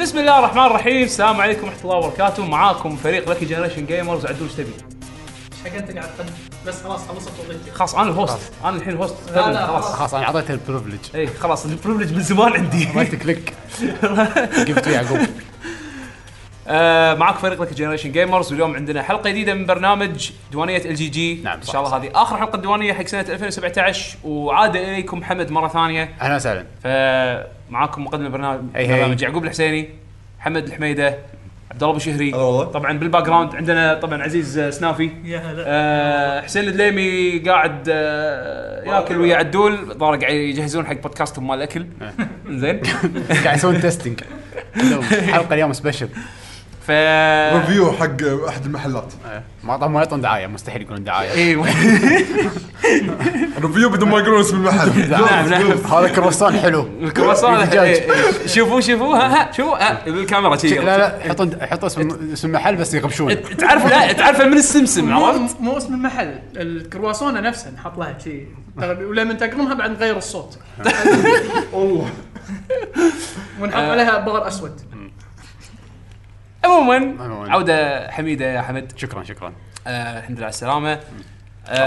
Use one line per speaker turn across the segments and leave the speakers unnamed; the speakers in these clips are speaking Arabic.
بسم الله الرحمن الرحيم السلام عليكم ورحمه الله وبركاته معاكم فريق لكي جنريشن جيمرز عدوش تبي
شقلتني على القلب بس خلاص خلصت وظيفتي
خلاص انا الهوست انا الحين هوست
لا، لا،
خلاص
خلاص.
خلاص انا اعطيته البريفليج
اي خلاص البريفليج من زمان عندي
رايت كليك جبت لي يعقوب
آه معاك فريق لك جنريشن جيمرز واليوم عندنا حلقه جديده من برنامج دوانيه ال جي جي
نعم،
ان
صح،
شاء الله
صح.
هذه اخر حلقه دوانيه حق سنه 2017 وعاد اليكم حمد مره ثانيه
اهلا وسهلا
فمعاكم مقدم البرنامج
هي هي.
برنامج يعقوب الحسيني محمد الحميده عبد الله ابو شهري
هلا والله.
طبعا بالباك جراوند عندنا طبعا عزيز آه، سنافي
يا هلا
آه، حسين الدليمي قاعد آه، ياكل ويا عدول ظهر قاعد يجهزون حق بودكاستهم مال الاكل
إيه.
زين
قاعد يسوون تيستنج حلقه اليوم سبيشل
ف
ريفيو حق احد المحلات
ما طبعا ما يعطون دعايه مستحيل يقولون دعايه
اي
ريفيو بدون ما يقولون اسم المحل
نعم، نعم.
هذا كروسون حلو
الكرواسون
دجاج.
إيه، إيه. شوفوا شوفوا ها ها شوفوا ها الكاميرا شي
لا لا حطوا حطوا اسم اسم محل بس يغبشون
تعرف لا تعرف من السمسم عرفت؟
مو, مو اسم المحل الكرواسونه نفسها نحط لها شيء ولما تقرمها بعد نغير الصوت
والله
ونحط عليها بغر اسود
عموما
عموماً.
عوده حميده يا حمد
شكرا شكرا
آه، الحمد لله على السلامه
الله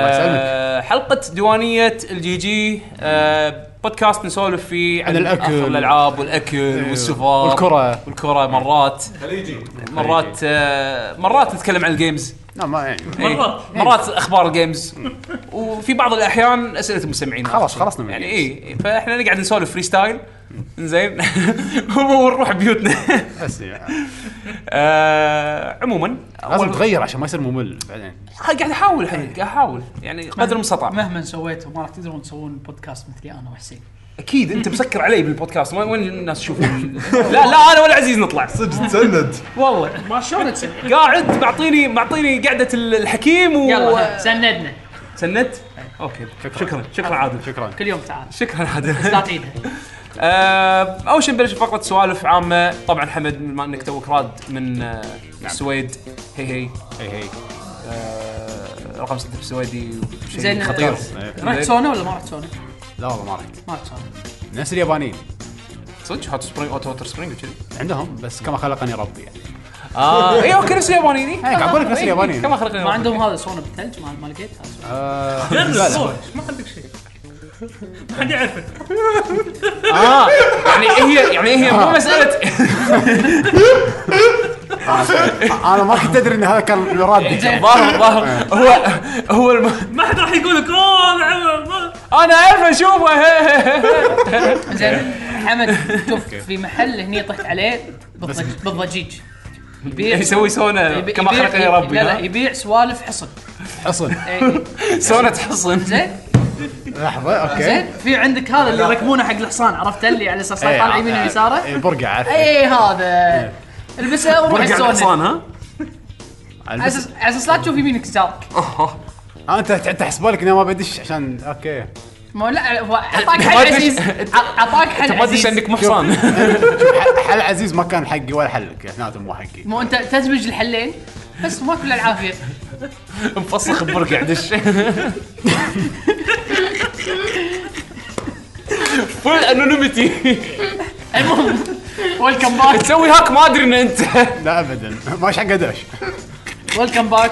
يسلمك.
آه، حلقه ديوانيه الجي جي آه، بودكاست نسولف فيه
عن الأكل. إيه.
آخر الالعاب والاكل والسفر
والكرة.
إيه. والكرة مرات
خليجي
مرات آه، مرات نتكلم عن الجيمز
لا ما يعني
إيه،
مرات.
مرات اخبار الجيمز وفي بعض الاحيان اسئله المستمعين
خلاص، خلصنا من
يعني
الجيمز.
اي فاحنا نقعد نسولف فري ستايل زين ونروح بيوتنا
بس يعني.
آه، عموما
لازم
أول-
تغير عشان ما يصير ممل بعدين
قاعد احاول الحين قاعد احاول يعني قدر المستطاع
مهما سويتوا ما راح تقدرون تسوون بودكاست مثلي انا وحسين
اكيد انت مسكر علي بالبودكاست وين وين الناس تشوفون لا لا انا ولا عزيز نطلع
صدق تسند
والله
ما شلون تسوي
قاعد معطيني معطيني قعده ال- الحكيم و
يلا ها، سندنا
سندت اوكي شكرا شكرا عادل
شكرا
كل يوم تعال
شكرا
لا
عادل
تعيدها
آه، اول شيء نبلش فقره سوالف عامه طبعا حمد بما انك توك راد من آه، السويد هي هي
هي هي
آه، رقم سته في السويدي شيء
زين.
خطير
رحت سونا ولا ما رحت سونا؟
لا والله ما رحت
ما رحت سونا
نفس اليابانيين
صدق هوت سبرينج اوتو ووتر سبرينج وكذي
عندهم بس كما خلقني ربي يعني
اه اي اوكي نفس الياباني ذي
إيه، قاعد أقول لك
إيه،
نفس الياباني.
كما خلقنا
ما عندهم هذا سونا بالثلج ما ما لقيت هذا سونا.
آه، لا، لا.
صوت، ما عندك شيء ما حد يعرفه
اه يعني هي يعني هي مو مساله
انا ما كنت ادري ان هذا كان رادي
زين.
ظاهر ظاهر هو هو الم...
ما حد راح يقول لك اوه
انا اعرف اشوفه
زين حمد شوف في محل هني طحت عليه بالضج- بالضجيج يبيع
يعني يسوي سونا
يبيع-
كما خلقني
يبيع-
ربي
لا لا
ها؟
يبيع سوالف حصن
حصن
إيه.
سونا تحصن
زين
لحظه اوكي
زين في عندك هذا اللي يركبونه حق الحصان عرفت اللي على اساس
إيه،
طالع يمين
آه،
ويساره
إيه، برقع عارف
اي هذا البسه وروح
برجع الحصان
السونا
ها
أنا
على
بس-
اساس على اساس لا تشوف يمينك جارك
آه، انت انت حسب بالك اني ما بدش عشان اوكي
ما لا هو اعطاك
ما
حل
تدش-
عزيز ع- اعطاك حل
ما ادري
عزيز
انك محصان
شوف، حل عزيز ما كان حقي ولا حلك اثنيناتهم مو حقي
مو انت تزوج الحلين بس ماكو الا العافيه
مفسخ ببرقع دش فول انونيمتي
المهم ويلكم باك
تسوي هاك ما ادري ان انت
لا ابدا ما حق داش
ويلكم باك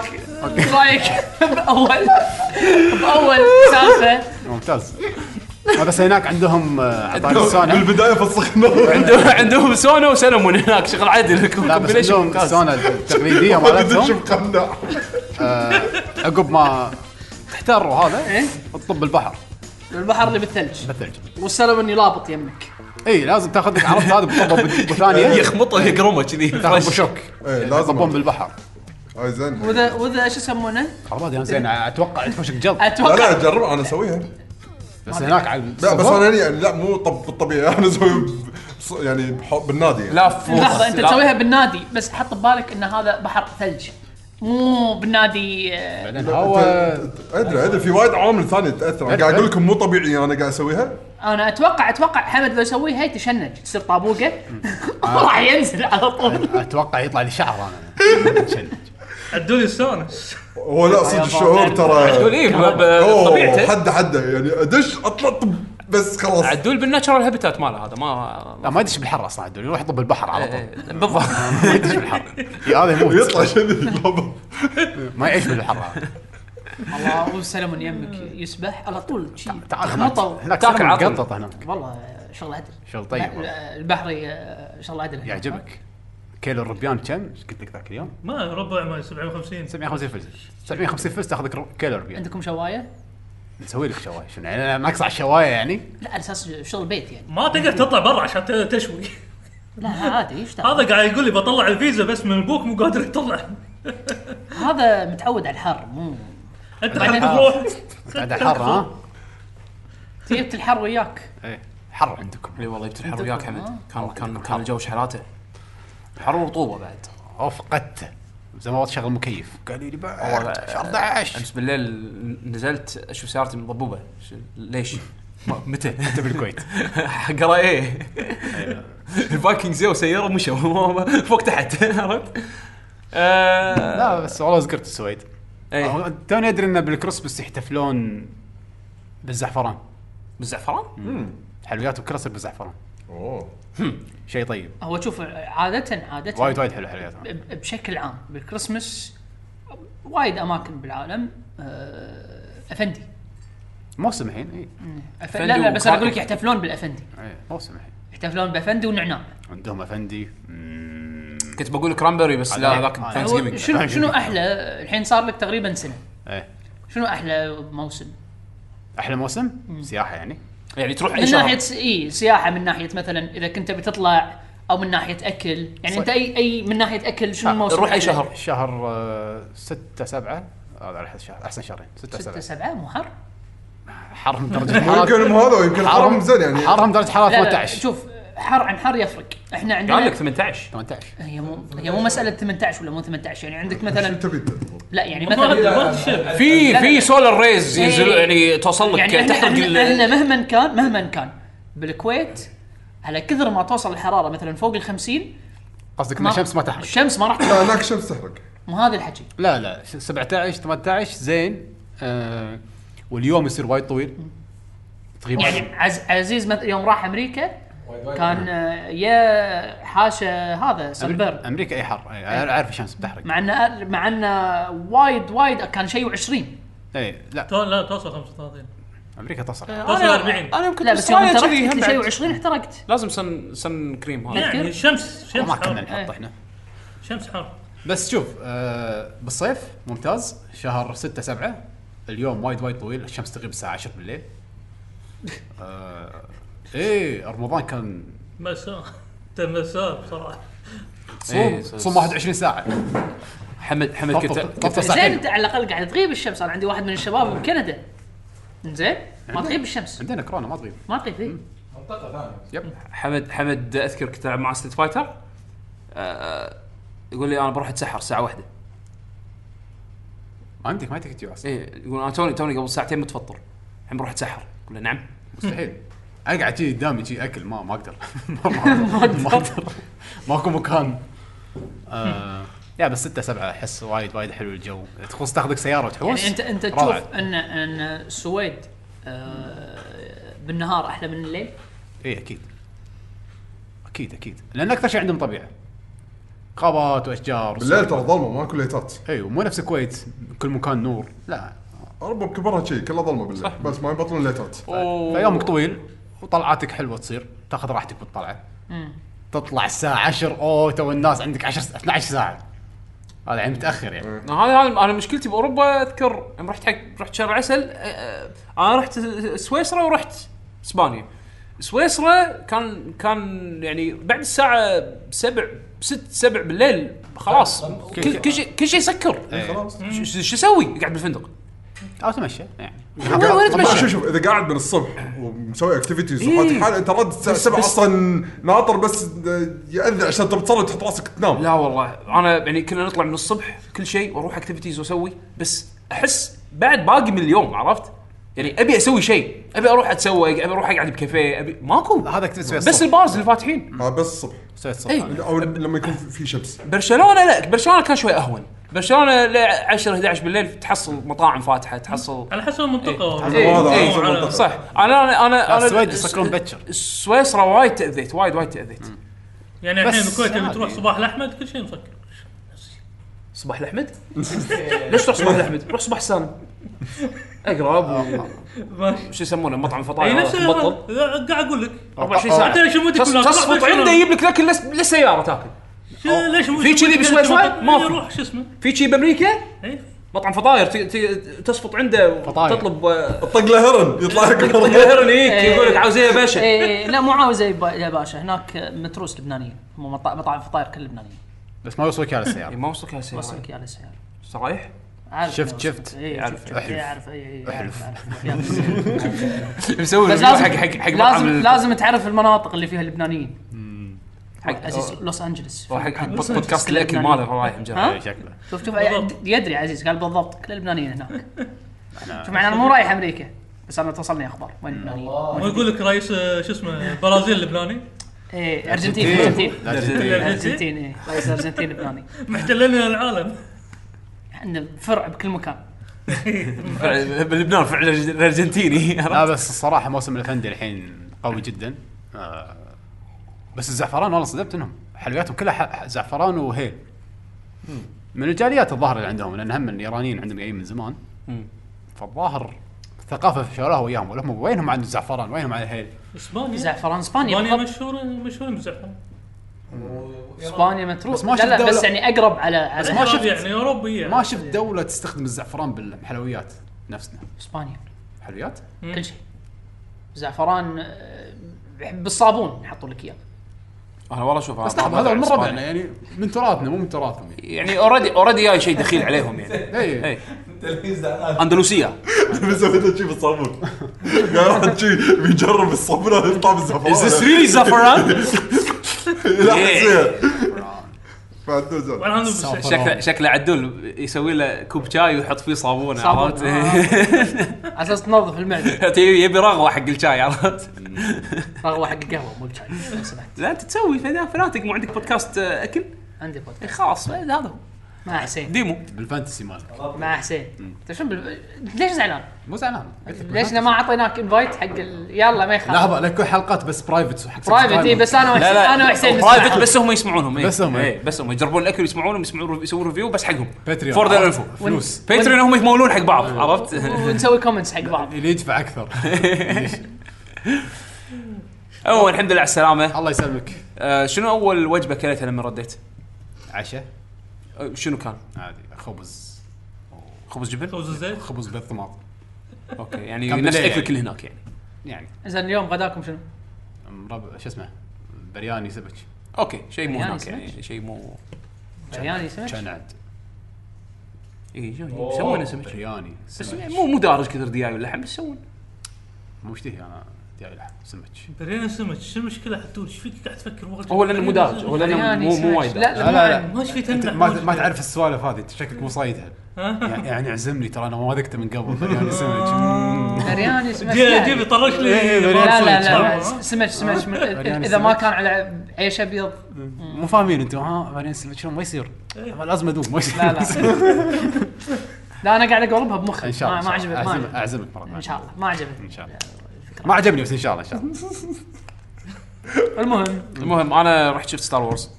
رايك باول باول سالفه
ممتاز ما بس هناك عندهم آه، عطاك السونا
بالبدايه فسخنا
عندهم عندهم سونا وسلمون هناك شغل عدل
لا بس
كومبيليشن
عندهم
ممتاز
السونا التقليديه
ما ندش
مالتهم
بقناع
عقب ما تحتر وهذا
إيه؟
تطب البحر
البحر اللي بالثلج
بالثلج
والسلم اني لابط يمك
اي إيه، لازم تاخذ لك عرفت هذا بطبه بثانيه
يخمطه يقرمه كذي
تاخذ بشوك
يعني
إيه، لازم.
يطبون بالبحر
اي زين
واذا واذا شو يسمونه؟
عرفت يا زين اتوقع تفشك جلط
لا
اتوقع
لا جرب انا اسويها
بس هناك على
لا بس انا هني يعني لا مو طب بالطبيعي انا اسوي بص- يعني بح- بالنادي يعني.
لا فوق
لحظه انت
لا.
تسويها بالنادي بس حط ببالك ان هذا بحر ثلج مو بالنادي آه،
بعدين
هو
هو
ادري ادري في وايد عوامل ثانيه تاثر أنا قاعد اقول لكم مو طبيعي انا قاعد اسويها
انا اتوقع اتوقع حمد لو يسويها يتشنج تصير طابوقه
آه.
راح ينزل على طول
اتوقع يطلع لي شعر انا شنج.
عدولي السونس
طيب،
هو لا صدق الشعور
تقول
ترى
ايه
اوه
بطبيعته
حد حد يعني ادش اطلع طب بس خلاص
عدول بالناتشرال هابيتات ماله هذا ما
لا ما يدش بالحر اصلا عدول يروح يطب البحر على
إيه،
طول
بالضبط
ما يدش بالحر إي، هذا يموت
يطلع شذي بابا.
ما يعيش بالحر هذا
الله وسلم من يمك يسبح على طول شي
تعال
خمطوا
هناك
تاكل
هناك سلم
عظم.
مقطط هناك
والله شغل عدل
شغل طيب
لا،
والله.
لا، البحري آه، شغل عدل
يعجبك كيلو الربيان كم؟ ايش قلت لك ذاك اليوم؟
ما ربع ما 750
750 فلس 750 فلس تاخذ لك رو- كيلو ربيان
عندكم شوايه؟
نسوي لك شوايه شنو يعني أنا ناقص على الشوايه يعني؟
لا على اساس شغل بيت يعني
ما تقدر تطلع برا عشان ت- تشوي
لا عادي يشتغل
هذا قاعد يقول لي بطلع الفيزا بس من ابوك مو قادر يطلع
هذا متعود على الحر مو
انت حتى تروح
بعد الحر ها؟
جبت الحر وياك
ايه حر عندكم
اي والله جبت الحر وياك حمد كان كان كان الجو شحالاته
حر ورطوبه بعد اوه فقدته زي ما شغل مكيف قالوا لي
والله،
بعد شهر 11
امس بالليل نزلت اشوف سيارتي مضبوبه ش- ليش؟ ما- متى؟
انت بالكويت
حقرا ايه الفايكنجز جو سياره مشوا فوق تحت عرفت؟ آه،
لا بس والله ذكرت السويد
إيه.
ايه
آه.
أو- توني ادري انه بالكريسماس يحتفلون بالزعفران
بالزعفران؟
حلويات وكراسه بالزعفران
اوه
شيء طيب
هو شوف عاده عاده
وايد وايد حلو حلويات
ب- بشكل عام بالكريسماس وايد اماكن بالعالم آه، افندي
موسم الحين إيه. اي
أف...
أفندي
لا لا بس
وكرا-
انا اقول لك يحتفلون بالافندي
إي، موسم الحين
يحتفلون بافندي ونعناع
عندهم افندي
كنت بقول كرامبري بس لا
هذا-
ذاك
آه.
هذا-
ثانكس
هو
جيفنج
شنو شنو احلى الحين صار لك تقريبا سنه
ايه
شنو احلى موسم؟
احلى موسم سياحه يعني
يعني تروح اي
من ناحيه
شهر
س- اي سياحه من ناحيه مثلا اذا كنت تبي تطلع او من ناحيه اكل يعني انت اي اي من ناحيه اكل شنو
آه،
الموسم؟
روح اي
الأحلى؟
شهر
شهر آه، ستة سبعة هذا على حسب شهر احسن شهرين ستة
ستة
سبعة
سبعة مو حر؟
حر من درجة حرارة
يمكن مو هذا يمكن حرام زين يعني
حرهم درجة حرارة
لا، لا
18
شوف حر عن حر يفرق احنا
قال لك
عندنا
18
18
هي مو هي مو مساله 18 ولا مو 18 يعني عندك
شو
مثلا
تبي
لا يعني
ما ادري
مثلا
ما تشوف
في
لا،
في
لا.
سولار ريز ينزل
إيه.
يعني توصل لك
يعني
تحرق
احنا,
ال-
احنا مهما كان مهما كان بالكويت على كثر ما توصل الحراره مثلا فوق ال 50
قصدك ان
ما-
الشمس ما تحرق
الشمس ما راح
آه، لا
تطلع.
هناك شمس تحرق
مو هذا الحكي
لا لا ش- 17 18 زين آه واليوم يصير وايد طويل تغيب
يعني عز عزيز مث- يوم راح امريكا كان آه، يا حاشا هذا
أمريكا,
سنبرن
امريكا اي حر أي انا اعرف الشمس بتحرق
مع انه مع انه وايد وايد كان شيء و20
اي لا
تو- لا توصل 35
امريكا تصل
توصل 40
انا يمكن
لا بس يوم انت
بالصراحة
رحت
كذي هم
قلت لي
بعد.
شيء و20 احترقت
لازم سن سن كريم هذا
يعني شمس شمس
ما كنا
حار
نحط احنا
شمس حار
بس شوف آه بالصيف ممتاز شهر 6 7 اليوم وايد وايد طويل الشمس تغيب الساعه 10 بالليل آه ايه رمضان كان
مساء انت مساء بصراحه
إيه،
صوم
صوم.
صوم 21 ساعه
حمد حمد
طب-
كنت
طب-
كنت
طب- صحيح.
زين انت على الاقل قاعد تغيب الشمس انا عندي واحد من الشباب بكندا زين ما تغيب الشمس
عندنا كورونا ما تغيب
ما تغيب إيه.
يب
حمد حمد اذكر كنت العب مع ستريت فايتر آه، يقول لي انا بروح اتسحر ساعه واحدة
ما عندك ما عندك تيو اصلا
ايه يقول انا توني توني قبل ساعتين متفطر الحين بروح اتسحر اقول له نعم
مستحيل اقعد شي قدامي شي اكل ما ما اقدر ما- ما ما اقدر ماكو مكان آه، يا بس 6 7 احس وايد وايد حلو الجو تخلص تاخذك سياره وتحوس
يعني انت انت
روعة.
تشوف ان ان السويد آه، بالنهار احلى من الليل
اي اكيد اكيد اكيد لان اكثر شيء عندهم طبيعه غابات واشجار
بالليل ترى ظلمه ماكو ليتات
اي إيه، ومو نفس الكويت كل مكان نور لا
اربع كبرها شي كلها ظلمه بالليل بس ما يبطلون ليتات
طيب. فيومك طويل وطلعاتك حلوه تصير تاخذ راحتك بالطلعه تطلع الساعه 10 اوه تو الناس عندك 10 12 ساعه هذا يعني متاخر يعني
أنا هذا هذا انا مشكلتي باوروبا اذكر يوم رحت حق رحت شهر عسل آه، آه، انا رحت سويسرا ورحت اسبانيا سويسرا كان كان يعني بعد الساعه 7 6 7 بالليل خلاص كل كل شيء كل شيء سكر
خلاص
ش- ش- شو اسوي؟ قاعد بالفندق
او تمشى يعني
وين وين
طبعاً
اتمشى؟
شوف شوف اذا قاعد من الصبح ومسوي اكتيفيتيز
إيه.
وحالتك حالة انت رد الساعه
بس-
7
بس-
اصلا ناطر بس آه، ياذن عشان تبي تصلي تحط راسك تنام
لا والله انا يعني كنا نطلع من الصبح كل شيء واروح اكتيفيتيز واسوي بس احس بعد باقي من اليوم عرفت؟ يعني ابي اسوي شيء، ابي اروح اتسوق، ابي اروح اقعد بكافيه، ابي ماكو
هذا اكتيفيتي سويت
بس
الصبح.
البارز اللي فاتحين
آه، بس الصبح
سويت الصبح
إي.
أنا.
او لما يكون في شمس
برشلونه لا برشلونه كان شوي اهون بس شلون ل 10 11 بالليل تحصل مطاعم فاتحه تحصل
على حسب المنطقه
إيه،
والله.
إيه،
على-
منطقة.
صح انا انا انا
السويد يسكرون بكر
السويسرا وايد تاذيت وايد وايد تاذيت
يعني الحين
بس
بالكويت
عادي.
تبي تروح صباح الاحمد كل شيء مسكر
صباح الاحمد ليش تروح صباح الاحمد؟ روح صباح السالم اقرب
ماشي
وش يسمونه مطعم فطاير
اي إيه، نفس
هذا، آه، بطل
لا، قاعد اقول لك
24 ساعه
انت ليش مودك
تس-
بالله؟
تصفط
طلعت
عنده
شنو؟
يجيب لك لكن لس- للسياره تاكل
شو- ليش
في كذي بشوي شوي؟ ما
ما
في.
يروح إيه، شو اسمه إيه.
في شي بامريكا
اي
مطعم فطاير ت- ت- تصفط عنده
فطاير.
تطلب آه،
طق له هرن يطلع لك
طق
هرن.
الهرن هيك يقول لك عاوز ايه يا باشا
إيه لا مو عاوز يا با- يا باشا هناك متروس لبنانيين هم مطا- مطاعم فطاير كل لبنانيين
بس ما يوصلك على السياره
إيه، ما وصلك هالسياره
وصلك على السياره
صحيح؟
عارف
شفت-
إنه
شفت.
وصلك. إيه،
أعرف.
شفت إيه،
أحلف.
اعرف إيه، إيه،
أحلف.
أعرف، أعرف. يلا.
مسوي
بس
ريفيو
لازم
حق حق حق
لازم
مطعم
لازم تعرف المناطق اللي فيها اللبنانيين
حق-
حق عزيز لوس انجلس
حق حق
لوس أنجلس
بودكاست الاكل
اللبناني.
ماله رايح مجرب
ها؟
إيه، شكله
شوف شوف
بالضبط.
يدري عزيز قال بالضبط كل اللبنانيين هناك شوف معناه انا مو رايح امريكا بس انا توصلني اخبار وين اللبنانيين
ما يقول لك رئيس آه، شو اسمه برازيل لبناني
ايه ارجنتين ارجنتين
إيه. أرجنتين.
ارجنتين ايه رئيس ارجنتين لبناني
محتلين لنا العالم
عندنا فرع بكل مكان
فعل- بلبنان فعلا الارجنتيني
لا بس الصراحه موسم الافندي الحين قوي جدا آه، بس الزعفران والله صدمت انهم حلوياتهم كلها ح- زعفران وهيل من الجاليات الظاهر اللي عندهم لان هم الايرانيين عندهم جايين من زمان فالظاهر الثقافه شالوها وياهم ولا هم وينهم عن الزعفران وينهم عن الهيل
اسبانيا
زعفران اسبانيا
اسبانيا
بالضبط.
مشهور مشهورين بالزعفران
اسبانيا متروس
بس ما
لا
شفت
لا
دولة.
بس يعني اقرب على
بس
على
ما شفت.
يعني اوروبي يعني
ما شفت دوله تستخدم الزعفران بالحلويات نفسنا
اسبانيا
حلويات
كل شيء زعفران آه، بالصابون يحطوا لك اياه
انا والله شوف
بس لحظه هذا من ربعنا يعني من تراثنا مو من تراثهم إيه، يعني.
يعني اوريدي اوريدي جاي شيء دخيل عليهم يعني
إيه.
اي
اي اندلسيه
سويته شي بالصابون قاعد شي بيجرب الصابون هذا يطلع بالزفران
از ذس ريلي زعفران
لا
Yeah.
حسين فعدو زين.
وعلى هذا بالس-
شكله شكله عدول يسوي له كوب شاي ويحط فيه صابون
صابون.
عرفت
آه. على اساس تنظف المعده
تي- يبي رغوه حق الشاي عرفت
رغوه حق القهوه مو الشاي لو سمحت
لا انت تسوي فنا- فنادق مو عندك بودكاست آه، اكل
عندي بودكاست
خلاص إيه، هذا هو
مع حسين
ديمو
بالفانتسي مالك
مع حسين انت شنو بال... ليش زعلان؟
مو زعلان قلت لك
ليش
بالفانتسي.
ما اعطيناك انفايت حق ال... يلا ما يخالف
لحظه لك حلقات بس برايفت حق
برايفت اي إيه، بس انا وحسين انا وحسين
برايفت
نسمعها.
بس هم يسمعونهم إيه.
بس هم، إيه.
إيه، بس هم يجربون الاكل ويسمعونهم يسمعون يسوون ريفيو بس حقهم
Patreon.
فور ذا انفو
فلوس
باتريون هم يتمولون حق بعض عرفت
ونسوي كومنتس حق بعض
اللي يدفع اكثر
اول الحمد لله على السلامه
الله يسلمك
آه شنو اول وجبه كلتها لما رديت
عشاء
آه، شنو كان
عادي خبز
خبز جبن
خبز الزيت
خبز بالطماط
اوكي يعني
كان
نفس
بالليل
الاكل
يعني.
اللي هناك يعني
يعني
زين اليوم غداكم شنو؟
مربع شو اسمه برياني سبك
اوكي شيء مو
يعني
هناك
سمك.
يعني شيء مو
برياني سمك؟
كان عد
اي إيه، شو- يسوونه سمك
برياني
بس
سمك
مو مو دارج كثر دياي ولا لحم بس يسوون
مو مشتهي انا دياي لحم سمك
برينا السمك شو المشكله حتون ايش فيك قاعد تفكر وقت
هو لانه مو دارج هو لانه
برياني
مو مو
سمك
وايد
لا
دارج.
لا
لا،
لا
ما ايش في
انت
تمدح
ما
وجهك.
ما تعرف السوالف هذه انت شكلك مو صايدها يعني- يعني اعزمني ترى انا ما ذقته من قبل برياني سمك مم.
برياني سمك
جي-
لا.
جيب طرش لي
إيه، برياني
يعني. لا لا
سمك.
لا سمك سمك من-
برياني
اذا ما
سمك.
كان على عيش ابيض
مو فاهمين انتم ها برياني سمك شلون ما يصير لازم ادوق ما يصير
لا لا لا انا قاعد اقربها بمخي
ان شاء الله
ما- ما عجبت ما
اعزمك
عجبت.
اعزمك مره
ان شاء الله ما عجبتني
ان شاء الله ما عجبني بس ان شاء الله ان شاء الله
المهم
المهم انا رحت شفت ستار وورز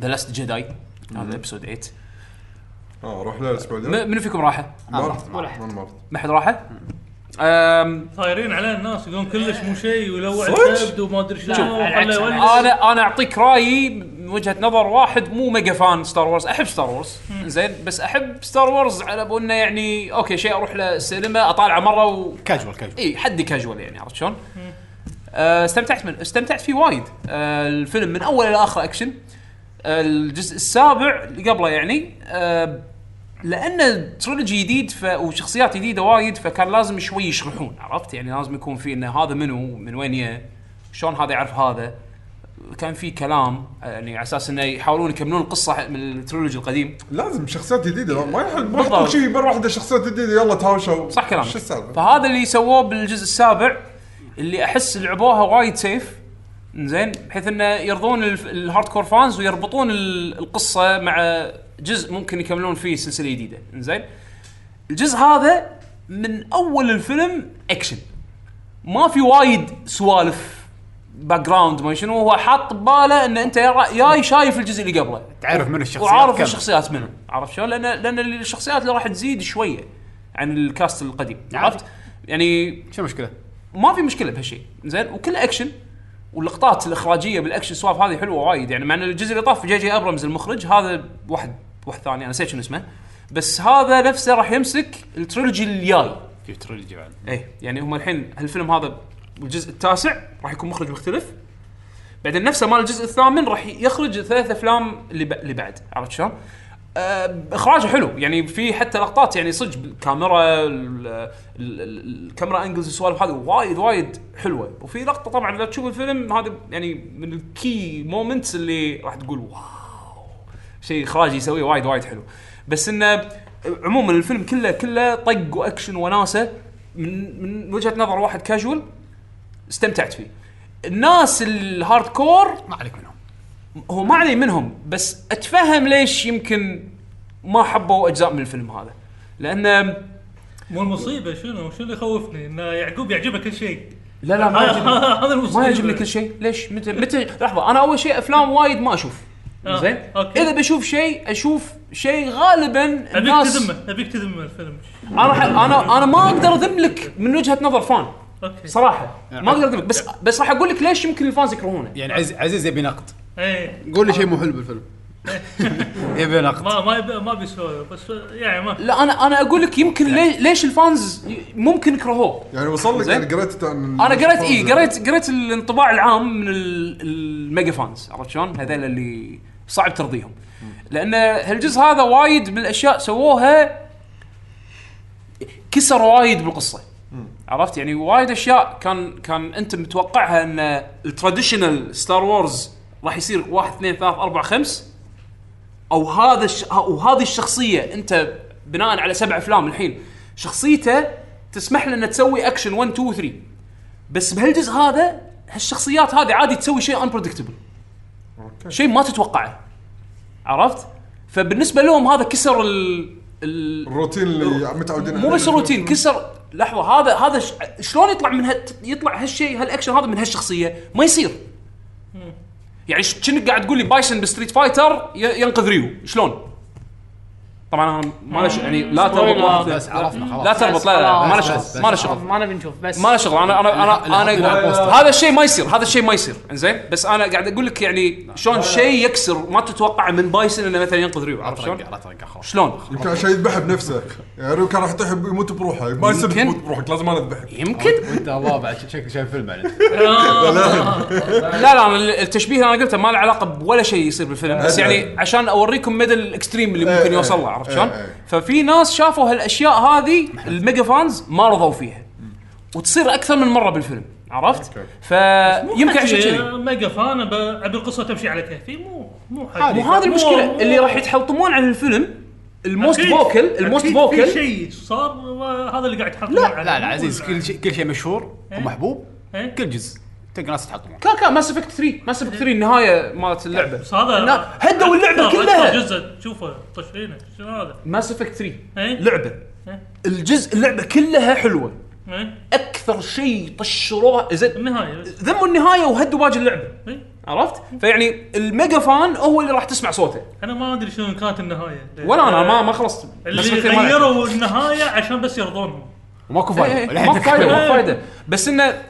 ذا لاست جداي هذا ابسود 8
اه روح له الاسبوع الجاي
م- منو فيكم راحه؟
ما
آه،
رحت
ولا
ما أنا ما رحت
ما حد راحه؟ أم،
طايرين على الناس يقولون كلش مو شيء ولوع
صدق؟
الكبد وما ادري شنو
لا، على العكس،
ولا-
على
ولا-
العكس.
انا انا اعطيك رايي من وجهه نظر واحد مو ميجا فان ستار وورز احب ستار وورز زين بس احب ستار وورز على ابو انه يعني اوكي شيء اروح له السينما اطالعه مره و
كاجوال كاجوال
اي حد كاجوال يعني عرفت شلون؟ آه، استمتعت من استمتعت فيه وايد آه، الفيلم من اول الى اخر اكشن آه، الجزء السابع اللي قبله يعني آه، لان تريلوجي جديد ف... وشخصيات جديده وايد فكان لازم شوي يشرحون عرفت يعني لازم يكون في انه هذا منو من وين يه شلون هذا يعرف هذا كان في كلام آه، يعني على اساس انه يحاولون يكملون القصه من التريلوجي القديم
لازم شخصيات جديده ما يحل ما
بالضبط.
يحط شيء مره واحده شخصيات جديده يلا تهاوشوا
صح كلامك طيب.
شو السالفه؟
فهذا اللي سووه بالجزء السابع اللي احس لعبوها وايد سيف زين بحيث انه يرضون الهارد كور فانز ويربطون ال- القصه مع جزء ممكن يكملون فيه سلسله جديده زين الجزء هذا من اول الفيلم اكشن ما في وايد سوالف باك جراوند ما شنو هو حاط بباله ان انت يا جاي شايف الجزء اللي قبله
تعرف من الشخصيات
إيه. وعارف
كم.
الشخصيات منهم عرفت شلون؟ لان لان الشخصيات اللي راح تزيد شويه عن الكاست القديم عرفت؟ يعني
شو المشكله؟
ما في مشكله بهالشيء زين وكل اكشن واللقطات الاخراجيه بالاكشن سواف هذه حلوه وايد يعني مع ان الجزء اللي طاف جي جي ابرمز المخرج هذا واحد واحد ثاني انا نسيت شنو اسمه بس هذا نفسه راح يمسك التريلوجي الجاي
في تريلوجي بعد
اي يعني هم الحين هالفيلم هذا الجزء التاسع راح يكون مخرج مختلف بعدين نفسه مال الجزء الثامن راح يخرج ثلاث افلام اللي ب- اللي بعد عرفت شلون؟ آه، اخراجه حلو يعني في حتى لقطات يعني صدق بالكاميرا ال- ال- ال- الكاميرا انجلز والسوالف هذه وايد وايد حلوه وفي لقطه طبعا لو تشوف الفيلم هذا يعني من الكي مومنتس اللي راح تقول واو شيء اخراجي يسويه وايد وايد حلو بس انه عموما الفيلم كله كله طق واكشن وناسه من من وجهه نظر واحد كاجوال استمتعت فيه الناس الهارد كور
ما عليك منهم
هو ما علي منهم بس اتفهم ليش يمكن ما حبوا اجزاء من الفيلم هذا لان
مو المصيبه شنو شنو اللي يخوفني ان يعقوب يعجبه كل شيء
لا لا ما يعجبني
هذا المصيبه
ما يعجبني كل شيء ليش متى متى لحظه انا اول شيء افلام وايد ما اشوف
آه،
زين
أوكي.
اذا بشوف شيء اشوف شيء غالبا
ابيك
الناس
تذمه ابيك تذمه الفيلم
انا ح- انا انا ما اقدر اذم لك من وجهه نظر فان
اوكي
صراحه ما اقدر اذم لك بس بس راح اقول لك ليش يمكن الفانز يكرهونه
يعني عز عزيز يبي نقد
ايه
قول لي شيء مو حلو بالفيلم
يبي نقد
ما ما يبي ما بيسوي بس يعني ما
لا انا انا اقول لك يمكن لي- ليش الفانز ي- ممكن كرهوه
يعني وصل لك
زين.
يعني قريت عن
انا قريت اي قريت قريت الانطباع العام من ال- الميجا فانز عرفت شلون؟ هذول اللي صعب ترضيهم لان هالجزء هذا وايد من الاشياء سووها كسر وايد بالقصه عرفت يعني وايد اشياء كان كان انت متوقعها ان التراديشنال ستار وورز راح يصير واحد اثنين ثلاث اربع خمس او هذا الش... وهذه الشخصيه انت بناء على سبع افلام الحين شخصيته تسمح له انه تسوي اكشن 1 2 3 بس بهالجزء هذا هالشخصيات هذه عادي تسوي شيء انبريدكتبل شيء ما تتوقعه عرفت؟ فبالنسبه لهم هذا كسر ال, ال...
الروتين اللي متعودين
مو بس الروتين كسر لحظه هذا هذا ش... شلون يطلع من هال... يطلع هالشيء هالاكشن هذا من هالشخصيه ما يصير يعني ش- كأنك قاعد تقول لي بايسن بستريت فايتر ي... ينقذ ريو شلون طبعا انا ما له ش- يعني لا تربط واحد-
بس عرفنا خلاص
لا تربط لا لا ما له
بس- بس-
شغل ما له شغل
طيب، ما نبي نشوف بس
ما له شغل انا انا انا
الحق- الحق
انا
بالبوست.
هذا الشيء ما يصير هذا الشيء ما يصير انزين بس انا قاعد اقول لك يعني شلون شيء يكسر ما تتوقع من بايسن انه مثلا ينقذ ريو عرفت شلون؟
يعني.
لا ترقع خلاص
شلون؟
يمكن عشان يذبح بنفسه يعني لو كان راح يطيح يموت بروحه ما يصير
يمكن.
تموت بروحك لازم انا اذبحك
يمكن
وانت الله بعد شكلك شايف فيلم يعني. بعد
لا لا أنا التشبيه اللي انا قلته ما له علاقه بولا شيء يصير بالفيلم بس يعني عشان اوريكم مدى الاكستريم اللي ممكن
إيه.
يوصل له عرفت شلون؟
إيه.
ففي ناس شافوا هالاشياء هذه الميجا فانز ما رضوا فيها وتصير اكثر من مره بالفيلم عرفت؟ فيمكن عشان كذي
ميجا فان أب- ابي القصه تمشي على كيفي مو مو حاجه
مو هذه المشكله اللي راح يتحلطمون عن الفيلم الموست فوكل الموست
في
فوكل
شيء صار وهذا اللي قاعد يحط
لا لا عزيز كل شيء كل شيء مشهور
إيه.
ومحبوب كل جزء تلقى ناس تحطمون
كا كا ماس افكت 3 ماس افكت 3 النهايه مالت اللعبه
بس هذا
لا، هدوا اللعبة
أكثر-
كلها.
أكثر جزء تشوفه طشرينه شنو هذا؟
ماس افكت 3
إيه؟
لعبه
إيه؟
الجزء اللعبه كلها حلوه
إيه؟
اكثر شيء طشروها زين
النهايه بس
ذموا النهايه وهدوا باقي اللعبه
إيه؟
عرفت؟ فيعني الميجا فان هو اللي راح تسمع صوته
انا ما ادري شنو كانت النهايه
ولا انا ما ما خلصت Mass
اللي
Effect 3 ما لعبت.
غيروا النهايه عشان بس يرضونهم
وماكو
إيه،
فايده
إيه، ما في فايده ما في فايده بس انه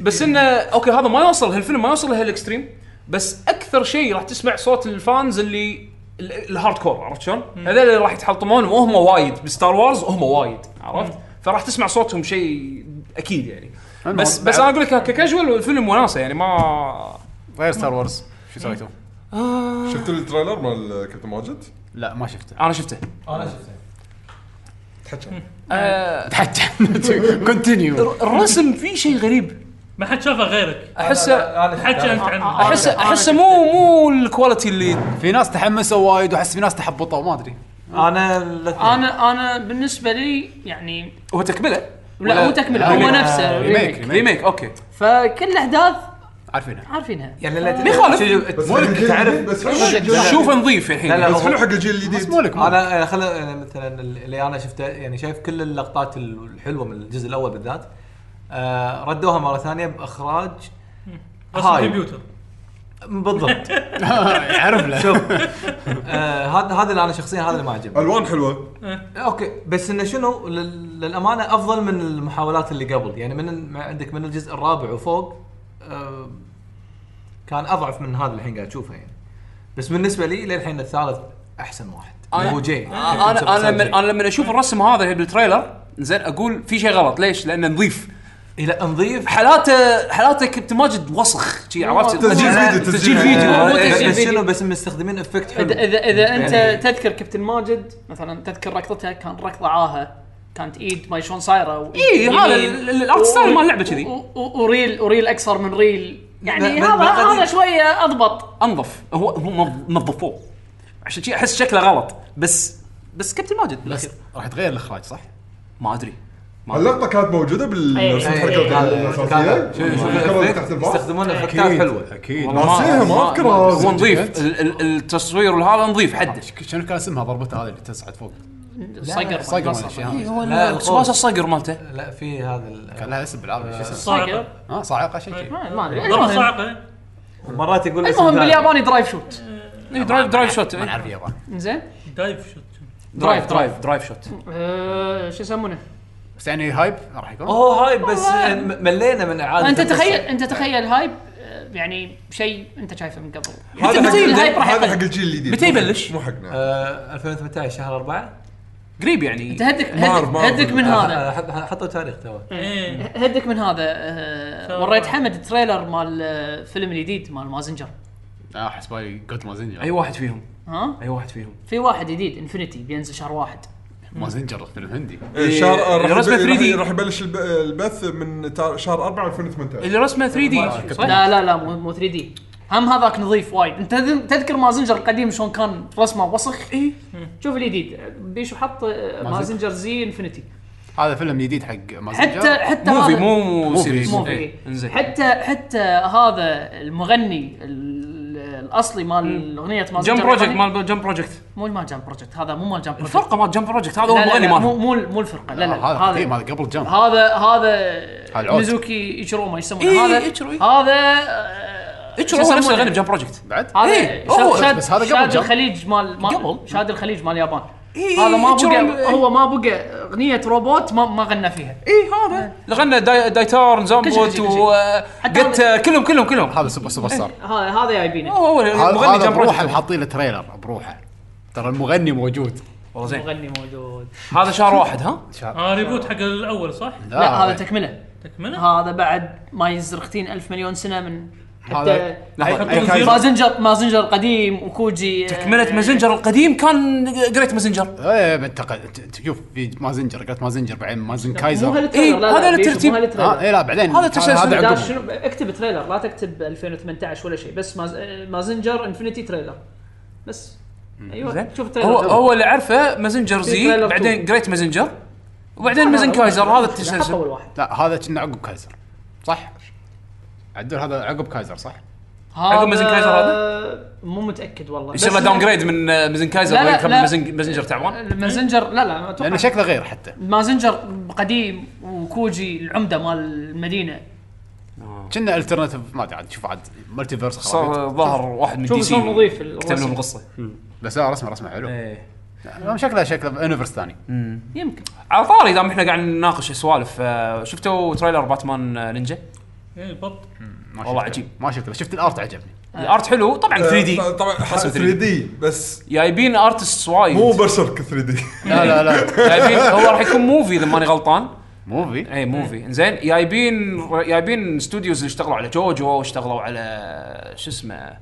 بس انه اوكي هذا ما يوصل هالفيلم ما يوصل لهالاكستريم بس اكثر شيء راح تسمع صوت الفانز اللي ال- الهارد كور عرفت شلون؟ هذول اللي راح يتحلطمون وهم وايد بستار وارز هم وايد عرفت؟ فراح تسمع صوتهم شيء اكيد يعني
المهم،
بس بس
بعد-
انا اقول لك ككاجوال الفيلم وناسه يعني ما
غير ستار وورز
إيه.
شو سويتوا؟
شفت التريلر مال كابتن ماجد؟
لا ما شفته
انا شفته
انا شفته
حتى كونتينيو
الرسم فيه شيء غريب
ما حد شافه غيرك
احسه
انا شفته.
حكى انت عنه
احسه احسه مو مو الكواليتي اللي
في ناس تحمسوا وايد واحس في ناس تحبطوا ما ادري
انا الاثنين.
انا انا بالنسبه لي يعني
هو تكمله
لا مو تكمله هو
ريميك.
نفسه
ريميك ريميك
ريميك اوكي
فكل الاحداث
عارفينها
عارفينها
يعني لا
ما يخالف.
شوف،
مو لك
تعرف
بس حلو
لا، لا.
شوف نظيف الحين
لا، لا.
بس حلو حق الجيل
بس
الجديد
مو لك مو لك.
انا انا خل أنا مثلا اللي انا شفته يعني شايف كل اللقطات الحلوه من الجزء الاول بالذات آه ردوها مره ثانيه باخراج
رسم
هاي.
كمبيوتر
بالضبط
يعرف له
شوف آه، هذا هذا اللي انا شخصيا هذا اللي ما عجبني
الوان حلوه
اوكي بس انه شنو لل- للامانه افضل من المحاولات اللي قبل يعني من ال- ما عندك من الجزء الرابع وفوق آه، كان اضعف من هذا اللي الحين قاعد اشوفه يعني بس بالنسبه لي للحين الثالث احسن واحد
أنا-
هو جاي
انا انا لما انا لما اشوف الرسم هذا بالتريلر زين اقول في شيء غلط ليش؟ لانه نظيف
الى نظيف
حالاته حالاته كابتن ماجد وسخ شي عرفت
تسجيل
تسجيل
فيديو
تسجيل
فيديو
فيديو
مو
إيه.
تسجيل
بس
فيديو.
شنو بس مستخدمين افكت حلو
اذا اذا اذا
يعني-
انت تذكر كابتن ماجد مثلا تذكر ركضتها كان ركضه عاهه كانت ايد ما شلون صايره و-
اي إيه، هذا
يمين.
ال- ال- الارت ستايل مال اللعبه
و-
كذي
و- وريل وريل اكثر من ريل يعني
ب- ب-
هذا
بالقديم.
هذا شويه اضبط
انظف هو هو نظ- نظفوه عشان شي احس شكله غلط بس بس كابتن ماجد
بس
بالاخير
راح يتغير الاخراج صح؟
ما ادري ما أدري.
اللقطه كانت موجوده بالرسم
أي.
إيه،
الحركه
كان-
الاساسيه
شوف- شوف
الكاميرا
الإفكت،
تحت البعض.
يستخدمون افكتات حلوه
اكيد
والله ما-
ناسيها، ما
ما-
أذكر
هو
هذا.
نظيف ال- ال- التصوير وهذا نظيف حده
شنو كان اسمها ضربته هذه اللي تصعد فوق؟
صقر
صقر ولا
صقر
شيء هذا.
هو
لا، القوس.
الوسواس الصقر مالته
لا في هذا ال-
كان لها اسم بالعربي
إيه.
شو اسمه؟
صعقه
ها صاعقه شيء شيء
ما ادري
ضربه
المهم-
صعقه
مرات يقول اسم
المهم
ثاني.
بالياباني درايف شوت
إيه، درايف درايف شوت
ما
إيه.
نعرف اليابان
زين
دايف شوت
درايف درايف درايف شوت
آه، شو يسمونه
بس يعني هايب راح يكون
اوه هاي بس م- ملينا من اعاده
انت
القصة.
تخيل انت تخيل هايب آه، يعني شيء انت شايفه من قبل
هذا حق
بتقول الهايب راح
هذا
يقل.
حق الجيل الجديد
متى يبلش؟
مو حقنا
آه، 2018 شهر 4
قريب يعني
تهدك
ما أعرف-
هدك
ما أعرف.
هدك من هذا
آه.
إيه.
حطوا تاريخ تو
ايه
هدك من هذا آه،
شو-
وريت حمد تريلر مال آه، فيلم الجديد مال مازنجر
اه احس بالي جود مازنجر
أيوه.
اي واحد فيهم
ها
اي واحد فيهم
في واحد جديد انفنتي بينزل شهر واحد
مازنجر فيلم هندي
إيه، شهر
إيه،
راح
رسمة
يبل-
3D.
راح يبلش الب- البث من تا- شهر 4 2018
اللي رسمه 3 دي صح؟
لا لا لا مو مو 3 دي هم هذاك نظيف وايد انت تذ- تذكر مازنجر القديم شلون كان رسمه وسخ اي
إيه.
شوف الجديد بيشو حط آه، مازنجر زي انفنتي
هذا فيلم جديد حق مازنجر
حتى حتى
موفي
هذا-
مو
موفي.
سيريز
مو في.
إيه، انزين
حتى حتى هذا المغني ال- الاصلي مال اغنيه مازنجر
جمب بروجكت
القديم-
مال جمب بروجكت
مو مال جمب بروجكت هذا مو مال جمب بروجكت
الفرقه مال جمب بروجكت هذا هو آه،
لا لا
المغني
لا مو
مالهم
مو مو الفرقه لا لا
آه، هذا قديم
هذا
هذا قبل جمب
هذا هذا
العود.
ميزوكي ايشرو ما يسمونه
إيه،
هذا
إيتشيرو، إيه.
هذا آه،
اتش
شو
هو نفس
يسمونه؟
الغني بجمب بروجكت
بعد
إيه،
هذا
هو-
شاد- شاد
بس هذا قبل
شاد
جمب.
الخليج مال مال-
قبل.
شاد الخليج مال اليابان
إيه،
هذا ما
إيتشيرو
بقى
ال-
هو ما بقى اغنيه روبوت ما ما غنى فيها
اي هذا اللي غنى داي- دايتارن
كل
زومبوت
شيء، كل شيء. حتى
وقت
هذا-
كلهم كلهم كلهم
هذا سوبر سوبر ستار
هذا هذا جايبينه
هو هو
إيه،
هذا
المغني
هذا
جمب
بروحه
بروجكت
محاطين له تريلر بروحه ترى المغني موجود
والله زين
مغني موجود
هذا شهر واحد ها؟
اه ريبوت حق الاول صح؟
لا هذا تكمله
تكمله؟
هذا بعد ما يزرختين ألف مليون سنه من حتى
هذا-
لحظه
أي-
أي-
مازنجر مازنجر قديم وكوجي آه،
تكمله مازنجر القديم كان جريت مازنجر
ايه انت شوف في مازنجر قالت مازنجر بعدين مازن
مو
كايزر
هالتريلر،
إيه،
لا لا،
هذا
بيشو،
الترتيب. آه،
مو هالتريلر.
اه ايه لا بعدين
هذا
كان-
تسلسل
هذا
لا،
عقبه
شنو اكتب تريلر لا تكتب 2018 ولا شيء بس ماز... مازنجر انفنتي تريلر بس ايوه
زين
شوف
هو
تريلر
هو اللي عارفه مازنجر زي
تريلر
بعدين
تو.
جريت مازنجر وبعدين مازن كايزر هذا التسلسل
اول واحد
لا هذا كنا عقب كايزر صح؟ عدول هذا عقب كايزر صح؟
عقب مازن كايزر
آه، مو متاكد والله
يصير له
بس
داون
إنه-
جريد من آه، مازن كايزر
لا، لا،
ويكمل
لا.
مازن مازنجر تعبان
مازنجر لا لا اتوقع
لانه شكله غير حتى
مازنجر قديم وكوجي العمده مال المدينه
كنا الترناتيف ما ادري عاد شوف عاد مالتي فيرس خرابيط
صار ظهر واحد من
شوف
دي سي
شلون نظيف
كتب لهم
الرسم
القصه
بس لا رسمه رسمه حلو
إيه.
لا، شكله شكله يونيفرس ثاني
يمكن
على طاري دام احنا قاعد نناقش سوالف آه، شفتوا تريلر باتمان آه، نينجا
ايه بط
ما
والله
شفته.
عجيب.
ما شفته بس شفت الارت عجبني
الارت حلو طبعا 3 دي
آه، طبعا 3 دي بس
جايبين ارتست وايد
مو برسرك 3 دي
لا لا لا
جايبين هو راح يكون موفي اذا ماني غلطان إيه،
موفي
اي
إيه.
موفي زين جايبين جايبين استوديوز اللي اشتغلوا على جوجو واشتغلوا على شو اسمه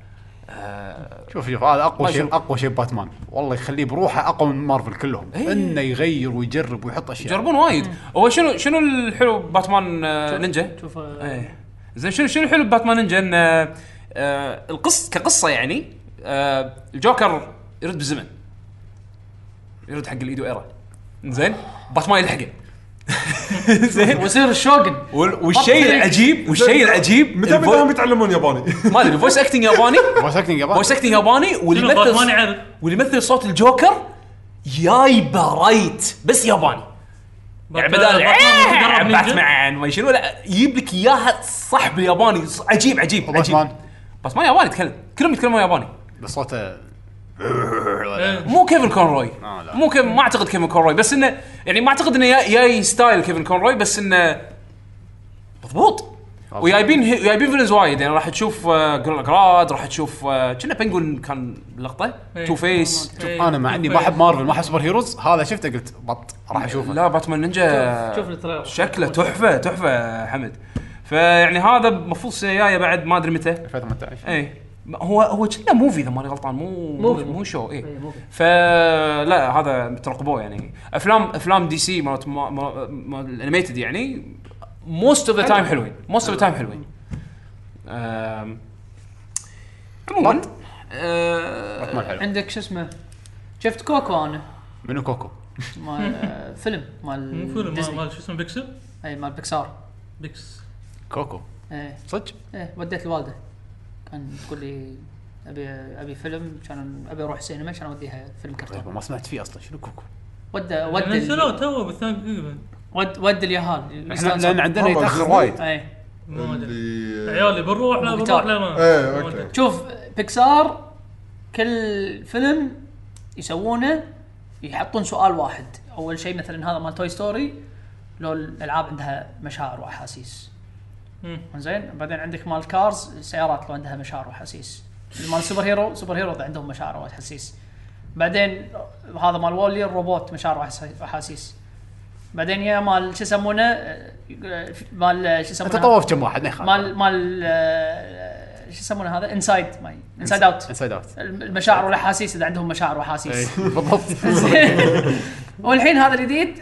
آه،
شوف شوف هذا
ما
اقوى
شفت.
شيء اقوى شيء باتمان والله يخليه بروحه اقوى من مارفل كلهم
إيه.
انه يغير ويجرب ويحط اشياء
يجربون وايد هو شنو شنو الحلو باتمان آه، نينجا؟
شوف
إيه. زين شنو شنو الحلو باتمان نينجا ان آه، آه، القص كقصه يعني آه، الجوكر يرد بالزمن يرد حق الايد وايرا زين باتمان يلحقه
زين
ويصير الشوغن
وال- والشيء العجيب والشيء العجيب
متى
الفو-
بداهم يتعلمون ياباني؟
ما ادري فويس اكتنج ياباني
فويس اكتنج ياباني
فويس اكتنج ياباني واللي
شنو باتمان يعني؟
يمثل
يعرف
واللي يمثل صوت الجوكر جايبه رايت بس ياباني يعني
باتمان-
بدال
باتمان متدرب
"آه،
نينجا".
باتمان ما شنو لا يجيب لك اياها صح بالياباني ص- عجيب عجيب عجيب
باتمان
باتمان ياباني يتكلم كلهم يتكلمون ياباني
بس صوته
إيه.
مو كيفن كونروي
آه، لا.
مو كيفن ما اعتقد كيفن كونروي بس انه يعني ما اعتقد انه جاي- جاي ستايل كيفن كونروي بس انه مضبوط وجايبين جايبين فيلنز وايد يعني راح تشوف آه، جورلا جراد راح تشوف آه، كنا بنقول كان لقطه
إيه.
تو فيس
إيه.
انا مع اني ما احب مارفل ما احب سوبر هيروز هذا شفته قلت بط راح اشوفه
لا باتمان نينجا
شوف التريلر
شكله تحفه تحفه حمد فيعني هذا المفروض السنه الجايه بعد ما ادري متى
2018
اي إيه. هو هو كنا موفي اذا ماني غلطان مو مو
موفي.
مو شو اي
إيه، موفي.
فلا هذا ترقبوه يعني افلام افلام دي سي مالت ما- ما- ما- الانيميتد يعني موست اوف ذا تايم حلوين موست اوف ذا تايم حلوين أم، عموما أه،
باتمان حلو
عندك شو اسمه شفت كوكو انا
منو كوكو
مال آه، فيلم مال
مو فيلم مال-
ديزني
مال شو اسمه بيكسل
اي مال بيكسار
بيكس
كوكو
ايه
صدق
ايه وديت الوالده كان تقول لي ابي ابي فيلم كان ابي اروح سينما كان اوديها فيلم
غريبة،
كرتون
طيب، ما سمعت فيه اصلا شنو كوكو
ودى ودى
يعني نزلوه
ال-
تو بالثاني إيه، تقريبا
ود ود اليهال
احنا لان عندنا
والله
يتاخر
وايد.
ايه
ما ادري
اللي-
عيالي بنروح لا بنروح
بتار.
لا ما
إيه،
ما
أوكي.
أدري.
شوف بيكسار كل فيلم يسوونه يحطون سؤال واحد اول شيء مثلا هذا مال توي ستوري لو الالعاب عندها مشاعر واحاسيس
مم.
زين بعدين عندك مال كارز السيارات لو عندها مشاعر واحاسيس مال سوبر هيرو سوبر هيرو عندهم مشاعر واحاسيس بعدين هذا مال وولي الروبوت مشاعر وأحس- واحاسيس بعدين يا مال شو يسمونه آه، آه، مال آه، شو يسمونه
تطوف كم واحد ما يخالف
مال مال آه، شو يسمونه هذا انسايد ماي انسايد اوت
انسايد اوت
المشاعر والاحاسيس اذا عندهم مشاعر
إيه.
واحاسيس
بالضبط
والحين هذا الجديد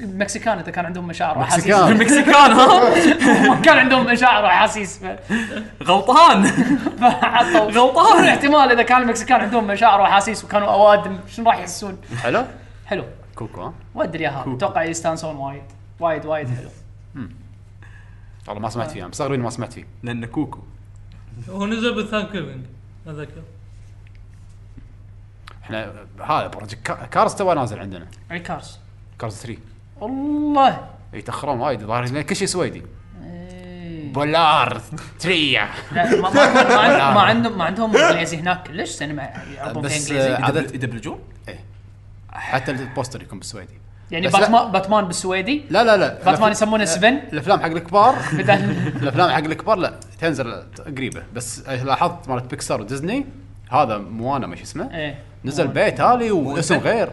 المكسيكان اذا كان عندهم مشاعر واحاسيس
مكسيكان.
المكسيكان ها
ما كان عندهم مشاعر واحاسيس ف-
غلطان
فحطوا غلطان احتمال اذا كان المكسيكان عندهم مشاعر واحاسيس وكانوا اوادم شنو راح يحسون؟
حلو
حلو
كوكو ها
ودري يا هذا اتوقع يستانسون وايد وايد وايد حلو
والله ما سمعت فيه انا مستغرب إني ما سمعت فيه
لان كوكو
هو نزل بالثاني كيفنج اتذكر
احنا هذا بروجكت كا- كارز تو نازل عندنا
اي كارز
كارز 3
والله
يتاخرون وايد الظاهر لأن كل شيء سويدي
إيه.
بولار 3
لا، ما- ما- ما عندهم- ما عندهم ما عندهم انجليزي هناك ليش سينما يعرضون فيها
نعم. بس
انجليزي
آه، عدد
يدبلجون
حتى البوستر يكون بالسويدي
يعني
بس لا-
باتمان باتمان بالسويدي
لا لا لا
باتمان
الأف-
يسمونه 7
الافلام حق الكبار
بدل
الافلام حق الكبار لا تنزل قريبه بس لاحظت مالت بيكسار وديزني هذا موانا ما شو اسمه
ايه
نزل بيت هالي واسم غير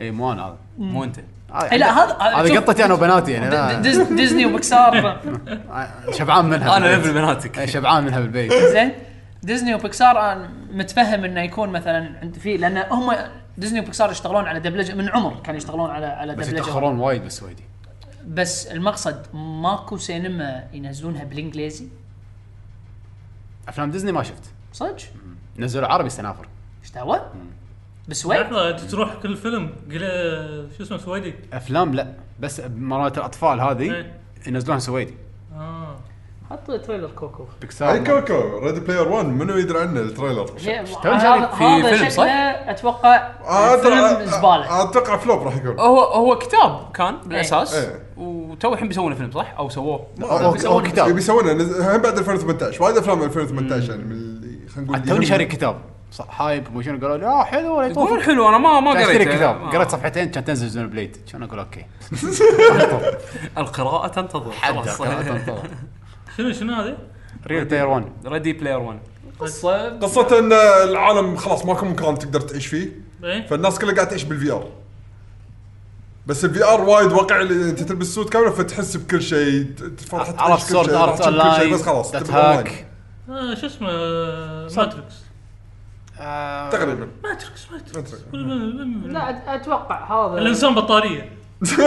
اي موانا هذا
مو انت
آه،
إيه، لا، هذا-
هذا
شوف-
قطتي انا وبناتي يعني
د-
لا
ديز- ديزني وبكسار
آه، شبعان منها
انا
بالبيت.
ليفل
إيه،
بناتك
شبعان منها بالبيت
زين ديزني وبيكسار انا متفهم انه يكون مثلا عند في لان هم ديزني وبيكسار يشتغلون على دبلجه من عمر كانوا يشتغلون على على
بس
دبلجه
يتاخرون وايد بالسويدي
بس المقصد ماكو سينما ينزلونها بالانجليزي
افلام ديزني ما شفت
صدق
نزلوا عربي سنافر
ايش دعوه؟ بالسويد؟
لحظه انت تروح كل فيلم قل- آه، شو اسمه سويدي
افلام لا بس مرات الاطفال هذه
إيه.
ينزلوها سويدي
اه
حط تريلر كوكو
بيكسار
اي إيه، كوكو ريدي بلاير 1 منو يدري عنه التريلر
هذا
في
هذا
فيلم، صح؟
شكله اتوقع
آه، أتوقع-
فيلم زباله
آه، اتوقع فلوب راح يكون
هو هو كتاب كان بالاساس
إيه.
وتو الحين بيسوونه فيلم صح او سووه
او كتاب
بيسوونه نز- هم بعد 2018 وايد افلام 2018 يعني من اللي خلينا نقول
توني
يهم-
شاري كتاب صح هايب مو شنو قالوا لي اه حلو ولا يطوف
يقولون حلو انا ما ما
كان
قريت
اشتري كتاب قريت صفحتين كان تنزل زون بليد كان اقول اوكي
القراءة تنتظر خلاص
شنو شنو هذه؟
ريل بلاير 1
ريدي بلاير 1
قصه
قصة ان العالم خلاص ماكو مكان تقدر تعيش فيه
ايه
فالناس كلها قاعده تعيش بالفي ار بس الفي ار وايد واقع اللي انت تلبس سوت كامله فتحس بكل شيء ت- ت- فرحة تعيش
عرفت
كل
سورد
شيء،
ارت
تعيش
اون
كل شيء،
لاين
بس خلاص
دات
تبقى أونلاين.
هاك
آه، شو اسمه آه، ماتريكس
تقريبا
ماتريكس ماتريكس
ماتريكس.
لا،
لا أت- اتوقع هذا
الانسان بطاريه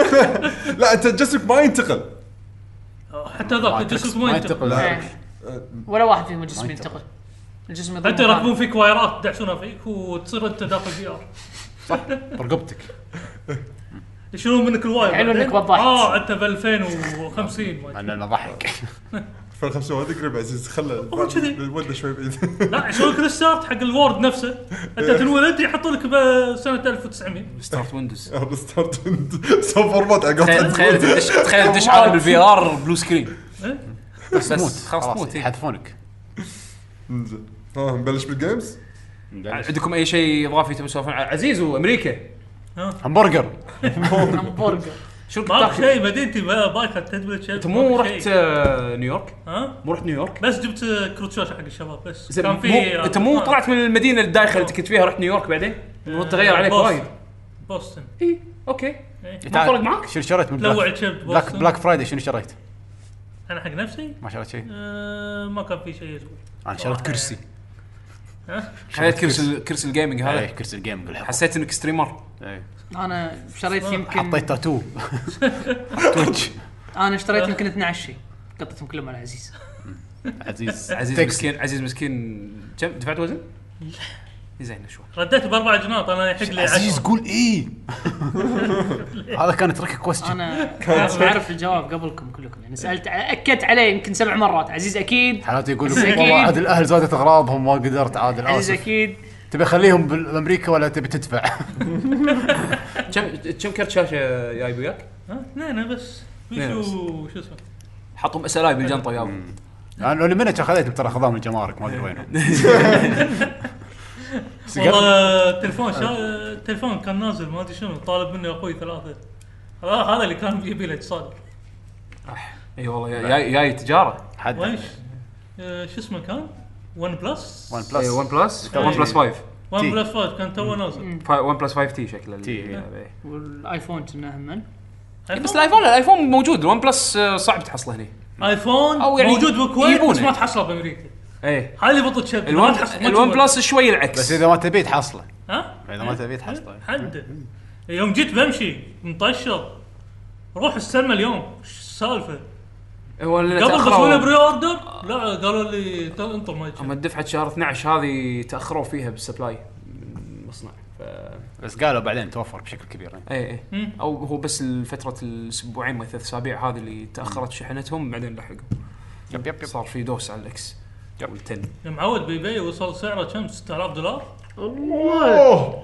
لا انت جسمك ما ينتقل
حتى ذاك الجسد ما ينتقل
إيه. ولا واحد فيهم الجسم ينتقل الجسم يضرب
حتى
مكانه.
يركبون فيك وايرات يدعسونها فيك وتصير انت داخل في ار
رقبتك
يشيلون منك الواير
حلو
بعدين.
إنك وضحت.
اه انت ب 2050 ما أدري.
انا ضحك
2050 هذا قريب عزيز خله
هو كذي.
ودنا شوي بعيد
لا يسوون لك ريستارت حق الوورد نفسه انت تنولد يحطوا لك بسنه 1900
ستارت ويندوز
ستارت سوبر بوت على
تخيل
قولة
تخيل تدش تخيل تدش عالم الفي ار بلو سكرين
إيه؟
بس
تموت
خلاص تموت إيه.
يحذفونك
انزين ها نبلش بالجيمز
عندكم اي شيء اضافي تبون تسولفون عنه؟ عزيز وامريكا
همبرجر
همبرجر
شو كنت
ما اعرف
تاكل؟
شيء مدينتي ما بايخه تدمج شيء
انت مو
ما في
رحت
شيء.
آه، نيويورك؟
ها
مو رحت نيويورك؟
بس جبت كروتشوشه حق الشباب بس
زين،
كان في آه،
مو- انت مو طلعت من المدينه الدايخه اللي أنت كنت فيها رحت نيويورك بعدين؟
آه،
المفروض تغير عليك
بوسطن.
وايد
بوسطن
اي اوكي
إيه.
ما فرق معك؟
شنو شريت من
لوع
بلاك
شبت
بلاك,
بوسطن
بلاك فرايدي شنو شريت؟
انا حق نفسي
ما شريت شيء
آه، ما كان في شيء يسوى
انا شريت كرسي
ها
خليت كرسي كرسي الجيمنج هذا
ايه كرسي الجيم بالحق
إيه. حسيت انك ستريمر
إيه.
انا شريت يمكن
حطيت تاتو تويتش
انا
آه.
اشتريت يمكن 12 شيء قطتهم كلهم على عزيز
عزيز
عزيز
تكس.
مسكين عزيز مسكين كم دفعت وزن؟ إيه، زين شوي
رديت باربع جناط انا يحق لي
عزيز
عشرة.
قول ايه هذا كان ترك كويستشن
انا بعرف الجواب قبلكم كلكم يعني سالت اكدت عليه يمكن سبع مرات عزيز اكيد
حالاتي يقول لك
أكيد.
والله عاد الاهل زادت اغراضهم ما قدرت عاد
عزيز
الاسف
اكيد
تبي اخليهم بالامريكا ولا تبي تدفع؟
كم كم كرت شاشه جايب وياك؟
ها اثنين بس في
اثنين
نعم،
شو
بس.
شو اسمه
حطهم اس ال اي بالجنطه يابا
انا اللي منك خذيتهم ترى خذاهم الجمارك ما ادري وينهم
والله التليفون شا...
آه.
التليفون كان نازل ما ادري شنو طالب مني اخوي ثلاثه هذا هذا اللي كان يبي له اتصال
اي إيه، والله جاي جاي تجاره
حد
ويش آه، شو اسمه كان؟ ون بلس
ون
اي ون
بلس
بلس ون بلس 5
ون
تي.
بلس 5 كان توه نازل
ون بلس 5 تي شكله
تي،
اللي- إيه.
والايفون كنا هم
بس الايفون الايفون موجود الون بلس آه، صعب تحصله هنا
ايفون
أو يعني
موجود بالكويت
يجيبونه.
بس ما تحصله بامريكا
ايه
هاي اللي بطل شب
الون
ما تحصل- ما
الون
تشوفه.
بلس شوي العكس
بس اذا ما تبي تحصله
ها؟
اذا ما تبي تحصله
إيه. حد يوم جيت بمشي مطشر روح استلمه اليوم شو السالفه؟
هو اللي
قبل
تأخروا-
تسوي بري اوردر لا قالوا لي ت- انطر ما
هم
يجي
دفعه شهر 12 هذه تاخروا فيها بالسبلاي من المصنع ف
بس قالوا بعدين توفر بشكل كبير يعني.
اي اي
مم.
او هو بس فتره الاسبوعين ما ثلاث اسابيع هذه اللي تاخرت شحنتهم بعدين لحقوا
يب يب يب
صار في دوس على الاكس والتن
معود بيبي وصل سعره كم 6000 دولار
اوه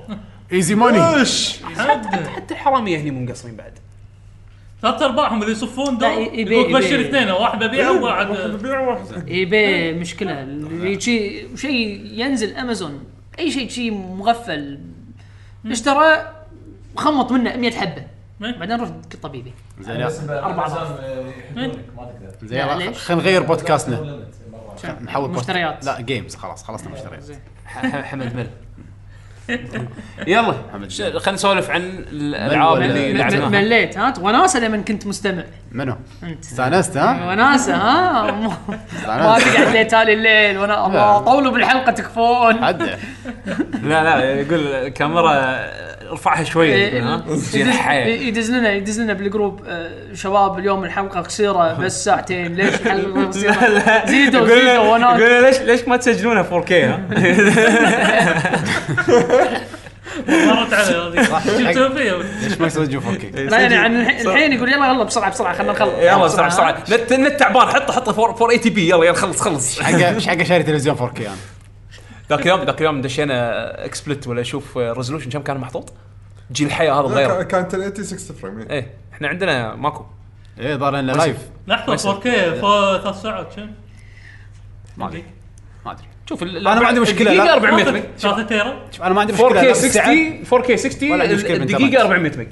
ايزي ماني
ايش
حد
حتى الحراميه هني مو مقصرين بعد
ثلاث ارباعهم اللي يصفون دول
لا، إي- إيباي-
يقول بشر
إيباي.
اثنين واحد ببيعه وواحد
بيع واحد
ايباي مشكله اللي شي شيء ينزل امازون اي شيء شيء مغفل اشترى خمط منه 100 حبه بعدين روح دق طبيبي
زين يلا.
أربعة
يحبونك،
ما تقدر
زين يلا.
ليش؟
خلينا نغير بودكاستنا نحول بودكاست.
مشتريات.
لا جيمز خلاص خلصنا مشتريات
زين
ح- حمد مل يلا
حمد
ش- خلينا نسولف عن الالعاب
مل ولا-
اللي
مل-
مل-
لعبناها
مليت ها وناسه لما كنت مستمع
منو؟
انت أيوة.
استانست ها؟
وناسه ها مو- ما
استانست
تقعد ليتالي الليل وانا الله طولوا بالحلقه تكفون
عدى
لا لا يقول الكاميرا ارفعها
إيه.
شوي ها جيل حي.
يدز لنا يدز لنا بالجروب آه، شباب اليوم الحلقه قصيره بس ساعتين ليش الحلقه
لا،
قصيره؟
لا.
زيدوا-
يقول-
زيدوا وناس.
يقول ليش ليش ما تسجلونها 4K ها؟
مرت علي هذه
صح.
شفتها فيها
ليش ما يسوي اوكي؟
لا يعني عن الح- الحين يقول يلا يلا بسرعه بسرعه خلينا نخلص يعني
يلا بسرعه بسرعه نت نت تعبان حطه حطه 480 بي يلا يلا خلص خلص
حقه ايش حقه شاري تلفزيون 4K انا؟
ذاك اليوم ذاك اليوم دشينا اكسبلت ولا اشوف ريزولوشن كم كان محطوط جيل الحياه هذا
لا،
مغير
كان 1080 60 فريم
ايه احنا عندنا ماكو
ايه ظهر انه لايف
لحظه 4K فوق ثلاث ساعات كم؟
ما ادري ما ادري
شوف
أنا ما عندي مشكلة، لا.
الدقيقه 400 ميج
3 تيرا
شوف انا ما عندي مشكله
4K
لا بالساعة.
60 4K 60
ولا عندي مشكلة بالإنترنت.
الدقيقه 400 ميج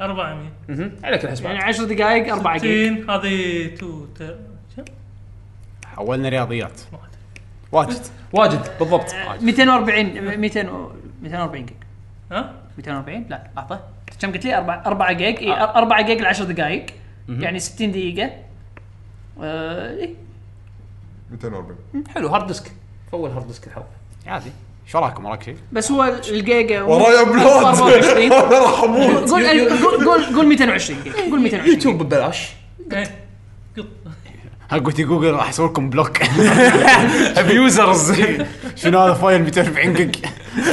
400
مهم. عليك
يعني
الحسبان
10 دقائق 4
إيه.
جيجا
60 هذه 2 تيرا كم؟
حولنا رياضيات
ما أدري.
واجد
واجد بالضبط
240 200 و- 240 جيجا
ها؟
240 لا لحظه كم قلت لي 4 4 جيج اي
آه.
4 جيج ل 10 دقائق يعني 60 دقيقه آه، إيه.
240
حلو هارد ديسك فول هارد ديسك الحظ
عادي شو رايكم وراك شيء؟
بس هو الجيجا
وراي ابلود
24.
انا راح اموت
قول قول قول قول 220 جيجا قول 220
يوتيوب ببلاش
إيه. قط.
ها قلت جوجل راح اسوي لكم بلوك
ابيوزرز إيه.
شنو هذا فايل 240 جيج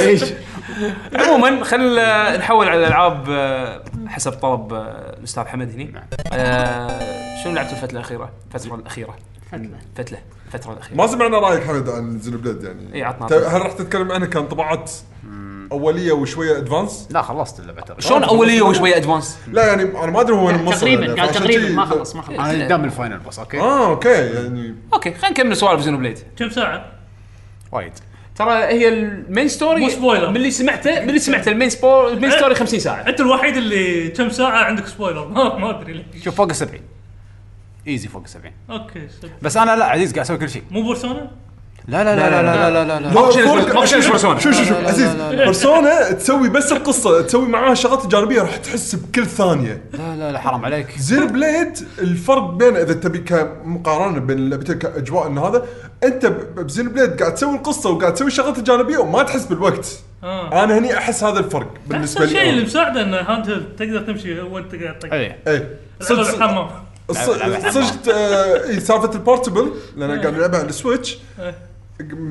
ايش؟
عموما خلينا نحول على الالعاب آه، حسب طلب آه، الاستاذ حمد هني
نعم.
آه، شنو لعبت الفتره الاخيره؟ الفتره الاخيره فتله الفتره
ما
الاخيره
سمعنا رايك حمد عن زينو بليد يعني
إي، إيه، عطنا.
ت- هل راح تتكلم عنها كان طباعات اوليه وشويه ادفانس؟
لا خلصت اللعبه ترى
شلون اوليه وشويه ادفانس؟
لا يعني انا ما ادري هو وين موصل يعني،
تقريبا قال
فعشان
تقريبا
شي-
ما خلص ما خلص
انا قدام الفاينل بس اوكي
اه اوكي يعني
اوكي خلينا نكمل سوالف زينو بليد
كم ساعه؟
وايد
ترى هي المين ستوري
مو سبويلر.
من اللي سمعته من اللي سمعته المين سبور المين ستوري 50 ساعه
انت الوحيد اللي كم ساعه عندك سبويلر ما ما ادري ليش
شوف فوق ال 70 ايزي فوق ال 70
اوكي سب-
بس انا لا عزيز قاعد اسوي كل شيء
مو بيرسونا؟
لا لا لا لا لا لا لا, لا,
لا،
أوبشن
فورت-
اسمه- أوبشن اسمه بيرسونا.
شوف شوف شوف عزيز بيرسونا تسوي بس القصه تسوي معاها شغلات جانبيه راح تحس بكل ثانيه
لا, لا, لا حرام عليك
زين بليد الفرق بين اذا تبي كمقارنه بين اللعبتين كاجواء ان هذا انت ب- بزين بليد قاعد تسوي القصه وقاعد تسوي الشغلات الجانبيه وما تحس بالوقت
اه
انا هني احس هذا الفرق بالنسبه
احسن شيء اللي
لي
مساعده ان هاند هيلد تقدر تمشي وانت قاعد تطق
اي
اي
صدق
إيه. صدق- صدق
الحمام
لعبة- لعبة.
صدق- صدق آه، إي، سالفه البورتبل لان أنا قاعد العبها على السويتش
إيه.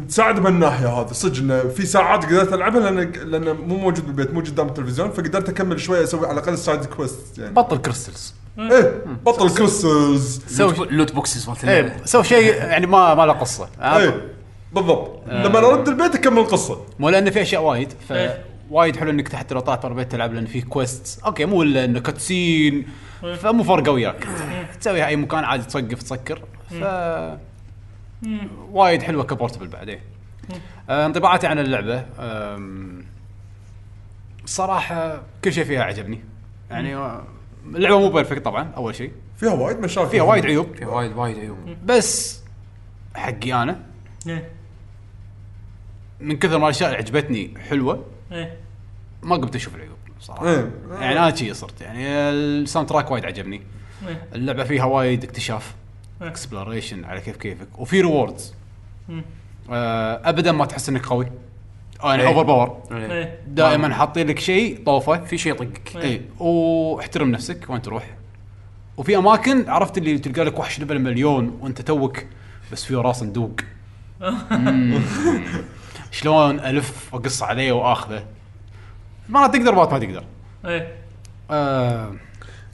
تساعد بهالناحيه هذه صدق انه في ساعات قدرت العبها لان لان مو موجود بالبيت مو قدام التلفزيون فقدرت اكمل شوي اسوي على الاقل سايد كويست يعني
بطل كريستلز
إيه.
ايه بطل كريستلز
سوي
لوت بوكسز مالت اللعبة.
ايه سوي شيء يعني ما ما له قصه آه،
ايه بالضبط لما ارد البيت اكمل القصه
مو لان في اشياء وايد ف
إيه.
وايد حلو انك تحت لو طلعت برا البيت تلعب لان في كويست اوكي مو الا انه كاتسين فمو فارقه وياك تسويها اي مكان عادي توقف تسكر ف وايد حلوه كبورتبل بعدين آه، إيه. انطباعاتي عن اللعبه آم، صراحه كل شيء فيها عجبني يعني آه، اللعبه مو بيرفكت طبعا اول شيء
فيها وايد مشاكل
فيها وايد عيوب
في وايد وايد عيوب
بس حقي انا
ايه
من كثر ما الاشياء اللي عجبتني حلوه
ايه
ما قمت اشوف العيوب صراحه
إيه.
ايه
يعني انا شي صرت يعني الساوند تراك وايد عجبني
إيه.
اللعبه فيها وايد اكتشاف
إيه.
اكسبلوريشن على كيف كيفك وفي ريوردز
مم.
آه ابدا ما تحس انك قوي آه، يعني اوفر باور
إيه.
ايه
دائما حاطين لك شيء طوفه
في شيء يطقك
إيه.
اي واحترم نفسك وين تروح وفي اماكن عرفت اللي تلقى لك وحش ليفل مليون وانت توك بس فيه راس ندوق مم. شلون الف واقص عليه واخذه ما تقدر ما ما تقدر
ايه
آه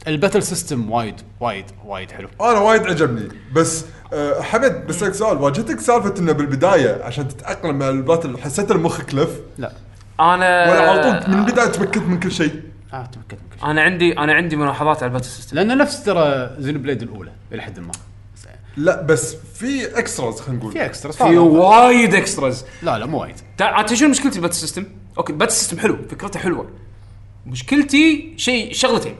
الباتل سيستم وايد وايد وايد حلو
انا وايد عجبني بس آه، حمد بسالك سؤال واجهتك سالفه انه بالبدايه عشان تتاقلم مع الباتل حسيت المخ كلف
لا
انا
ولا على طول من البدايه تمكنت من كل شيء
آه تمكنت من كل شيء.
انا عندي انا عندي ملاحظات على الباتل سيستم
لان نفس ترى زين بليد الاولى الى حد ما
لا بس في اكستراز خلينا
في
نقول
اكسترا
في وايد اكستراز
لا لا مو وايد
تع- انت شنو آه، مشكلتي بالباتل سيستم؟ اوكي الباتل سيستم حلو فكرته حلوه مشكلتي شيء شغلتين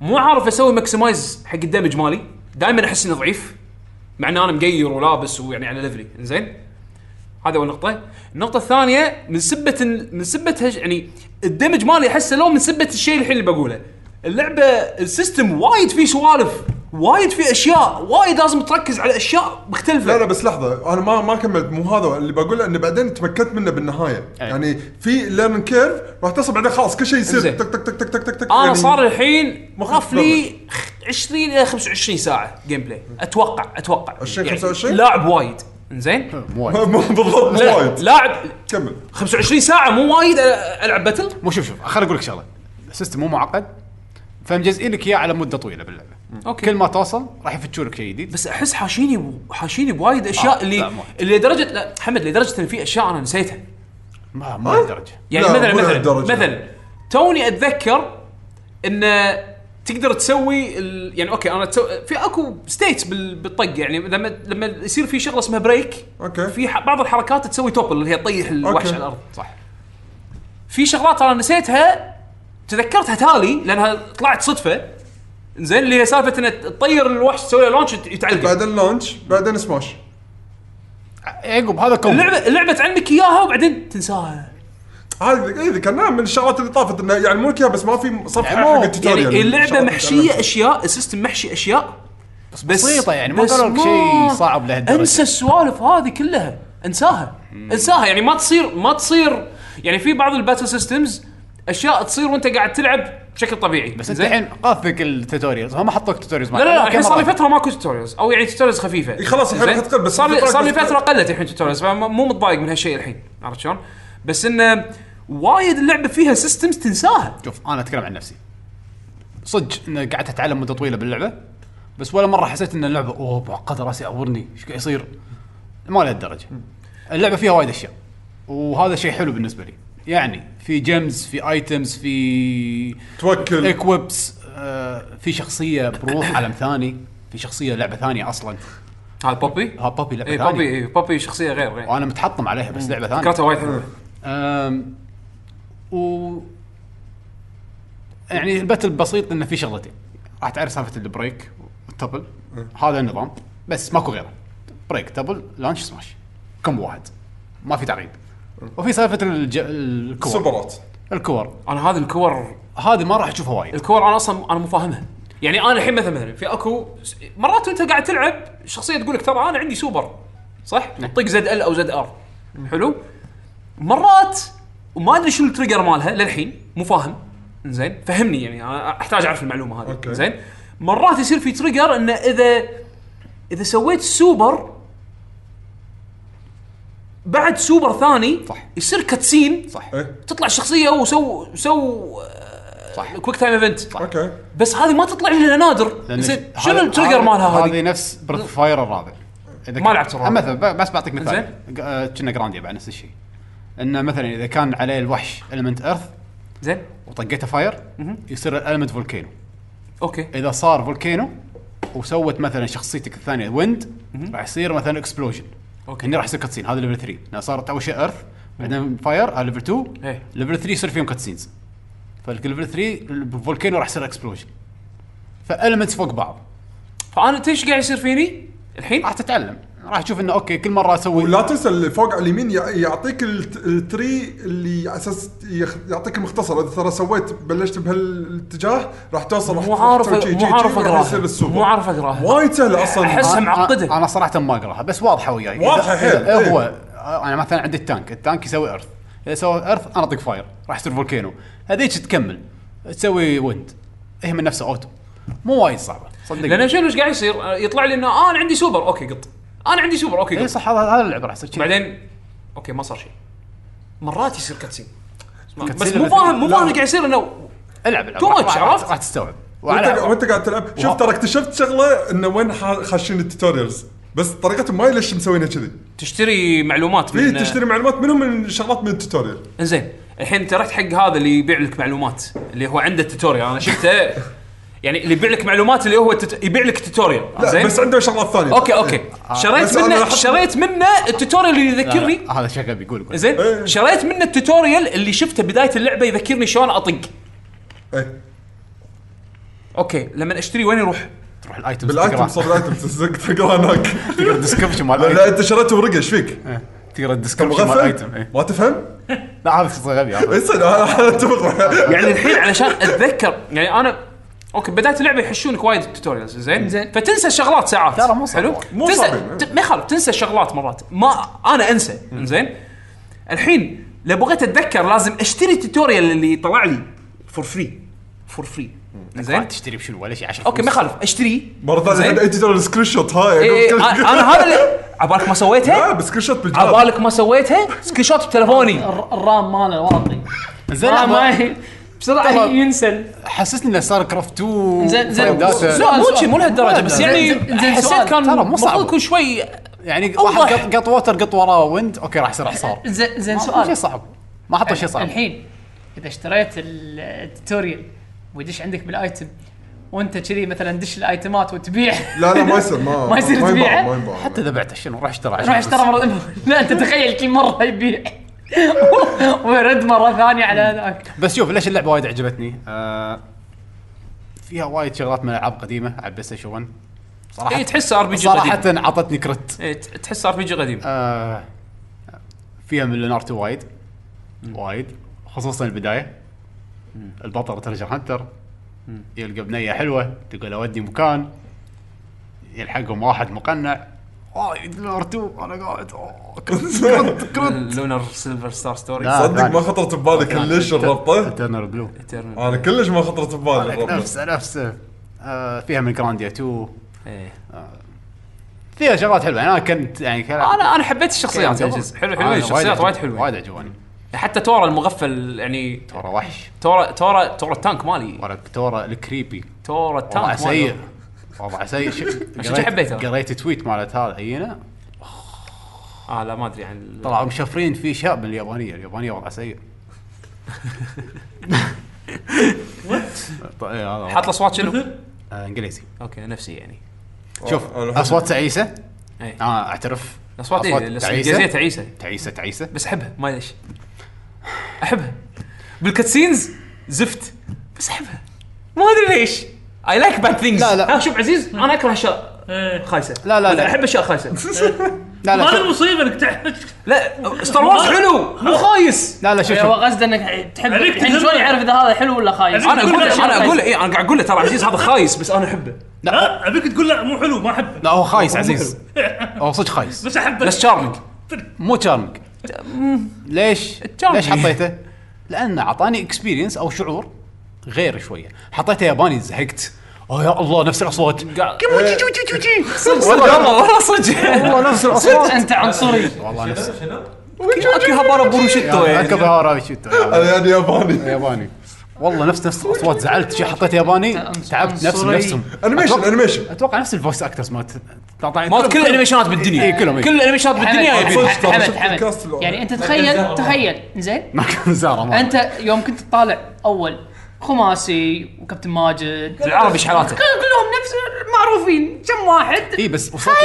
مو عارف اسوي ماكسمايز حق الدمج مالي دائما احس اني ضعيف مع ان انا مقير ولابس ويعني على ليفلي زين هذا اول نقطه النقطه الثانيه من سبه ال- من سبه هج... يعني الدمج مالي احسه لو من سبه الشيء الحين اللي بقوله اللعبه السيستم وايد فيه سوالف وايد فيه اشياء وايد لازم تركز على اشياء مختلفه
لا لا بس لحظه انا ما ما كملت مو هذا اللي بقوله انه بعدين تمكنت منه بالنهايه
أي.
يعني في ليرن كيرف راح توصل بعدين خلاص كل شيء
إنزين.
يصير تك تك تك تك تك تك تك
انا
يعني-
صار الحين
مخ
رفلي 20 الى 25 ساعه جيم بلاي اتوقع اتوقع
20
يعني
25
لاعب وايد زين
مو وايد
مو بالضبط مو وايد
لاعب
كمل
25 ساعه مو وايد أ- العب باتل
مو شوف شوف خليني اقول لك شغله السيستم مو معقد فمجزئين لك اياه على مده طويله باللعبه
اوكي
كل ما توصل راح يفتشوا لك شيء جديد
بس احس حاشيني ب- حاشيني بوايد اشياء
آه،
اللي
لا، مو.
اللي لدرجه لا حمد لدرجه ان في اشياء انا نسيتها
ما ما لدرجه
يعني
لا،
مثلا
مو
مثلا
لهالدرجة.
مثلا توني اتذكر ان تقدر تسوي ال... يعني اوكي انا تسو... في اكو ستيتس بال... بالطق يعني لما لما يصير في شغله اسمها بريك
أوكي.
في ح... بعض الحركات تسوي توبل اللي هي تطيح الوحش
أوكي.
على الارض صح في شغلات انا نسيتها تذكرتها تالي لانها طلعت صدفه زين اللي هي سالفه ان تطير الوحش تسوي له لونش يت- يتعلق
بعدين لانش بعدين سماش
يعقوب هذا كوم
اللعبه اللعبه تعلمك اياها وبعدين تنساها
هذه اي ذكرناها من الشغلات اللي طافت انه يعني مو لك إياها بس ما في صفحه
يعني مو-
حق التوتوريال
يعني اللعبه
شغلات
محشيه
تعلمتها.
اشياء السيستم محشي اشياء بس
بسيطه يعني ما
بس
قالوا لك
ما-
شيء صعب لهالدرجه
انسى السوالف هذه كلها انساها انساها يعني ما تصير ما تصير يعني في بعض الباتل سيستمز اشياء تصير وانت قاعد تلعب بشكل طبيعي
بس انت الحين قاثك التوتوريالز هم حطوا لك توتوريالز
لا لا لا الحين يعني صار لي فتره ماكو توتوريالز او يعني توتوريالز خفيفه
إي خلاص الحين
زين؟
راح تقل، بس
صار لي
الفترة
صار لي
قلت-
فتره قلت الحين توتوريالز فمو متضايق من هالشيء الحين عرفت شلون؟ بس انه وايد اللعبه فيها سيستمز تنساها
شوف انا اتكلم عن نفسي صدق ان قعدت اتعلم مده طويله باللعبه بس ولا مره حسيت ان اللعبه اوه معقده راسي عورني ايش قاعد يصير؟ ما لهالدرجه اللعبه فيها وايد اشياء وهذا شيء حلو بالنسبه لي يعني في جيمز في ايتمز في
توكل.
إيه،
اكويبس آه في شخصيه بروح عالم ثاني في شخصيه لعبه ثانيه اصلا
هذا بوبي
ها بابي لعبه
اي
ثانيه
بوبي اي بوبي شخصيه غير غير
وانا متحطم عليها بس لعبه ثانيه
فكرتها وايد حلوه
أم، و يعني الباتل بسيط انه في شغلتين راح تعرف سالفه البريك والتبل هذا النظام بس ماكو غيره بريك تبل لانش سماش كم واحد ما في تعقيد وفي سالفه الج... الكور
سوبرات
الكور
انا هذه الكور
هذه ما راح تشوفها وايد
الكور انا اصلا انا مو فاهمها يعني انا الحين مثلا مثلا في اكو س- مرات انت قاعد تلعب شخصيه تقول لك ترى انا عندي سوبر صح؟ تطق زد ال او زد ار حلو؟ مرات وما ادري شو التريجر مالها للحين مو فاهم زين فهمني يعني انا احتاج اعرف المعلومه هذه
أوكي.
زين مرات يصير في تريجر انه اذا اذا سويت سوبر بعد سوبر ثاني
صح.
يصير كاتسين
صح
ايه
تطلع الشخصيه وسو سو
صح
كويك تايم ايفنت صح
اوكي
بس هذه ما تطلع الا نادر
لأن
زين
هذا-
شنو التريجر
هذا-
مالها هذه؟
هذه نفس بريث فاير الرابع إذا
ما
كان-
لعبت الرابع.
أما مثلا ب- بس بعطيك مثال
زين.
ق- آه، كنا جرانديا بعد نفس الشيء انه مثلا اذا كان عليه الوحش المنت ايرث
زين
وطقيته فاير يصير الالمنت فولكينو
اوكي
اذا صار فولكينو وسوت مثلا شخصيتك الثانيه ويند راح يصير مثلا اكسبلوجن
اوكي
هني راح يصير كاتسين هذا ليفل 3 لان صارت اول شيء ايرث بعدين آه فاير هذا ليفل 2
إيه.
ليفل 3 يصير فيهم كاتسينز فالليفل 3 الفولكينو راح يصير اكسبلوجن فالمنتس فوق بعض
فانا أنت ايش قاعد يصير فيني الحين؟
راح تتعلم راح تشوف انه اوكي كل مره اسوي
ولا تنسى اللي فوق على اليمين يع- يعطيك الت- التري اللي على اساس يخ- يعطيك المختصر اذا ترى سويت بلشت بهالاتجاه راح توصل راح
مو عارف
تسوي شي- شي-
مو
شي-
عارف
راح يصير
اقراها
السوبر.
مو عارف اقراها
وايد سهله اصلا
أحس-
أنا-
بس معقدة.
انا صراحه ما اقراها بس واضحه وياي
واضحة
إذا-
حيل،
إذا
إيه.
هو انا مثلا عندي التانك التانك يسوي ايرث اذا سوى ايرث انا اطق فاير راح يصير فولكينو هذيك تكمل تسوي ويند هي من نفسها اوتو مو وايد صعبه صدقني
لان شنو ايش قاعد يصير؟ آه، يطلع لي انه آه انا عندي سوبر اوكي قط انا عندي سوبر اوكي
اي
قط
صح هذا هذا اللعب راح يصير شي.
بعدين اوكي ما صار شيء مرات يصير كاتسين بس
كاتسين
مو فاهم مو
لا.
فاهم اللي قاعد يصير انه
العب العب
Too much،
راح- راح-
عرفت؟
راح تستوعب
وانت
وعلى-
وانت قاعد تلعب شوف
وها-
ترى اكتشفت شغله انه وين ح- خاشين التوتوريالز بس طريقتهم ما ليش مسوينها كذي
تشتري معلومات
في
من
إيه، تشتري معلومات منهم من شغلات من التوتوريال
انزين الحين انت رحت حق هذا اللي يبيع لك معلومات اللي هو عنده توتوريال انا شفته يعني اللي يبيع لك معلومات اللي هو التت... يبيع لك توتوريال
لا
زين
بس عندهم شغلات ثانيه
اوكي اوكي
إيه. آه. بس
شريت
أنا
منه
لاحظت- آه.
شريت منه التوتوريال اللي
لا، لا،
يذكرني
هذا شغبي قول قول
زين
إيه.
شريت منه التوتوريال اللي شفته بدايه اللعبه يذكرني شلون اطق
إيه.
اوكي لما اشتري وين يروح؟
تروح الايتمز
بالايتم صار
تقرا
الايتم تزق تقرا هناك
تقرا الديسكربشن مال
لا لا
الأيتم.
انت شريته ورقه ايش فيك؟
تقرا
كم
الديسكربشن مال الايتم
مغفل؟
إيه.
ما تفهم؟
لا هذا شخص غبي هذا.
اصلا انا أنا اتفق
يعني الحين علشان اتذكر يعني انا اوكي بدايه اللعبه يحشونك وايد التوتوريالز زين
زين.
فتنسى الشغلات ساعات
ترى مو صعب.
مو
تنسى
صعب.
ت- ما يخالف تنسى الشغلات مرات ما انا انسى زين الحين لو بغيت اتذكر لازم اشتري التوتوريال اللي طلع لي فور فري فور فري
راح
زين
تشتري بشنو ولا شيء 10
اوكي ما يخالف اشتريه
مره ثانيه
زين.
الحين انت ترى السكرين شوت هاي
إيه، إيه، انا أنا هذا اللي عبالك ما
لا
سويتها
بس سكرين شوت بالجهاز
عبالك ما سويتها سكرين شوت بتلفوني
الر- الرام ماله واطي
زين
الرام
لحظة.
ما بسرعه
ترى-
ينسل
حسسني انه صار كرافت 2
زين- زين.
فاين داتا.
لا
سؤال-
مو شي، مو لهالدرجه
سؤال.
بس
زين-
يعني
زين- زين
حسيت
سؤال.
كان
ترى مو صعب.
المفروض يكون شوي
يعني
أوضح.
واحد قط, قط ووتر قط وراه ويند اوكي راح يصير حصار
زين زين
ما-
سؤال
شيء صعب ما حطوا شيء صعب
الحين اذا اشتريت ال- التوتوريال ويدش عندك بالايتم وانت كذي مثلا دش الايتمات وتبيع
لا لا ما يصير ما
ما يصير
ما
تبيعه؟
ينباع ما ينباع
حتى اذا بعته شنو راح اشترى عشان
روح اشترى
بس.
مره لا انت تخيل كل مره يبيع ويرد مره ثانيه على هذاك
بس شوف ليش اللعبه وايد عجبتني آه فيها وايد شغلات من العاب قديمه على البلاي ستيشن 1 صراحه
اي إيه، تحس ار بي جي
صراحه
قديم
عطتني كرت
إيه، ت- تحس ار بي جي قديم
آه فيها من لونارتو وايد وايد خصوصا البدايه البطل ترجر هانتر يلقى بنيه حلوه تقول اودي مكان يلحقهم واحد مقنع وايد لونارتو انا قاعد أوه، كرت كرت كرت
لونر سيلفر ستار ستوري
لا.
صدق ما خطرت ببالي كلش الربطه
ترنر بلو
إترنال.
انا كلش ما خطرت ببالي الربطه
نفسه نفسه آه فيها من جرانديا 2
إيه.
فيها شغلات حلوه يعني انا كنت يعني كلام إيه،
انا انا حبيت الشخصيات الجزء حلو حلوين الشخصيات وايد حلوين
آه، وايد عجبوني
حتى تورا المغفل يعني
ترى وحش
تورا تورا تورا التانك مالي
ولا تورا الكريبي
تورا التانك
وضعه
مالي
سيء وضعه سيء ش-
عشان
قريت-
حبيته.
قريت تويت مالت هذا هينه
اه لا ما ادري عن ال-
طلعوا مشفرين فيه شاب من اليابانيه اليابانيه وضعها سيء طيب، إيه، هذا وضع.
حاط الاصوات شنو؟
مثل
آه، انجليزي
اوكي نفسي يعني
شوف
أنا أحب-
اصوات تعيسه
اي
انا اعترف
الاصوات إيه، الانجليزيه تعيسه
تعيسه تعيسه
بس احبها ما ليش احبها بالكاتسينز زفت بس احبها ما ادري ليش اي لايك باد ثينجز
لا، لا.
شوف عزيز انا اكره اشياء
إيه.
خايسه
لا، لا،
أنا
لا.
احب اشياء خايسه
لا
ما
لا
هذه
شوف-
المصيبه انك تعرف
لا ستار وورز حلو مو خايس
لا لا شوف
هو
أيوة.
شوف
قصده انك تحب
عليك
الحين
تهم-
شلون يعرف اذا هذا حلو ولا خايس؟
انا
كل
اقول له
أشياء
انا اقول له اي انا قاعد اقول له ترى عزيز هذا خايس بس انا احبه أه؟
لا
لا ابيك تقول لا مو حلو ما احبه
لا هو خايس عزيز هو صدق خايس
بس احبه
بس شارمنج
مو تشارمك ليش
charming.
ليش حطيته؟ لانه اعطاني اكسبيرينس او شعور غير شويه حطيته ياباني زهقت اوه يا الله نفس الاصوات
والله والله صدق
والله نفس
صدق انت عنصري
والله نفس
اكي هابارا بوروشيتو يعني
كبهارة شتو
انا يعني ياباني
ياباني والله نفس نفس الاصوات زعلت شي حطيت ياباني تعبت نفس
عنصري.
نفسهم
انيميشن
أتوقع-
انيميشن
اتوقع نفس الفويس اكترز مالت
مالت كل الانيميشنات
إي،
بالدنيا
كلهم، إي.
كل الانيميشنات بالدنيا
حمد،
يبي
صدق، ترى
حمد،
شفت
حمد.
الكاست الأول.
يعني انت تخيل تخيل زين
ما كان زارة ما
انت يوم كنت تطالع اول خماسي وكابتن ماجد
العرب ايش حالاته
كانوا كلهم نفس معروفين كم واحد
اي بس وصلت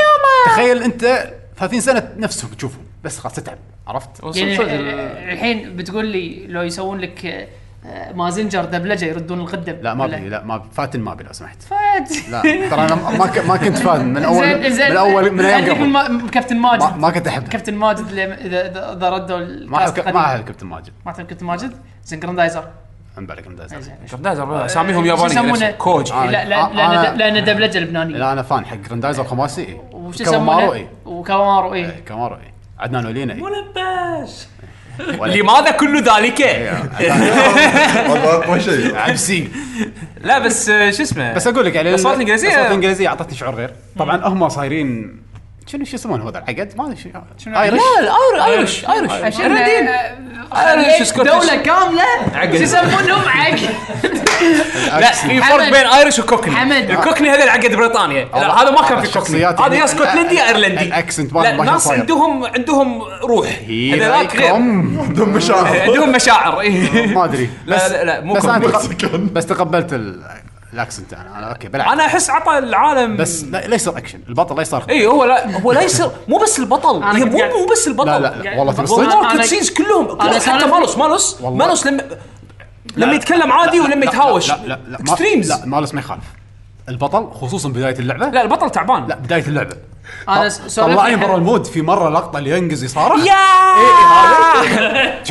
تخيل انت 30 سنه نفسهم تشوفهم بس خلاص تتعب عرفت؟
يعني
صدق-
الح- الحين بتقول لي لو يسوون لك آه، آه، مازنجر دبلجه يردون الغدة
لا ما
ولا-
بي لا ما بي- فاتن ما بي لو سمحت
فات
لا ترى انا ما ك- ما كنت فان من اول
زين زين
من اول من ايام
عندك
قبل
ما- من كابتن
ما-
ماجد
ما كنت احبه
كابتن ماجد لما- اذا اذا إذا ردوا
ما
الكاست
احب ما
القديم.
احب كابتن ماجد
ما تعرف كابتن ماجد زين جراندايزر إيه،
عن بالك من ذا زين.
زين
جراندايزر اساميهم ياباني
شو يسمونه؟
نفسه. كوج
لا لا
آه، آه.
لان لان دبلجه لبنانيه
لا إيه. انا فان حق جراندايزر خماسي إي.
وش
كامارو
يسمونه؟ إيه.
اي
وكامارو اي
إي، كامارو اي عدنان ولينا اي
ملبش
ولا-
لماذا كل ذلك؟
هذا اقوى شيء
عبسي
لا بس آه، شو اسمه
بس اقول لك يعني
الأصوات الإنجليزية-
الاصوات الانجليزيه اعطتني شعور غير طبعا هم صايرين شنو شو يسمون هذا العقد ما ادري شو ايرش
لا ايرش ايرش
أيوة.
عشان
الردين. ايرش
ايرش
سكوتش
دوله كامله
عقد.
شو يسمونهم عقد
أيوة.
لا في فرق
حمد.
بين ايرش وكوكني
حمد.
الكوكني هذا العقد بريطانيا لا
والله.
هذا ما كان
والله
في كوكني
الشخصيات
هذا
يعني-
يا اسكتلندي يا ايرلندي
الأكسنت
لا
مالهم ما كان
ناس
صاير.
عندهم عندهم روح هذولاك غير
هيرايكم.
عندهم مشاعر
عندهم مشاعر إيه.
ما ادري
لا
بس-
لا لا مو
بس انا
كوكني.
تق- بس تقبلت ال- الاكسنت انا انا اوكي بلعب
انا احس عطى العالم
بس لا لا يصير اكشن البطل لا يصير
اي هو لا هو لا يصير مو بس البطل
أنا
هي
كنت
مو
قاعد-
مو بس البطل
لا لا, لا والله تبي
والله
الصدق
أنا-
الكت سينز كلهم
أنا
حتى
سالفة-
مالوس مالوس
والله.
مالوس لما لما يتكلم عادي ولما يتهاوش
لا لا لا ما-
اكستريمز
لا مالس ما يخالف البطل خصوصا بدايه اللعبه
لا البطل تعبان
لا بدايه اللعبه
انا
طلعني برا
سولفت
المود في مره لقطه اللي ينقز يصارخ
إيه، يا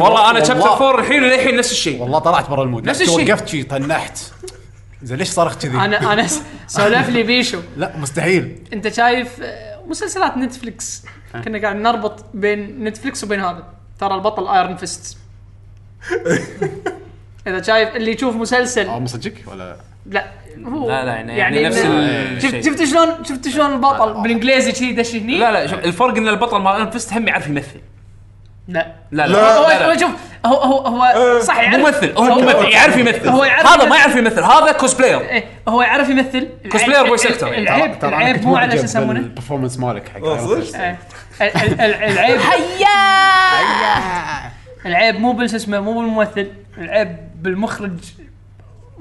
والله انا شابتر
والله-
4 الحين للحين نفس الشيء
والله طلعت برا المود
نفس
لا،
الشيء.
وقفت شي تنحت زين ليش صرخت كذي؟
انا انا س- سولف لي بيشو
لا مستحيل
انت شايف آه، مسلسلات نتفلكس كنا قاعد نربط بين نتفلكس وبين هذا ترى البطل ايرون فيست اذا شايف اللي يشوف مسلسل
اه مصدقك ولا
لا هو
لا، لا، يعني- يعني نفس
إنه-
ال-
شفت
الشيء.
شفت شلون شفت شلون البطل بالانجليزي كذي دش هني
لا لا شوف الفرق ان البطل مال انفست هم يعرف يمثل
لا
لا
لا.
هو
لا
هو
لا. آه.
شوف هو هو هو صح يعني يعرف
ممثل هو ممثل يعرف يمثل
هو يعرف
هذا
يمثل.
ما يعرف يمثل هذا كوسبلاير
إيه، هو يعرف يمثل
Cosplayer voice actor.
العيب
ترى- ترى أنا
العيب
كنت
مو على شو
معجب
يسمونه
بالبرفورمانس مالك حق
آه، صدق؟
Iron Fist.
إيه. ال- ال- ال- العيب هيا آه. العيب مو بالش اسمه مو بالممثل العيب بالمخرج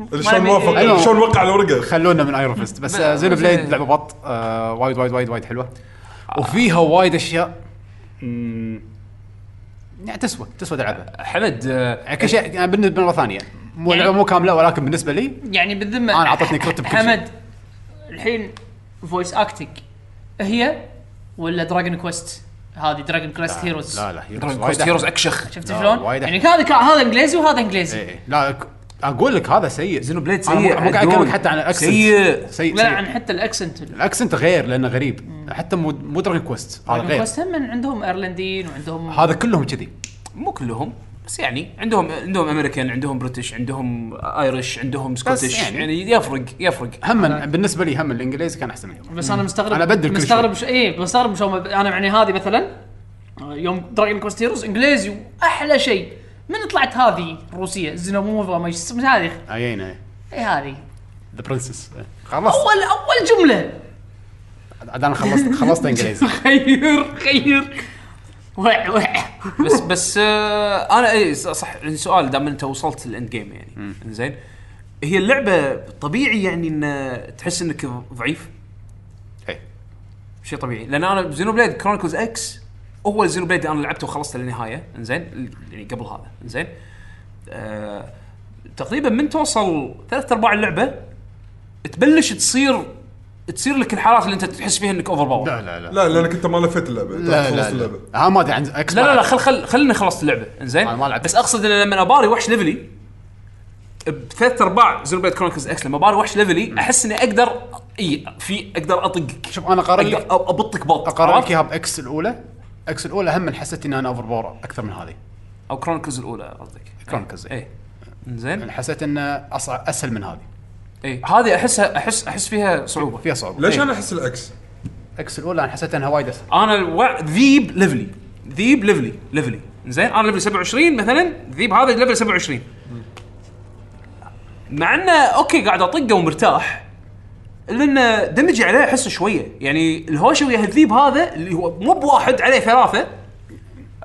شلون
أيوة.
موافق شلون وقع على الورقه
خلونا من ايرون فيست بس آه، زينو بليد لعبه بط آه، وايد وايد وايد وايد حلوه وفيها وايد اشياء مم، يعني تسوى تسوى تلعبها
حمد آه،
يعني كل شيء يعني بالنسبه مره ثانيه مو
يعني-
لعبه مو كامله ولكن بالنسبه لي
يعني بالذمه
أنا عطتني كرت بكل شيء.
حمد الحين فويس اكتنج هي ولا دراجون كويست هذه دراجون كويست هيروز
لا لا هيروز
دراجون
وايد
كويست هيروز
أحلى.
اكشخ
شفت
لا،
شلون؟
وايد
يعني هذا كا- هذا انجليزي وهذا انجليزي
إيه، لا ك- اقول لك هذا سيء
زينو بليد
أنا مو-
سيء
مو قاعد
عدنون.
اكلمك حتى عن الاكسنت
سيء.
سيء
لا عن
سيء
حتى الاكسنت
الاكسنت غير لانه غريب حتى مو مو دراجون كويست هذا
دراجون
غير
كويست هم من عندهم ايرلنديين وعندهم
هذا كلهم كذي
مو كلهم بس يعني عندهم عندهم امريكان عندهم بريتش عندهم ايرش عندهم سكوتش
يعني.
يعني, يفرق يفرق
هم بالنسبه لي هم الانجليزي كان احسن من اليوم
بس انا مستغرب
أنا أبدل كل
مستغرب شو اي مستغرب شو ما- انا يعني هذه مثلا آه، يوم دراجون كويست هيروز انجليزي واحلى شيء من طلعت هذه الروسيه زينوموفا ما يش- مش هذه
ايينا
اي هذه
ذا برنسس خلص
اول اول جمله
عاد انا خلصت خلصت انجليزي
خير خير وع وع
بس بس آه انا اي ص- صح السؤال دام انت وصلت الاند جيم يعني زين هي اللعبه طبيعي يعني ان تحس انك ضعيف
إيه.
شيء طبيعي لان انا زينو بليد كرونيكلز اكس اول زينو بليد انا لعبته وخلصته للنهايه انزين يعني قبل هذا انزين آه تقريبا من توصل ثلاث ارباع اللعبه تبلش تصير تصير لك الحالات اللي انت تحس فيها انك اوفر باور
لا لا لا
لا لانك انت ما لفيت اللعبه أنت
لا
خلصت
لا
اللعبه
لا ها ما ادري عن اكس
لا لا لا
بعد.
خل خل خليني خلصت اللعبه انزين
أنا ما لعبت.
بس اقصد ان لما اباري وحش ليفلي بثلاث ارباع زيرو بيت كرونيكلز اكس لما باري وحش ليفلي احس اني اقدر اي في اقدر اطقك
شوف انا قارن
اقدر
لك
أ- ابطك بط
اقارن لك
عرفت؟
اياها باكس الاولى اكس الاولى هم من حسيت ان انا اوفر باور اكثر من هذه
او كرونيكلز الاولى قصدك إيه.
كرونيكلز، إي.
اي انزين
يعني حسيت انه اصعب اسهل من هذه
اي إيه. هذه احسها احس احس فيها صعوبه
فيها صعوبه
ليش
إيه.
انا احس العكس؟
اكس الاولى انا حسيت انها وايد اسهل
انا الوع... ذيب ليفلي ذيب ليفلي ليفلي زين انا ليفل 27 مثلا ذيب هذا ليفل 27 مع انه اوكي قاعد اطقه ومرتاح الا انه دمجي عليه احسه شويه يعني الهوشه ويا الذيب هذا اللي هو مو بواحد عليه ثلاثه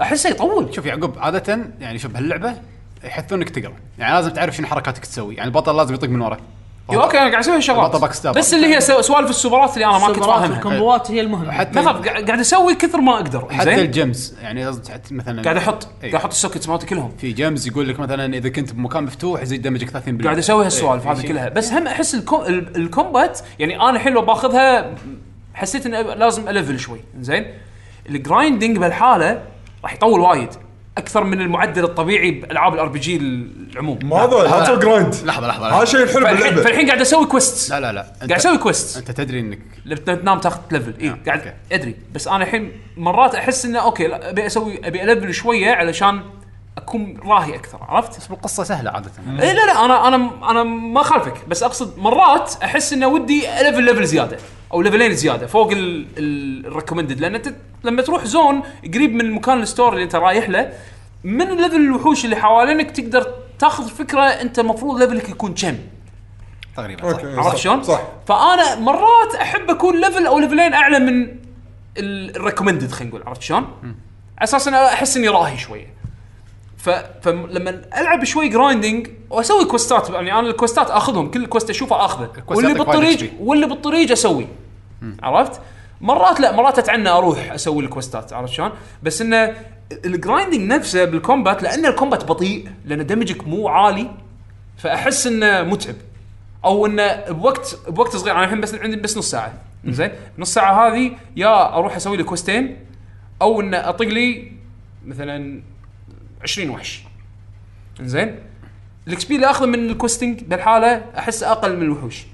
احسه يطول
شوف يعقوب عاده يعني شوف هاللعبه يحثونك تقرا يعني لازم تعرف شنو حركاتك تسوي يعني البطل لازم يطق من ورا
يو اوكي انا قاعد اسوي
بطل باك
هالشغلات
ستاب.
بس اللي هي سو- سوالف السوبرات اللي انا ما كنت
السوبرات
فاهمها
والكومبوات هي المهمه
ما
حتى
خاف، قاعد قاعد اسوي كثر ما اقدر
حتى
زين
الجيمز يعني لازم تحط مثلا
قاعد احط قاعد
إيه.
احط السوكتس مالتي كلهم
في جيمز يقول لك مثلا اذا كنت بمكان مفتوح يزيد دمجك 30%
قاعد اسوي هالسوالف
إيه،
هذه
شيء.
كلها بس هم احس الكو... ال- الكومبات يعني انا الحين لو باخذها حسيت اني لازم الفل شوي زين الجرايندنج بهالحاله راح يطول وايد اكثر من المعدل الطبيعي بالعاب الار بي جي العموم
ما هذا لا تسوي جرايند
لحظه لحظه
هذا
لحظه
شيء الحلو
فالحين,
باللعبه
فالحين قاعد اسوي كويستس
لا لا لا أنت-
قاعد اسوي كويست
انت تدري انك
لما تنام تاخذ ليفل اي
آه،
قاعد
أوكي.
ادري بس انا الحين مرات احس انه اوكي لا، ابي اسوي ابي الفل شويه علشان اكون راهي اكثر عرفت؟
القصه سهله عاده
اي إيه، لا لا انا انا انا ما خالفك بس اقصد مرات احس انه ودي ليفل ليفل زياده او ليفلين زياده فوق الريكومندد لان انت لما تروح زون قريب من مكان الستور اللي انت رايح له من ليفل الوحوش اللي حوالينك تقدر تاخذ فكره انت المفروض ليفلك يكون كم
تقريبا صح.
اوكي
عرفت
صح،
شلون؟
صح
فانا مرات احب اكون ليفل او ليفلين اعلى من الريكومندد خلينا نقول عرفت شلون؟ على اساس انا احس اني راهي شويه. ف... فلما العب شوي جرايندنج واسوي كوستات يعني انا الكوستات اخذهم كل كوست اشوفه اخذه
الكوست
واللي
يعطيك
بالطريق
وايد XP.
واللي بالطريق اسوي عرفت؟ مرات لا مرات اتعنى اروح اسوي الكوستات عرفت شلون؟ بس انه الجرايندنج نفسه بالكومبات لان الكومبات بطيء لان دمجك مو عالي فاحس انه متعب او انه بوقت بوقت صغير انا الحين بس عندي بس نص ساعه زين نص ساعه هذه يا اروح اسوي لي كوستين او انه اطق لي مثلا 20 وحش زين الاكس بي اللي اخذه من الكوستنج بالحاله احس اقل من الوحوش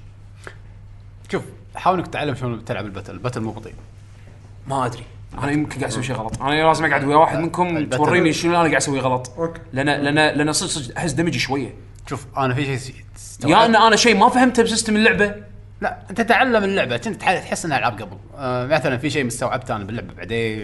شوف حاول انك تتعلم شلون تلعب الباتل الباتل مو بطيء
ما ادري انا يمكن قاعد اسوي شيء غلط انا لازم اقعد ويا واحد منكم
البتر.
توريني شنو انا قاعد اسوي غلط
أوكي.
لان لان لان صدق صدق احس دمجي شويه
شوف انا في شيء
يا
استوعبت-
ان انا شيء ما فهمته بسيستم اللعبه
لا انت تعلم اللعبه كنت تح- تحس انها العاب قبل آه مثلا في شيء مستوعبته انا باللعبه بعدين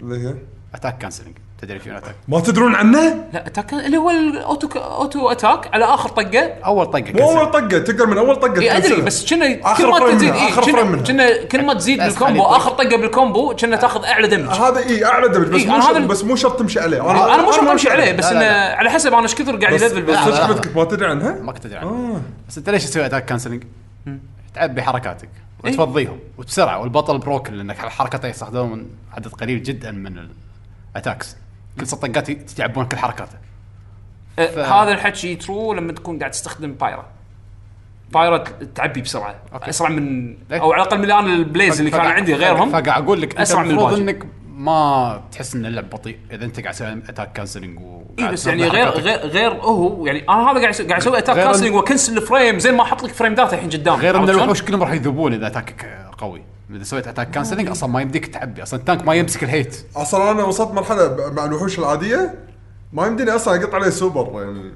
اللي هي
اتاك كانسلنج تدري شنو اتاك
ما تدرون عنه؟
لا اتاك اللي هو الاوتو اوتو اتاك على اخر طقه
اول طقه
مو
كنسل
اول طقه تقدر من اول طقه
اي ادري
تكنسلها.
إيه، بس كنا
آخر
كل ما
فريم
تزيد
منها،
اي
آخر فريم
كنا
منها.
كنا كل ما تزيد
بس
بالكومبو
خلي-
اخر طقه بالكومبو كنا تاخذ اعلى دمج
هذا اي اعلى دمج بس
إي،
مو
إيه، أنا
شرط
هذا-
بس مو شرط تمشي عليه
انا مو شرط امشي عليه بس
لا، لا،
انه على حسب انا ايش كثر قاعد
بس
يلفل
بس
بس
صدق بتك- ما تدري عنها؟ آه.
ما كنت ادري عنه بس انت ليش تسوي اتاك كانسلنج؟ تعبي حركاتك
إيه.
وتفضيهم وبسرعه والبطل بروكن لانك حركته يستخدمون عدد قليل جدا من الاتاكس كل ست طقات يتعبون كل حركاته
آه،
ف-
هذا الحكي ترو لما تكون قاعد تستخدم بايرا بايرا ت- تعبي بسرعه
أوكي.
اسرع من
إيه.
او على الاقل من انا البليز اللي كان
فقاعد-
عندي غيرهم
فقاعد اقول لك انت
أسرع من
المفروض
الواجب.
انك ما تحس ان اللعب بطيء اذا انت قاعد تسوي اتاك كانسلنج و
اي بس يعني غير غير غير هو يعني انا هذا قاعد أسوي- قاعد اسوي اتاك
غير ال-
كانسلنج واكنسل الفريم زين ما احط لك فريم داتا الحين قدام
غير ان
عرفت شلون؟
الوحوش كلهم راح يذوبون اذا اتاكك قوي اذا سويت اتاك كانسلنج اصلا ما يمديك تعبي اصلا التانك ما يمسك الهيت
اصلا انا وصلت مرحله ب- مع الوحوش العاديه ما يمديني اصلا اقط عليه سوبر يعني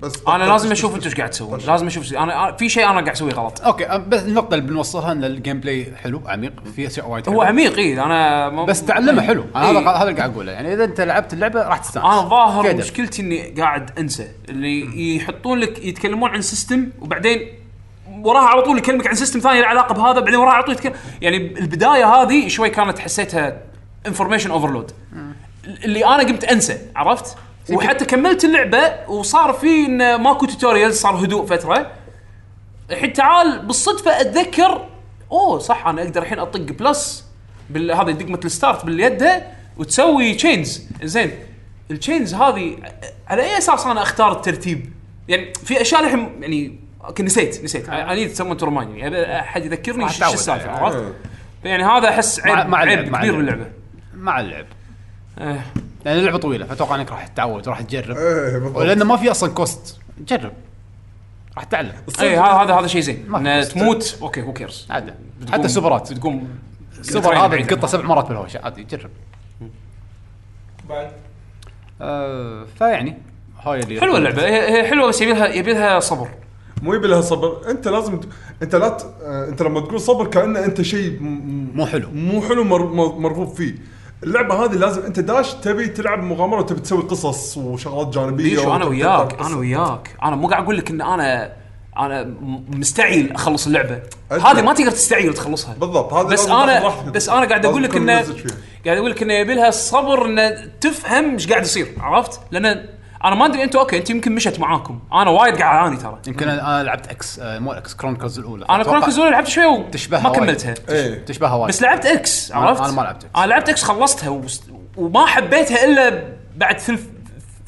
بس
انا لازم اشوف انت ايش قاعد تسوون لازم اشوف س- انا أنا- في شيء انا قاعد اسويه غلط
اوكي أم- بس النقطه اللي بنوصلها ان الجيم بلاي حلو عميق في اشياء وايد
هو
حلوة.
عميق إيه، اي انا ما-
يعني بس تعلمه حلو أنا هذا
إيه.
هذا اللي قاعد اقوله يعني اذا انت لعبت اللعبه راح تستانس
انا ظاهر
كدر.
مشكلتي اني قاعد انسى اللي يحطون لك يتكلمون عن سيستم وبعدين وراها على طول يكلمك عن سيستم ثاني له علاقه بهذا بعدين وراها على طول يتكلم يعني البدايه هذه شوي كانت حسيتها انفورميشن اوفرلود اللي انا قمت انسى عرفت؟ وحتى كملت اللعبه وصار في إن ماكو توتوريالز صار هدوء فتره الحين تعال بالصدفه اتذكر اوه صح انا اقدر الحين اطق بلس بال- هذه دقمه الستارت باليده وتسوي تشينز زين التشينز هذه على اي اساس انا اختار الترتيب؟ يعني في اشياء الحين يعني أوكي، نسيت نسيت انا نيد سمون تو احد يعني يذكرني
راح
شو شو
تعود.
السالفه
إيه.
عرفت؟ يعني هذا احس
مع-
عيب
مع اللعب،
عيب
مع
كبير
اللعب.
باللعبه
مع اللعب
إيه.
لان اللعبه طويله فاتوقع انك راح تتعود راح تجرب
ايه بالضبط
ولانه ما في اصلا كوست جرب راح تتعلم
اي هذا إيه، هذا هذا شيء زين
ما في
إن
قصة.
تموت اوكي هو كيرز
عادي حتى السوبرات
تقوم
السوبر هذا تقطه سبع مرات بالهوشه عادي جرب
بعد
آه فيعني هاي اللي
حلوه اللعبه هي هي حلوه بس يبي لها يبي لها صبر
مو يبي لها صبر انت لازم ت- انت لا ت... آه، انت لما تقول صبر كانه انت شيء م- م-
مو حلو.
مو حلو مر... مر- مرغوب فيه اللعبه هذه لازم انت داش تبي تلعب مغامره وتبي تسوي قصص وشغلات جانبيه
بيشو انا
وتبي
وياك
تطلع
انا
قصة.
وياك انا مو قاعد اقول لك ان انا انا م- مستعجل اخلص اللعبه
أدري.
هذه ما تقدر تستعجل تخلصها
بالضبط هذا
بس
لازم تاخذ
انا
راحتك.
بس انا قاعد اقول
لازم
لك
تكون
انه
ممزج فيها.
قاعد اقول لك انه يبي لها الصبر انه تفهم ايش قاعد يصير عرفت؟ لان انا ما ادري انتم اوكي انت يمكن مشت معاكم انا وايد قاعد اعاني ترى
يمكن انا أنا لعبت اكس آه مو اكس كرونيكلز الاولى
انا
أتوقع
كرونكز ولا لعبت شوي
تشبهها
وما
وايد.
كملتها
ايه
تشبهها وايد
بس لعبت اكس
أنا-
عرفت؟
أنا ما لعبت إكس.
انا لعبت اكس خلصتها وست- وما حبيتها الا بعد ثلث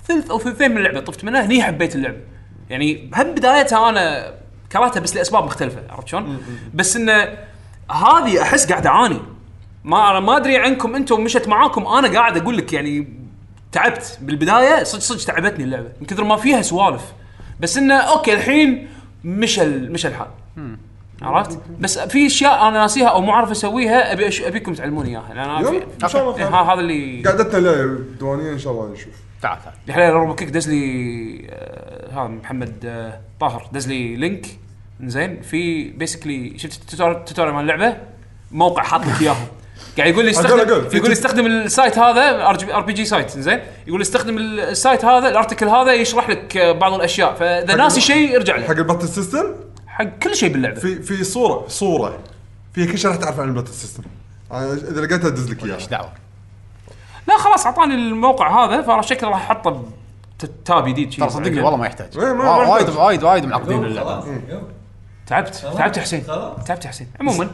ثلث او ثلثين من اللعبه طفت منها هني حبيت اللعبه يعني هم بدايتها انا كرهتها بس لاسباب مختلفه عرفت شلون؟ بس انه هذه احس قاعد اعاني ما انا ما ادري عنكم انتم مشت معاكم انا قاعد اقول لك يعني تعبت بالبدايه صدق صدق تعبتني اللعبه من كثر ما فيها سوالف بس انه اوكي الحين مشى ال- مشى الحال عرفت؟ بس في اشياء انا ناسيها او مو عارف اسويها ابي أش... ابيكم تعلموني اياها لان انا
يلا،
في-
ان شاء الله
إيه،
خير.
ها- هذا اللي
قعدتنا لا ديوانيه ان شاء الله نشوف
تعال تعال
الحين روبو كيك دز لي آه، هذا محمد آه، طاهر دز لي لينك زين في بيسكلي شفت التوتور- التوتوريال مال اللعبه موقع حاط لك اياهم قاعد يقول لي استخدم
أقول- أقول.
يقول لي استخدم السايت هذا ار بي جي سايت زين يقول لي استخدم السايت هذا الارتكل هذا يشرح لك آه، بعض الاشياء فاذا
حق
ناسي
ال-
شيء ارجع
حق
له
الباتل سيستم
حق كل شيء باللعبه
في في صوره صوره فيها كل شيء راح تعرف عن الباتل سيستم أنا اذا لقيتها ادز لك
ايش
اياها
دعوه
لا خلاص اعطاني الموقع هذا فانا شكله راح احطه بتاب جديد شي.
ترى صدقني والله ما يحتاج
إيه، ما- ما
وا- وايد
يحتاج. إيه.
وايد وايد معقدين اللعبه
خلاص يلا.
تعبت تعبت يا حسين
خلاص.
تعبت يا حسين عموما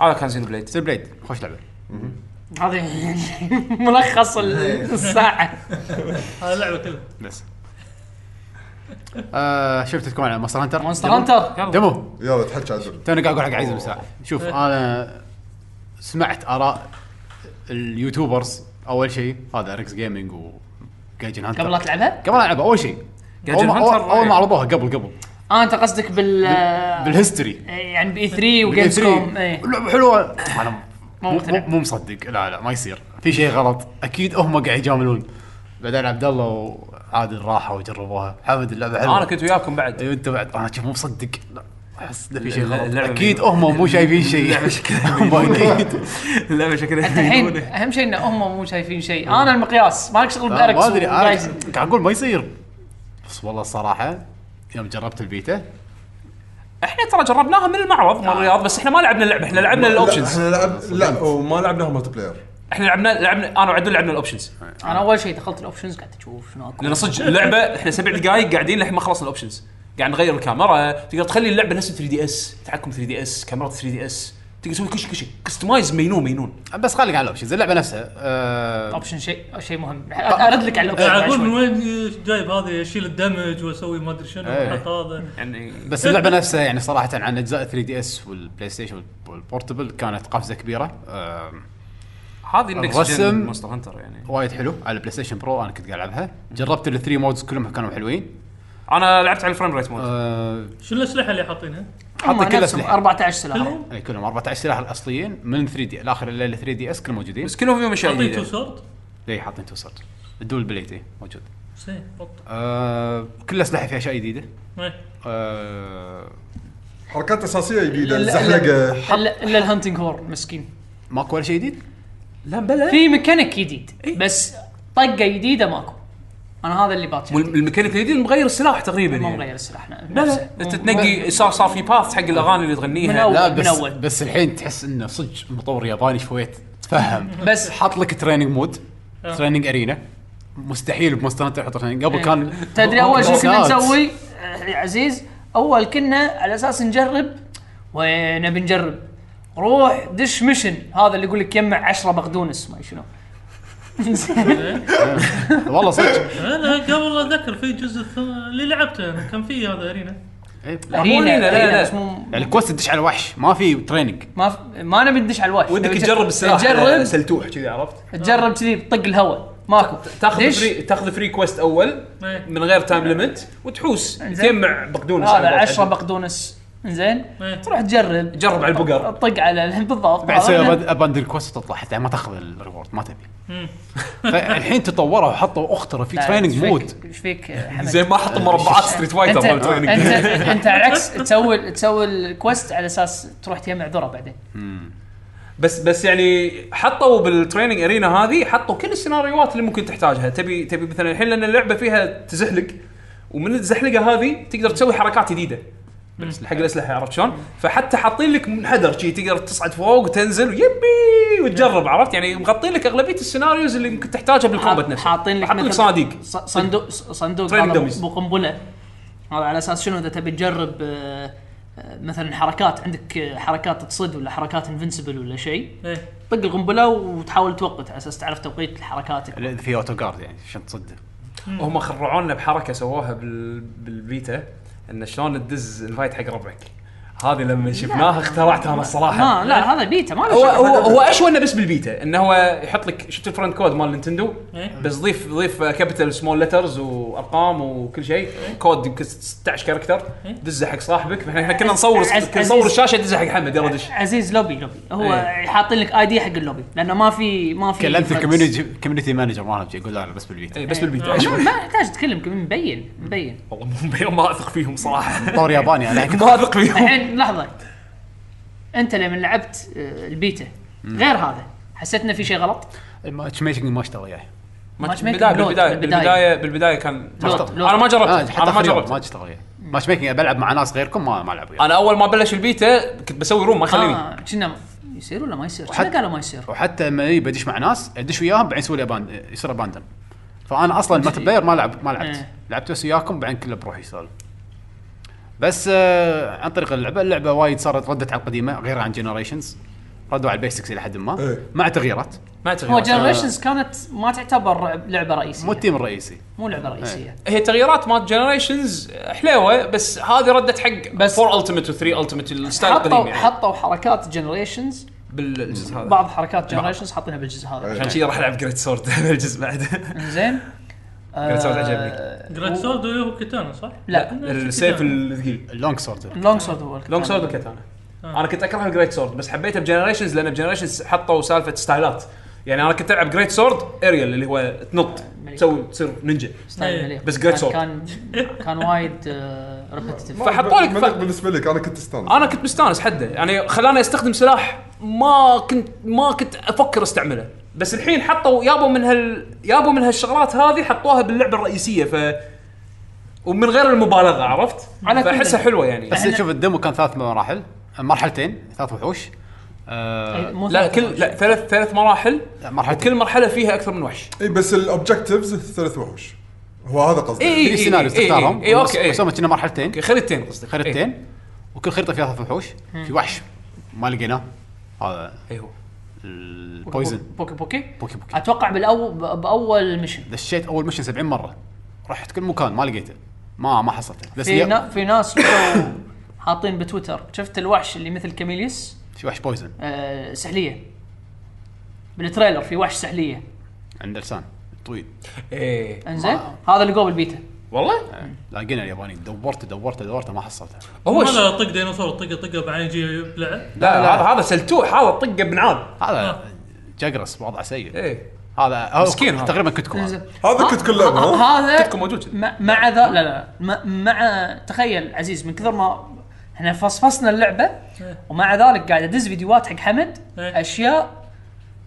هذا كان زين بليد
سيل بليد خوش لعبه
هذا ملخص ال- الساعه
هذه اللعبه كلها
بس آه شفت تكون على مونستر هانتر
مونستر هانتر
ديمو
يلا تحكي عدل
توني قاعد اقول حق عزيز مساعد شوف
إيه.
انا سمعت اراء اليوتيوبرز اول شيء هذا ريكس جيمنج و جاجن هانتر
قبل لا تلعبها؟
قبل العبها اول شيء
جاجن
اول ما
هانتر
أول- أول ما
رائع.
عرضوها قبل قبل
اه انت قصدك بال آه.
بالهيستوري
يعني باي 3
بال
وجيمز
E3.
كوم ايه
لعبه حلوه انا
مو
مو
مقتنع.
مو- مو مصدق لا لا ما يصير في شيء غلط اكيد هم قاعد يجاملون بعدين عبد الله وعادل راحوا وجربوها حمد اللعبه حلوه
انا كنت وياكم بعد
ايوه انت بعد انا شوف مو مصدق لا احس إنه في شيء
اللعبة-
غلط
اللعبة
اكيد
مجنونة.
هم مو شايفين شيء
اللعبة شكلها
هم اكيد
لا شكلها
حتى الحين اهم شيء ان هم مو شايفين شيء انا المقياس مالك شغل
آه،
باركس
ما ادري أنا
وجايز.
قاعد اقول ما يصير بس والله الصراحه يوم جربت البيتا
احنا ترى جربناها من المعرض مال الرياض بس احنا ما لعبنا اللعبه احنا لعبنا
لا،
الاوبشنز
احنا لعب لا وما لعبناها مالتي بلاير
احنا لعبنا لعبنا انا وعدل لعبنا الاوبشنز
انا اول شيء دخلت الاوبشنز قاعد اشوف شنو اكو
لان صدق اللعبه احنا سبع دقائق قاعدين لحين ما خلصنا الاوبشنز قاعد نغير الكاميرا تقدر تخلي اللعبه نفس 3 دي اس تحكم 3 دي اس كاميرات 3 دي اس تقدر تسوي كل شيء كل شيء كستمايز مينون مينون
بس خليك على الاوبشنز اللعبه نفسها آه
اوبشن شيء شيء مهم ارد لك على
إيه،
الاوبشن
قاعد
بعد
اقول يعني من
شوي.
وين جايب هذا اشيل الدمج واسوي ما ادري شنو
إيه.
حط هذا
يعني
بس اللعبه نفسها يعني صراحه عن اجزاء 3 دي اس والبلاي ستيشن والبورتبل كانت قفزه كبيره آه
هذه النكست
الرسم-
جن مونستر هانتر يعني
وايد حلو على البلاي ستيشن برو انا كنت قاعد العبها جربت الثري مودز كلهم كانوا حلوين
انا لعبت على الفريم ريت مود
آه
شنو الاسلحه اللي حاطينها؟
هم
حاطين كل
نفسهم
اسلحه
14 سلاح
كلهم
اي كلهم 14 سلاح الاصليين من 3 دي الاخر اللي 3 دي اس كلهم موجودين إيه.
بس كلهم فيهم اشياء
حاطين تو
جديده
سورد
ليه حاطين توصل الدول بليتي موجود
صحيح بالضبط
آه كل اسلحه فيها اشياء جديده
إيه.
آه
حركات اساسيه جديده
إلا- إلا-
الزحلقه
الا الا الهانتنج هور مسكين
ماكو ولا شيء جديد
لا بلا
في ميكانيك جديد بس طقه جديده ماكو انا هذا اللي باطل
والميكانيك الجديد مغير السلاح تقريبا
ما
يعني
مغير السلاح لا
لا لا انت تنقي صار صار في باث حق الاغاني اللي
من
تغنيها
أول.
لا
من
بس
أول.
بس الحين تحس انه صدق مطور ياباني شويت تفهم
بس
حاط لك تريننج مود
آه.
تريننج ارينا مستحيل بمونستر هانتر يحط training.
إيه.
قبل كان
يعني تدري اول شيء كنا
كورسات.
نسوي آه، عزيز اول كنا على اساس نجرب ونبي نجرب روح دش مشن هذا اللي يقول لك يجمع 10 بقدونس ما شنو
والله صدق
انا قبل اتذكر في جزء ث- اللي لعبته انا كان في هذا ارينا
إيه.
مو لينا، لا، لا.
بس مو-
يعني الكوست تدش على وحش ما في تريننج
ما ف- ما نبي ندش على الوحش
ودك
نبي
تجرب السلاح على
يعني تجرب
سلتوح كذي عرفت
تجرب كذي بطق الهواء ماكو
تاخذ
دش.
فري تاخذ فري كويست اول
إيه.
من غير تايم ليمت وتحوس
إنزين.
تجمع بقدونس
هذا 10 بقدونس زين
إيه.
تروح تجرب
جرب على البقر.
طق على بالضبط
بعد تسوي
عرفنا؟
أبد- اباندل كوست وتطلع حتى ما تاخذ الريورد ما تبي
مم.
فالحين تطوروا وحطوا اختروا في
لا،
تريننج
إيش فيك-
مود
ايش فيك آه، حمد
زين ما حط مربعات ستريت
انت
فايتر مال
انت
تريننج.
انت على العكس تسوي تسوي الكويست على اساس تروح تجمع ذره بعدين
بس بس يعني حطوا بالتريننج ارينا هذه حطوا كل السيناريوهات اللي ممكن تحتاجها تبي تبي مثلا الحين لان اللعبه فيها تزحلق ومن الزحلقه هذه تقدر تسوي حركات جديده حق الاسلحه عرفت شلون؟ فحتى حاطين لك منحدر شي تقدر تصعد فوق وتنزل يبي وتجرب عرفت يعني مغطين لك اغلبيه السيناريوز اللي ممكن تحتاجها بالكومبات نفسه
حاطين لك
حاطين لك
مثل-
صناديق
ص- صندوق ص- صندوق
Training
هذا
dummies.
بقنبله هذا على اساس شنو اذا تبي تجرب آه، آه، مثلا حركات عندك آه، حركات تصد ولا حركات انفنسبل ولا شيء
إيه.
طق القنبله وتحاول توقت على اساس تعرف توقيت حركاتك
ال- في اوتو جارد يعني عشان تصد
هم خرعونا بحركه سووها بال... بالبيتا ان شلون تدز انفايت حق ربعك هذه لما شفناها اخترعتها انا الصراحه
ما لا هذا بيتا ما له
هو
شغل.
هو هو اشوى انه بس بالبيتا انه هو يحط لك شفت الفرند كود مال نينتندو
إيه.
بس ضيف ضيف كابيتال سمول لترز وارقام وكل شيء
إيه.
كود يمكن 16 كاركتر دزه حق صاحبك فاحنا إحنا كنا نصور
عز-
كنا نصور
عزيز.
الشاشه دزه حق حمد
إيه.
يلا دش
عزيز لوبي لوبي هو
إيه.
حاطين لك اي دي حق اللوبي لانه ما في ما في
كلمت
friends.
الكوميونتي كوميونتي مانجر مالهم شي، يقول لا لا بس بالبيت
إيه، بس بالبيتا
آه.
أشوى.
ما يحتاج تتكلم كمان مبين مبين
والله مو- ما اثق فيهم صراحه
مطور ياباني انا
ما اثق فيهم
الحين لحظه انت لما لعبت آه، البيتا غير هذا حسيت انه في شيء غلط
الماتش ميكنج ما اشتغل يعني. وياي
بالبدايه
ماتش ميكنج لود،
بالبدايه
بالبداية.
بالبدايه بالبدايه كان
لود، لود.
انا ما
آه،
جربت
حتى
انا ما
آخر يوم ما
جربت
اشتغل يعني. وياي ماتش ميكنج العب مع ناس غيركم ما ما العب وياي
انا اول ما بلش البيتا كنت بسوي روم ما يخليني
اه كنا يصير ولا ما يصير؟
وحتى-
كنا قالوا ما يصير
وحتى لما يجي بدش مع ناس ادش وياهم بعدين يسوي لي أبان- يصير اباندن فانا اصلا الملتي بلاير ما لعب ما لعبت
إيه.
لعبت بس وياكم بعدين كله بروحي سولف بس آه عن طريق اللعبه اللعبه وايد صارت ردت على القديمه غير عن جنريشنز ردوا على البيسكس الى حد ما
إيه.
مع تغييرات
ما
هو
تغيرت
جنريشنز كانت ما تعتبر لعبه
مو
رئيسيه
التيم الرئيسي
مو لعبه رئيسيه
هي تغييرات مال جنريشنز حليوه بس هذه ردت حق بس 4 التمت و 3 التمت الستايل القديم
حطوا
يعني
حطوا حركات جنريشنز
بالجزء هذا
بعض حركات جنريشنز حاطينها بالجزء هذا
عشان كذي راح العب جريت سورد الجزء بعد
زين آه،
Great Sword عجبني.
جراند سورد هو كيتانا صح؟
لا
السيف الثقيل
اللونج سورد
لونج سورد هو
لونج سورد وكاتانا
آه.
انا كنت اكره الجريت سورد بس حبيته بجنريشنز لان بجنريشنز حطوا سالفه ستايلات يعني انا كنت العب جريت سورد اريال اللي هو تنط
ملك.
تسوي تصير نينجا
ستايل
إيه.
مليح.
بس Great
كان-
Sword.
كان كان وايد آه، ريبتتف
فحطوا لك
ملك
ف-
بالنسبه لك انا كنت استانس
آه.
انا كنت مستانس حده يعني خلاني استخدم سلاح ما كنت ما كنت افكر استعمله بس الحين حطوا يابوا من هال يابوا من هالشغلات هذه حطوها باللعبه الرئيسيه ف ومن غير المبالغه عرفت؟
على كل
فاحسها
ده.
حلوه يعني
بس شوف الدمو كان ثلاث مراحل مرحلتين ثلاث وحوش آه
لا كل لا ثلاث ثلاث مراحل
لا، مرحلتين
كل مرحله فيها اكثر من وحش
اي إيه، بس الاوبجكتيفز ثلاث وحوش هو هذا قصدي
إيه،
إي.
في سيناريو
إي- إي-
تختارهم
إي، أوكي، إي.
سوينا كنا مرحلتين
أوكي، خريطتين إيه، قصدك
خريطتين وكل خريطه فيها ثلاث وحوش في وحش ما لقيناه هذا
اي إيه هو
البويزن
بوكي بوكي
بوكي بوكي
اتوقع بالاول باول ميشن
دشيت اول مشن 70 مره رحت كل مكان ما لقيته ما ما حصلته بس
في,
هي
نا في ناس تو حاطين بتويتر شفت الوحش اللي مثل كاميليوس
في وحش بويزن
آه سحليه بالتريلر في وحش سحليه
عند لسان طويل
ايه
انزين هذا اللي قبل البيتا
والله
آه، لاقينا الياباني دورته دورته دورته ما حصلته
هو ش...
هذا طق ديناصور طقه طقه بعدين يجي يبلعه
لا هذا هذا سلتوح هذا طقه بنعاد
هذا جقرس وضعه سيء
ايه
هذا
آه.
هو
مسكين هذا.
تقريبا كتكم هذا.
هذا كنت كل لعبه ها؟
آه، هذا
تكون موجود كذي.
مع- مع ذا لا لا مع- مع تخيل عزيز من كثر ما احنا فصفصنا اللعبه
إيه.
ومع ذلك قاعد ادز فيديوهات حق حمد
إيه.
اشياء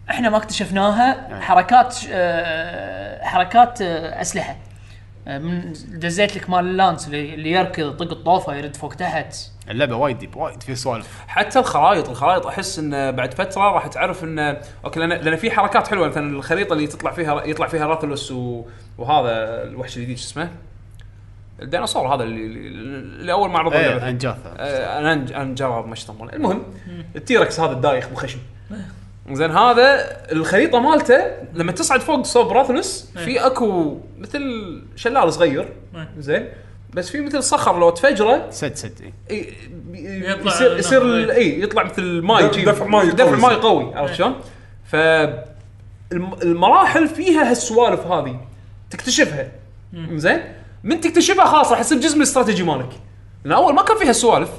احنا ما
إيه.
اكتشفناها حركات آه، حركات آه، اسلحه آه، من دزيت لك مال اللانس اللي اللي يركض يطق الطوفه يرد فوق تحت
اللعبه وايد ديب وايد في سوالف
حتى الخرائط الخرائط احس ان بعد فتره راح تعرف ان اوكي لان لان في حركات حلوه مثلا الخريطه اللي تطلع فيها يطلع فيها راثلوس و... وهذا الوحش الجديد شو اسمه؟ الديناصور هذا اللي, اللي اول ما عرضوا اللعبه
ايه انجاثا
إيه.
آه، انا انا جرب ما يشطمونه المهم التيركس هذا الدايخ ابو خشم زين هذا الخريطه مالته لما تصعد فوق صوب راثلس في اكو مثل شلال صغير
إيه.
زين بس في مثل صخر لو تفجره
سد سد إيه.
ي- ي-
يطلع
يصير يصير
نعم،
ال- اي يطلع مثل الماي
دف-
جي-
دفع ماي
دفع
قوي.
ماي قوي
إيه.
عرفت شلون؟ ف الم- المراحل فيها هالسوالف هذه تكتشفها زين من تكتشفها خلاص راح يصير جزء من الاستراتيجي مالك لان اول ما كان فيها السوالف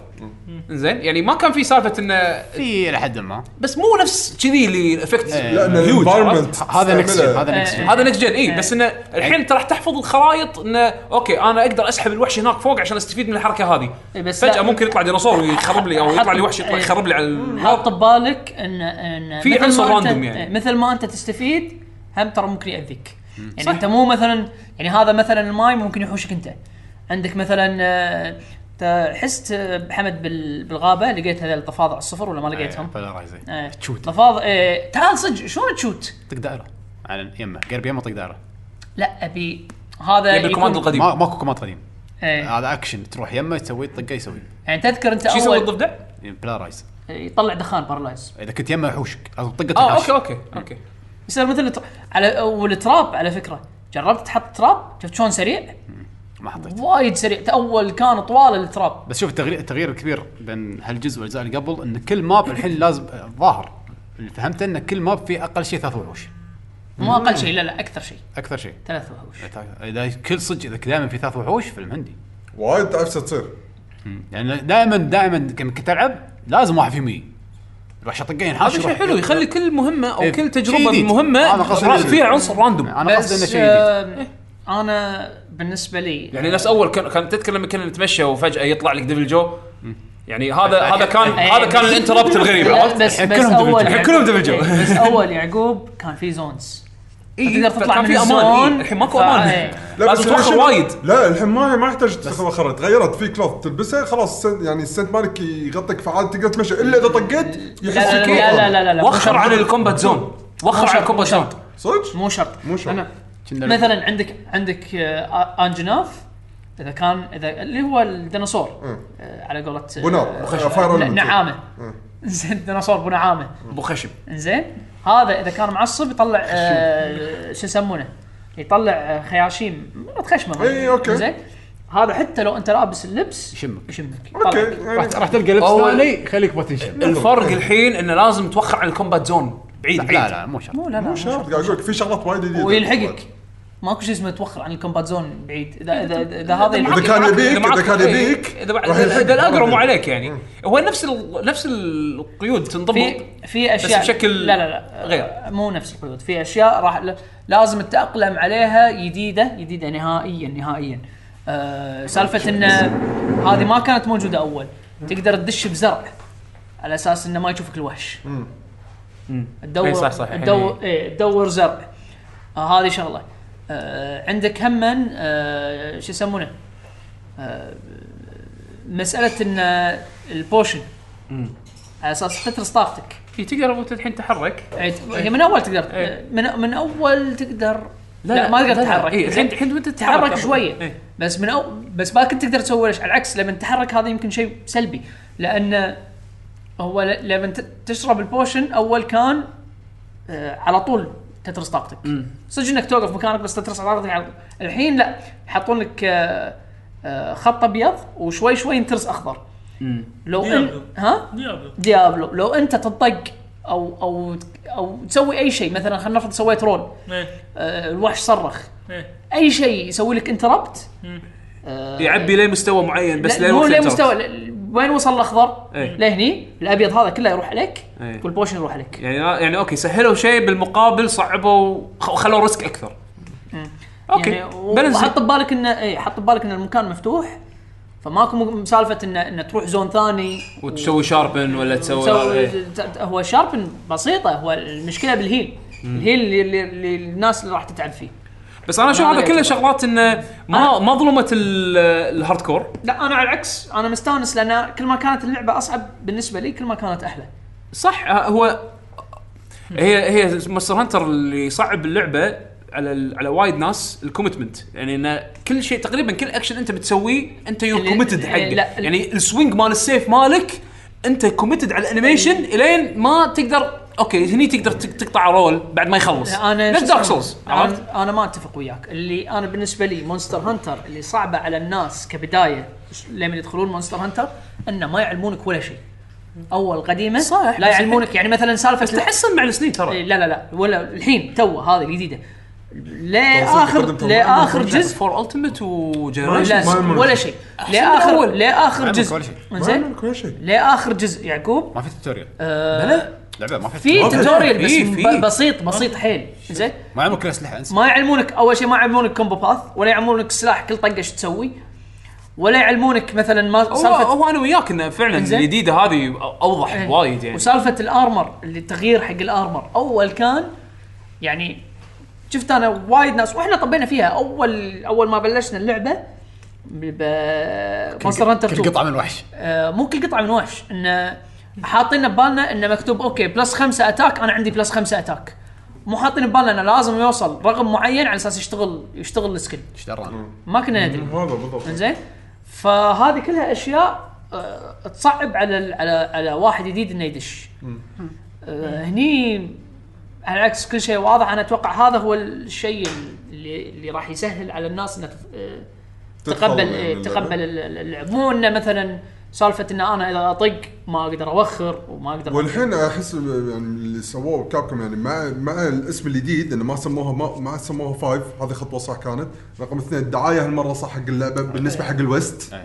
زين يعني ما كان في سالفه انه
في الى حد ما
بس مو نفس كذي اللي الافكت
إيه.
لان
huge،
الانفايرمنت
ه- هذا نكست جن هذا نكست
إيه.
جن
هذا نكست جن اي بس انه الحين انت راح تحفظ الخرائط انه اوكي انا اقدر اسحب الوحش هناك فوق عشان استفيد من الحركه هذه
إي بس
فجاه
لا-
ممكن يطلع ديناصور ويخرب لي او يطلع لي وحش يطلع
إي.
يخرب لي على الارض
حاط ببالك ان ان
نعم. في
مثل ما
عنصر
أنت-
random يعني.
مثل ما انت تستفيد هم ترى ممكن ياذيك يعني انت مو مثلا يعني هذا مثلا الماي ممكن يحوشك انت عندك مثلا آه، ت- حست آه، حمد بال- بالغابه لقيت هذول الضفادع الصفر ولا ما
آه،
لقيتهم؟
بولارايزيشن
إيه.
تشوت.
ضفادع إيه، تعال صدق شلون تشوت؟
طق دائره على يمه قرب يمه طق دائره
لا ابي هذا
يبي الكوماند
يكون-
القديم
ما ماكو كومات قديم
إيه.
هذا اكشن تروح يمه تسوي طقه يسوي يعني
يعني تذكر انت
شو يسوي
اول
الضفدع؟
بلارايز
يطلع دخان بارلايز
اذا كنت يمه يحوشك لازم طقه
آه،
اه
تنحاش.
اوكي اوكي اوكي
يصير مثل الت- على والتراب على فكره جربت تحط تراب شفت شلون سريع؟
ما حطيت
وايد سريع اول كان طوال التراب
بس شوف التغيير التغيير الكبير بين هالجزء والاجزاء اللي قبل ان كل ماب الحين لازم ظاهر اللي فهمته ان كل ماب فيه اقل شيء ثلاث وحوش
مو اقل شيء لا لا اكثر شيء
اكثر شيء
ثلاث وحوش
اذا كل صدق اذا دائما في ثلاث وحوش فيلم هندي
وايد تعبسه تصير
يعني دائما دائما لما كنت العب لازم واحد فيهم يجي يروح يطقين ينحاش
هذا شيء
يروح-
حلو يخلي كل مهمه او
إيه.
كل
شيء
تجربه
جديد. أنا
مهمه
قصدي
راح
جديد.
فيها عنصر راندوم
انا قصدي انه
بس
شيء جديد
آم، انا بالنسبه لي
يعني الناس اول كان كان تذكر لما كنا نتمشى وفجاه يطلع لك ديفل جو يعني هذا هذا كان هذا كان الانتربت الغريب
آه، لا،
عرفت؟
بس
الحين
بس
كلهم دبل
اول
جو.
الحين كلهم دبل جو.
إيه، بس اول يعقوب كان في زونز
إيه،
تقدر تطلع
فكان
من
في امان
الزون.
إيه، الحين ماكو
فا-
امان
إيه.
لا
لازم
بس
توخر
شنو-
وايد
لا الحين ما ما يحتاج تاخذ مخرة تغيرت في كلوث تلبسه خلاص السن- يعني السنت مالك يغطيك فعاد تقدر تمشي الا اذا طقيت
لا لا لا لا لا لا لا مو
وخر
شرط.
عن الكومبات زون وخر عن الكومبات زون
صدق؟
مو شرط
مو شرط.
أنا-
كنا-
نعم.
مثلا عندك عندك آه، انجناف اذا كان اذا اللي هو الديناصور آه، على قولة آه،
بنار.
آه،
فاير
ن-
element.
نعامه زين الديناصور بو نعامه
ابو خشب
زين هذا اذا كان معصب يطلع آه شو يسمونه يطلع آه، خياشيم مرات خشمه
إي، أوكي.
زين هذا حتى لو انت لابس اللبس
يشمك.
يشمك
اوكي
يطلعك.
يعني
راح راح تلقى لبس
أول-
ثاني يخليك بوتنشل
الفرق الحين انه لازم توخر عن الكومبات زون بعيد
لا لا
بعيد
لا مو شرط
مو لا لا
مو
مو
شرط
شرط.
قاعد اقول لك في شغلات وايد جديده
ويلحقك ماكو شيء اسمه توخر عن الكومبات زون بعيد اذا اذا, إذا, إذا هذا
إذا
يلحقك.
كان
معك-
يبيك- إذا
معك-
كان
إيه،
يبيك،
اذا بعد-
راح يلحق.
اذا الاقرب مو عليك يعني هو نفس ال... نفس القيود تنضبط
في في اشياء
بشكل
لا لا لا
غير.
مو نفس القيود في اشياء راح ل- لازم تتاقلم عليها جديده جديده نهائيا نهائيا آه سالفه ان هذه ما كانت موجوده اول تقدر تدش بزرع على اساس انه ما يشوفك الوحش تدور
إي صح صح، الحين
تدور إيه تدور زرع آه هذه شغله آه عندك هما آه شو يسمونه آه مساله ان البوشن على اساس تترس طاقتك
إيه، تقدر انت الحين تحرك
يعني ت- هي من اول تقدر
إيه.
من من اول تقدر لا, لا, ما تقدر تتحرك
إيه، الحين الحين وانت
تتحرك
أصلاً.
شويه
إيه.
بس من أو بس ما كنت تقدر تسوي ليش على العكس لما تتحرك هذا يمكن شيء سلبي لان هو ل- لما ت- تشرب البوشن اول كان آه على طول تترس طاقتك صدق انك توقف مكانك بس تترس طاقتك على طول الحين لا يحطون لك آه آه خط ابيض وشوي شوي ينترس اخضر لو
ديابلو.
إن ها
ديابلو
ديابلو لو انت تطق او او او تسوي اي شيء مثلا خلينا نفرض سويت رول
ايه
آه، الوحش صرخ
ايه
اي شيء يسوي لك انتربت
إيه. يعبي لمستوى معين بس
هو
الوقت
ليه
ينتظر.
مستوى ل- وين وصل الاخضر؟
إيه.
لهني الابيض هذا كله يروح عليك
إيه.
والبوشن يروح عليك
يعني يعني اوكي سهلوا شيء بالمقابل صعبوا خ- خلوا ريسك اكثر اوكي
يعني
بالانس
وحط ببالك انه اي حط ببالك ان المكان مفتوح فماكو م- مسالفه ان ان تروح زون ثاني
وتسوي شاربن ولا تسوي هذا،
سو...
إيه.
ت- ت- هو شاربن بسيطه هو المشكله بالهيل الهيل اللي, اللي, اللي الناس اللي راح تتعب فيه
بس انا اشوف
ما
هذا
أدري
كله
أشوف.
شغلات انه ما ما ظلمت ال- الهارد كور
لا انا على العكس انا مستانس لان كل ما كانت اللعبه اصعب بالنسبه لي كل ما كانت احلى
صح آه، هو هي هي مونستر هانتر اللي صعب اللعبه على ال- على وايد ناس الكوميتمنت يعني انه كل شيء تقريبا كل اكشن انت بتسويه انت يور
اللي-
كوميتد حقه
إيه، لا، ال-
يعني السوينج مال السيف مالك انت كوميتد على الانيميشن الين ما تقدر اوكي هني تقدر تق- تقطع رول بعد ما يخلص
انا
نفس
شو
دارك
اسمه؟
سولز عرفت؟
انا انا ما اتفق وياك اللي انا بالنسبه لي مونستر هانتر اللي صعبه على الناس كبدايه ش- لما يدخلون مونستر هانتر انه ما يعلمونك ولا شيء اول قديمه
صح،
لا
بس
يعلمونك يعني مثلا سالفه
تحسن مع السنين ترى
إيه، لا لا لا ولا الحين تو هذه الجديده
توصل
لاخر
تقدم توصل.
لاخر جزء
فور التيمت وجنريشن
لا
ما
ولا
يعلمونك.
شيء
الأول.
لاخر لاخر
يعلمونك
جزء
ولا شيء.
ما
زين
يعلمونك ولا شيء
لاخر جزء يعقوب
ما في توتوريال
آه،
لعبه ما في
في
ما في-
توتوريال بس
في- في.
ب- بسيط بسيط حيل زين
ما يعلمونك كل اسلحه انسى
ما يعلمونك اول شيء ما يعلمونك كومبو باث ولا يعلمونك سلاح كل طقه شو تسوي ولا يعلمونك مثلا ما
هو
سالفه
هو انا وياك انه فعلا
طيب. إنزين.
الجديده هذه اوضح
إيه.
وايد يعني
وسالفه الارمر اللي التغيير حق الارمر اول كان يعني شفت انا وايد ناس واحنا طبينا فيها اول اول ما بلشنا اللعبه ب مونستر هانتر
كل
2
قطعه من الوحش
آه، مو كل قطعه من وحش انه حاطين ببالنا انه مكتوب اوكي بلس خمسة اتاك انا عندي بلس خمسة اتاك مو حاطين ببالنا انه لازم يوصل رقم معين على اساس يشتغل يشتغل السكيل
ايش دران
ما كنا ندري
هذا بالضبط
انزين فهذه كلها اشياء آه، تصعب على ال- على على واحد جديد انه يدش آه، هني على العكس كل شيء واضح انا اتوقع هذا هو الشيء اللي اللي راح يسهل على الناس انها تف- آه، تقبل
تدخل
إيه،
من
تقبل ال- ال- اللعب مو انه مثلا سالفه ان انا اذا اطق ما اقدر اوخر وما اقدر
والحين احس يعني اللي سووه كابكم يعني مع مع الاسم الجديد انه ما سموها ما, ما سموها فايف هذه خطوه صح كانت رقم اثنين الدعايه هالمره صح حق اللعبه بالنسبه حق الويست
أي.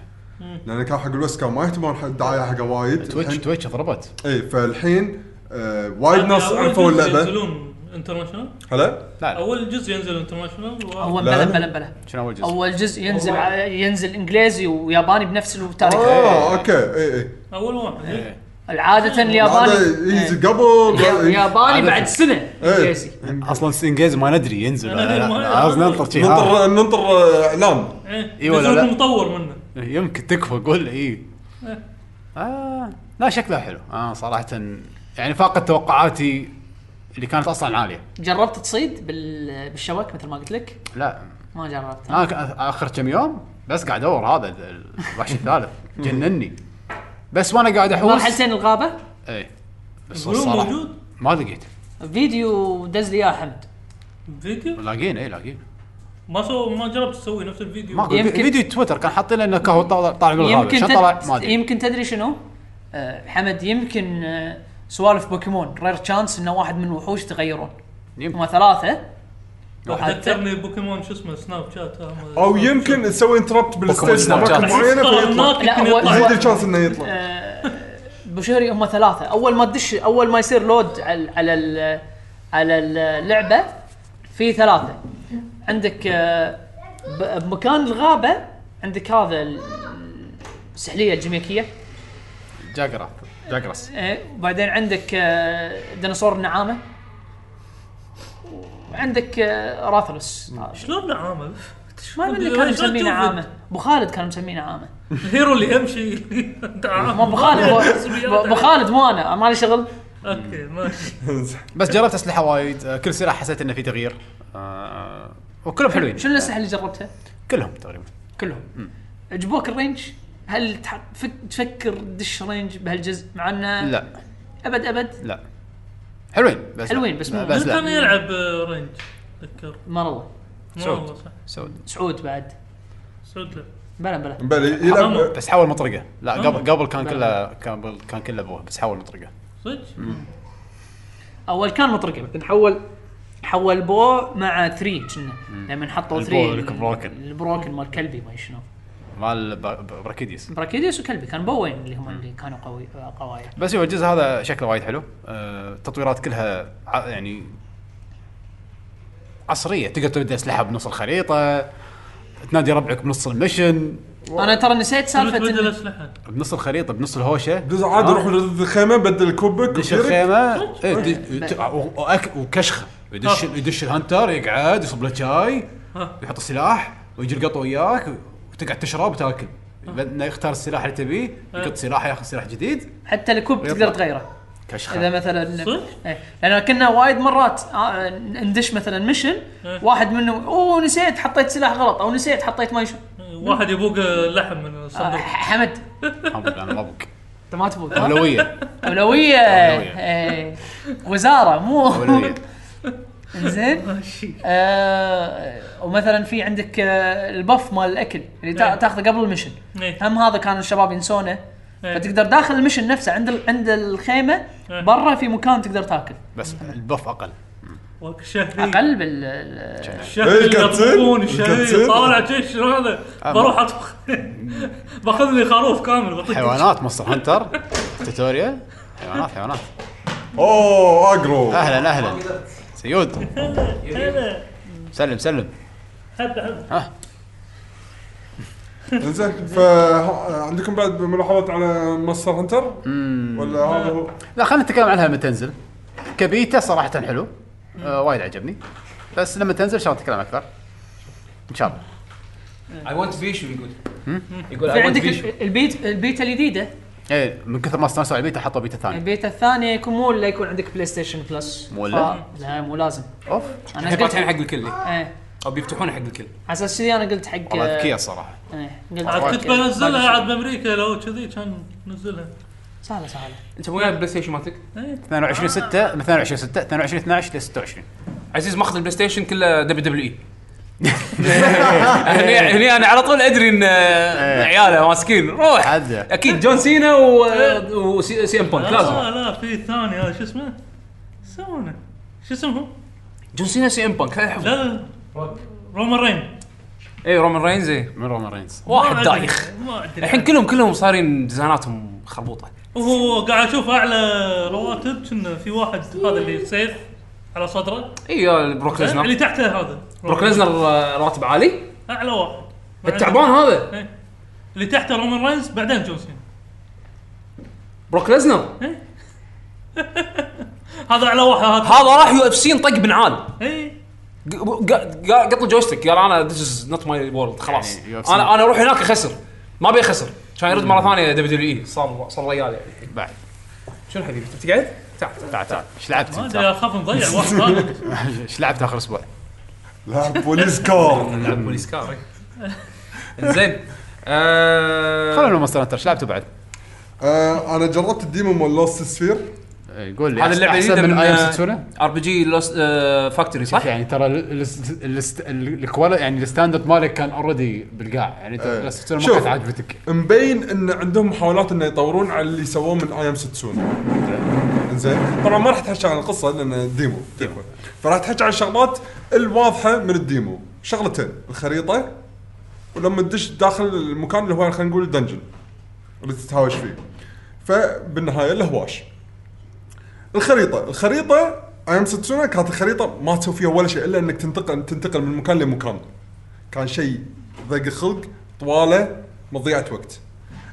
لان كان حق الويست كان ما يهتمون حق الدعايه حقه وايد
تويتش
الحين-
تويتش ضربت
اي فالحين آه وايد ناس عرفوا اللعبه
ينزلون انترناشونال
هلا
لا لا
اول جزء ينزل انترناشونال و-
هو
لا،
بلا
لا.
بلا بلا
شنو اول جزء؟
اول جزء ينزل
والله.
على- ينزل انجليزي وياباني بنفس التاريخ
اه اوكي اي اي
اول واحد
إيه.
العاده الياباني
هذا
إيه.
ينزل قبل
يا- ياباني
عادة.
بعد سنه
إيه.
انجليزي
اصلا انجليزي ما ندري ينزل
أنا أدري،
لا،
ما-
لا، لازم ننطر شيء ها.
إيه. ننطر ننطر آه، اعلان
ايه
إي ولا
ينزلون
لا؟
مطور منه
يمكن تكفى قول اي
إيه.
آه لا شكله حلو آه صراحه يعني فاقت توقعاتي اللي كانت اصلا عاليه
جربت تصيد بال... بالشبك مثل ما قلت لك
لا
ما جربت
انا ك- اخر كم يوم بس قاعد ادور هذا ال- الوحش الثالث جنني أه، بس وانا قاعد
ما
احوس
حسين الغابه
اي بس
يقولون
الصراحه
موجود
ما لقيت
فيديو دز لي اياه حمد
فيديو
لاقين اي لاقين
ما سو ما جربت تسوي نفس الفيديو
إيه، ما يمكن
يمكن-
فيديو تويتر كان حاطين لنا كهو طالع طالع بالغابه
يمكن
شو
تد...
طلع ما ادري
يمكن تدري شنو آه حمد يمكن آه سوالف بوكيمون رير تشانس انه واحد من الوحوش تغيرون
يمكن.
هم ثلاثه لو حتى
ذكرني بوكيمون شو اسمه سناب شات هم-
او يمكن تسوي انتربت بالستيشن
سناب شات.
اماكن معينه فيطلع
لا
لا، هو-
يزيد
هو
الشانس انه يطلع
بشهري هم ثلاثه اول ما تدش اول ما يصير لود على على ال- على اللعبه في ثلاثه عندك آه، ب- بمكان الغابه عندك هذا ال- السحليه الجامايكيه
جاقرا جاقرس
إيه، وبعدين عندك آه، ديناصور النعامه وعندك آه، راثلس
شلون نعامل؟
ما ادري كانوا مسمينه عامه ابو خالد كانوا مسمينه عامه
الهيرو اللي امشي
ما ابو خالد هو- ابو خالد مو انا مالي شغل
اوكي ماشي
بس جربت اسلحه وايد آه، كل سلاح حسيت انه في تغيير آه، وكلهم حلوين
شنو الاسلحه اللي جربتها؟
كلهم تقريبا
كلهم عجبوك الرينج؟ هل تح- فك- تفكر دش رينج بهالجزء مع انه
لا
ابد ابد
لا حلوين بس لا.
حلوين بس مو-
بس
من كان
لا
يلعب آه، رينج اتذكر
ما روى
ما
سعود.
والله صح
سود
سعود بعد
سعود لعب
بلا بلا
بلى يلعب
بس حاول مطرقه لا قبل قبل كان
لا.
كله قبل كان كله ابوه بس حاول مطرقه
صدق؟
اول كان مطرقه بعدين حول حول بو مع 3 كنا لما حطوا
البو
3
البروكن.
البروكن مال كلبي ما شنو
مال بر- بر- بركيديس
براكيديس وكلبي كان بوين اللي هم اللي كانوا قوي قوايا
بس هو الجزء هذا شكله وايد حلو آه، التطويرات كلها ع- يعني عصريه تقدر تبدا اسلحه بنص الخريطه تنادي ربعك بنص المشن
انا ترى نسيت سالفه
تبدل
إن-
اسلحه
بنص الخريطه بنص الهوشه
جزء عادي
آه.
روح للخيمه بدل كوبك
دش
وكيرك.
الخيمه إيه، دي- ت- و- وأك- وكشخه يدش يدش الهنتر يقعد يصب له شاي
ها.
يحط السلاح ويجي القط وياك وتقعد تشرب وتاكل لأنه يختار السلاح اللي تبيه يقط سلاح ياخذ سلاح جديد
حتى الكوب تقدر تغيره اذا
كشخه
مثلا
صدق؟
إيه، لان كنا وايد مرات آه، ندش مثلا مشن
إيه.
واحد منهم اوه نسيت حطيت سلاح غلط او نسيت حطيت ما يشوف
واحد يبوق لحم من
آه،
الصندوق
حمد
الحمد لله انا ما ابوك
انت ما تبوق ها؟
اولويه
اولويه
أولوية.
إيه. وزاره مو
اولويه
زين آه ومثلا في عندك آه البف مال الاكل اللي تا-
إيه.
تاخذه قبل المشن
إيه.
هم هذا كان الشباب ينسونه
إيه.
فتقدر داخل المشن نفسه عند ال- عند الخيمه
إيه.
برا في مكان تقدر تاكل
بس البف اقل
وك شهري
اقل بال ال-
شهري
إيه، الكابتن.
يطبخون الشهري
الكابتن.
طالع شيء شنو هذا بروح اطبخ باخذ لي خروف كامل بطيق
حيوانات مصر هنتر توتوريا حيوانات حيوانات
اوه اجرو
اهلا اهلا سيود
هلا.
سلم سلم
حد حد
ها
زين فعندكم بعد ملاحظات على مصر هنتر؟ ولا هذا هو؟
لا خلينا نتكلم عنها لما تنزل كبيتا صراحه حلو آه وايد عجبني بس لما تنزل ان شاء الله نتكلم اكثر ان شاء الله
اي ونت بيشو يقول يقول
في
اي ونت
عندك
بيشو
ال- البيت البيتا الجديده
ايه من كثر ما استانسوا على البيتا حطوا بيتا
طيب.
ثاني
البيتا الثانيه يكون مو الا يكون عندك بلاي ستيشن بلس
مو إلا؟
ف- لا مو لازم
اوف
انا
الحين فاتحين
قلت
حق الكل
ايه
او بيفتحونه حق الكل
على اساس كذي انا قلت حق
والله
آه،
اذكياء الصراحه
إيه، قلت
عاد
حق-
كنت بنزلها
باقي
عاد بامريكا لو كذي كان نزلها
سهله سهله
انت مو جايب البلاي ستيشن مالتك؟
22 6 من 22 6 22 12 ل 26
عزيز ماخذ البلاي ستيشن كله دبليو دبليو اي هني هني انا على طول ادري ان آه، عياله ماسكين روح
عدى.
اكيد جون سينا و- وسي سي ام بانك لازم
لا آه، لا في ثاني هذا شو اسمه؟ يسمونه شو اسمه؟
جون سينا سي ام بانك هذا حفظ
لا لا رومان رين
اي إيه، رومان رينز إي.
من رومان رينز
واحد
ما أدري-
دايخ
ما ادري
الحين كلهم كلهم صارين ديزايناتهم مخربوطه
وهو قاعد اشوف اعلى رواتب كنا في واحد هذا اللي سيف على صدره إيه،
اي بروك
اللي
نعم.
ليزنر
تحته هذا
بروك ليزنر آه، راتب عالي
اعلى واحد
التعبان هذا
إيه. اللي تحته رومان رينز بعدين جون سينا
بروك ليزنر
هذا اعلى واحد هذا إيه،
هذا راح يو اف سي طق بنعال
اي
ق- ق- ق- قط الجويستيك قال انا ذيس از نوت ماي وورلد خلاص
يعني UFC.
انا انا اروح هناك اخسر ما ابي اخسر كان يرد مره ثانيه دبليو دبليو اي صار صار ريال يعني
بعد
شنو حبيبي انت قاعد؟ تعال تعال.
تعال تعال ايش لعبت
ما
انت؟
ادري اخاف نضيع واحد ثالث
ايش لعبت اخر اسبوع؟
لاعب بوليس كار
نلعب بوليس كار إي. زين آه،
خلونا مونستر هنتر ايش لعبته بعد؟
آه، انا جربت الديمو مال لوست سفير
إيه، قول لي
هذا اللعبه
احسن
الجديده
من
من
آه،
آه،
اي ام ستسونا؟
ار بي جي لوس فاكتوري آه، صح؟
شوف يعني ترى ال- ال- ال- ال- الكوالا يعني الستاندرد مالك كان اوريدي بالقاع يعني انت
إيه.
لا ستسونا ما
شوف.
كانت عاجبتك
مبين ان عندهم محاولات انه يطورون على اللي سووه من اي ام ستسون زين طبعا ما راح تحكي عن القصه لان ديمو فراح تحكي عن الشغلات الواضحه من الديمو شغلتين الخريطه ولما تدش داخل المكان اللي هو خلينا نقول دنجن اللي تتهاوش فيه فبالنهايه الهواش الخريطه الخريطه ايام ستسونا كانت الخريطه ما تسوي فيها ولا شيء الا انك تنتقل تنتقل من مكان لمكان كان شيء ضيق خلق طواله مضيعه وقت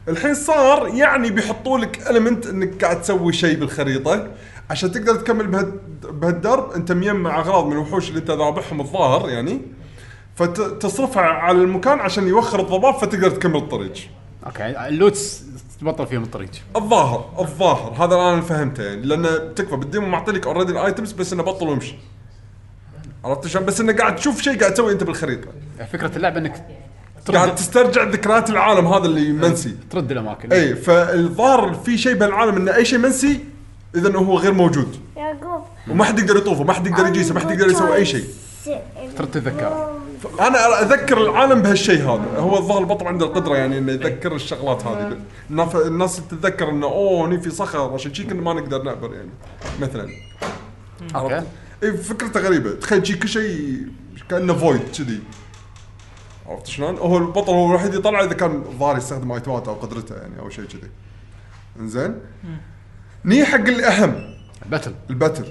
الحين صار يعني بيحطوا لك المنت انك قاعد تسوي شيء بالخريطه عشان تقدر تكمل بهال- بهالدرب انت مجمع اغراض من الوحوش اللي انت ذابحهم الظاهر يعني فتصرفها على المكان عشان يوخر الضباب فتقدر تكمل الطريق
اوكي اللوتس تبطل فيهم الطريق
الظاهر الظاهر هذا اللي انا فهمته يعني لان تكفى بالديمو معطي لك اوريدي الايتمز بس انه بطل وامشي عرفت شلون بس انه قاعد تشوف شيء قاعد تسوي انت بالخريطه
فكره اللعبه انك
قاعد
ترد
تسترجع ذكريات العالم هذا اللي منسي
ترد الاماكن
اي فالظاهر في شيء بهالعالم انه اي شيء منسي اذا هو غير موجود
يعقوب
وما حد يقدر يطوفه ما حد يقدر يجيسه ما حد يقدر يسوي اي شيء
ترد تتذكره.
انا اذكر العالم بهالشيء هذا هو الظاهر البطل عنده القدره يعني انه يذكر الشغلات هذه الناس- الناس تتذكر انه اوه هني في صخر عشان شي كنا ما نقدر نعبر يعني مثلا
اوكي
إيه، اي فكرته غريبه تخيل شي كل شيء كانه فويد كذي عرفت شلون؟ هو البطل هو الوحيد يطلع اذا كان الظاهر يستخدم ايتمات او قدرته يعني او شيء كذي. انزين؟ ني حق الاهم
باتل
الباتل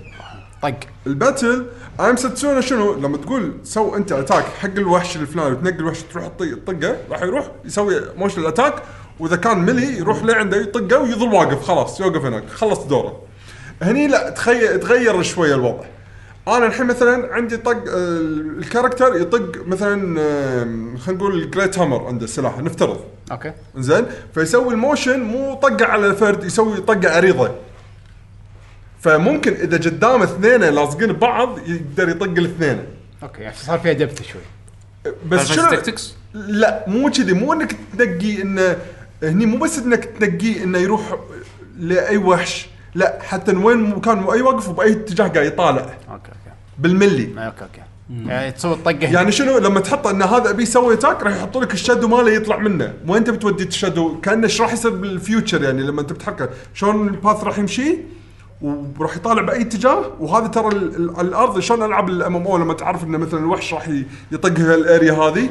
طق
الباتل ايم ستسونا شنو لما تقول سو انت اتاك حق الوحش الفلاني وتنقي الوحش تروح تطي- تطقه راح يروح يسوي موشن الاتاك واذا كان ملي يروح لعنده يطقه ويظل واقف خلاص يوقف هناك خلص دوره هني لا تخيل تغير شويه الوضع انا الحين مثلا عندي طق آه، الكاركتر يطق مثلا آه، خلينا نقول الجريت هامر عنده سلاح نفترض
اوكي
زين فيسوي الموشن مو طقه على فرد يسوي طقه عريضه فممكن اذا قدام اثنين لاصقين ببعض يقدر يطق الاثنين
اوكي يعني صار فيها دبث شوي
بس شنو
تكتكس
لا مو كذي مو انك تنقي انه هني مو بس انك تنقي انه يروح لاي وحش لا حتى وين مكان اي وقف وباي اتجاه قاعد يطالع
اوكي اوكي
بالملي
اوكي اوكي يعني تسوي الطقه هنا.
يعني شنو لما تحط ان هذا ابي يسوي تاك راح يحط لك الشادو ماله يطلع منه وانت بتودي الشادو كانه ايش راح يصير بالفيوتشر يعني لما انت بتحركه شلون الباث راح يمشي وراح يطالع باي اتجاه وهذا ترى ال- ال- الارض شلون العاب الام ام او لما تعرف انه مثلا الوحش راح ي- يطق هالاريا هذه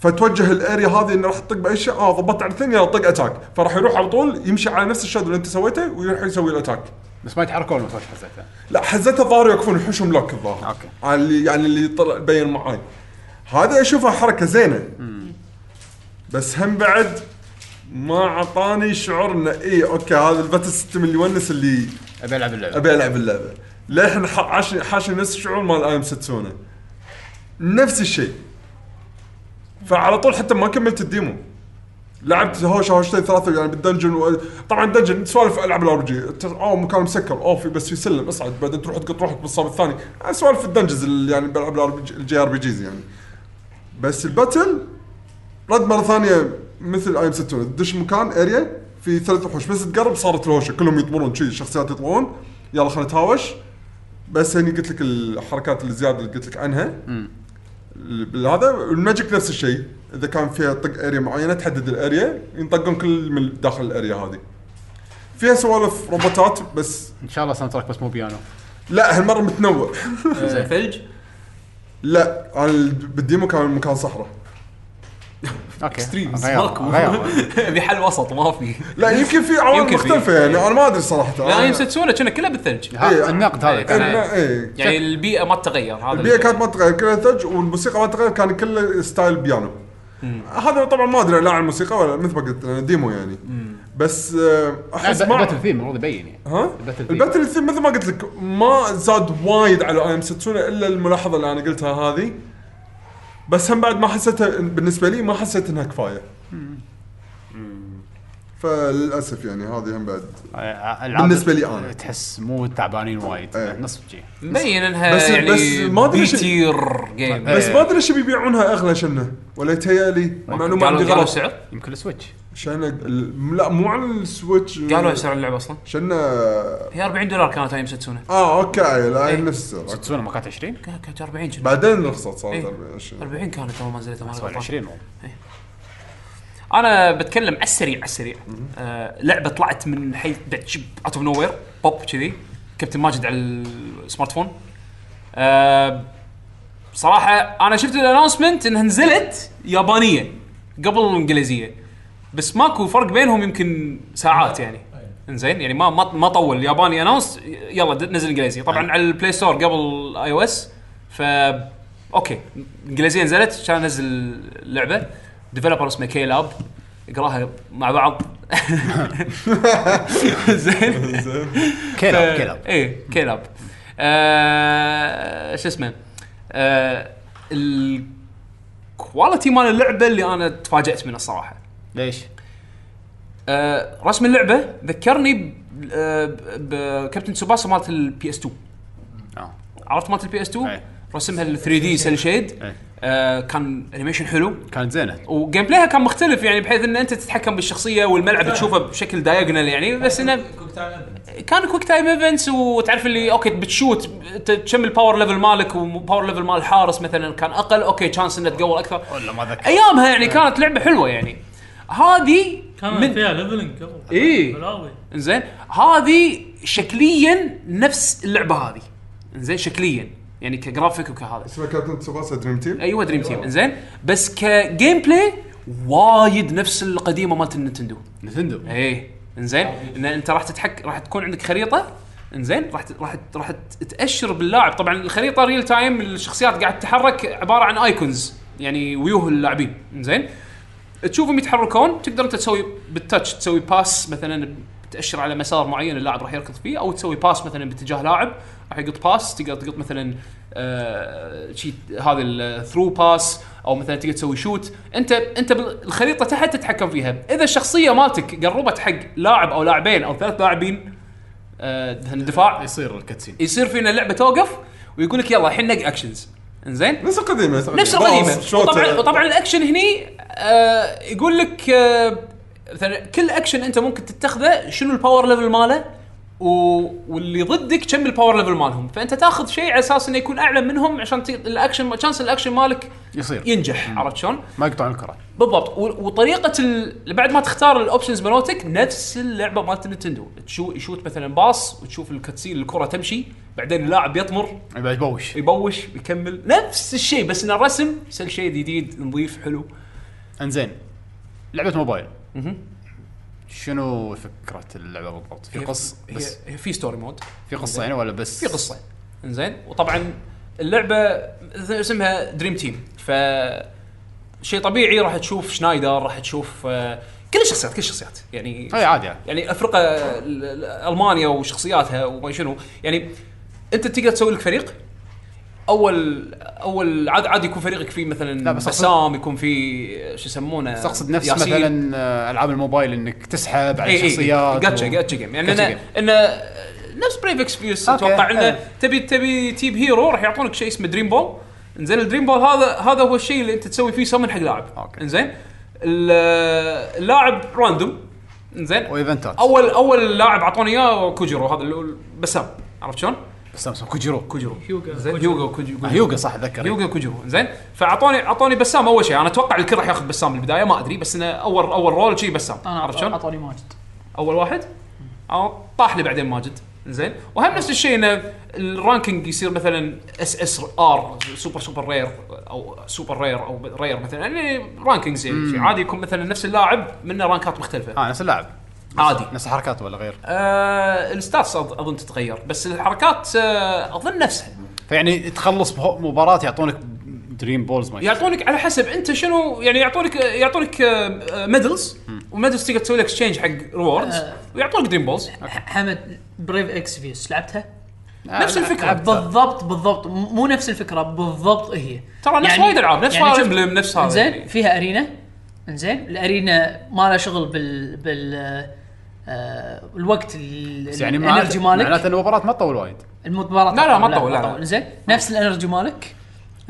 فتوجه الاريا هذه انه راح تطق باي شيء اه ضبطت على الثانيه طق اتاك فراح يروح على طول يمشي على نفس الشادو اللي انت سويته ويروح يسوي الاتاك
بس ما يتحركون المفروض حسيته
لا حزتها الظاهر يوقفون يحوشهم لوك الظاهر
أوكي.
على اللي يعني اللي طلع بين معاي هذا اشوفها حركه زينه بس هم بعد ما اعطاني شعور انه اي اوكي هذا الباتل سيستم اللي يونس اللي
ابي العب اللعبه
ابي العب اللعبه للحين ح- عاش- حاشني نفس الشعور مال ايم ستسونا نفس الشيء فعلى طول حتى ما كملت الديمو لعبت هوشه هوشتين ثلاثه يعني بالدنجن و... طبعا الدنجن سوالف العاب الار جي اوه مكان مسكر اوه في بس في سلم اصعد بعدين تروح تقط روحك بالصاب الثاني يعني سوالف الدنجز اللي يعني بالعاب الار الجي ار بي جيز يعني بس الباتل رد مره ثانيه مثل ايم 60 تدش مكان اريا في ثلاث وحوش بس تقرب صارت الهوشه كلهم يطمرون شي الشخصيات يطلعون يلا خلينا نتهاوش بس هني قلت لك الحركات الزياده اللي قلت لك عنها ال- هذا الماجيك نفس الشيء اذا كان فيها طق اريا معينه تحدد الاريا ينطقون كل من داخل الاريا هذه فيها سوالف روبوتات بس
ان شاء الله ساوند تراك بس مو بيانو
لا هالمره متنوع
ثلج
لا انا بالديمو كان مكان صحراء
اوكي
Extremes.
غير
ماكو.
غير
ابي حل وسط ما في
لا يمكن في عوامل
يمكن في.
مختلفه يعني انا ما ادري صراحه
لا يمسكونه كنا كله بالثلج
إيه.
ها، النقد هذا
إيه،
كان
لا، إيه.
يعني البيئه ما تتغير هذا
البيئه كانت ما تتغير كلها ثلج والموسيقى ما تتغير كان كله ستايل بيانو هذا طبعا ما ادري لا عن الموسيقى ولا مثل ما قلت أنا ديمو يعني بس آه، احس ما
الباتل ثيم المفروض يبين يعني
ها؟
الباتل ثيم.
الباتل ثيم مثل ما قلت لك ما زاد وايد على اي ام ستسونا الا الملاحظه اللي انا قلتها هذه بس هم بعد ما حسيتها بالنسبه لي ما حسيت انها كفايه فللاسف يعني هذه هم بعد
آه، ألعاب
بالنسبة لي أنا.
تحس مو تعبانين وايد
إيه.
نص شي
مبين انها
بس-
يعني
بس ما أدري شو-
بيتير جيم
إيه.
بس ما ادري ايش بيبيعونها اغلى شنه ولا يتهيألي معلومه
قالوا
عندي
قالوا
غلط
السعر
يمكن السويتش
شنه ال- لا مو على السويتش
قالوا سعر اللعبه اصلا
شنه
هي 40 دولار كانت ايام ستسونه
اه اوكي
إيه.
لا نفس السعر
تسوون ما كانت 20
كانت 40 كنا.
بعدين رخصت صارت
إيه.
40 20
40 كانت اول ما نزلت ما أنا
سؤال
غلطان.
20 مو
انا بتكلم على السريع على السريع آه لعبه طلعت من حيث دتشب اوت اوف نو وير بوب كذي كابتن ماجد على السمارت فون آه صراحه انا شفت الانونسمنت انها نزلت يابانيه قبل الانجليزيه بس ماكو فرق بينهم يمكن ساعات يعني انزين يعني ما ما ما طول الياباني انونس يلا د- نزل انجليزي طبعا على البلاي ستور قبل اي او اس ف اوكي انجليزيه نزلت كان انزل اللعبه ديفلوبر اسمه كي لاب اقراها مع بعض زين آه،
كلب كلب
اي كيلاب إيه، آه، شو اسمه آه، الكواليتي مال اللعبه اللي انا تفاجات منه الصراحه
ليش؟
آه، رسم اللعبه ذكرني ب- آه، ب- بكابتن سوباسا مالت البي اس 2
اه
عرفت مالت البي اس 2
أي.
رسمها ال 3 دي سيل شيد
أي.
آه، كان انيميشن حلو
كانت زينه
وجيم بلايها كان مختلف يعني بحيث ان انت تتحكم بالشخصيه
إيه.
والملعب تشوفه بشكل دايجونال يعني بس انه كان كويك تايم ايفنتس وتعرف اللي اوكي بتشوت ت- تشم الباور ليفل مالك وباور ليفل مال الحارس مثلا كان اقل اوكي تشانس انه تقوى اكثر
ولا ما ذكر
ايامها يعني كانت لعبه حلوه يعني هذه
كان فيها ليفلنج قبل
إيه.
بلاوي
انزين هذه شكليا نفس اللعبه هذه انزين شكليا يعني كجرافيك وكهذا
اسمه كابتن سباسا دريم تيم
ايوه دريم تيم انزين بس كجيم بلاي وايد نفس القديمه مالت النتندو
نتندو
ايه انزين ان انت راح تتحك راح تكون عندك خريطه انزين راح ت- راح ت- راح ت- تاشر باللاعب طبعا الخريطه ريل تايم الشخصيات قاعد تتحرك عباره عن ايكونز يعني ويوه اللاعبين انزين تشوفهم يتحركون تقدر انت تسوي بالتاتش تسوي باس مثلا تاشر على مسار معين اللاعب راح يركض فيه او تسوي باس مثلا باتجاه لاعب راح يقط باس تقدر تقط مثلا آه شيء هذا الثرو باس او مثلا تقدر تسوي شوت انت انت بال- الخريطه تحت تتحكم فيها اذا الشخصيه مالتك قربت حق لاعب او لاعبين او ثلاث لاعبين آه دفاع
يصير الكاتسين
يصير فينا اللعبه توقف ويقول لك يلا الحين نق اكشنز انزين
نفس القديمه
نفس القديمه وطبعا وطبعا الاكشن هني آه يقول لك آه مثلا كل اكشن انت ممكن تتخذه شنو الباور ليفل ماله و... واللي ضدك كم الباور ليفل مالهم فانت تاخذ شيء على اساس انه يكون اعلى منهم عشان ت... الاكشن شانس الاكشن مالك
يصير
ينجح عرفت شلون؟
ما يقطعون الكره
بالضبط و... وطريقه ال... بعد ما تختار الاوبشنز مالتك نفس اللعبه مالت نتندو تشو... يشوت مثلا باص وتشوف الكتسين الكره تمشي بعدين اللاعب يطمر
بعد بوش
يبوش يكمل نفس الشيء بس ان الرسم سل شيء جديد نظيف حلو
انزين لعبه موبايل شنو فكره اللعبه بالضبط؟ في قصه
هي-
بس
هي في ستوري مود
في قصه يعني ولا بس
في قصه انزين وطبعا اللعبه اسمها دريم تيم ف شيء طبيعي راح تشوف شنايدر راح تشوف آه، كل الشخصيات كل الشخصيات يعني
اي عادي يعني
يعني افرقه ال- ال- المانيا وشخصياتها وما شنو يعني انت تقدر تسوي لك فريق اول اول عاد عاد يكون فريقك فيه مثلا
لا، بس أقصد-
بسام يكون فيه شو يسمونه
بس اقصد نفس
ياسين.
مثلا آه، العاب الموبايل انك تسحب
إيه،
على شخصيات
جاتشا
و-
جاتشا جيم يعني
جاتشا
انه انه نفس بريف اكسبيوس
أوكي، إيه.
اتوقع انه
حلو.
تبي تبي تجيب هيرو راح يعطونك شيء اسمه دريم بول انزين الدريم بول هذا هذا هو الشيء اللي انت تسوي فيه سمن حق لاعب
أوكي.
انزين ال- اللاعب راندوم انزين
وايفنتات
اول اول لاعب اعطوني اياه كوجيرو هذا اللي هو بسام عرفت شلون؟
سامسونج كوجيرو كوجيرو
زين يوغا كوجيرو
آه، هيوغا صح اتذكر
يوغا كوجيرو زين فاعطوني اعطوني بسام اول شيء انا اتوقع الكل راح ياخذ بسام بالبدايه ما ادري بس انه اول اول رول شي بسام
انا
عرفت شلون؟
اعطوني ماجد
اول واحد أو طاح لي بعدين ماجد زين وهم نفس الشيء انه الرانكينج يصير مثلا اس اس ار سوبر سوبر رير او سوبر رير او رير مثلا يعني رانكينجز يعني شيء عادي يكون مثلا نفس اللاعب منه رانكات مختلفه
اه نفس اللاعب
عادي
نفس حركاته ولا غير
آه الستاتس أظ- اظن تتغير بس الحركات آه اظن نفسها
فيعني تخلص بهو- مباراه يعطونك دريم بولز ما
يعطونك على حسب انت شنو يعني يعطونك يعطونك آه، ميدلز وميدلز تقدر تسوي لك اكسشينج حق ريوردز
آه.
ويعطونك دريم بولز
حمد بريف اكس فيوس لعبتها؟
نفس الفكره
بالضبط بالضبط م- مو نفس الفكره بالضبط هي
ترى نفس
يعني-
وايد العاب نفس
يعني
فاير
شوف-
امبلم نفس هذا
زين
يعني.
فيها ارينا زين الارينا ما لها شغل بال بال آه الوقت ال-
بس يعني
الانرجي
معناته
مالك
معناته إن المباراه ما تطول وايد
المباراه
لا، لا، ما
طبعاً،
طول، لا، لا.
طول. زين نفس الانرجي مالك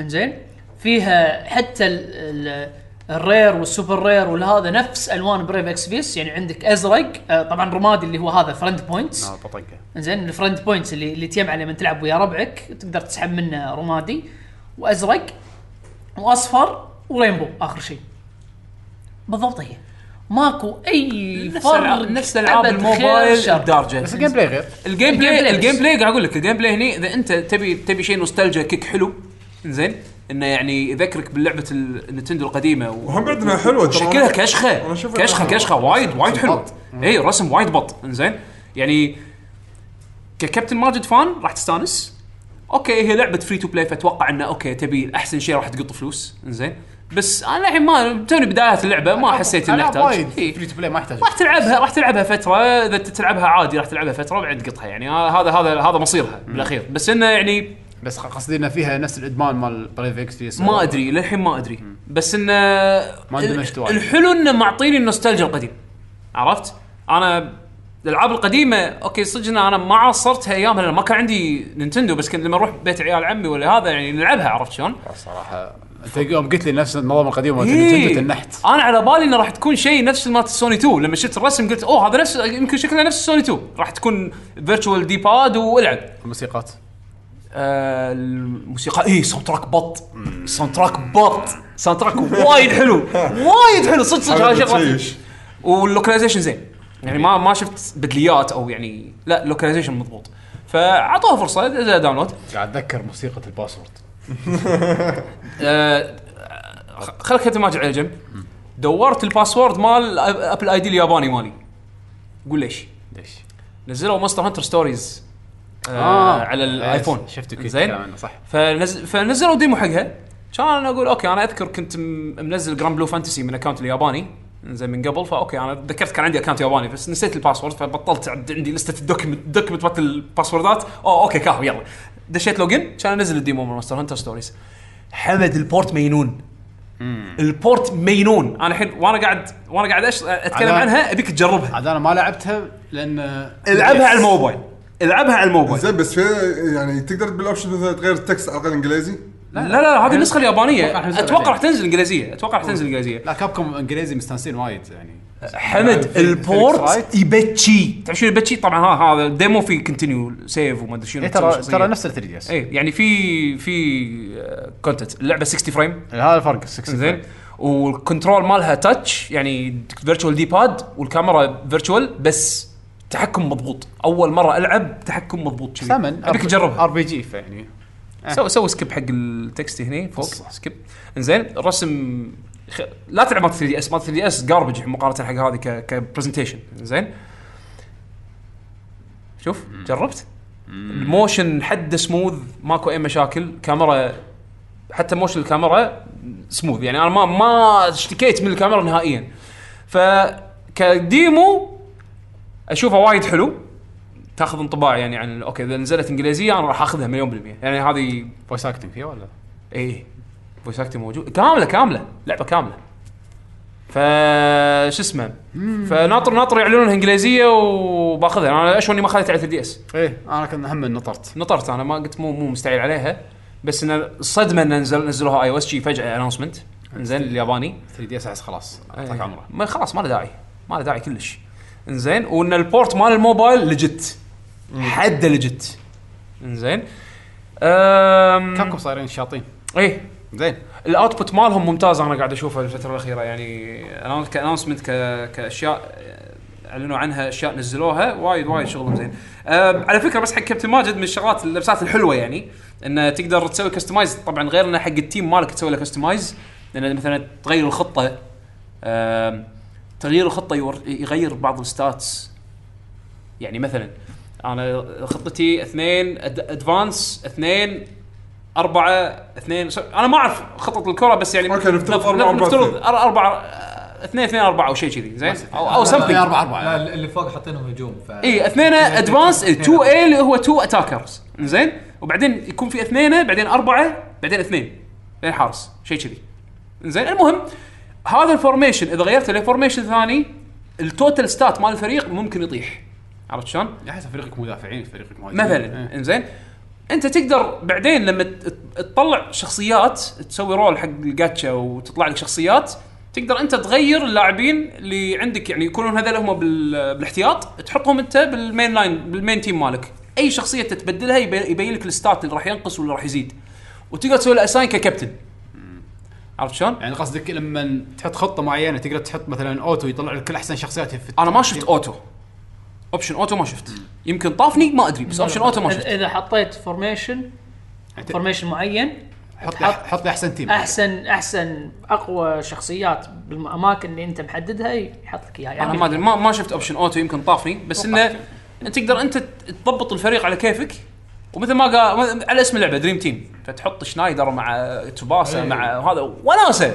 انزين فيها حتى ال ال الرير والسوبر رير والهذا نفس الوان بريف اكس بيس يعني عندك ازرق آه، طبعا رمادي اللي هو هذا فرند بوينتس
نعم.
اه بطنكه
زين الفرند بوينتس اللي اللي تجمع لما تلعب ويا ربعك تقدر تسحب منه رمادي وازرق واصفر ورينبو اخر شيء بالضبط هي ماكو اي
نفس
فرق
الألعاب- نفس العاب
أبد خير
الموبايل
شر.
الدارجه
بس الجيم بلاي غير
الجيم
الجيم
بلاي
بلاي
الجيم
بس.
بلاي قاعد اقول لك الجيم بلاي هني اذا انت تبي تبي شيء نوستالجيا كيك حلو زين انه يعني يذكرك بلعبه النتندو القديمه و...
وهم بعدنا حلوه ترى.
شكلها
أنا
كشخه
أشوفها
كشخه
حلوة.
كشخه وايد وايد حلو
بط.
اي رسم وايد بط انزين يعني ككابتن ماجد فان راح تستانس اوكي هي لعبه فري تو بلاي فاتوقع انه اوكي تبي احسن شيء راح تقط فلوس انزين بس انا الحين ما توني بدايات اللعبه ما حسيت إيه. اني
ألعاب
احتاج
وايد
إي.
فري تو بلاي ما يحتاج
راح تلعبها راح تلعبها فتره اذا انت تلعبها عادي راح تلعبها فتره وبعدين تقطها يعني ها- هذا هذا هذا مصيرها بالاخير بس انه يعني
بس خ- قصدي انه فيها نفس الادمان مال بريف اكس
ما ادري للحين ما ادري بس انه
ما اندمجت وايد.
الحلو انه معطيني النوستالجيا القديم عرفت؟ انا الالعاب القديمه اوكي صدق إن انا ما عاصرتها ايامها لأن ما كان عندي نينتندو بس كنت لما اروح بيت عيال عمي ولا هذا يعني نلعبها عرفت شلون؟
صراحه انت يوم قلت لي نفس النظام القديم مال
إيه.
نتندو تنحت
انا على بالي انه راح تكون شيء نفس مالت سوني 2 لما شفت الرسم قلت اوه هذا نفس يمكن شكلها نفس سوني 2 راح تكون فيرتشوال دي باد والعب
الموسيقات
آه، الموسيقى اي ساوند تراك بط ساوند تراك بط ساوند تراك وايد حلو وايد حلو صدق صدق هذا
هذا
شغله
بتشيش.
واللوكلايزيشن زين يعني ما ما شفت بدليات او يعني لا اللوكلايزيشن مضبوط فعطوها فرصه نزلها داونلود
قاعد اتذكر موسيقى الباسورد
آه، خ- خلك هذا الماجد على جنب دورت الباسورد مال أب- ابل اي دي الياباني مالي قول ليش
ليش؟
نزلوا مونستر هانتر ستوريز آه على الايفون
شفت
زين
كلام عنه صح
فنزل فنزلوا ديمو حقها كان انا اقول اوكي انا اذكر كنت م- منزل جراند بلو فانتسي من اكونت الياباني زين من قبل فاوكي انا تذكرت كان عندي اكونت ياباني بس نسيت الباسورد فبطلت عد- عندي لسته الدوكيمنت الدوكيمنت مالت الباسوردات اوه اوكي كاهو يلا دشيت لوجن كان انزل الديمو من ماستر هانتر ستوريز حمد البورت مينون البورت مينون انا الحين وانا قاعد وانا قاعد أش- اتكلم
أنا-
عنها ابيك تجربها
عاد انا ما لعبتها لان
العبها على الموبايل العبها على الموبايل
زين بس في يعني تقدر بالاوبشن مثلا تغير التكست على الاقل انجليزي
لا لا, لا هذه النسخه
أتوقع
اليابانيه
حنزل
اتوقع
بعدين.
راح تنزل انجليزيه اتوقع راح تنزل انجليزيه
لا كابكم انجليزي مستانسين وايد يعني
حمد
في- فيليكس
البورت
رايت.
يبتشي تعرف شنو يبتشي طبعا ها هذا ديمو في كونتينيو سيف وما ادري شنو
إيه
تسوي
ترى إيه.
شخصية.
ترى نفس ال 3 دي اس
اي يعني في آه، في كونتنت اللعبه 60 فريم
يعني هذا الفرق 60
زين والكنترول مالها تاتش يعني فيرتشوال دي باد والكاميرا فيرتشوال بس تحكم مضبوط اول مره العب تحكم مضبوط كذي.
ثمن
ابيك تجربها
ار بي جي فيعني
سو سو سكيب حق التكست هنا فوق سكيب انزين الرسم خ... لا تلعب مال 3 دي اس مال 3 دي اس جاربج مقارنه حق هذه ك كبرزنتيشن زين شوف جربت الموشن حد سموث ماكو اي مشاكل كاميرا حتى موشن الكاميرا سموث يعني انا ما ما اشتكيت من الكاميرا نهائيا ف كديمو اشوفه وايد حلو تاخذ انطباع يعني عن اوكي اذا نزلت انجليزيه انا راح اخذها مليون بالميه يعني هذه
فويس اكتنج فيه ولا؟
ايه فويس اكتنج موجود كامله كامله لعبه كامله ف شو اسمه فناطر ناطر يعلنونها انجليزيه وباخذها انا اشو اني ما اخذت على 3 دي اس
ايه انا كنت هم نطرت
نطرت انا ما قلت مو مو مستعيل عليها بس ان الصدمه ان نزل نزلوها اي او اس شي فجاه اناونسمنت انزين الياباني
3 دي اس احس خلاص
إيه.
اعطاك عمره
ما خلاص ما له داعي ما له داعي كلش انزين وان البورت مال الموبايل لجت حده لجت انزين أم...
كابكم صايرين شاطين
ايه
زين
الاوتبوت مالهم ممتاز انا قاعد اشوفه الفتره الاخيره يعني أنا كانونسمنت ك... كاشياء آه، اعلنوا عنها اشياء نزلوها وايد وايد شغلهم زين أه على فكره بس حق كابتن ماجد من الشغلات اللبسات الحلوه يعني انه تقدر تسوي كستمايز طبعا غير انه حق التيم مالك تسوي له كستمايز لان مثلا تغير الخطه آم، تغيير الخطه يور- يغير بعض الستاتس يعني مثلا انا خطتي اثنين أد- ادفانس اثنين أربعة اثنين س- أنا ما أعرف خطط الكرة بس يعني
أوكي، نفترض
نف-
أربعة، أربعة،
نفترض
اثنين.
أر- أربعة آه، اثنين اثنين أربعة أو شيء كذي زين أو أو
أربعة،
سمثينج
أربعة، أربعة.
لا اللي فوق حاطينهم هجوم ف
إيه،
اي إيه، اثنين ادفانس 2 اي اللي هو 2 اتاكرز زين وبعدين يكون في اثنين بعدين اربعه بعدين اثنين بعدين حارس شيء كذي زين المهم هذا الفورميشن اذا غيرته لفورميشن ثاني التوتال ستات مال الفريق ممكن يطيح عرفت شلون؟
احس فريقك مدافعين فريقك مهاجمين إيه.
مثلا انزين انت تقدر بعدين لما ت- تطلع شخصيات تسوي رول حق الجاتشا وتطلع لك شخصيات تقدر انت تغير اللاعبين اللي عندك يعني يكونون هذول هم بال- بالاحتياط تحطهم انت بالمين لاين بالمين تيم مالك اي شخصيه تتبدلها يبي- يبين لك الستات اللي راح ينقص واللي راح يزيد وتقدر تسوي له اساين ككابتن عرفت شلون؟
يعني قصدك لما تحط خطه معينه تقدر تحط مثلا اوتو يطلع لك كل احسن شخصيات في
انا ما شفت اوتو اوبشن اوتو ما شفت يمكن طافني ما ادري بس اوبشن اوتو ما
إذا-
شفت
اذا حطيت فورميشن فورميشن معين
حط
حط-
حط لي احسن تيم
احسن احسن اقوى شخصيات بالاماكن اللي انت محددها يحط لك يعني اياها
انا يعني ما ادري ما ما شفت اوبشن اوتو يمكن طافني بس انه تقدر انت تضبط الفريق على كيفك ومثل ما قال على اسم اللعبه دريم تيم فتحط شنايدر مع توباسا مع هذا وناسه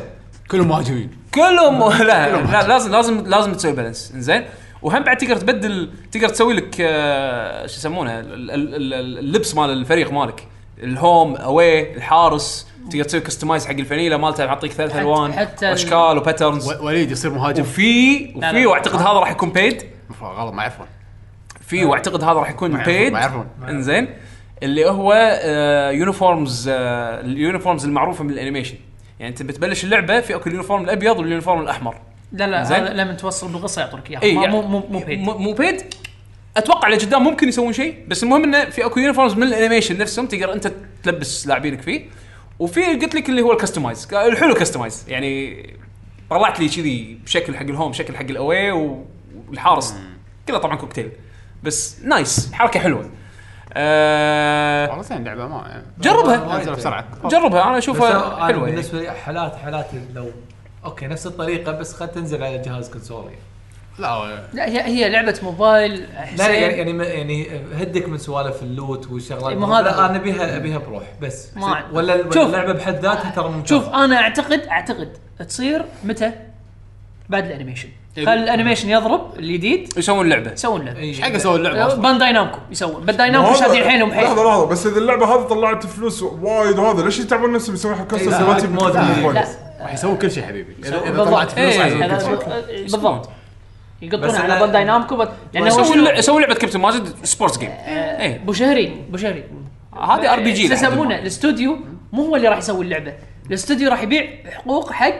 كلهم مهاجمين
كلهم لا, لا لازم لازم لازم تسوي بالانس زين وهم بعد تقدر تبدل تقدر تسوي لك آه، شو يسمونه ال- ال- ال- ال- اللبس مال الفريق مالك الهوم اواي الحارس تقدر تسوي كستمايز حق الفانيلا مالته يعطيك ثلاث
حتى-
الوان
حتى ال-
واشكال وباترنز
و- وليد يصير مهاجم
وفي وفي
لا.
واعتقد هذا راح يكون بيد
مفروض غلط ما يعرفون
في واعتقد هذا راح يكون
يعرفون،
بيد
ما يعرفون.
انزين اللي هو آه، يونيفورمز آه، اليونيفورمز المعروفه من الانيميشن يعني انت بتبلش اللعبه في اكو اليونيفورم الابيض واليونيفورم الاحمر
لا لا
زين.
هذا لما توصل بالقصه يعطوك اياها
اي
ما-
يعني-
مو مو مو بيد.
مو بيد اتوقع لقدام ممكن يسوون شيء بس المهم انه في اكو يونيفورمز من الانيميشن نفسهم تقدر انت تلبس لاعبينك فيه وفي قلت لك اللي هو الكستمايز الحلو كستمايز يعني طلعت لي كذي بشكل حق الهوم شكل حق الاواي والحارس كله طبعا كوكتيل بس نايس حركه حلوه آه
آه.
والله زين لعبه ما يعني
جربها
انزلها بسرعه
جربها انا
بس
اشوفها
أنا
حلوه يعني.
بالنسبه لي حالات حالات لو اوكي نفس الطريقه بس خد تنزل على جهاز كونسول يعني
لا
لا هي هي لعبه موبايل
لا يعني
حسين
يعني ما- يعني هدك من سوالف اللوت والشغلات
إيه، ما هذا
لا
هو.
انا بيها بيها بروح بس
ما عندي.
ولا ال-
شوف.
اللعبه بحد ذاتها ترى ممتازة.
شوف انا اعتقد اعتقد تصير متى؟ بعد الانيميشن خل الانيميشن يضرب الجديد
يسوون لعبه
يسوون
إيه.
له
ايش حق اسوي اللعبه اصلا
بانداي نامكو يسوون بانداي نامكو شادين حيلهم
لحظه
حيل
لحظه بس اذا اللعبه هذه طلعت فلوس وايد وهذا ليش يتعبون نفسهم يسوون حق كاستم
إيه، لا،
سوالف
عاد مود
بالموبايل؟
يعني.
لا
راح يسوي كل شيء حبيبي إذا- اذا
بالضبط.
طلعت فلوس راح
إيه،
يسوي كل شيء
هذا-
بالضبط
يقطون
بس
على
أنا-
بانداي نامكو بس- لانه يعني هو
يسوون
شنو؟ آه.
لع- يسوون لعبه كابتن ماجد سبورتس جيم اي
ابو شهري ابو شهري
هذه ار بي جي
شو آه، يسمونه الاستوديو مو هو اللي راح يسوي اللعبه الاستوديو راح يبيع حقوق حق
اي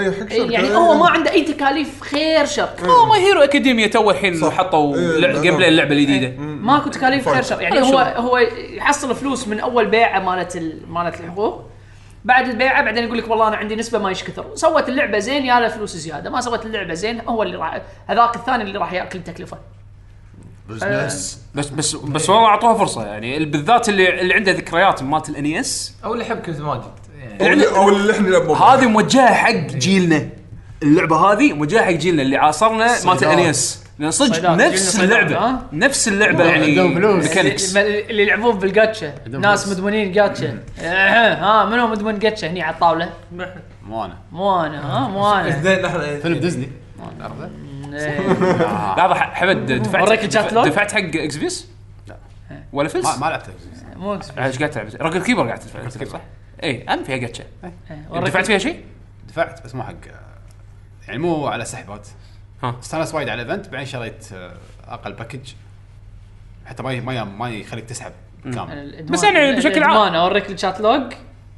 إيه، حق شركه
يعني
إي.
هو ما عنده اي تكاليف خير شر
اه ما هيرو اكاديميا تو الحين
صح.
حطوا
إيه،
لع-
لا،
جيم
لا. إيه.
بلاي اللعبه الجديده
ماكو تكاليف
فاهم.
خير شر يعني هو هو يحصل فلوس من اول بيعه مالت ال- مالت الحقوق بعد البيعه بعدين يقول لك والله انا عندي نسبه ما ايش كثر سوت اللعبه زين يا له فلوس زياده ما سوت اللعبه زين هو اللي راح هذاك الثاني اللي راح ياكل تكلفه
بزنس
بس بس بس والله اعطوها فرصه يعني ال- بالذات اللي اللي عنده ذكريات مالت E الان اس
او اللي حب كابتن ماجد يعني
او اللي- او اللي احنا نلعب موبايل.
هذه موجهه حق
إيه.
جيلنا اللعبه هذه موجهه حق جيلنا اللي عاصرنا مالت الان اس لان صدق
صيدات،
نفس
جيلنا صيدات،
اللعبه
ها؟
نفس اللعبه يعني
عندهم فلوس.
ميكانكس
اللي اللي يلعبون بالجاتشا
عندهم
ناس
فلوس.
مدمنين جاتشا آه، ها منو مدمن جاتشا هني على الطاوله
مو انا
مو انا ها مو انا
اثنين نحن
يعني
فيلم ديزني ما تعرفه
إيه.
لحظه آه. ح- حمد دفعت
أوريك الشات لوج؟
دفعت حق اكس بيس؟ لا ولا فلس؟
ما ما لعبته
مو إكس بي.
ايش قاعد تلعب؟ رقم كيبر قاعد تدفع صح؟ اي ام فيها جاتشا
إيه،
دفعت فيها شيء؟
دفعت بس مو حق يعني مو على سحبات
ها.
استانس وايد على الايفنت بعدين شريت آه، اقل باكج حتى ما ي- ما ي- ما يخليك تسحب كامل
الإدمان-
بس يعني بشكل عام.
الادمان اوريك الشات لوج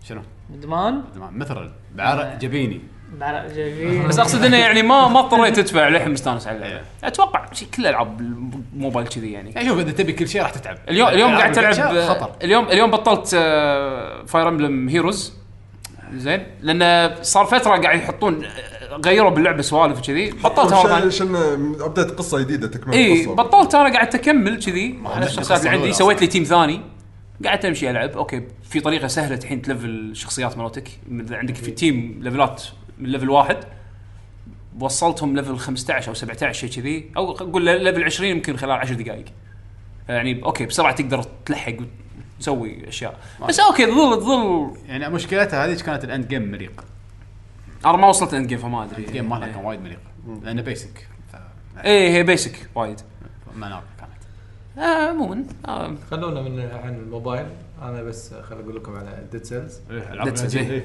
شنو؟
ادمان
مثل
إيه.
بعرق جبيني
بعرق جميل.
بس اقصد انه يعني ما ما اضطريت تدفع للحين مستانس على اللعبه
إيه.
اتوقع شي- كل العاب الموبايل كذي يعني
يعني شوف اذا تبي كل شيء راح تتعب
اليوم اليوم قاعد
إيه، ألعاب
تلعب
الجاتشا خطر
اليوم اليوم بطلت آه، فاير امبلم هيروز زين لان صار فتره قاعد يحطون آه، غيروا باللعبه سوالف وكذي بطلتها مره ثانيه
عشان ابديت قصه جديده تكمله
إيه،
اي
قصة.
إيه، بطلت انا قاعد اكمل كذي على
نفس
الشخصيات
القصة
اللي عندي
الأولى
سويت لي
أصلاً.
تيم ثاني قعدت امشي العب اوكي في طريقه سهله الحين تلفل الشخصيات مالتك من- عندك في تيم ليفلات من ليفل واحد وصلتهم ليفل 15 او 17 شيء كذي او خل- قول ليفل 20 يمكن خلال 10 دقائق يعني اوكي بسرعه تقدر تلحق وتسوي اشياء بس اوكي تظل تظل
يعني مشكلتها هذيك كانت الاند جيم مريق
انا ما وصلت اند جيم فما ادري
الجيم مالها كان وايد مريق لانه بيسك
اي إيه، هي بيسك وايد
مناقه كانت
آه، عموما آه،
خلونا من عن الموبايل انا بس خل اقول لكم على ديد سيلز
Dead Cells، إيه.
إيه.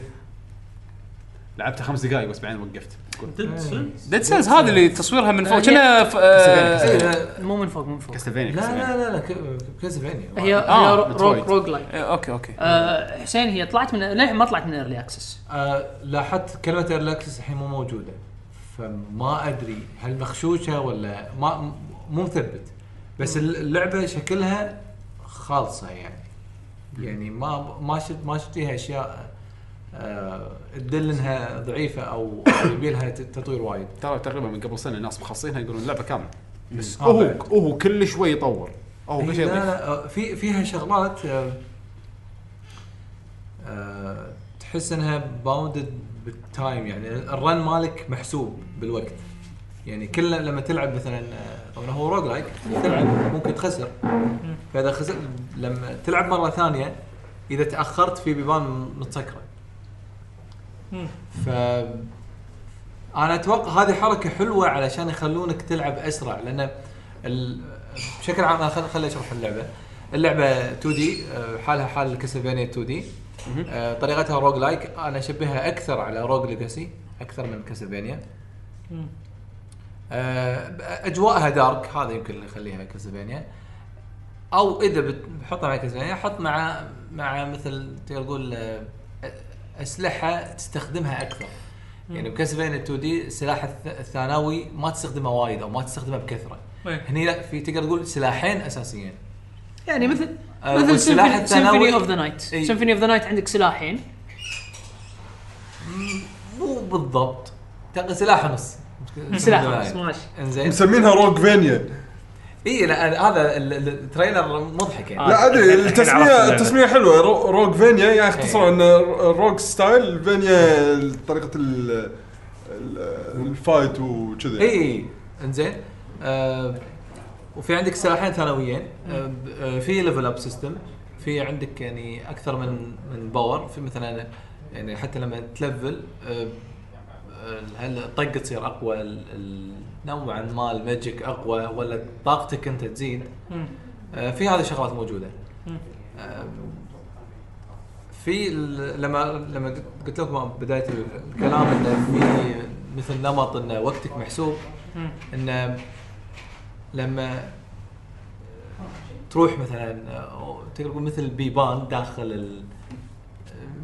لعبتها خمس دقائق بس بعدين وقفت
ديد
إيه.
سيلز
ديد سيلز هذه اللي تصويرها من فوق
هي-
كنا ف- آه،
كاستلفينيا
مو من فوق مو من فوق
كاستلفينيا
إيه. لا
كاستلفينيا.
لا لا لا ك- كاسلفينيا
هي
آه،
هي رو-
مترويد.
روج روج لايك
إيه، اوكي اوكي
آه، حسين هي طلعت من للحين ما طلعت من ايرلي اكسس
آه، لاحظت كلمه ايرلاكسس الحين مو موجوده فما ادري هل مخشوشه ولا ما م- مو مثبت بس اللعبه شكلها خالصه يعني يعني ما ما شفت ما شفت فيها اشياء آه، تدل انها ضعيفه او أو يبي لها ت- تطوير وايد
ترى تقريبا من قبل سنه الناس مخصصينها يقولون اللعبه كامله بس
آه،
هو
بعد.
هو كل شوي يطور هو كل
إيه،
شوي
لا
يضيف
لا آه، في فيها شغلات آه، آه، تحس انها باوندد بالتايم يعني الرن مالك محسوب بالوقت يعني كل لما تلعب مثلا آه، طبعا هو روج لايك تلعب ممكن تخسر فاذا خسر لما تلعب مره ثانيه اذا تاخرت في بيبان متسكره
مم.
ف انا اتوقع هذه حركه حلوه علشان يخلونك تلعب اسرع لان ال... بشكل عام انا خل... خليني اشرح اللعبه اللعبه 2 دي آه، حالها حال كاسلفينيا 2 دي آه، طريقتها روج لايك انا اشبهها اكثر على روج ليجاسي اكثر من كاسلفينيا
مم.
آه، اجواءها دارك هذا يمكن اللي يخليها كاسلفينيا او اذا بت- بتحطها مع كاسلفينيا حط مع مع مثل تقدر تقول آه، اسلحه تستخدمها اكثر يعني بكاسلفينيا 2 دي السلاح الث- الثانوي ما تستخدمه وايد او ما تستخدمه بكثره
إيه.
هني لا في تقدر تقول سلاحين اساسيين
يعني مثل
آه،
مثل
والسلاح إيه. الثانوي-
سيمفوني اوف ذا نايت
إي.
سيمفوني اوف ذا نايت عندك سلاحين
مو بالضبط تق- سلاح ونص
سلاح ماشي
انزين
مسمينها روك فينيا
اي لا أنا- هذا ال- ال- التريلر مضحك
آه،
يعني
لا ادري التسميه
اللعبة.
التسميه حلوه رو- روك فينيا
إيه.
يعني اختصروا ان رو- روك ستايل فينيا طريقه ال- ال- الفايت وكذا
اي اي انزين آه وفي عندك سلاحين ثانويين آه ب- آه في ليفل اب سيستم في عندك يعني اكثر من من باور في مثلا يعني حتى لما تلفل آه آه، هل الطقه تصير اقوى ال- ال- نوعا ما الماجيك اقوى ولا طاقتك انت تزيد آه، في هذه الشغلات موجوده آه، في ال- لما لما قلت- قلت لكم بدايه الكلام انه في مثل نمط انه وقتك محسوب انه لما تروح مثلا آه، تقدر تقول مثل بيبان داخل ال-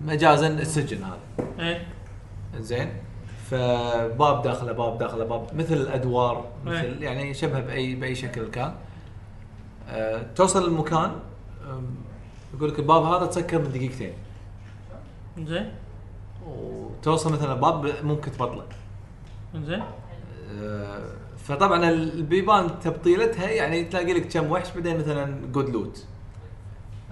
مجازا السجن هذا
إيه.
زين فباب داخله باب داخله باب مثل الادوار مثل يعني شبه باي باي شكل كان أه توصل المكان أم، يقول لك الباب هذا تسكر من دقيقتين
زين
وتوصل مثلا باب ممكن تبطله
زين
أه فطبعا البيبان تبطيلتها يعني تلاقي لك كم وحش بعدين مثلا جود لوت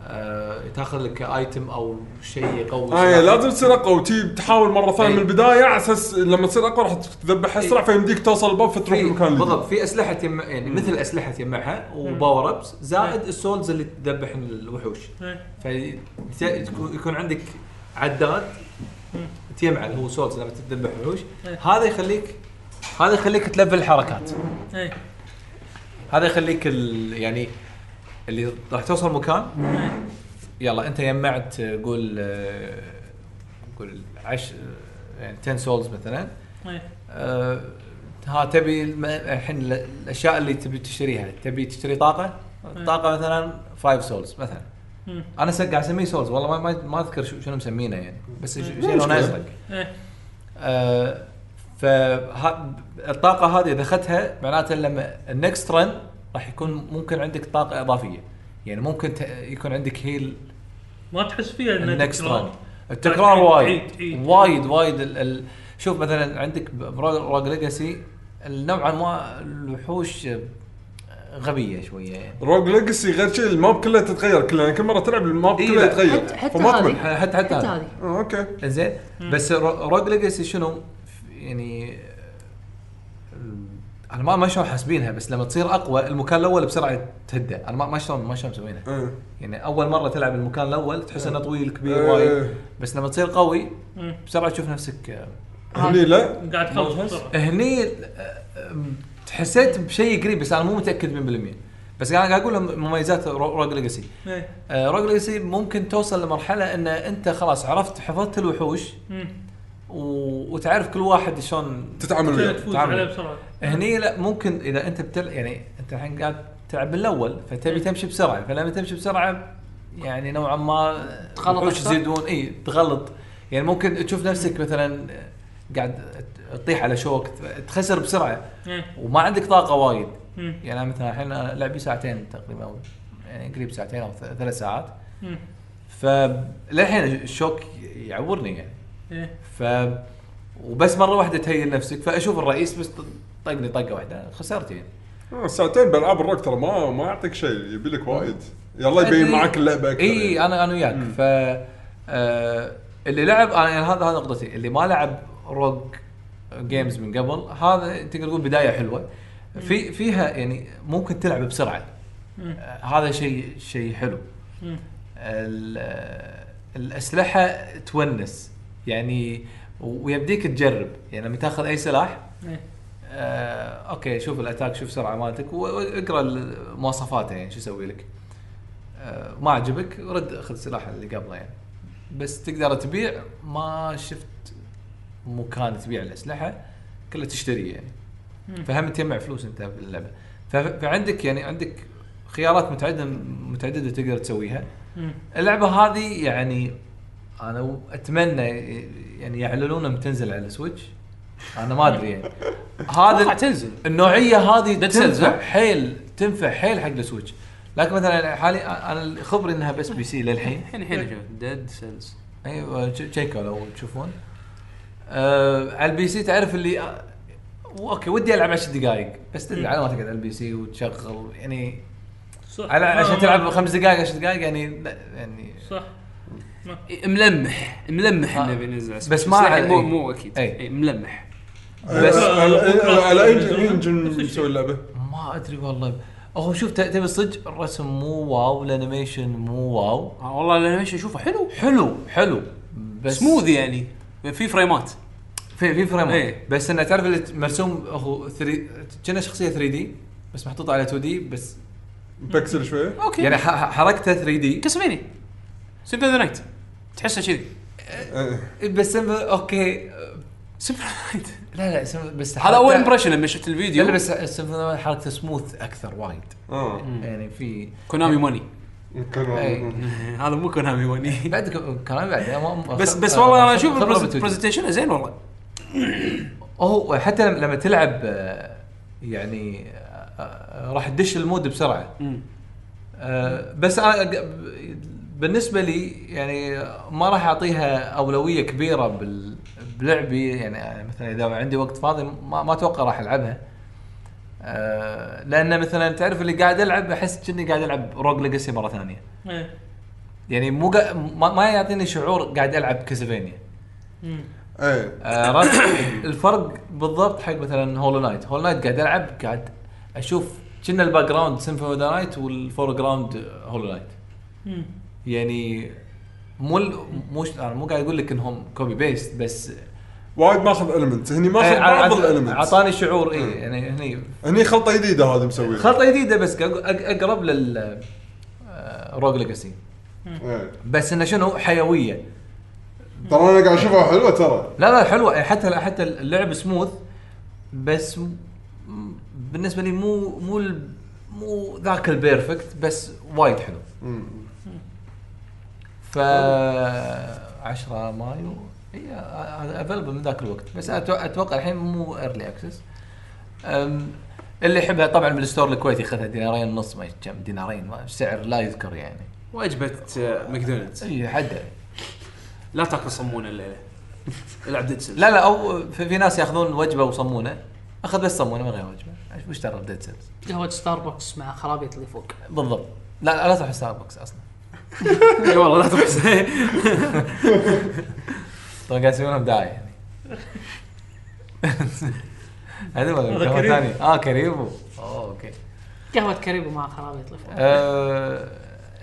أه تاخذ لك ايتم او شيء يقوي
اي
سلاحك.
إيه، لازم تصير اقوى وتي تحاول مره ثانيه
إي.
من البدايه على اساس لما تصير اقوى راح تذبح اسرع
إي.
فيمديك توصل الباب فتروح
في
المكان اللي
إيه. بالضبط في اسلحه يم... يعني مثل اسلحه تجمعها وباور ابس زائد السولز اللي تذبح الوحوش
إيه.
في يكون عندك عداد تجمع اللي هو سولز لما تذبح وحوش
إيه.
هذا يخليك هذا يخليك تلفل الحركات
إيه.
هذا يخليك ال... يعني اللي راح توصل مكان
إيه.
يلا انت جمعت آه، قول آه، قول 10 يعني 10 سولز مثلا
إيه.
آه، ها تبي الم- الحين ال- الاشياء اللي تبي تشتريها تبي تشتري طاقه طاقه مثلا 5 سولز مثلا
مم.
انا س- قاعد اسميه سولز والله ما ما, ما اذكر شو- شنو مسمينه يعني بس ش- شيء لونه ازرق
إيه.
آه، فها- الطاقه هذه اذا اخذتها معناته لما النكست رن راح يكون ممكن عندك طاقه اضافيه يعني ممكن ت- يكون عندك هيل
ما تحس فيها إنه
النكست
تكرار.
راوند التكرار
عيد-
وايد
عيد- عيد.
وايد وايد ال ال شوف مثلا عندك بروج ليجاسي نوعا ما الوحوش غبيه شويه يعني
روج ليجسي غير شيء الماب كله تتغير كله يعني كل مره تلعب الماب
إي
كله
إيه، لا.
يتغير
حتى حتى
فما تمل
هذه
حتى حتى,
حتى
هذا.
هذه
آه، اوكي
زين بس رو- روج ليجاسي شنو يعني آه، انا ما ما شلون حاسبينها بس لما تصير اقوى المكان الاول بسرعه تهده انا ما ما شلون ما شلون مسوينها
إيه.
يعني اول مره تلعب المكان الاول تحس انه طويل كبير
إيه.
وايد بس لما تصير قوي
مم.
بسرعه تشوف نفسك آه،
هني لا
قاعد تخلص بسرعه
هني آه، آم، حسيت بشيء قريب بس انا مو متاكد 100% بس انا قاعد اقول لهم مميزات رو- روج ليجاسي
إيه.
آه، روج ليجاسي ممكن توصل لمرحله ان انت خلاص عرفت حفظت الوحوش
مم.
و- وتعرف كل واحد شلون
تتعامل
تقدر
وياه
تفوز
تعال.
عليه بسرعه
هني لا ممكن اذا انت بتل يعني انت الحين قاعد تلعب الاول فتبي تمشي بسرعه فلما تمشي بسرعه يعني نوعا ما
تغلط
الوحوش
أكثر؟
يزيدون اي تغلط يعني ممكن تشوف نفسك مثلا قاعد تطيح على شوك تخسر بسرعه
إيه.
وما عندك طاقه وايد
مم.
يعني أنا مثلا الحين أنا لعبي ساعتين تقريبا او يعني قريب ساعتين او ث- ثلاث ساعات
مم.
فللحين الشوك يعورني يعني
إيه.
ف وبس مره واحده تهيئ نفسك فاشوف الرئيس بس طقني طقه واحده خسرت يعني
آه، ساعتين بالعاب الروك ترى ما ما يعطيك شيء يبي لك وايد يلا يبين
أدري.
معك اللعبه اكثر
اي
يعني.
انا انا وياك ف آه، اللي لعب انا يعني هذا هذا نقطتي اللي ما لعب روج جيمز من قبل هذا تقدر تقول بدايه حلوه في فيها يعني ممكن تلعب بسرعه
مم.
آه، هذا شيء شيء حلو
مم.
ال- آه، الاسلحه تونس يعني و- ويبديك تجرب يعني لما تاخذ اي سلاح
إيه.
آه، اوكي شوف الاتاك شوف سرعه مالتك و- واقرا مواصفاته يعني شو يسوي لك آه، ما عجبك رد اخذ سلاح اللي قبله يعني بس تقدر تبيع ما شفت مكان تبيع الاسلحه كلها تشتري يعني
مم.
فهم تجمع فلوس انت باللعبه ف- فعندك يعني عندك خيارات متعدده متعدده تقدر تسويها
مم.
اللعبه هذه يعني انا اتمنى يعني يعلنون لما تنزل على السويتش انا ما ادري يعني هذا
اتوقع تنزل
النوعيه هذه
Dead Cells،
تنفع
ها؟
حيل تنفع حيل حق السويتش لكن مثلا حالي انا خبري انها بس بي سي للحين أيوة،
الحين الحين نشوف ديد سيلز
ايوه تشيكوا لو تشوفون آه على البي سي تعرف اللي آه، اوكي ودي العب 10 دقائق بس تدري على ما تقعد على البي سي وتشغل يعني
صح
على
ما-
عشان
ما-
تلعب خمس دقائق 10 دقائق يعني لا يعني
صح
ملمح ملمح
آه.
انه بينزل على
بس
Switch.
ما
يعني مو
أي.
مو اكيد
أي.
أي، ملمح
آه،
بس-
على على اي انجن آه، مسوي اللعبه؟
ما ادري والله هو شوف ت- تبي صدق الرسم مو واو الانيميشن مو واو
آه، والله الانيميشن اشوفه حلو
حلو حلو بس
سموذ يعني في فريمات
في في فريم
إيه.
بس انه تعرف اللي مرسوم هو 3 كنا شخصيه 3 دي بس محطوطه على 2 دي بس
بكسل شويه
اوكي
يعني
يعني
ح- ح- حركته 3 دي
كاسلفينيا سيمبل ذا نايت تحسه كذي
إيه.
بس إنه اوكي
سيمبل نايت
لا لا سم- بس
هذا
حركته-
اول امبريشن لما شفت
لا لا،
الفيديو
بس سم- حركته سموث اكثر وايد
اه
يعني في
كونامي موني
كان-
هذا مو كونامي موني
بعد ك- كلام بعد يعني ما-
بس بس
آه،
والله انا
خبرة
اشوف
خبرة
البرز-
بتوجي.
البرزنتيشن زين والله
هو حتى لما- لما تلعب آه، يعني آه، آه، راح تدش المود بسرعه آه، بس انا ق- ب- بالنسبه لي يعني ما راح اعطيها اولويه كبيره بال- بلعبي يعني مثلا اذا عندي وقت فاضي ما, ما اتوقع راح العبها آه، لان مثلا تعرف اللي قاعد العب احس كني قاعد العب روج ليجاسي مره ثانيه
ايه
يعني مو قا... ما, ما يعطيني شعور قاعد العب كاسلفينيا
مم.
ايه
آه عرفت؟ الفرق بالضبط حق مثلا هولو نايت هولو نايت قاعد العب قاعد اشوف كنا الباك جراوند سيمفوني ذا نايت والفور جراوند هولو نايت
مم.
يعني مو ال... مو ش- انا مو قاعد اقول لك انهم كوبي بيست بس
وايد ماخذ المنت هني ماخذ
آه،
بعض
عط-
الالمنت
اعطاني شعور اي يعني هني
هني خلطه جديده هذه مسويها
خلطه جديده بس أق- أق- اقرب لل آه، روج ليجاسي
إيه.
بس انه شنو حيويه
ترى انا قاعد اشوفها حلوه ترى
لا لا حلوه حتى حتى اللعب سموث بس م- م- بالنسبه لي مو مو ال- مو ذاك البيرفكت بس وايد حلو ف 10 مايو هي افيلبل من ذاك الوقت بس أتو- اتوقع الحين مو ايرلي اكسس اللي يحبها طبعا بالستور الكويتي خذها دينارين ونص ما كم دينارين ما سعر لا يذكر يعني
وجبه آه، ماكدونالدز
اي حده
لا تاكل صمونه الليله العب ديد سيلز
لا لا او في, في ناس ياخذون وجبه وصمونه اخذ بس صمونه من غير وجبه إيش- وش ترى بديت سيلز
قهوه ستاربكس مع خرابيط اللي فوق
بالضبط لا لا, لا تروح ستاربكس اصلا
اي والله لا تروح
طبعا قاعد يسوونهم داعي يعني هذا ولا
هذا
قهوه
كريبو.
ثانيه اه كريبو أوه، اوكي
قهوه كريبو مع خرابيط اللي فوق
آه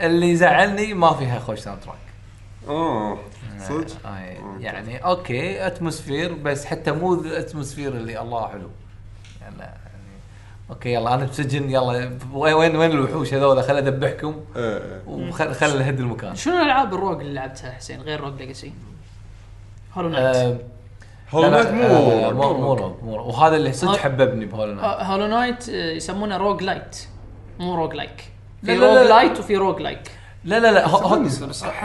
اللي زعلني ما فيها خوش ساوند تراك
اه صدق
آه يعني اوكي اتموسفير بس حتى مو الاتموسفير اللي الله حلو يعني يعني اوكي يلا انا بسجن يلا وين وين وين الوحوش هذول خل اذبحكم
إيه، إيه.
وخل خل اهد المكان
شنو الالعاب الروج اللي لعبتها حسين غير روج ليجاسي؟ هولو نايت
آه،
هولو
لا،
نايت
لا،
مو
آه، مو مو روك مو روك وهذا اللي صدق
هول-
حببني بهولو نايت
ه- هولو نايت آه، يسمونه روج لايت مو روج لايك
لا،
في
لا، لا.
روج لايت وفي روج لايك
لا لا لا هو- هو-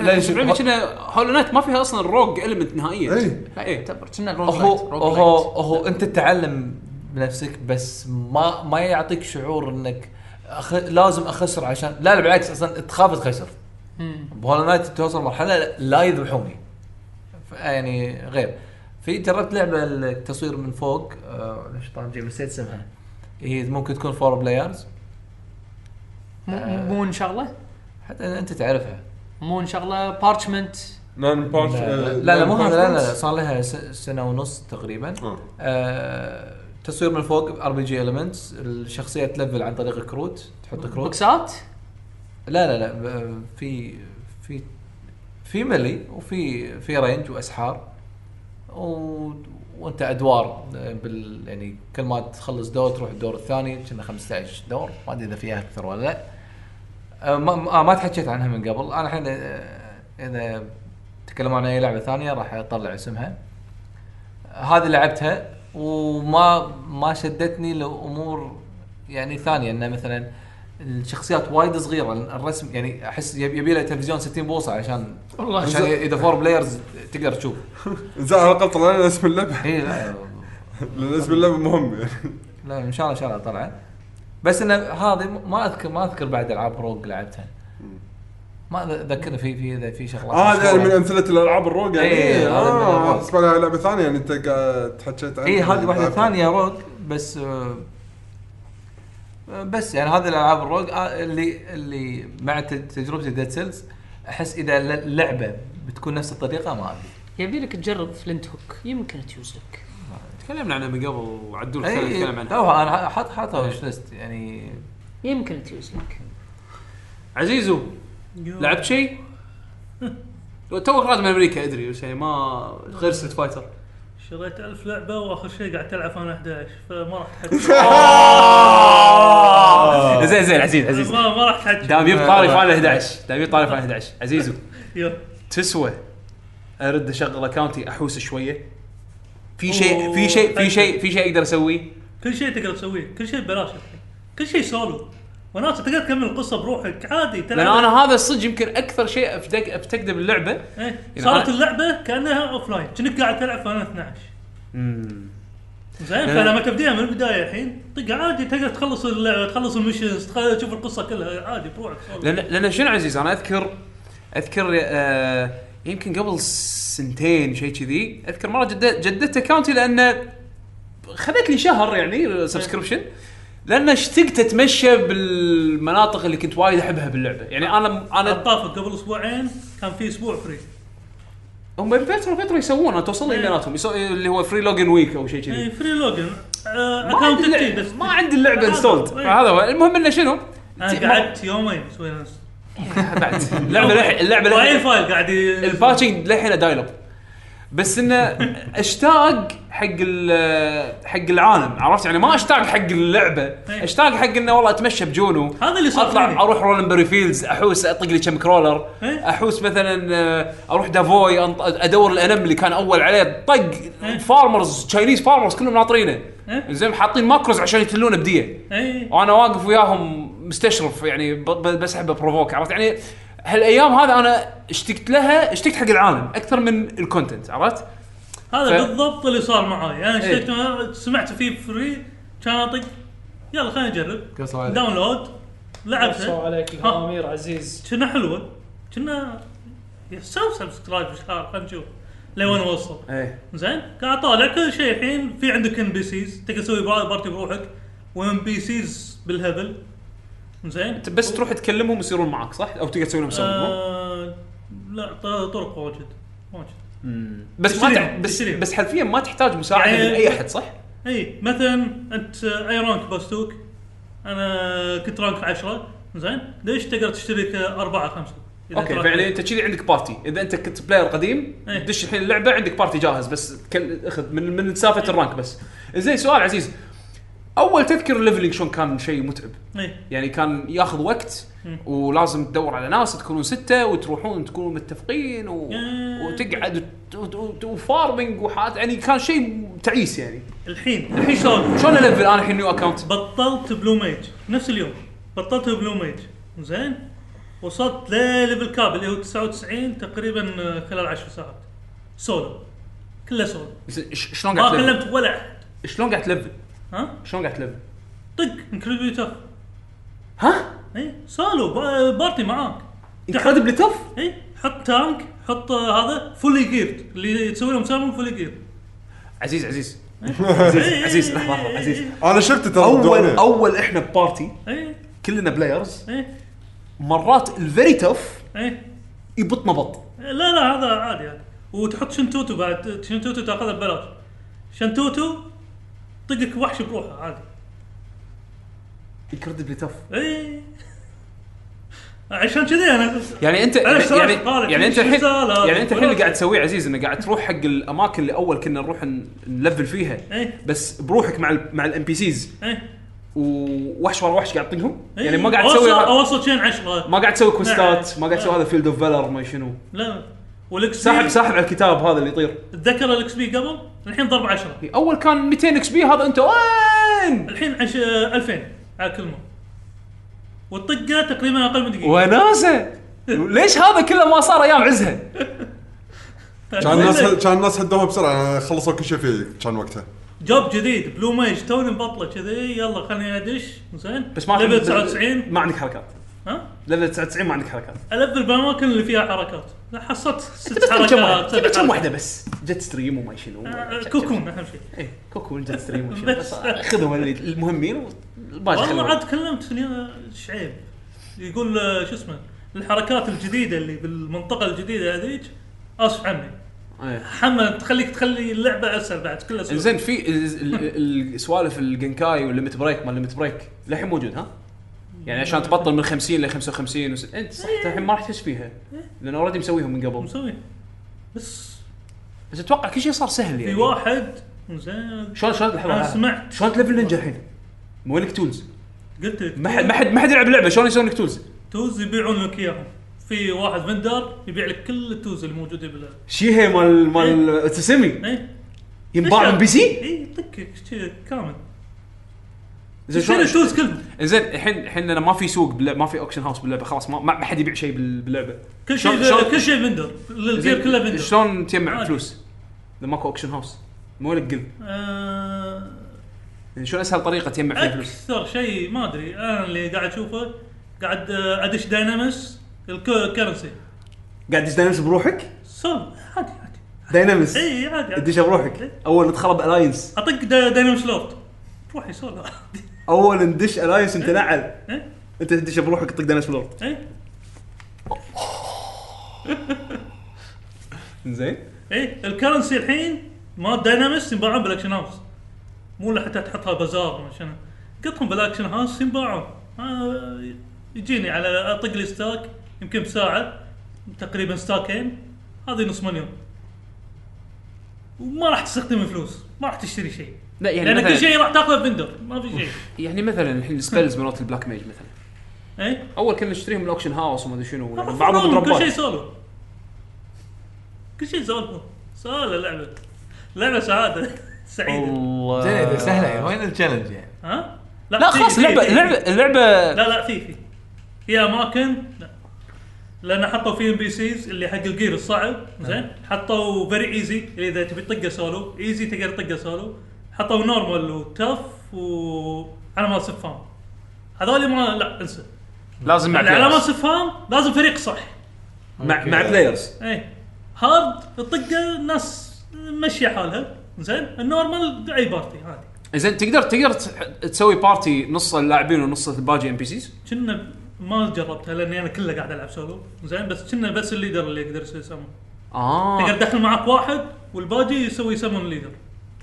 لا، شوف،
لا كنا هولو نايت ما فيها اصلا روج المنت نهائيا
إي.
لا
إيه.
يعتبر كنا
هو
روج لايت
هو
روج
هو
لايت
هو انت تتعلم بنفسك بس ما ما يعطيك شعور انك أخ... لازم اخسر عشان لا لا بالعكس اصلا تخاف تخسر
مم.
بهولو نايت توصل مرحله لا يذبحوني ف- يعني غير في جربت لعبه التصوير من فوق آه، ليش طبعا جيب نسيت اسمها هي ممكن تكون فور بلايرز
مو-
آه.
مو مو ان شغله
حتى انت تعرفها
مو ان شغله بارشمنت
نان بارش
لا لا, لا مو هذا لا لا صار لها س- سنه ونص تقريبا
آه.
آه تصوير من فوق ار بي جي المنتس الشخصيه تلفل عن طريق كروت تحط كروت
بوكسات
لا لا لا ب- في في في ملي وفي في رينج واسحار و وانت ادوار آه، بال يعني كل ما تخلص دور تروح الدور الثاني كنا 15 دور ما ادري اذا فيها اكثر ولا لا آه، ما ما- ما تحكيت عنها من قبل انا الحين آه، اذا تكلموا عن اي لعبه ثانيه راح اطلع اسمها هذه لعبتها وما ما شدتني لامور يعني ثانيه انه مثلا الشخصيات وايد صغيره الرسم يعني احس يب- يبي له تلفزيون 60 بوصه عشان
والله
عشان
زين.
اذا فور بلايرز تقدر تشوف
زين على الاقل طلعنا اسم اللعبه
اي لا
لان اسم اللعبه مهم يعني
لا ان شاء الله ان شاء الله طلعت بس انه هذه ما اذكر ما اذكر بعد العاب روج لعبتها ما أذ- ذكرني في في اذا في شغلات
اه هذا يعني من امثله الالعاب الروج يعني
إيه،
إيه،
هذا من الألعاب. إيه،
اه اسمع لها لعبه ثانيه يعني انت قاعد تحكيت عنها
اي هذه واحده ثانيه روج بس آه، آه، بس يعني هذه الالعاب الروج آه، اللي اللي مع تج- تجربتي ديد سيلز احس اذا الل- اللعبه بتكون نفس الطريقه ما ادري
يبي لك تجرب فلنت هوك يمكن تيوزك
تكلمنا عنه من قبل وعدول
اي
تكلم عنها
إيه، توها انا حاط حاطها وش ليست يعني
يمكن تيوزك
عزيزو لعبت شيء؟ توك راد من امريكا ادري بس يعني ما غير ست فايتر
شريت ألف لعبه واخر شيء قاعد تلعب انا 11 فما راح
زين زين عزيز
تحج
عزيز
ما ما راح تحج
دام يبقى طاري فاينل 11 دام يبقى طاري فاينل 11 عزيزو
يلا.
تسوى ارد اشغل اكونتي احوس شويه في شيء في شيء في شيء في شيء اقدر اسويه
كل شيء تقدر تسويه كل شيء ببلاش الحين. كل شيء سولو وناس تقدر تكمل القصه بروحك عادي
لان انا هذا الصدق يمكن اكثر شيء افتك افتقده باللعبه
إيه.
يعني
صارت
أنا-
اللعبه كانها اوف لاين كأنك قاعد تلعب فاينل 12
يعني
زين فلما تبديها من البدايه الحين طق عادي تقدر تخلص اللعبه تخلص المشنز تخ- تشوف القصه كلها عادي بروحك سولو.
لان لان شنو عزيز انا اذكر اذكر آه يمكن قبل سنتين شيء كذي اذكر مره جددت جددت اكونتي لان خذت لي شهر يعني سبسكربشن لان اشتقت اتمشى بالمناطق اللي كنت وايد احبها باللعبه يعني انا انا
الطافه قبل اسبوعين كان في اسبوع فري
هم بين فتره وفتره يسوونها توصل لي
إيه.
بيناتهم يسو- اللي هو فري لوجن ويك او شيء كذي
اي فري لوجن
إيه. ما عندي
اكونت
اللعبه
آه، بس
ما عندي اللعبه
هذا
انستولد
هو. إيه.
هذا هو المهم انه شنو
انا قعدت يومين اسوي نفس
بعد اللعبه للحين- اللعبه للحين-
فايل فايل قاعد ي-
الباتشنج للحين دايل اب بس انه اشتاق حق ال- حق العالم عرفت يعني ما اشتاق حق اللعبه
إيه.
اشتاق حق انه والله اتمشى بجونو
هذا اللي صار فيني.
اطلع اروح رولنبري فيلدز احوس اطق لي كم كرولر
إيه.
احوس مثلا آه، اروح دافوي أنط- ادور الانم اللي كان اول عليه طق
إيه.
فارمرز تشاينيز فارمرز كلهم ناطرينه
إيه.
زين حاطين ماكروز عشان يتلونه بديه
اي
وانا واقف وياهم مستشرف يعني ب- ب- بسحب بروفوك عرفت يعني هالايام هذا انا اشتقت لها اشتقت حق العالم اكثر من الكونتنت عرفت؟
هذا
ف-
بالضبط اللي صار معاي انا
إيه.
شفت ما- سمعت فيه فري كان اطق يلا خلينا نجرب
قصوا عليك.
داونلود
سو
لعبته
عليك الامير عزيز
كنا حلوه كنا سو سبسكرايب بالشهر خلينا نشوف لين وين نوصل
ايه
زين قاعد طالع كل شيء الحين في عندك ان بي سيز تقدر تسوي بار- بارتي بروحك وان بي سيز بالهبل زين
انت بس تروح تكلمهم يصيرون معك صح؟ او تقدر تسوي لهم سمون مو؟
آه لا ط- طرق واجد واجد
بس ما تح...
تشتريهم،
بس
تشتريهم.
بس حرفيا ما تحتاج مساعده
يعني-
من اي احد صح؟
اي مثلا انت آه، اي رانك باستوك انا كنت رانك 10 زين ليش تقدر تشتري ك- اربعه خمسه إذا
اوكي
تراك-
فيعني انت كذي عندك بارتي اذا انت كنت بلاير قديم
ايه.
دش الحين اللعبه عندك بارتي جاهز بس كل- اخذ من من سالفه الرانك بس. زين سؤال عزيز اول تذكر الليفلنج شلون كان شيء متعب؟
اي
يعني كان ياخذ وقت ولازم تدور على ناس تكونون سته وتروحون تكونون متفقين و...
ياه.
وتقعد وت- وت- وت- وفارمنج وحاط يعني كان شيء تعيس يعني
الحين الحين شلون؟
شلون الفل انا الحين نيو اكونت
بطلت بلو ميج نفس اليوم بطلت بلو ميج زين وصلت لليفل كاب اللي هو 99 تقريبا آه، خلال 10 ساعات سولو كله سولو
بس ش- شلون
ما
قاعد تلفل
كلمت ولا احد
شلون قاعد تلفل
ها
شلون قاعد تلفل
طق انكريدبل تف
ها
اي سولو با- آه، بارتي معاك
انكريدبل تف
اي حط تانك حط آه، هذا فولي جيرد اللي تسوي لهم سالفه فولي جيرد
عزيز عزيز
إيه،
عزيز عزيز لحظه لحظة، عزيز
انا شفت ترى
اول
الدعاء.
اول احنا ببارتي
اي
كلنا بلايرز
اي
مرات الفيري تف
اي
يبط مبط
لا لا هذا عادي هذا وتحط شنتوتو بعد شنتوتو تاخذها ببلاش شنتوتو طقك وحش بروحه عادي
انكريدبل تف
اي عشان كذي انا
يعني انت
أنا اشتغلت
يعني
طالع
يعني انت
مش
الحين
رسالة.
يعني انت الحين اللي
ولا-
قاعد تسويه عزيز انه قاعد تروح حق الاماكن اللي اول كنا نروح ن- نلفل فيها
ايه.
بس بروحك مع ال مع الام بي سيز
إيه.
ووحش ورا وحش قاعد تطقهم
إيه.
يعني ما قاعد
اوصل
تسوي
اوصل شين 10
ما قاعد تسوي كوستات
نعم.
ما قاعد تسوي هذا فيلد اوف فالر ما شنو
لا والاكس
ساحب
بي
ساحب على الكتاب هذا اللي يطير
تذكر الاكس بي قبل الحين ضرب 10
اول كان 200 اكس بي هذا انت وين
الحين عش... 2000 على كل مره والطقه تقريبا اقل من دقيقه
وناسه ليش هذا كله ما صار ايام عزها
كان الناس كان الناس هدوها بسرعه خلصوا كل شيء فيه كان وقتها
جوب جديد بلو ميج توني مبطله كذي يلا خليني ادش زين
بس ما
ليفل 99
ما عندك حركات
ها
ليفل 99 ما عندك حركات
الفل بالاماكن اللي فيها حركات لا، حصلت ست
بس كم واحد
حركات
تبي كم
سبع حركات.
واحده بس جت ستريم وما شنو
آه، كوكون اهم شيء
ايه كوكون جت ستريم وما شنو
بس.
بس خذهم اللي- المهمين والباقي
والله
خلوهم.
عاد كلمت فني- شعيب يقول آه، شو اسمه الحركات الجديده اللي بالمنطقه الجديده هذيك اسف عني
إيه.
حمد تخليك تخلي اللعبه اسهل بعد كلها سهل.
زين في ال- ال- السوالف الجنكاي والليمت بريك مال ليمت بريك للحين موجود ها؟ يعني عشان تبطل من 50 ل 55 وس... انت صح
إيه.
الحين ما راح تحس فيها لان اوريدي مسويهم من قبل
مسوي بس
بس اتوقع كل شيء صار سهل
في
يعني
واحد زين
شلون شلون
انا
لحظه
سمعت
شلون تلفل نينجا الحين؟ مو لك تولز
قلت لك
ما حد ما حد ما حد يلعب اللعبه شلون يسوون لك تولز؟
توز يبيعون لك اياهم في واحد فندر يبيع لك كل التوز الموجوده بال
شيهي مال
إيه.
مال تسمي
اي
ينباع من بي سي؟
اي إيه، يطقك شي كامل
زين
يشتري
شلون
التوز كلهم
زين الحين الحين لأن ما في سوق باللعبة ما في اوكشن هاوس باللعبه خلاص ما ما حد يبيع شيء بال- باللعبه شلون-
كل
شلون-
شيء كل شيء فندر
زين،
الجير كله فندر
شلون تجمع
عادي.
فلوس؟ اذا ماكو اوكشن هاوس مو لك قل
آه،
يعني شلون اسهل طريقه تجمع فيها فلوس؟
اكثر شيء ما ادري انا اللي قاعد اشوفه قاعد آه، ادش داينامس الكرنسي
قاعد تدش داينامس بروحك؟
سولف عادي عادي
داينامس
اي عادي عادي
تدش بروحك اول ندخل بالاينس
اطق دا- داينامس لورد روحي سولف عادي
اول ندش الاينس انت نعل
إيه.
انت تدش بروحك تطق داينامس بلورد
اي
زين
اي الكرنسي إيه، الحين ما داينامكس ينباعون بالاكشن هاوس مو اللي حتى تحطها بازار ما شنو قطهم بالاكشن هاوس ينباعون آه، يجيني على اطق لي ستاك يمكن بساعه تقريبا ستاكين هذه نص مليون وما راح تستخدم فلوس ما راح تشتري شيء
لا يعني
لان كل
مثلا
شيء راح تاخذه بندر ما في شيء
يعني مثلا الحين السبيلز مالت البلاك ميج مثلا
اي
اول كنا نشتريهم من الاوكشن هاوس وما ادري شنو يعني بعضهم
بعضهم إيه؟ كل شيء
دروبات
سولو كل شيء سولو سولو لعبه لعبه سعاده سعيده
آه.
زين اذا سهله يعني وين التشالنج يعني؟
ها؟
لا
في-
خلاص
في-
اللعبه
في-
اللعبه اللعبه
لا لا في في في اماكن لا لان حطوا فيه ام بي سيز اللي حق الجير الصعب
نعم.
زين حطوا فيري ايزي اللي اذا تبي تطقه سولو ايزي تقدر تطقه سولو حطوا نورمال وتف و على ما صفام هذول ما لا انسى
لازم مع
اللي على ما
بلايرز
صفام لازم فريق صح
مع مع بلايرز
اي هارد تطقه ناس مشي حالها زين النورمال اي بارتي عادي
زين تقدر تقدر تح- تسوي بارتي نص اللاعبين ونص الباجي ام بي سيز
كنا ما جربتها لاني انا كله قاعد العب سولو زين بس كنا بس الليدر اللي يقدر يسوي سمون تقدر
اه
تدخل معك واحد والباقي يسوي سمون ليدر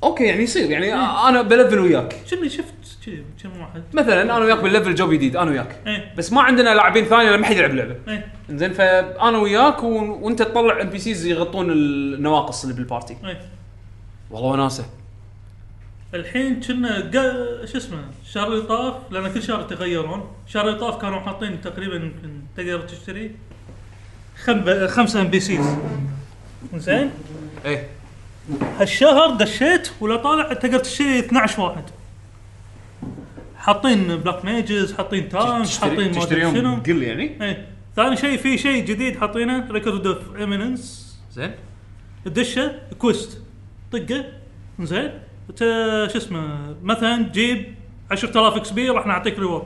اوكي يعني يصير يعني انا بلفل وياك
كنا شفت كذي كم واحد
مثلا انا وياك بنلفل جو جديد انا وياك
ايه
بس ما عندنا لاعبين ثانيه ما حد يلعب لعبه
ايه
زين فانا وياك و... وانت تطلع ام بي سيز يغطون النواقص اللي بالبارتي
ايه
والله وناسه
الحين كنا قا- شو اسمه الشهر اللي طاف لان كل شهر يتغيرون الشهر اللي طاف كانوا حاطين تقريبا يمكن تقدر تشتري خم... خمسه ام بي سيز زين
ايه
هالشهر دشيت ولا طالع تقدر تشتري 12 واحد حاطين بلاك ميجز حاطين تانش
تشتري-
حاطين ما ادري شنو
تشتريهم قل يعني
ايه ثاني شيء في شيء جديد حاطينه ريكورد اوف ايميننس
زين
الدشه كويست طقه زين ت- شو اسمه مثلا جيب 10000 اكس بي راح نعطيك ريورد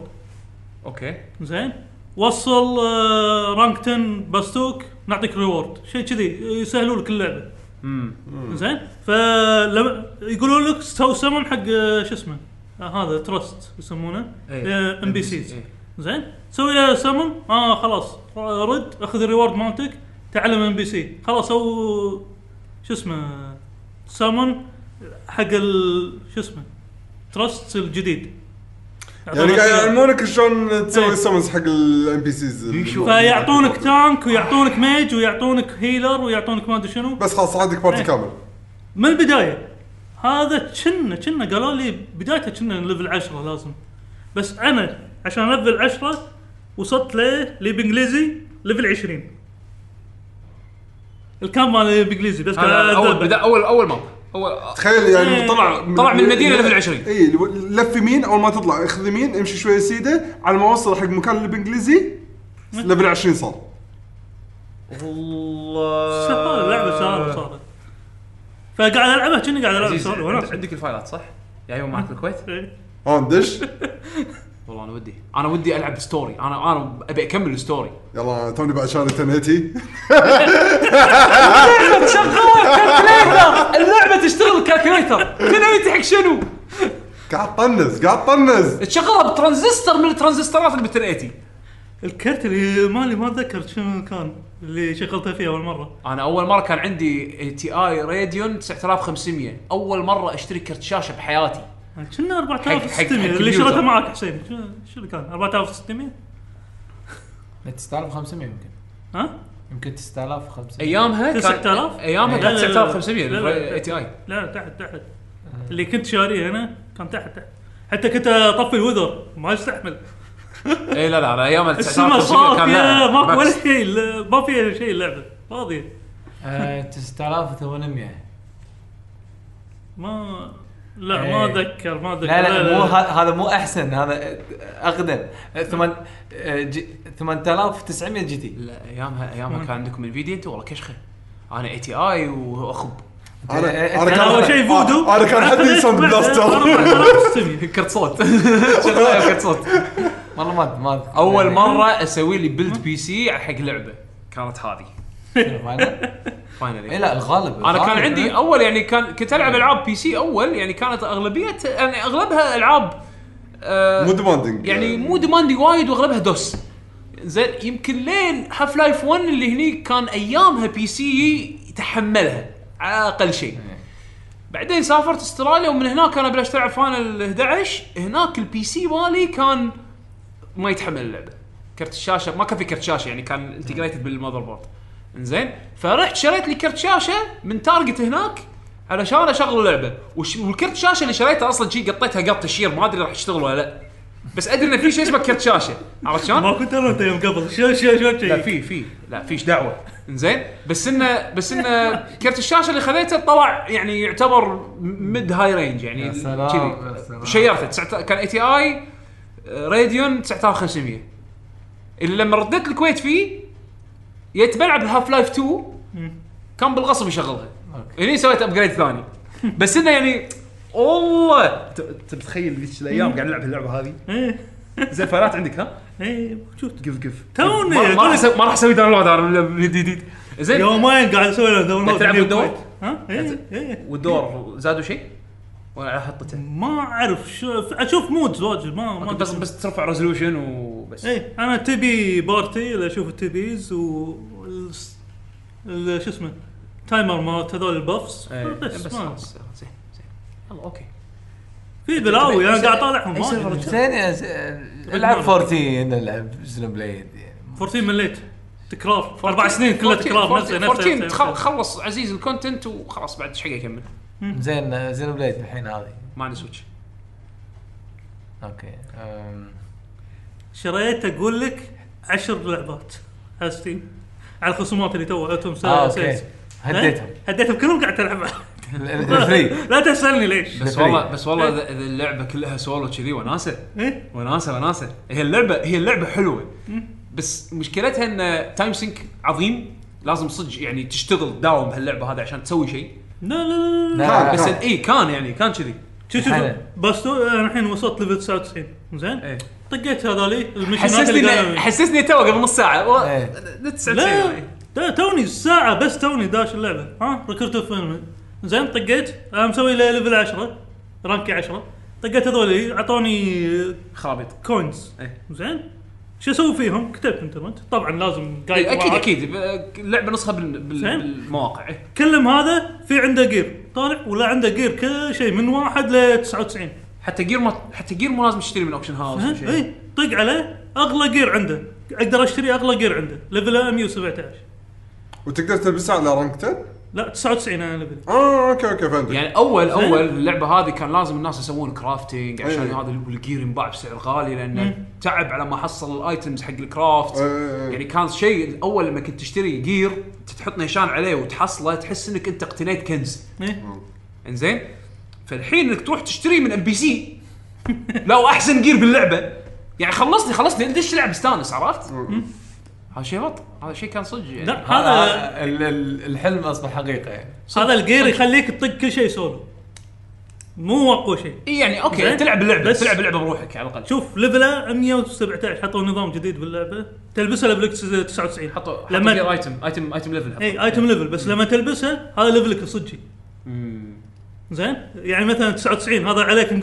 اوكي
زين وصل آه، رانك 10 باستوك نعطيك ريورد شيء كذي يسهلون لك اللعبه زين فلما يقولون لك سوي سمون حق آه، شو اسمه آه، هذا ترست يسمونه آه، ام بي سيز زين سوي له سمون اه خلاص رد اخذ الريورد مالتك تعلم ام بي سي خلاص او شو اسمه سمون حق ال شو اسمه ترست الجديد
يعني قاعد يعلمونك شلون تسوي سمنز حق الام بي سيز
فيعطونك تانك ويعطونك ميج ويعطونك هيلر ويعطونك ما ادري شنو
بس خلاص عندك بارتي
إيه.
كامل
من البدايه هذا كنا كنا قالوا لي بدايته كنا ليفل 10 لازم بس انا عشان ليفل 10 وصلت ل لي بالانجليزي ليفل 20 الكام مال بالانجليزي بس
انا اول
أذبح.
بدا اول اول ماب اول
تخيل يعني
إيه.
طلع
طلع من المدينة ليفل 20.
اي لف يمين اول ما تطلع اخذ يمين امشي شويه سيده على ما اوصل حق مكان اللي بالانجليزي ليفل 20 صار
والله
سهل لعبه سهله صارت فقاعد العبها كني قاعد العب
عزيز
سولو
عند-
وناس
أيوة، عندك الفايلات صح؟ يا ايوه معك الكويت؟
إيه.
ها ندش
والله انا ودي انا ودي العب ستوري انا انا ابي اكمل الستوري
يلا توني بعد شهر تنهتي
شغاله كالكوليتر اللعبه إيه، تشتغل كالكوليتر تنويتي حق شنو؟
قاعد طنز قاعد طنز
تشغلها بترانزستور من الترانزستورات اللي بال 1080
الكرت اللي مالي ما اتذكر شنو كان اللي شغلته فيه اول مره
انا اول مره كان عندي تي اي راديون 9500 اول مره اشتري كرت شاشه بحياتي
كنا
حق- حق
4600 اللي
الكمبيوتر.
شريته معك حسين شنو- شنو كان 4600
9500 يمكن
ها؟
يمكن 9500
ايامها كان
9000
ايامها
لا،
كان
لا، لا.
9500
لا، لا.
الاي تي اي
لا تحت تحت اللي كنت شاريه هنا كان تحت تحت حتى كنت اطفي الوذر ما يستحمل
اي إيه، لا لا لا ايام ال
السما
9500 كان
صافيه
لا،
ماكو ولا
بالعكس.
شيء لا، ما فيها شيء اللعبه فاضيه
آه، 9800
ما لا ما
إيه.
اتذكر ما اتذكر
لا لا مو ه- هذا مو احسن هذا اقدم آه، ثمن- آه، جي- 8900 جي تي
لا ايامها ايامها كان عندكم انفيديا انتم والله كشخه انا اي تي اي واخب إيه،
انا
أنا
انا
لا، اول
كان
شيء فودو
آه، أنا كان حدي ساوند بلاستر.
4600.
كرت صوت شغال كرت صوت
والله ما ما أذكر.
اول
يعني
مره اسوي لي بيلد بي سي حق لعبه كانت هذه
شنو فاينل؟ اي
فاينلي
لا الغالب
انا كان
الغالب.
عندي اول يعني كان كنت العب العاب بي سي اول يعني كانت اغلبيه يعني اغلبها العاب آه،
مو ديماندنج
يعني مو ديماندي وايد واغلبها دوس زين يمكن لين هاف لايف 1 اللي هني كان ايامها بي سي يتحملها على اقل شيء بعدين سافرت استراليا ومن هناك انا بلشت العب فاينل 11 هناك البي سي مالي كان ما يتحمل اللعبه كرت الشاشه ما كان في كرت شاشه يعني كان انتجريتد بالمذر بورد انزين فرحت شريت لي كرت شاشه من تارجت هناك علشان اشغل اللعبه وش... والكرت الشاشه اللي شريته اصلا شي قطيتها قط تشير ما ادري راح تشتغل ولا لا بس ادري ان في شيء اسمه كرت شاشه عرفت شلون؟
ما كنت انا وأنت يوم قبل شو شو شو
لا
شيء
في في لا فيش دعوه انزين إيه. بس انه بس انه كرت الشاشه اللي خذيته طلع يعني يعتبر ميد هاي رينج يعني
يا سلام،
كذي.
يا سلام.
شيرته تسعة- كان اي تي اي آه، راديون 9500 اللي لما رديت الكويت فيه جيت بلعب هاف لايف 2 كان بالغصب يشغلها هني سويت ابجريد ثاني بس انه يعني والله انت أنت متخيل ذيك الايام قاعد نلعب اللعبه هذه
إيه،
زين فايرات عندك ها؟
إيه، موجود
قف قف
توني
ما ما راح أسوي- يعني ما راح اسوي داونلود انا من من جديد زين
يومين قاعد اسوي له داونلود
تلعب
من
بالدور؟
الكويت. ها؟ إيه، إيه.
والدور زادوا شيء؟ ولا على حطته؟
ما اعرف شو اشوف مودز واجد ما ما
بس بس ترفع ريزولوشن وبس
اي انا تبي بارتي اللي اشوف التبيز و الس- ال- شو اسمه تايمر مالت هذول البفس
إيه،
بس,
بس
ما
خلاص زين زين يلا اوكي
في بلاوي انا قاعد إيه. اطالعهم
أي سيرفر
واجد.
إيه، زين يا ز- العب 14 العب سلم بليد يعني
14 مليت تكرار اربع سنين كلها تكرار نفسه نفسه
14
نفسه.
تخل- خلص عزيز الكونتنت وخلاص بعد ايش حق يكمل
زين زين بليد الحين هذه
ما عندي سويتش
اوكي أم،
شريت اقول لك 10 لعبات على ستيم على الخصومات اللي تو عطتهم سا-
آه،
اه
سيلز.
اوكي هديتهم
إيه؟ هديتهم كلهم قاعد تلعب
الفري
لا تسالني ليش
بس والله بس والله اذا إذا اللعبه كلها سولو كذي وناسه
إيه؟
وناسه وناسه هي اللعبه هي اللعبه حلوه بس مشكلتها ان تايم سينك عظيم لازم صدق يعني تشتغل تداوم بهاللعبه هذه عشان تسوي شيء
لا لا لا
لا،
بس
لا.
اي كان يعني كان كذي
شوف شوف
حلو.
بس تو- انا الحين وصلت ليفل 99 زين
إيه.
طقيت هذا لي المشينات
حسسني
اللي
إن-
قالوا لي.
حسسني تو قبل نص ساعه و...
إيه.
لا
لا
99
لا، توني ساعة بس توني داش اللعبة ها ركبت فيلم زين طقيت انا مسوي لي ليفل 10 رانكي 10 طقيت هذول اعطوني
خرابيط
كوينز
إيه.
زين شو اسوي فيهم؟ كتبت انترنت طبعا لازم قايد
اكيد
معاك.
اكيد ب- اللعبه نسخه بال... بال...
زين.
بالمواقع إيه.
كلم هذا في عنده جير طالع ولا عنده جير كل شيء من واحد ل 99
حتى جير ما حتى جير مو لازم تشتري من اوبشن هاوس ولا
ها؟
شيء
اي طق عليه اغلى جير عنده اقدر اشتري اغلى جير عنده ليفله 117
وتقدر تلبسها على رانك 10
لا 99 انا ليفل
اه اوكي اوكي فهمت
يعني اول اول اللعبه هذه كان لازم الناس يسوون كرافتنج عشان
إيه.
هذا الجير ينباع بسعر غالي لانه تعب على ما حصل الايتمز حق الكرافت
إيه.
يعني كان شيء الاول لما كنت تشتري جير تحط نيشان عليه وتحصله تحس انك انت اقتنيت كنز
إيه.
انزين فالحين انك تروح تشتري من ام بي سي لا واحسن جير باللعبه يعني خلصني خلصني ليش تلعب استانس عرفت؟ هذا شيء غلط هذا شيء كان صدق يعني
لا هذا
ال- ال- الحلم اصبح حقيقه يعني
هذا الجير يخليك تطق كل شيء سولو مو اقوى شيء
إي يعني اوكي
زين.
تلعب اللعبه
بس-
تلعب اللعبه بروحك على الاقل
شوف ليفله 117 حطوا نظام جديد باللعبه تلبسها ليفلك 99
حطوا
لما- إيه.
لما ايتم ايتم ايتم ليفل
اي ايتم ليفل بس لما تلبسها هذا ليفلك الصجي زين يعني مثلا 99 هذا عليك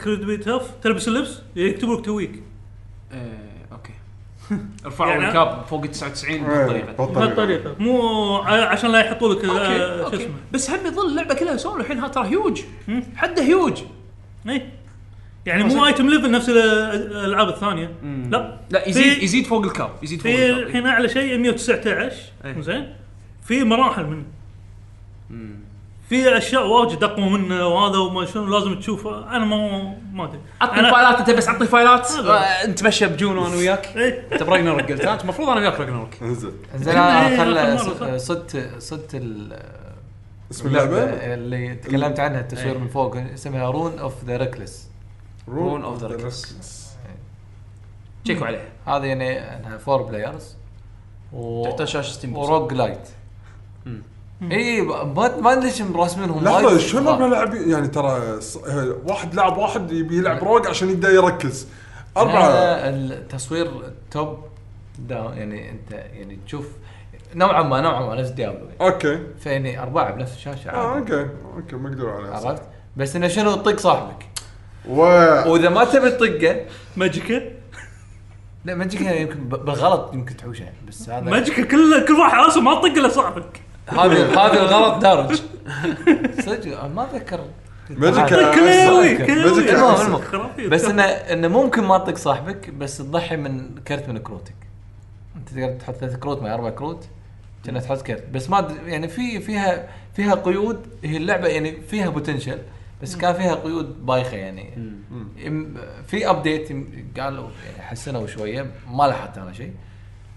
كريدبي تف تلبس اللبس يكتبوا لك تويك
إيه، اوكي رفعوا
يعني-
الكاب فوق
إيه،
99 بهالطريقه
بهالطريقه مو ع- عشان لا يحطوا لك
اوكي
آه، شو
اوكي
اسمه
بس هم يظل اللعبه كلها سولو الحين ها ترى هيوج حده هيوج
اي يعني مو ايتم ليفل نفس ال- الالعاب الثانيه لا
لا يزيد
في-
يزيد فوق الكاب يزيد فوق
في
الكاب
الحين اعلى شيء 119
إيه.
زين في مراحل منه في اشياء واجد اقوى منه وهذا وما شنو لازم تشوف انا ما ما ادري
عطني
أنا-
فايلات انت بس عطني فايلات
هذا.
آه، نتمشى بجون انا وياك
إيه.
انت براجنر قلت أنا- المفروض انا وياك راجنر
انزين
زين
إيه،
انا
آخر
خل
مرة،
ص- صدت صدت ال-
اسم
اللعبه
اللعبه
آه،
اللي تكلمت عنها التصوير
إيه.
من فوق اسمها رون اوف ذا ريكلس
Rune of the تشيكوا عليها
هذه يعني انها فور بلايرز و...
تحتاج شاشه ستيم بوكس.
وروج لايت اي ما ما ادري ليش مرسمينهم
لحظه
وايد
شنو
صغار.
لاعبين يعني ترى ص- ه- واحد لاعب واحد يبي يلعب روج عشان يبدا يركز اربعه
هذا التصوير توب داون يعني انت يعني تشوف نوعا ما نوعا ما نفس ديابلو يعني.
اوكي
فيعني اربعه بنفس الشاشه
اه
عادي
اوكي اوكي مقدور عليها صح.
عرفت بس انه شنو تطق صاحبك
و
واذا ما تبي تطقه
ماجيكا
لا ما تجيك يمكن ب- بالغلط يمكن تحوشه يعني بس هذا
ماجيكا كل كل واحد اصلا ما تطق الا صاحبك
هذا هذا الغلط دارج صدق ما اتذكر
ماجيكا
كلاوي
آه، صاحبك.
كلاوي
المهم،
المهم.
خرافي.
بس انه انه ممكن ما تطق صاحبك بس تضحي من كرت من كروتك انت تقدر تحط ثلاث كروت مع اربع كروت كأنه تحط كرت بس ما أدري- يعني في فيها فيها قيود هي اللعبه يعني فيها بوتنشل بس كان فيها قيود بايخه يعني يم- في ابديت يم- قالوا يعني حسنوا شويه ما لاحظت انا شيء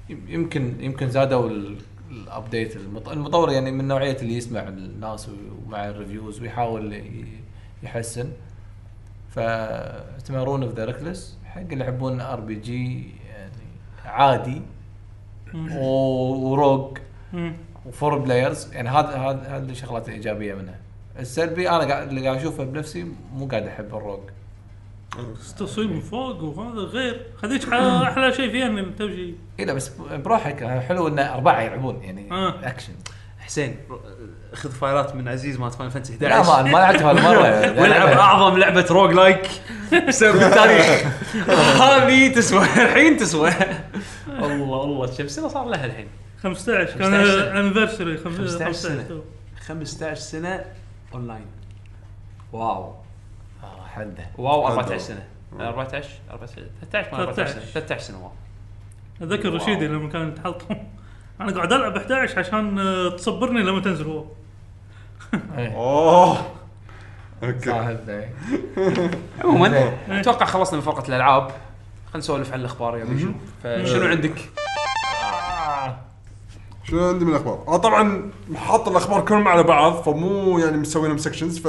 يم- يمكن يمكن زادوا ال- الابديت المط- المطور يعني من نوعيه اللي يسمع الناس ومع الريفيوز ويحاول ي- يحسن فاستمرون اوف ذا ريكلس حق اللي يحبون ار بي جي يعني عادي و- وروج
مم.
وفور بلايرز يعني هذا هذا هذه الشغلات الايجابيه منها السلبي انا قاعد اللي قاعد اشوفه بنفسي مو قاعد احب الروج
بس تصوير من فوق وهذا غير هذيك ح- احلى شيء فيها ان تمشي
اي إيه لا بس بروحك حلو ان اربعه يلعبون يعني
آه.
اكشن
حسين ر- خذ فايلات من عزيز مالت فاينل فانتسي
لا
11
ما ما لعبتها يعني هالمره
والعب اعظم لعبه روج لايك بسبب التاريخ هذه تسوى الحين تسوى الله الله كم سنه صار لها الحين
15 كان
15 سنة.
انيفرسري
15 سنة.
15
15 سنه اونلاين واو
آه، حده
واو
هذا
14
هو.
سنه 14 14 13 ما 14 سنه 13 سنه واو
اتذكر رشيدي لما كان يتحلطم انا قاعد العب 11 عشان آه، تصبرني لما تنزل هو
اوه اوكي
صاحب إيه.
عموما اتوقع خلصنا من فقره الالعاب خلينا نسولف عن الاخبار يلا شنو
إيه.
فشنو عندك؟
شنو عندي من الاخبار؟ اه طبعا حاط الاخبار كلهم على بعض فمو يعني مسوي لهم سكشنز ف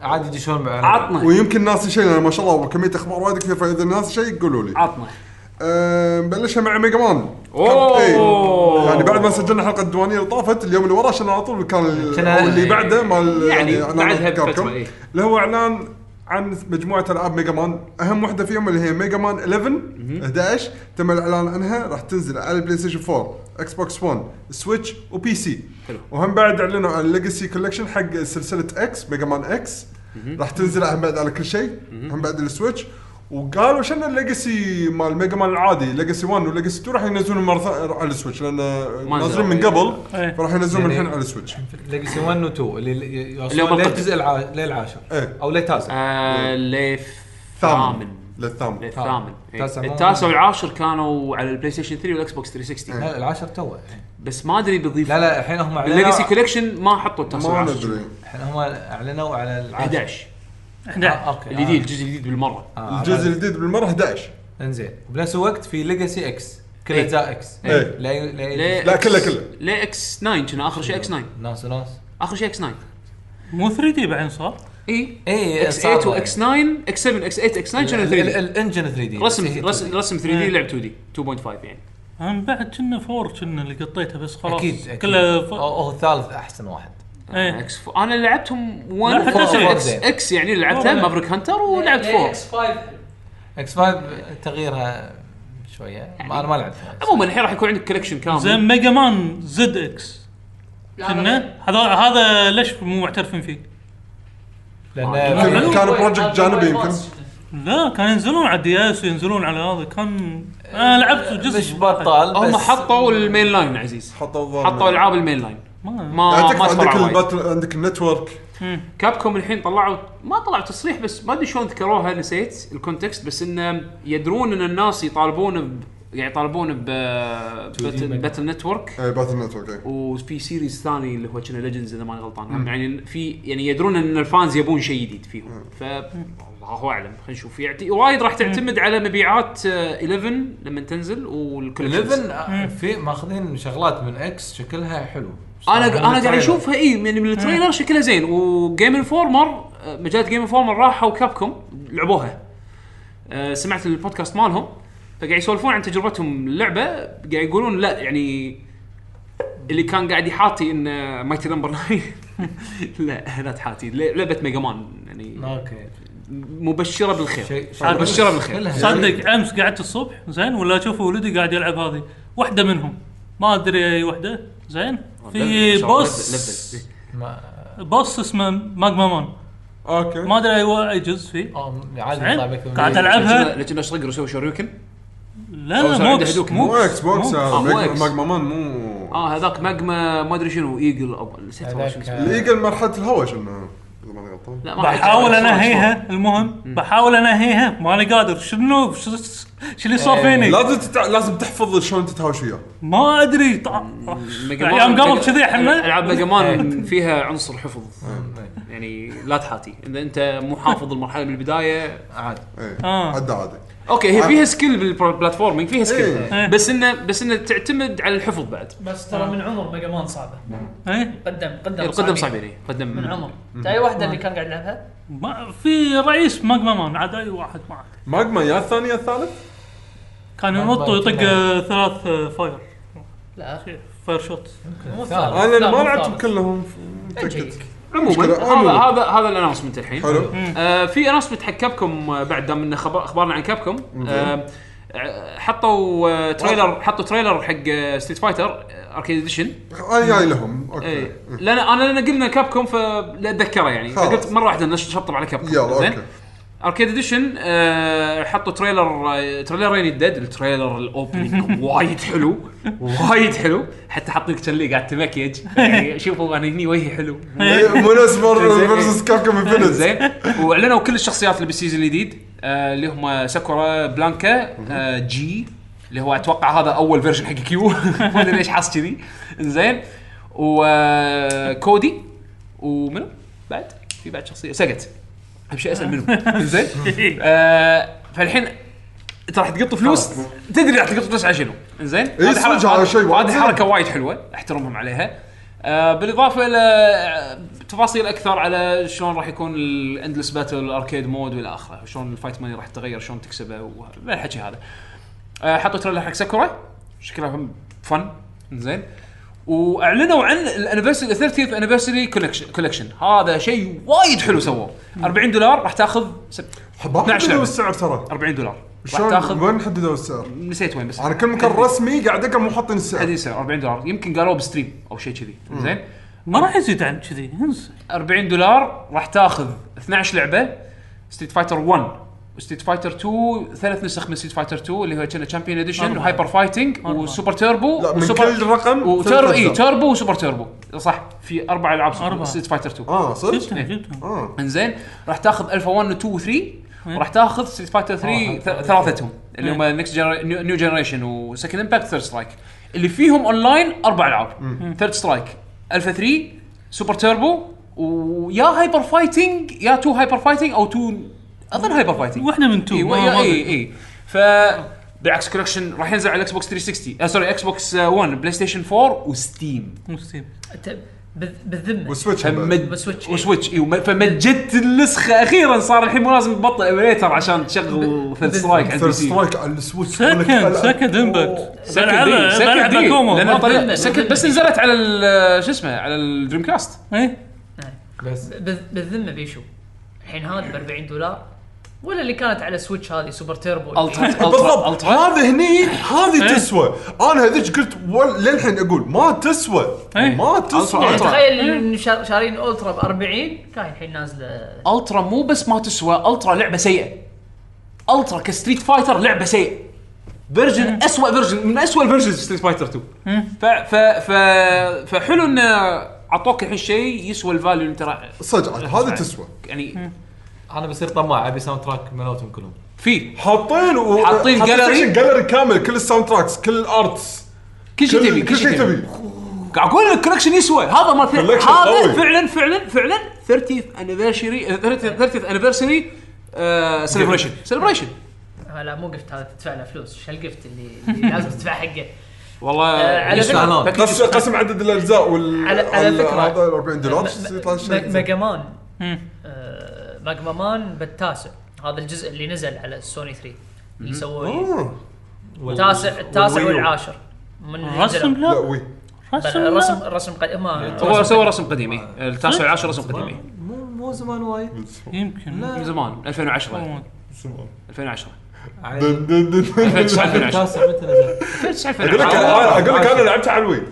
عادي يدشون مع
عطنا
ويمكن ناسي شيء لان ما شاء الله كميه اخبار وايد كثير فاذا ناسي شيء قولوا لي.
عطنا
أه، بلشنا مع ميجا مان
أوه.
إيه. يعني بعد ما سجلنا حلقه الديوانيه اللي طافت اليوم اللي وراه عشان على طول كان ال-
كنا-
أو اللي بعده مال
يعني
إعلان
بعدها
كابكوم.
بفترة، إيه.
اللي هو اعلان عن مجموعه العاب ميجا مان اهم واحده فيهم اللي هي ميجا مان 11 11 تم الاعلان عنها راح تنزل على بلاي ستيشن 4 اكس بوكس 1 سويتش وبي سي وهم بعد اعلنوا عن ليجاسي كولكشن حق سلسله اكس ميجا مان اكس راح تنزل هم بعد على كل شيء هم بعد السويتش وقالوا شنو الليجاسي مال ميجا مان العادي ليجاسي 1 وليجاسي 2 راح ينزلون مره ثانيه على السويتش لان نازلين من قبل
إيه.
فراح ينزلون
يعني-
الحين على السويتش
ليجسي 1 و 2 اللي اللي
اليوم
يوصلون
القدس.
للجزء الع- للعاشر
إيه.
او للتاسع
آه،
ثامن
للثامن
للثامن
الثامن إيه.
التاسع مو-
التاسع والعاشر كانوا على البلاي ستيشن 3 والاكس بوكس 360
لا العاشر توه
بس ما ادري بيضيف
لا لا الحين هم
الليجسي
اعلنوا
كوليكشن ما حطوا التاسع
ما
والعاشر
ندري
الحين هم اعلنوا على العاشر
11
آه،
11
اوكي آه.
الجديد الجزء الجديد بالمره
آه،
الجزء
على-
الجديد بالمره 11
انزين وبنفس الوقت في ليجاسي اكس كل
إيه.
اجزاء اكس
إيه.
لا لا
ليه
لا،
إكس-
كله- كله.
ليه اكس 9 كنا اخر شيء اكس 9
ناس وناس
اخر شيء اكس 9
مو 3 دي بعدين صار
اي
اي
إيه،
اكس 8 واكس
يعني.
9 اكس 7 اكس 8 اكس 9 كانوا 3 دي
الانجن 3 دي
رسم رسم رسم 3 دي
إيه.
لعب 2 دي 2.5 يعني
انا بعد كنا 4 كنا اللي قطيته بس خلاص
اكيد اكيد
كله
كله
ف...
هو الثالث احسن واحد
إيه.
اكس فور انا لعبتهم 1
لا، حتى إيه،
اكس
سيريس.
اكس يعني لعبته
والله.
مافريك هانتر ولعبت فور
اكس 5
اكس 5 تغييرها شويه ما انا ما لعبتها
عموما الحين راح يكون عندك كولكشن
زين
كامل
ميجا مان زد اكس كنا هذا هذا ليش مو معترفين فيه؟
لان
كان بروجكت جانبي يمكن
لا كان ينزلون على الدي اس وينزلون على هذا كان انا لعبت جزء
مش بطال بس
هم حطوا المين لاين عزيز
حطوا الظاهر.
حطوا العاب المين لاين
ما
ما
يعني
ما
تكفى عندك
تفرع وايد.
الباتل عندك النتورك
كابكوم الحين طلعوا ما طلعوا تصريح بس ما ادري شلون ذكروها نسيت الكونتكست بس انه يدرون ان الناس يطالبون ب يعني يطالبون ب باتل, باتل نتورك
اي باتل نتورك إي.
وفي سيريز ثاني اللي هو كنا ليجندز اذا ماني غلطان هم يعني في يعني يدرون ان الفانز يبون شيء جديد فيهم ف الله اعلم خلينا نشوف يعتي وايد راح تعتمد على مبيعات آه، 11 لما تنزل والكولكشنز
11 في ماخذين شغلات من اكس شكلها حلو
انا انا قاعد اشوفها اي يعني من التريلر شكلها زين وجيم انفورمر مجلات جيم انفورمر راحوا كابكم لعبوها آه، سمعت البودكاست مالهم فقاعد يسولفون عن تجربتهم اللعبه قاعد يقولون لا يعني اللي كان قاعد يحاتي ان مايتي نمبر 9 لا لا تحاتي ل- لعبه ميجا مان يعني
اوكي
مبشره بالخير
شيء
شيء- مبشرة بالخير.
صدق امس قعدت الصبح زين ولا اشوف ولدي قاعد يلعب هذه واحده منهم ما ادري اي واحده زين في بوس بوس اسمه ماجما مان
اوكي
ما ادري اي وا- اي جزء فيه
آه، عادي
زين
يطلع بك من
قاعد
بعيد.
العبها
لكن اشرق وسوي شوريوكن
لا
أو
لا
صار عنده
موكس
هدوك.
مو
موكس
اكس بوكس هذا
آه، مو
ماج-
إكس.
ماجما مان مو
اه هذاك ماجما ما ادري شنو ايجل او نسيت والله شنو
هذاك،
اسمه
آه،
الايجل مرحله الهواء شنو اذا ماني غلطان
لا ما أدري.
بحاول انهيها المهم بحاول انهيها ماني قادر شنو شو شو اللي صار فيني
لازم تتع... لازم تحفظ شلون تتهاوش وياه
ما ادري طع-
ميجا مان-
ايام قبل
ميجا-
كذي احنا
العاب ميجا مان فيها عنصر حفظ يعني لا تحاتي اذا انت مو حافظ المرحله من البدايه
عادي
اي
آه.
عدى إيه. عادي
اوكي هي فيها سكيل بالبلاتفورمينج فيها
إيه.
سكيل بس انه بس انه تعتمد على الحفظ بعد
بس ترى من عمر ميجا مان صعبه
إيه؟
قدم قدم
القدم صعبين إيه. قدم
من عمر انت اي واحده اللي كان قاعد يلعبها؟
ما في رئيس ماجما مان عاد اي واحد معك
ماجما يا الثاني يا الثالث
كان ينط ويطق آه، ثلاث آه، فاير
لا
فاير شوت
مو
انا
الثالث.
لأن
لا،
ما
مو
لعبتهم
الثالث.
كلهم
أجيك.
عموما
مشكلة.
هذا
عموماً.
هذا هذا الانونسمنت الحين
حلو
آه في انونسمنت حق كابكم آه، بعد دام ان خبر اخبارنا عن كابكم آه آه، حطوا آه، تريلر حطوا تريلر حق آه، ستريت فايتر اركيد اديشن
انا جاي لهم اوكي
اي لان انا لان قلنا كاب كوم فلا اتذكره يعني
خلاص.
فقلت مره واحده نش- نشطب على كاب كوم
يلا اوكي
اركيد اديشن آه حطوا تريلر آه تريلرين الديد التريلر الاوبننج وايد حلو وايد حلو حتى حاطين لك لي قاعد تمكيج يعني شوفوا انا هني وجهي حلو
إيه، مونس فيرسس كابكم انفنت
زين واعلنوا كل الشخصيات اللي بالسيزون الجديد آه اللي هم ساكورا بلانكا آه جي اللي هو اتوقع هذا اول فيرجن حق كيو ما ادري ليش حاس كذي زين وكودي ومنو بعد في بعد شخصيه سقت اهم شيء اسال منو زين آه فالحين انت راح تقط فلوس تدري راح تقط فلوس على شنو زين
إيه، صدق هذا شيء وايد
هذه
زين.
حركه وايد حلوه احترمهم عليها آه بالاضافه الى آه، تفاصيل اكثر على شلون راح يكون الاندلس باتل الاركيد مود والى اخره شلون الفايت ماني راح تتغير شلون تكسبه والحكي هذا آه حطوا تريلر حق ساكورا شكلها فن زين واعلنوا عن الانيفرسري 30th انيفرسري كولكشن هذا شيء وايد حلو سووه 40 دولار راح تاخذ سب-
ما
12
حددوا
لعبة.
السعر ترى
40 دولار راح
شلون
تاخذ
وين حددوا السعر؟
نسيت وين بس
انا كل مكان رسمي قاعد اقرا مو حاطين السعر
حديثة 40 دولار يمكن قالوا بستريم او شيء كذي زين
ما راح يزيد عن كذي انسى
40 دولار راح تاخذ 12 لعبه ستريت فايتر 1 وستريت فايتر 2 ثلاث نسخ من ستريت فايتر 2 اللي هو كنا تشامبيون اديشن
أربعة.
وهايبر فايتنج
أربعة.
وسوبر تيربو
لا من
وسوبر إيه،
كل رقم
وتربو
ثلاث
اي
أجزاء.
تيربو وسوبر تيربو صح في اربع العاب
أربعة.
ستريت فايتر 2
اه صدق؟
جبتها جبتها
اه
انزين راح تاخذ الفا 1 و 2 و 3 وراح تاخذ ستريت فايتر
آه،
3 ث- ثلاثتهم اللي هم نكست نيو جنريشن وسكند امباكت ثيرد سترايك اللي فيهم اونلاين اربع العاب ثيرد سترايك الفا 3 سوبر تيربو ويا هايبر فايتنج يا تو هايبر فايتنج او تو اظن هايبر فايتنج
واحده من تو
اي
ما-
ويا-
ما
اي
أدري.
اي ف بالعكس كولكشن راح آه، ينزل على الاكس بوكس 360 آه سوري اكس بوكس 1 بلاي ستيشن 4 وستيم
مو ستيم
أنت- بذ- بالذمه
والسويتش هم بعد.
فمد
وسويتش.
وسويتش ايوه م- فمجدت النسخه اخيرا صار الحين مو لازم تبطل ايميليتر عشان تشغل ثيرد سترايك على البي
ثيرد
سي
سترايك على السويتش
سكند سكند امباكت
Second day-
بلعبها
second day.
بلعبها كومو
لان
ما
طريق-
ظلنا-
second-
ظلنا.
بس نزلت على ال- شو اسمه على الدريم كاست
اي
بس
بذ- بالذمه بيشو الحين هذا ب 40 دولار ولا اللي كانت على سويتش هذه يعني سوبر تيربو
الترا
بالضبط
الترا
هذا هني
إيه.
هذه تسوى انا هذيك قلت وال- للحين اقول ما تسوى
إيه.
ما تسوى
يعني
ألترا.
تخيل إن شا- شارين الترا ب 40 كان الحين نازله
الترا مو بس ما تسوى الترا لعبه سيئه الترا كستريت فايتر لعبه سيئه فيرجن اسوء فيرجن من اسوء الفيرجن ستريت فايتر 2 ف ف ف فحلو انه عطوك الحين شيء يسوى الفاليو اللي انت راح-
صدق
إيه،
هذه تسوى
يعني
انا بصير طماع ابي ساوند تراك مالتهم كلهم
في
حاطين و...
حاطين gallery.
جالري كامل كل الساوند تراكس كل الارتس
كل شيء تبي
كل شيء تبي
قاعد اقول لك كولكشن يسوى هذا ما في
Collection
هذا
قوي.
فعلا فعلا فعلا 30th anniversary 30th anniversary آه، سيلبريشن سيلبريشن
آه لا مو قفت هذا تدفع له فلوس شو القفت اللي, اللي لازم تدفع حقه
والله
آه، على
ليش
فكرة-
إعلان؟
باكج
قسم قسم عدد الاجزاء وال
على على
ال-
فكره
هذا ال 40 دولار
م-
يطلع
م-
شيء
ميجا مان آه، ميجا مان بالتاسع هذا الجزء اللي نزل على السوني 3 اللي سووه
آه.
التاسع التاسع
والويو.
والعاشر من
رسم
لا
لا
وي
رسم
بل- رسم
لا
رسم قديم
هو
هم
سوى رسم قديم إيه. التاسع والعاشر رسم قديم
مو مو زمان وايد
يمكن
من زمان 2010 2010
على-
2009 2010
التاسع متى نزل؟
2009
اقول لك
2010
انا اقول لك انا لعبتها على الوي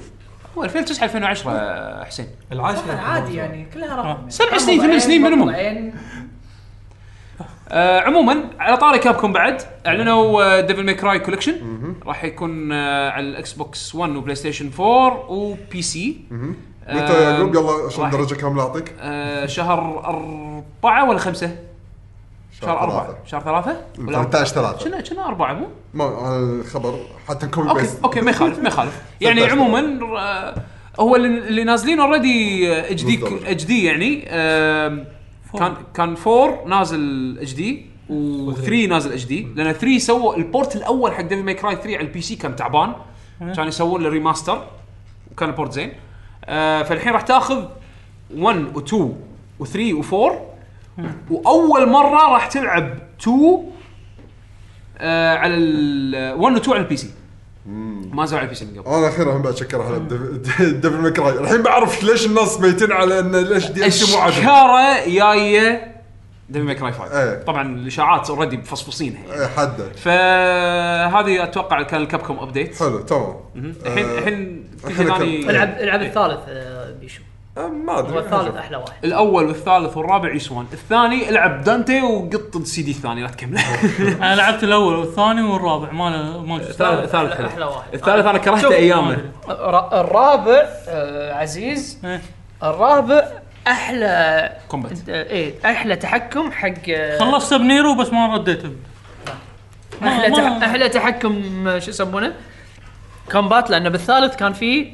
هو 2009 2010 حسين
العاشر
عادي يعني كلها رقم
سبع سنين ثمان سنين minimum.
إيه.
آه عموما على طاري كابكم بعد آه، اعلنوا ديفل ماي كراي كولكشن راح يكون آه على الاكس بوكس 1 وبلاي ستيشن 4 وبي سي
متى يا يعقوب يلا عشان
واحد.
درجه كامله اعطيك
آه شهر أربعة ولا خمسة؟ شهر أربعة شهر ثلاثة؟ ولا أربعة؟
13 3
كنا كنا أربعة مو؟
ما أنا الخبر حتى كوبي
اوكي
بيست
اوكي ما يخالف ما يخالف يعني
16.
عموما آه، هو اللي اللي نازلين آه، اوريدي اتش دي
بالضبط.
اتش دي يعني آم، كان كان 4 نازل اتش دي و3 نازل اتش دي لان 3 سووا البورت الاول حق ديفل ماي كراي 3 على البي سي كان تعبان كان يسوون له ريماستر وكان البورت زين آه، فالحين راح تاخذ 1 و2 و3 و4 واول مره راح تلعب 2 آه، على ال 1 و 2 على البي سي ما نزلوا على البي سي من قبل
انا اخيرا هم بعد شكرها على دبل ماكراي الحين بعرف ليش الناس ميتين على ان ليش دي ال سي مو عادل
الشكاره جايه ديفل ماي كراي 5
إيه.
طبعا الاشاعات اوريدي مفصفصينها يعني
إيه، حده
فهذه اتوقع كان الكابكوم ابديت
حلو تمام
الحين
آه،
الحين في
إحنا
شيء
كم-
ثاني
العب العب الثالث آه، بيشو
آه، ما ادري
هو الثالث احلى واحد
الاول والثالث والرابع يسوون الثاني العب دانتي وقط السي دي الثاني لا تكمله
انا لعبت الاول والثاني والرابع ما له- ما له-
الثالث ثالث
أحلى- أحلى
حلو
واحد.
الثالث انا
شوف.
كرهته ايامه
الر- الرابع آه، عزيز
إيه.
الرابع احلى
كومبات
ايه احلى تحكم حق آه،
خلصت بنيرو بس ما رديت ب-
احلى
ما-
تح-
ما-
احلى تحكم آه، شو يسمونه كومبات لانه بالثالث كان فيه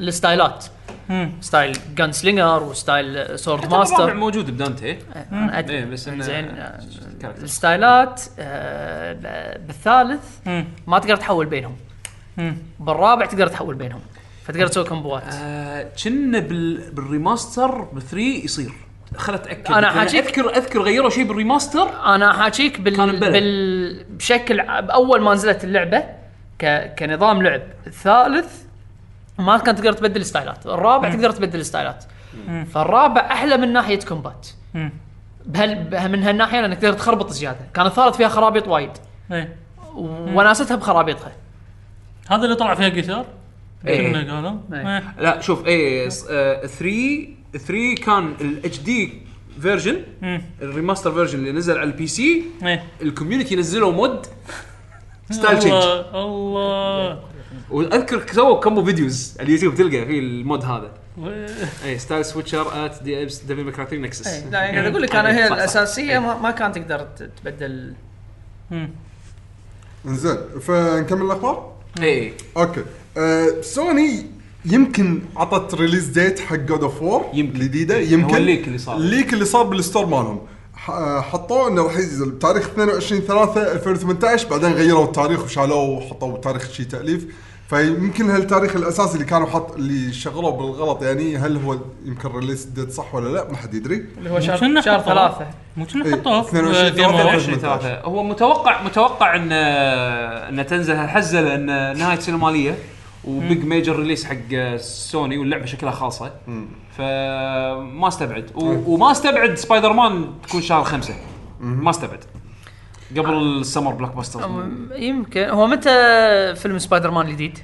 الستايلات
مم.
ستايل جان سلينجر وستايل سورد
الرابع
ماستر
موجود بدانتي
أنا أدري.
إيه، بس إنه-
زين آه،
character.
الستايلات آه، ب- بالثالث
مم.
ما تقدر تحول بينهم
مم.
بالرابع تقدر تحول بينهم فتقدر تسوي كومبوات
آه، كنا بال... بالريماستر بال3 يصير خلت اتاكد
أنا
لأن
حاجيك-
اذكر اذكر غيروا شيء بالريماستر
انا حاكيك بال...
كان ببلد.
بال... بشكل ع- اول ما نزلت اللعبه ك... كنظام لعب الثالث ما كان تقدر تبدل ستايلات الرابع تقدر تبدل ستايلات فالرابع احلى من ناحيه كومبات
مم.
بهال... به- من هالناحيه لانك تقدر تخربط زياده كان الثالث فيها خرابيط وايد
إيه.
وناستها بخرابيطها
هذا اللي طلع فيها جيتار
إيه.
كنا قالوا
إيه.
إيه.
لا شوف اي 3 3 آه، كان الاتش دي فيرجن
مم.
الريماستر فيرجن اللي نزل على البي سي
إيه.
الكوميونتي نزلوا مود ستايل تشينج
الله الله
واذكر سووا كمو فيديوز على اليوتيوب تلقى في المود هذا إيه،
و-
اي ستايل سويتشر ات دي ابس دبليو ميكراتري نكسس
لا يعني قاعد اقول لك انا هي الاساسيه ما, ما كان تقدر ت- تبدل
مم.
انزين فنكمل الاخبار
اي
اوكي آه، سوني يمكن عطت ريليز ديت حق جود اوف وور
يمكن.
الجديده يمكن
هو الليك اللي صار.
الليك اللي صار بالستور مالهم ح- آه، حطوه انه راح ينزل بتاريخ 22 3 2018 بعدين غيروا التاريخ وشالوه وحطوا تاريخ شي تاليف فيمكن هالتاريخ الاساسي اللي كانوا حط اللي شغلوه بالغلط يعني هل هو يمكن ريليس ديت صح ولا لا ما حد يدري
اللي هو شهر
كنا
شهر
حطوه.
ثلاثه
مو كنا
إيه،
حطوه
22
في ديمو.
23.
20 هو متوقع متوقع ان ان تنزل هالحزه لان نهايه سنه ماليه وبيج ميجر ريليس حق سوني واللعبه شكلها خالصه فما استبعد و- وما استبعد سبايدر مان تكون شهر خمسة ما استبعد قبل السمر بلاك باستر
أم- يمكن هو متى فيلم سبايدر مان الجديد؟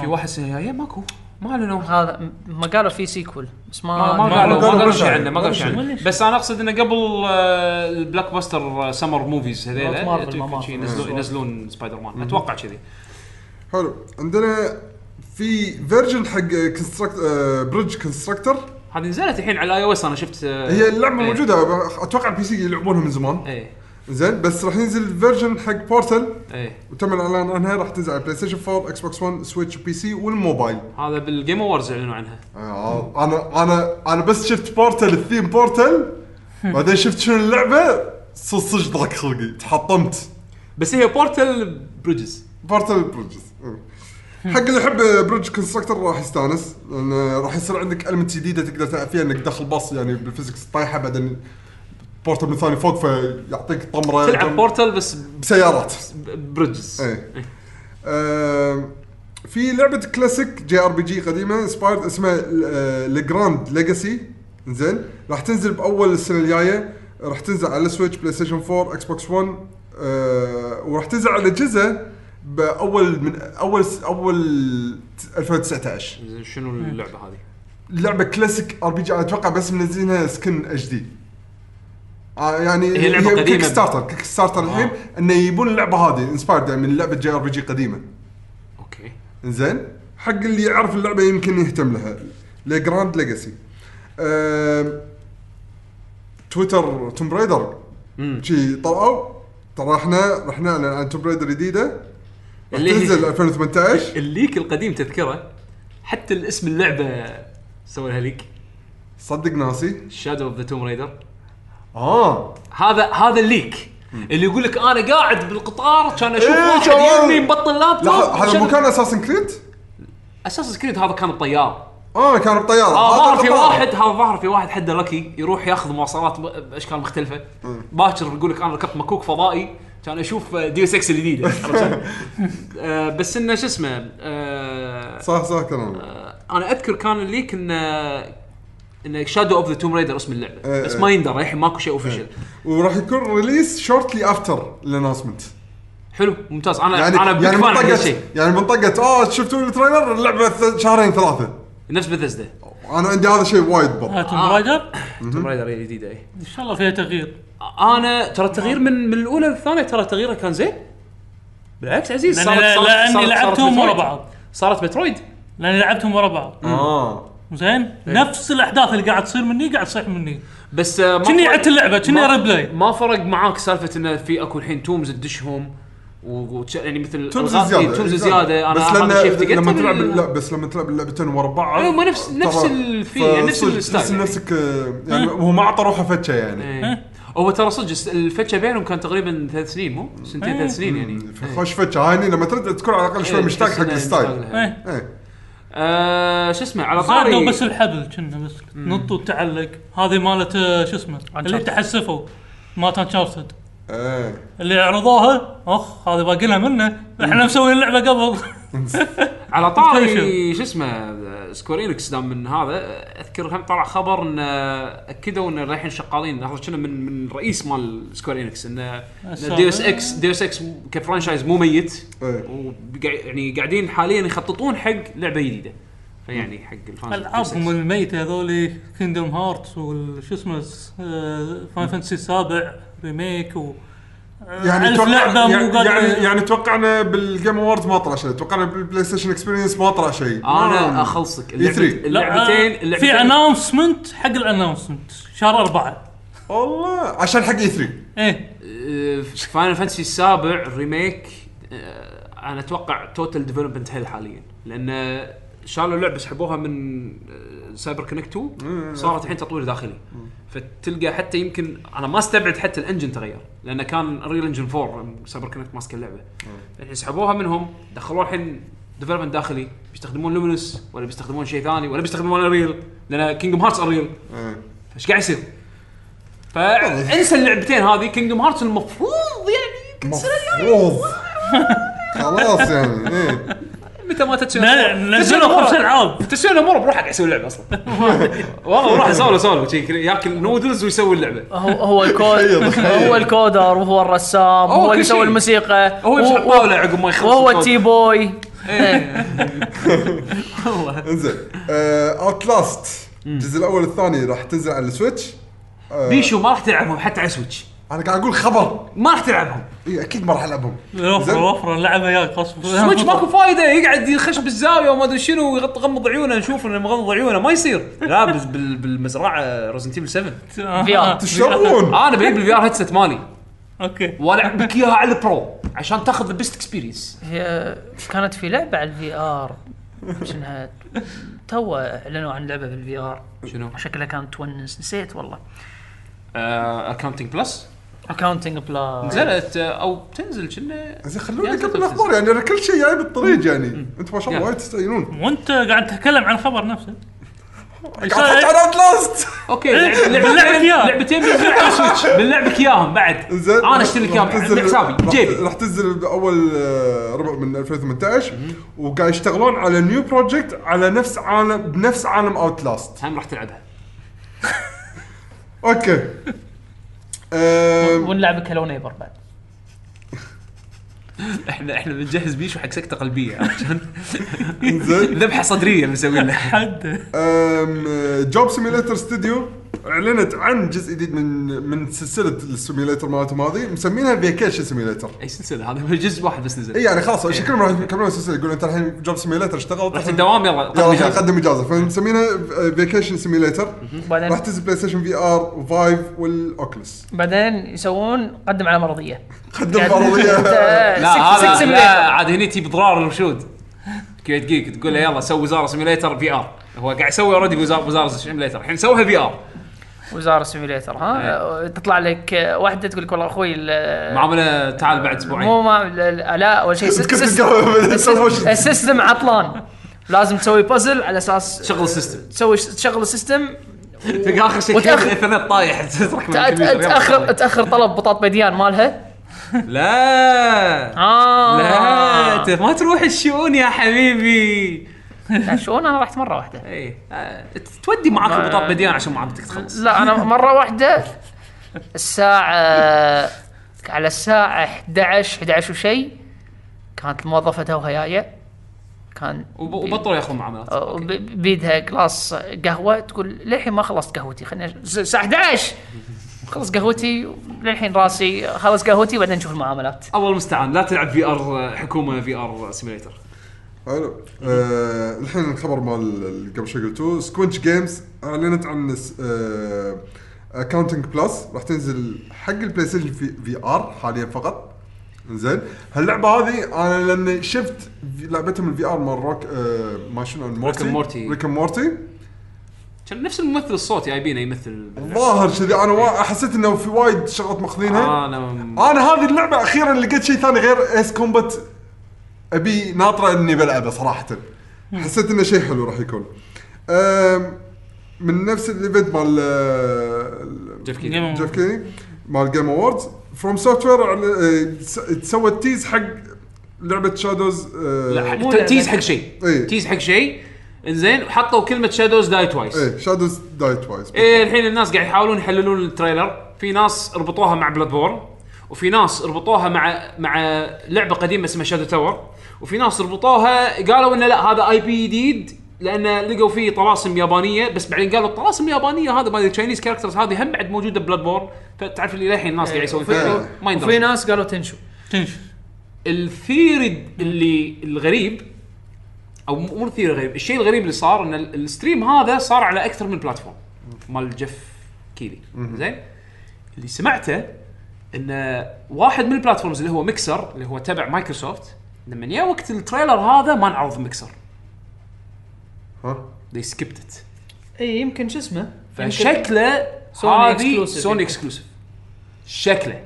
في واحد سنه جايه ماكو ما اعلنوا
هذا م- ما قالوا في سيكول بس ما
ما آه، ما قالوا ما
قالوا
قالوا
ولا
شيء
شيء.
عنه ما قالوا شيء عنه
ولا شيء.
بس انا اقصد انه قبل آه، البلاك باستر سمر موفيز
مالت
هذيلا
مارفل، ما
يمكن
مارفل.
شي ينزلون- ينزلون سبايدر مان اتوقع كذي
حلو عندنا في فيرجن حق آه، كونستراكت بريدج كونستراكتر
هذه نزلت الحين على اي او اس انا شفت آه،
هي اللعبه
إيه.
موجوده اتوقع البي سي يلعبونها من زمان
ايه
زين بس راح ينزل فيرجن حق بورتل
ايه
وتم الاعلان عنها راح تنزل على بلاي ستيشن 4 اكس بوكس 1 سويتش بي سي والموبايل
هذا بالجيم اووردز اعلنوا عنها
آه، انا انا انا بس شفت بورتل الثيم بورتل بعدين شفت شنو اللعبه صج صج ضاق خلقي تحطمت
بس هي بورتل بريدجز
بورتل بريدجز حق اللي يحب بريدج كونستراكتر راح يستانس لان راح يصير عندك المنت جديده تقدر تلعب فيها انك داخل باص يعني بالفيزكس طايحه بعدين بورتل من ثاني فوق فيعطيك طمره
تلعب بورتل بس
بسيارات
بريدجز
ايه آم، في لعبه كلاسيك جي ار بي جي قديمه سبايرد اسمها آه، لجراند ليجاسي زين راح تنزل باول السنه الجايه راح تنزل على سويتش بلاي ستيشن 4 اكس بوكس 1 آه، وراح تنزل على اجهزه باول من اول اول 2019
زين، شنو اللعبه هذه؟
لعبه كلاسيك ار بي جي اتوقع بس منزلينها سكن اتش دي يعني
هي لعبة قديمة.
كيك ستارتر كيك ستارتر الحين انه يبون اللعبه هذه انسبايرد يعني من لعبه جي ار بي جي قديمه
اوكي
زين حق اللي يعرف اللعبه يمكن يهتم لها لجراند ليجاسي تويتر توم برايدر شي طلعوا ترى احنا رحنا نعلن عن توم برايدر جديده راح
اللي هي-
تنزل 2018
الليك القديم تذكره حتى الاسم اللعبه سوى لها ليك
صدق ناسي
شادو اوف ذا توم رايدر آه.
اه
هذا هذا الليك اللي يقول لك انا قاعد بالقطار كان اشوف
إيه،
واحد
كمان.
يمي مبطل
لا
لابتوب
هذا مو كان اساسن كريد؟
اساس سكريد هذا كان الطيار
اه كان بطياره
اه
هذا
ظهر في
بطارة.
واحد ها ظهر في واحد حده لكي يروح ياخذ مواصلات ب- باشكال مختلفه باكر يقول لك انا ركبت مكوك فضائي كان آه، اشوف ديو 6 الجديده عرفت؟ آه، بس انه شو اسمه آه،
صح صح كلام
آه، انا اذكر كان آه، الليك انه انه شادو اوف ذا توم رايدر اسم اللعبه
إيه،
بس
إيه.
ما يندر الحين ماكو شيء اوفيشال
وراح يكون ريليس شورتلي افتر الانونسمنت
حلو ممتاز انا
يعني
انا
يعني
بيك فان حق
منطقه
الشيء
يعني منطقه اه شفتوا التريلر اللعبه ث- شهرين ثلاثه
نفس بثزدا
انا عندي هذا شيء وايد بط
توم
آه.
رايدر
توم رايدر الجديده اي
ان شاء الله فيها تغيير
انا إيه. ترى التغيير من من الاولى للثانيه ترى تغييرها كان زين بالعكس عزيز
لأن-
صارت- صارت-
لاني
صارت- صارت
لعبتهم ورا
مترويد.
بعض
صارت مترويد
لاني لعبتهم ورا بعض
آه.
اه
إيه.
زين نفس الاحداث اللي قاعد تصير مني قاعد تصيح مني
بس آه، ما
كني
فرق-
عدت اللعبه كني
ما-
ريبلاي
ما فرق معاك سالفه انه في اكو الحين تومز تدشهم و... و... يعني مثل
تومز
ألغاز-
زياده
إيه، تومز زياده
بس
انا هذا
لأن-
الشيء افتقدته
لما
بال-
تلعب لا بس لما تلعب اللعبتين ورا بعض
أيوة، ما نفس- نفس
ترى-
الفيل، يعني نفس
فصدق
الستايل
تحس
يعني.
نفسك آه، يعني هو ما عطى روحه فتشه يعني
إيه. هو ترى صدق الفتشه بينهم كان تقريبا ثلاث سنين مو؟ سنتين
إيه.
ثلاث سنين يعني
خوش فتشه هاي لما ترد تكون على الاقل شوي
إيه،
مشتاق
تحس
حق
إنه
الستايل
مشتاق لها.
ايه
إيه.
آه، شو اسمه على
زادوا
طاري
بس الحبل كنا بس نط وتعلق هذه مالت آه، شو اسمه اللي تحسفوا مالت انشارتد
ايه
اللي عرضوها اخ هذه باقي لها منه احنا مسويين اللعبه قبل
على
مختلفة.
طاري شو اسمه سكويرينكس دام من هذا اذكر هم طلع خبر ان اكدوا ان رايحين شغالين هذا كنا من من رئيس مال سكويرينكس ان ديوس اكس ديوس اكس كفرانشايز مو ميت
إيه.
وقاع- يعني قاعدين حاليا يخططون حق لعبه جديده فيعني حق الفانز
العابهم الميته هذول كيندوم هارتس وشو اسمه فاين فانتسي السابع ريميك و
يعني
ألف لعبه
يعني,
مو
يعني,
قادر
يعني توقعنا بالجيم اووردز ما طلع شيء توقعنا بالبلاي ستيشن اكسبيرينس ما طلع شيء آه. نعم.
انا اخلصك اللعبة-
E3.
لا،
اللعبتين
آه، في
اللعبتين
اناونسمنت حق الاناونسمنت شهر اربعه
والله عشان حق E اي 3
ايه
فاينل فانتسي السابع ريميك آه، انا اتوقع توتال ديفلوبمنت هيل حاليا لان شالوا اللعبه سحبوها من آه، سايبر كونكت 2 صارت الحين تطوير داخلي فتلقى حتى يمكن انا ما استبعد حتى الانجن تغير لانه كان ريل انجن 4 سايبر كونكت ماسك اللعبه الحين سحبوها منهم دخلوا الحين ديفلوبمنت داخلي بيستخدمون لومينس ولا بيستخدمون شيء ثاني ولا بيستخدمون اريل لان كينجدم هارتس اريل
إيه.
فايش قاعد يصير؟ فانسى اللعبتين هذه كينجدم هارتس المفروض يعني كل سنه
مفروض خلاص يعني ايه
متى ما تتسوى
ن- نزلوا خمس العاب
تسوي الامور بروحه قاعد يسوي اللعبه اصلا والله بروحه سولو سولو شي كذا ياكل نودلز ويسوي اللعبه
هو هو الكود هو الكودر وهو الرسام هو اللي
كل شيء.
يسوي الموسيقى
هو يمسح
وهو-
الطاوله عقب ما يخلص
وهو
الكود. إيه.
التي بوي
انزين اوت لاست الجزء الاول الثاني راح تنزل على السويتش آه،
بيشو ما راح تلعبهم حتى على سويتش
انا قاعد اقول خبر
ما راح تلعبهم
إيه، اكيد ما راح العبهم زين.
وفره وفره لعبه يا خصم
سويتش ماكو فايده يقعد يخش بالزاويه وما ادري شنو ويغط غمض عيونه نشوف انه مغمض عيونه ما يصير لا بال- بال- uh, بالمزرعه ريزنت 7
آه،
في ار
تشرون
انا بجيب الفي ار هيدسيت مالي
اوكي
والعب لك اياها على البرو عشان تاخذ البيست اكسبيرينس
هي كانت في لعبه على الفي ار شنها تو اعلنوا عن لعبه بالفي ار
شنو؟
شكلها كانت تونس نسيت والله
اكونتنج بلس
اكاونتنج بلا
نزلت آه، او تنزل كنا
زين خلوني
يا
قبل
تفضل.
الاخبار يعني انا كل شيء جاي بالطريق يعني انتم ما شاء الله
يلا.
وايد تستعينون
وانت قاعد تتكلم عن الخبر نفسه
قاعد احكي عن اوت لاست
اوكي
إيه،
لعب-
بنلعبك
لعبتين
إياه.
لعبتين بنزل على السويتش بنلعبك اياهم بعد
زين
انا اشتري لك اياهم عندي حسابي جيبي
راح تنزل باول آه، ربع من 2018 وقاعد يشتغلون على نيو بروجكت على نفس عالم بنفس عالم اوت لاست
هم راح تلعبها
اوكي آم،
ونلعبك هلو نيبر بعد
احنا احنا بنجهز بيشو حق سكته قلبيه عشان
زين
ذبحه صدريه بنسوي له
حد
جوب سيميليتر ستوديو اعلنت عن جزء جديد من من سلسله السيميليتر مالتهم هذه مسمينها فيكيشن سيميليتر
اي سلسله هذا هو جزء واحد بس نزل
إيه.
اي يعني خلاص
إيه.
شكلهم راح يكملون السلسله يقولون انت الحين جوب سيميليتر اشتغل
رحت الدوام يلا قدم
يلا الحين
إجازة.
نقدم اجازه فمسمينها فيكيشن سيميليتر
بعدين
راح تنزل بلاي ستيشن في ار وفايف والاوكلس
بعدين يسوون قدم على مرضيه
قدم فرضيه
لا هذا لا
لا
عاد هني تجيب ضرار الرشود كويت جيك تقول له يلا سوي وزاره سيميليتر في ار هو قاعد يسوي اوريدي وزاره وزاره سيميليتر الحين سويها في ار
وزاره سيميليتر ها
إيه.
تطلع لك واحده تقول لك والله اخوي ال-
معامله تعال بعد اسبوعين
مو ما لا- لا اول شيء
تكتب
السيستم-
الجواب.
السيستم- السيستم عطلان لازم تسوي بازل على اساس
شغل السيستم
تسوي تشغل السيستم
تلقى اخر شيء
وتأخر-
كابل الايثرنت طايح تروح من
تأ-
الكمبيوتر، يلا، طيب.
تاخر
سوي.
تاخر طلب بطاط بديان مالها
لا
اه
لا انت ما تروح الشؤون يا حبيبي
لا، شلون انا رحت مره واحده
اي آه، تودي معك
ما-
البطاط بديان عشان ما عبتك تخلص
لا انا مره واحده الساعه على الساعه 11 11 وشي كانت الموظفه توها جايه كان
وب- وبطلوا ياخذون معاملات
ب- بيدها جلاس قهوه تقول للحين ما خلصت قهوتي خليني أش- الساعه 11 خلص قهوتي للحين راسي خلص قهوتي بعدين نشوف المعاملات
الله المستعان لا تلعب في ار حكومه في ار سيميليتر
حلو آه، الحين الخبر مال اللي قبل شوي قلتوه سكوينش جيمز اعلنت عن اكاونتنج بلس راح تنزل حق البلاي ستيشن في في ار حاليا فقط زين هاللعبه هذه انا لما شفت في- لعبتهم الفي ار مال روك آه، ما شنو مورتي
and Morty.
ريك مورتي
كان نفس الممثل الصوت جايبينه يمثل
ظاهر كذي انا وا- حسيت انه في وايد شغلات ماخذينها
آه، انا
انا هذه اللعبه اخيرا لقيت شيء ثاني غير اس كومبات ابي ناطره اني بلعبه صراحه حسيت انه شيء حلو راح يكون أم، من نفس الايفنت مال
جيف كيلي
جيم
جيف كيني مال جيم اووردز فروم سوفت وير سوت تيز حق أه، لعبه شادوز
لا،
اي
حق- تيز حق شيء
إيه.
تيز حق شيء انزين وحطوا كلمه شادوز داي
إيه.
توايس
شادوز داي توايس
ايه الحين الناس قاعد يحاولون يحللون التريلر في ناس ربطوها مع بلاد بورن وفي ناس ربطوها مع مع لعبه قديمه اسمها شادو تاور وفي ناس ربطوها قالوا انه لا هذا اي بي جديد لان لقوا فيه طلاسم يابانيه بس بعدين قالوا الطلاسم اليابانيه هذا مال التشاينيز كاركترز هذه هم بعد موجوده بلاد بورن فتعرف اللي للحين الناس قاعد يسوون فيها
وفي-
ما
وفي
يندرى
ناس قالوا تنشو
تنش
الثيري اللي الغريب او مو مو الثيري الغريب الشيء الغريب اللي صار ان ال- الستريم هذا صار على اكثر من بلاتفورم مال جيف كيلي زين اللي سمعته ان واحد من البلاتفورمز اللي هو ميكسر اللي هو تبع مايكروسوفت لما جاء وقت التريلر هذا ما نعرض ميكسر
ها
they skipped it
اي يمكن شو اسمه
فشكله
سوني
هذه
exclusive.
سوني اكسكلوسيف شكله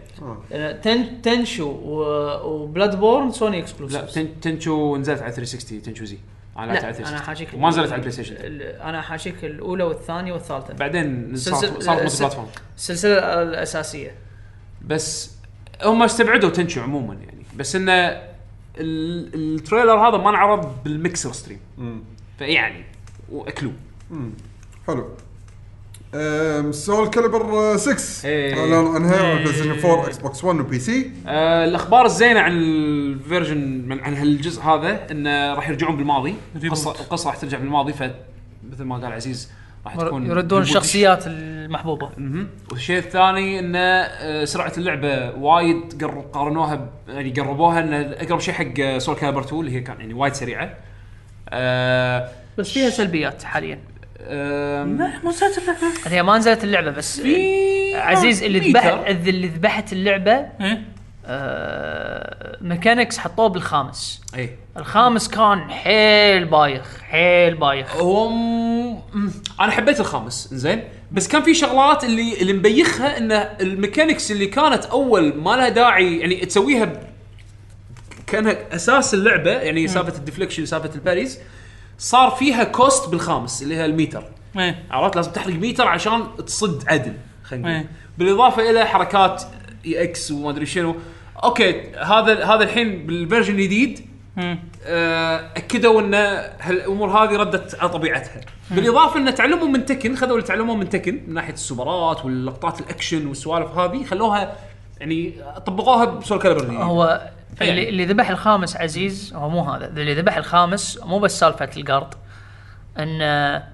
آه، تن تنشو و- وبلاد بورن سوني
لا
اكسكلوسيف
تن- تنشو نزلت على 360 تنشو زي انا لعبت على 360
انا حاشيك
وما نزلت على بلاي ستيشن
انا حاشيك الاولى والثانيه والثالثه
بعدين
سلسل-
صارت صارت ملتي
سل-
بلاتفورم
السلسله الاساسيه
بس هم استبعدوا تنشو عموما يعني بس انه ال- التريلر هذا ما انعرض بالمكسر ستريم
مم.
فيعني واكلوه
حلو أم، سول كاليبر 6
إيه.
اعلنوا عنها على بلاي ستيشن 4 اكس بوكس 1 وبي سي
آه، الاخبار الزينه عن الفيرجن من عن هالجزء هذا انه راح يرجعون بالماضي القصه القصه راح ترجع بالماضي ف مثل ما قال عزيز راح تكون
يردون
reboot.
الشخصيات المحبوبه
مهم. والشيء الثاني انه آه، سرعه اللعبه وايد قر- قارنوها ب- يعني قربوها انه اقرب شيء حق آه، سول كالبر 2 اللي هي كان يعني وايد سريعه. آه،
بس فيها سلبيات حاليا
آم،
هي ما نزلت اللعبه بس
في-
عزيز اللي
ميتر.
ذبح اللي ذبحت اللعبه
إيه؟
ايه
ميكانكس حطوه بالخامس
اي
الخامس كان حيل بايخ حيل بايخ
هو م- م- انا حبيت الخامس زين بس كان في شغلات اللي اللي مبيخها ان الميكانكس اللي كانت اول ما لها داعي يعني تسويها ب- كانها اساس اللعبه يعني سالفه الديفليكشن سالفه الباريز صار فيها كوست بالخامس اللي هي الميتر
ايه
عرفت لازم تحرق ميتر عشان تصد عدل خلينا نقول
إيه.
بالاضافه الى حركات اي اكس وما ادري شنو اوكي هذا هذا الحين بالفيرجن الجديد
مم.
آه، اكدوا ان هالامور هذه ردت على طبيعتها بالاضافه ان تعلموا من تكن خذوا اللي تعلموه من تكن من ناحيه السوبرات واللقطات الاكشن والسوالف هذه خلوها يعني طبقوها بسول كالبر الجديد.
هو
يعني.
اللي اللي ذبح الخامس عزيز هو مو هذا اللي ذبح الخامس مو بس سالفه القرض ان آه،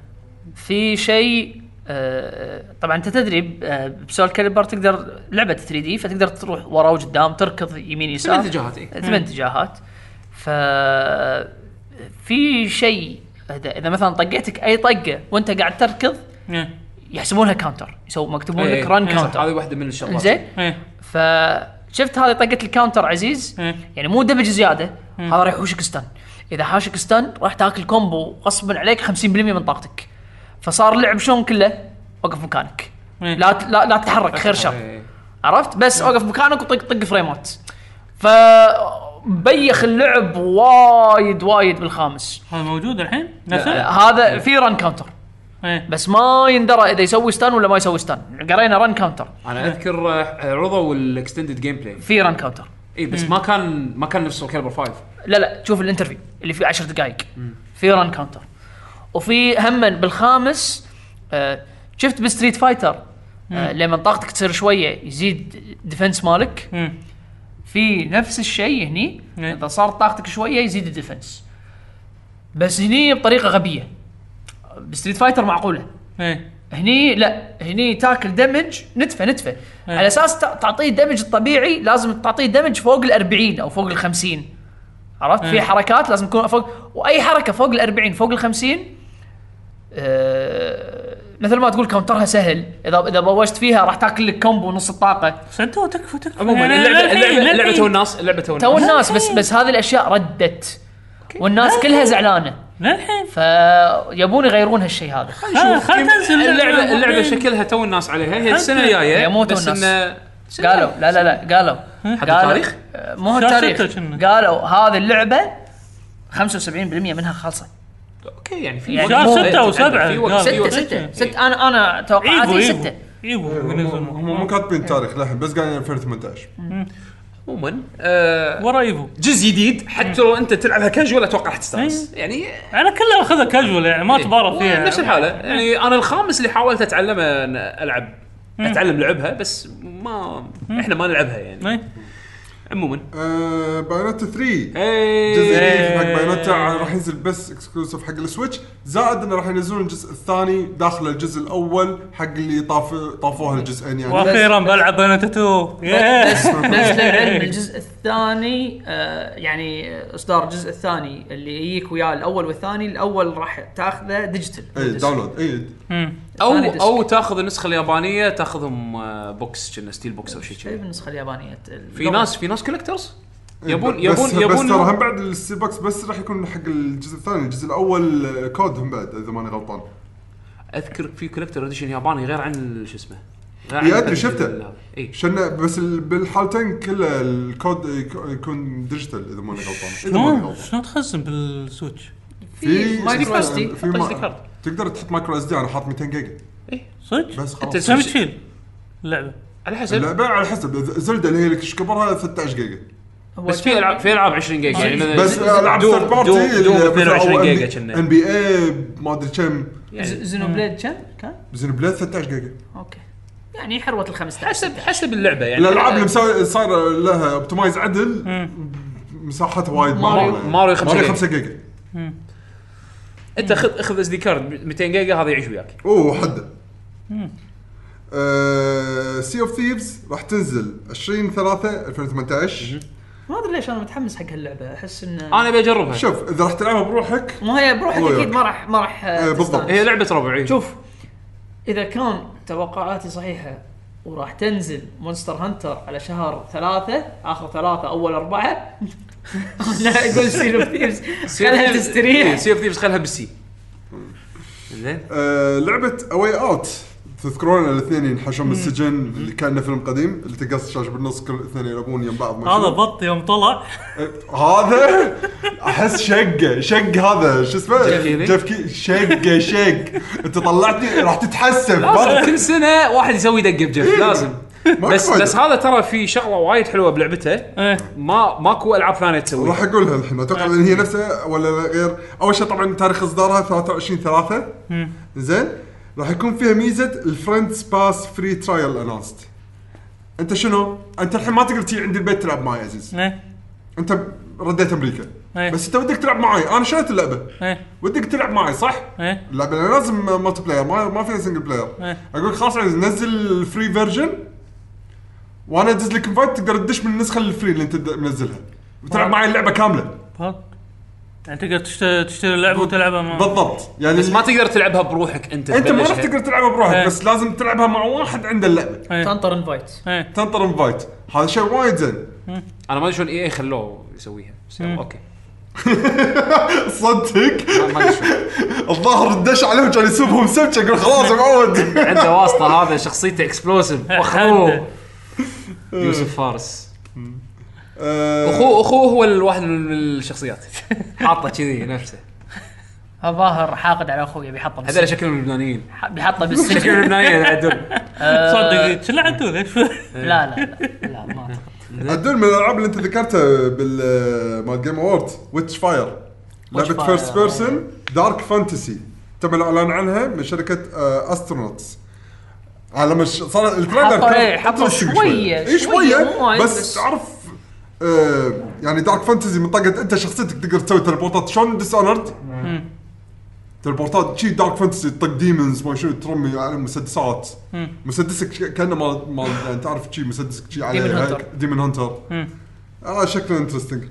في شيء آه، طبعا انت تدري ب- آه، بسول كاليبر تقدر لعبه 3 دي فتقدر تروح ورا وقدام تركض يمين يسار
ثمان اتجاهات، إيه.
ثمان اتجاهات ف في شيء اذا إذا مثلا طقيتك اي طقه وانت قاعد تركض
ايه
يحسبونها كاونتر يسوون مكتوبون
إيه،
لك ران
صح، هذه
كاونتر
واحده من الشغلات
زين
ايه
فشفت هذه طقه الكاونتر عزيز
إيه.
مم.
يعني مو دمج زياده هذا راح يحوشك ستان اذا حاشك ستان راح تاكل كومبو غصبا عليك 50% من طاقتك فصار اللعب شلون كله وقف مكانك
مم.
لا ت- لا, لا تتحرك خير شر
إيه.
عرفت بس وقف مكانك وطق طق فريمات ف بيخ اللعب وايد وايد بالخامس
هذا موجود الحين نفسه
هذا في ران كاونتر
ايه
بس ما يندرى اذا يسوي ستان ولا ما يسوي ستان قرينا ران كاونتر
انا
إيه.
اذكر آه، عرضوا الاكستندد جيم بلاي
في ران كاونتر
اي إيه، بس ما كان ما كان نفس سول كالبر 5
لا لا شوف الانترفيو اللي فيه 10 دقائق في ران كاونتر وفي هما بالخامس آه، شفت بستريت فايتر آه، لما طاقتك تصير شويه يزيد ديفنس مالك
مم.
في نفس الشيء هني
مم.
اذا صار طاقتك شويه يزيد الديفنس بس هني بطريقه غبيه بستريت فايتر معقوله
ايه
هني لا هني تاكل دمج نتفه نتفه على اساس تع- تعطيه الدمج الطبيعي لازم تعطيه دمج فوق ال 40 او فوق ال 50 عرفت في حركات لازم تكون فوق واي حركه فوق ال 40 فوق ال 50 آه مثل ما تقول كونترها سهل اذا اذا بوشت فيها راح تاكل لك كومبو نص الطاقه
سنتو تكفى تكفى
عموما
يعني
اللعبه
للحين-
اللعبه اللعبه
للحين.
تو الناس اللعبه تو
تو
الناس
الناس بس بس هذه الاشياء ردت والناس كلها زعلانه
للحين
فيبون يغيرون هالشيء هذا
خل خل تنزل
اللعبه اللعبه
بعدين.
شكلها تو الناس عليها هي السنه
هي
الجايه
مو تو
بس
الناس.
إنه-
قالوا لا لا لا قالوا قالوا-
التاريخ؟
آه، مو هو
شهر
التاريخ
ستة كنا.
قالوا هذه اللعبه 75% منها خالصه
اوكي يعني في
يعني
وقت-
مو-
شهر ستة
في
وسبعة
وقت-
قال.
في
ستة
وقت-
ستة ستة انا انا توقعاتي
ايفو
ستة
ايفو ايفو
هم
ينزلون.
هم مو كاتبين تاريخ للحين بس قاعدين 2018
عموما آه،
ورا ايفو
جزء جديد حتى لو انت تلعبها كاجوال اتوقع راح
أيوه.
تستانس يعني
انا كله اخذها كاجوال يعني
إيه.
ما تبارى فيها
نفس الحاله
أيوه.
يعني انا الخامس اللي حاولت اتعلمه ان العب اتعلم لعبها بس ما احنا ما نلعبها يعني
إيه.
عموما
أه، بايونيتا 3 جزء
ايه
جديد حق بايونيتا راح ينزل بس اكسكلوسيف حق السويتش زائد انه راح ينزلون الجزء الثاني داخل الجزء الاول حق اللي طاف طافوها الجزئين يعني
واخيرا بلعب بنات تو
بس بس للعلم الجزء الثاني آه، يعني اصدار الجزء الثاني اللي يجيك وياه الاول والثاني الاول راح تاخذه ديجيتال
إيه،
اي داونلود اي
او
ثاني ديسك.
او تاخذ النسخه اليابانيه تاخذهم آه، بوكس كنا ستيل بوكس او شيء
شيء
كذي
بالنسخه اليابانيه
في ناس في ناس كولكترز يبون
بس
يبون
بس ترى هم
يبون
بعد السي بوكس بس راح يكون حق الجزء الثاني الجزء الاول آه، كود هم بعد اذا ماني غلطان
اذكر في كولكتر اديشن ياباني غير عن ال- شو اسمه غير
إي
عن
أدري
ال-
شفته.
ال- اي
شن بس ال- بالحالتين كله الكود يك- يكون ديجيتال اذا ماني غلطان اذا ماني
شلون
غلطان
شلون تخزن بالسويتش؟
في
مايكرو
شو اسمه؟
SD
في
حط
ما-
SD كارد.
تقدر تحط مايكرو اس دي انا حاط 200 جيجا
صدق؟
بس خلاص
أنت
كم تشيل اللعبه؟
على حسب
اللعبه على حسب زلده اللي هي لك ايش كبرها 13 جيجا
بس في العاب في العاب 20 جيجا يعني مثلا
بس العاب
دوم-
ثيرد
دوم-
بارتي
دوم 22 جيجا كنا
ان بي اي ما ادري كم
يعني
زينو بليد كم كان؟
زين بلاد 13 جيجا
اوكي يعني حروه ال 15
حسب حسب اللعبه يعني
الالعاب اللي مسا- صار لها اوبتمايز عدل مساحتها وايد
ماريو-
معروفة.
ماريو خمسة
ماريو
جيجا.
5 جيجا
انت خذ خذ اس دي كارد 200 جيجا هذا يعيش وياك
اوه حده سي اوف ثيفز راح تنزل 20 3 2018
ما ادري ليش انا متحمس حق هاللعبه احس انه
انا بجربها
شوف اذا راح تلعبها بروحك
ما هي بروحك
هو
اكيد
يوك.
ما راح ما راح
إيه، بالضبط.
تستانس.
هي لعبه ربعي
شوف اذا كان توقعاتي صحيحه وراح تنزل مونستر هانتر على شهر ثلاثة اخر ثلاثة اول اربعة لا اقول سيل اوف ثيفز خلها تستريح
سي اوف ثيفز خلها بالسي زين
آه، لعبه اواي اوت تذكرون الاثنين ينحشون من السجن اللي كانه فيلم قديم اللي تقص الشاشه بالنص كل الاثنين يلعبون يم بعض ما
هذا
شنو.
بط يوم طلع
هذا احس شقه شق هذا شو اسمه
جيف كيلي؟
جيف كي شقه شق انت طلعتني راح تتحسف
لازم كل سنه واحد يسوي دقه بجف لازم
ماكو
بس
إيه. فايدة.
بس هذا ترى في شغله وايد حلوه بلعبته
إيه.
ايه
ما ماكو العاب ثانيه تسويها
راح اقولها الحين اتوقع ان هي نفسها ولا غير اول شيء طبعا تاريخ اصدارها 23 3 زين راح يكون فيها ميزه الفريند باس فري ترايل اناونست انت شنو؟ انت الحين ما تقدر تجي عندي البيت تلعب معي يا عزيز
ايه
انت رديت امريكا
إيه.
بس انت ودك تلعب معي انا شريت اللعبه
ايه
ودك تلعب معي صح؟
ايه
اللعبه لأن لازم مالتي بلاير ما ما فيها سنجل بلاير
إيه.
اقول لك خلاص عزيز نزل الفري فيرجن وانا ادز لك انفايت تقدر تدش من النسخه الفري اللي انت د- منزلها وتلعب معي اللعبه كامله
بط. يعني تقدر تشت- تشتري اللعبه وتلعبها مع
بالضبط يعني
بس ما تقدر تلعبها بروحك انت
انت ما راح
تبلشها.
تقدر تلعبها بروحك
إيه.
بس لازم تلعبها مع واحد عنده اللعبه
ايه
تنطر انفايت
ايه
تنطر انفايت هذا شيء وايد زين
انا ما ادري شلون اي اي خلوه يسويها بس يلا، اوكي
صدق
ما- ما ادري شلون
الظاهر دش عليهم كان يسبهم سبكه يقول خلاص يا معود
عنده واسطه هذا شخصيته اكسبلوسيف
عنده.
واخوه يوسف فارس
آه.
اخوه اخوه هو الواحد من الشخصيات حاطه كذي نفسه
الظاهر حاقد على اخوي بيحطه
هذول
بالسجن
شكلهم لبنانيين
بيحطه
شكلهم
بالسجن
لبنانيين يعدون
آه،
صدق شلعتوا ليش
لا لا لا لا ما أعتقد.
عدول من الالعاب اللي انت ذكرتها بال مال جيم اوورد ويتش فاير لعبه
فاير،
فيرست بيرسون دارك فانتسي تم الاعلان عنها من آه، شركه استرونوتس على مش آه، صار التريلر
حطوا-
كان-
إيه، حطوا
حطوا شوي-
شوية،
إيه،
شوية، مو
شويه
وايد،
بس
بس-
تعرف آه، يعني دارك فانتسي من طاقه انت شخصيتك تقدر تسوي تلبورتات شلون ديس اونرد تلبورتات شي دارك فانتسي تطق ديمونز ما شنو ترمي على مسدسات مسدسك ش- كانه مال مال يعني تعرف شي مسدسك شي عليه
Demon Hunter.
هيك، ديمون هانتر اه شكله انترستنج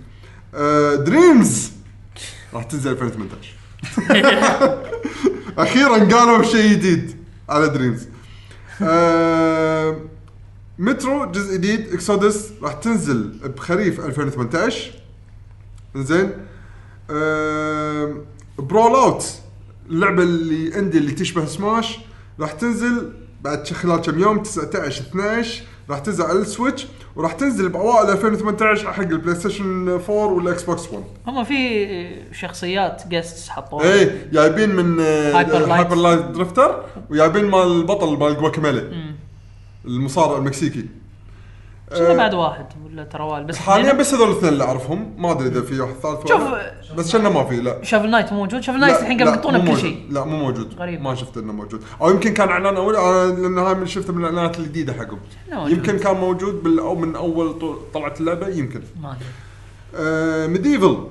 دريمز راح تنزل 2018 اخيرا قالوا شيء جديد على دريمز مترو جزء جديد اكسودس راح تنزل بخريف 2018 زين آم، برول اوت اللعبه اللي عندي اللي تشبه سماش راح تنزل بعد ش- خلال كم يوم 19 12 راح تنزل على السويتش وراح تنزل باوائل 2018 حق البلاي ستيشن 4 والاكس بوكس 1
هم في شخصيات جيستس حطوها
اي إيه، جايبين من
هايبر لايت.
هايبر لايت درفتر وجايبين مال البطل مال جواكاميلي المصارع المكسيكي
شنو
آه،
بعد واحد ولا تروال بس
حاليا
اثنين؟
بس هذول الاثنين اللي اعرفهم ما ادري اذا في واحد ثالث ولا
شوف
لا. بس شنو ما في لا
شاف نايت موجود شاف نايت
لا،
الحين
لا،
قاعد يحطونه
مو
بكل
موجود.
شيء
لا مو موجود
غريب.
ما شفت انه موجود او يمكن كان اعلان اول آه، لان هاي من شفت من الاعلانات الجديده حقهم
لا موجود.
يمكن كان موجود بال- أو من اول طو- طلعت اللعبه يمكن آه،
ما ادري
ميديفل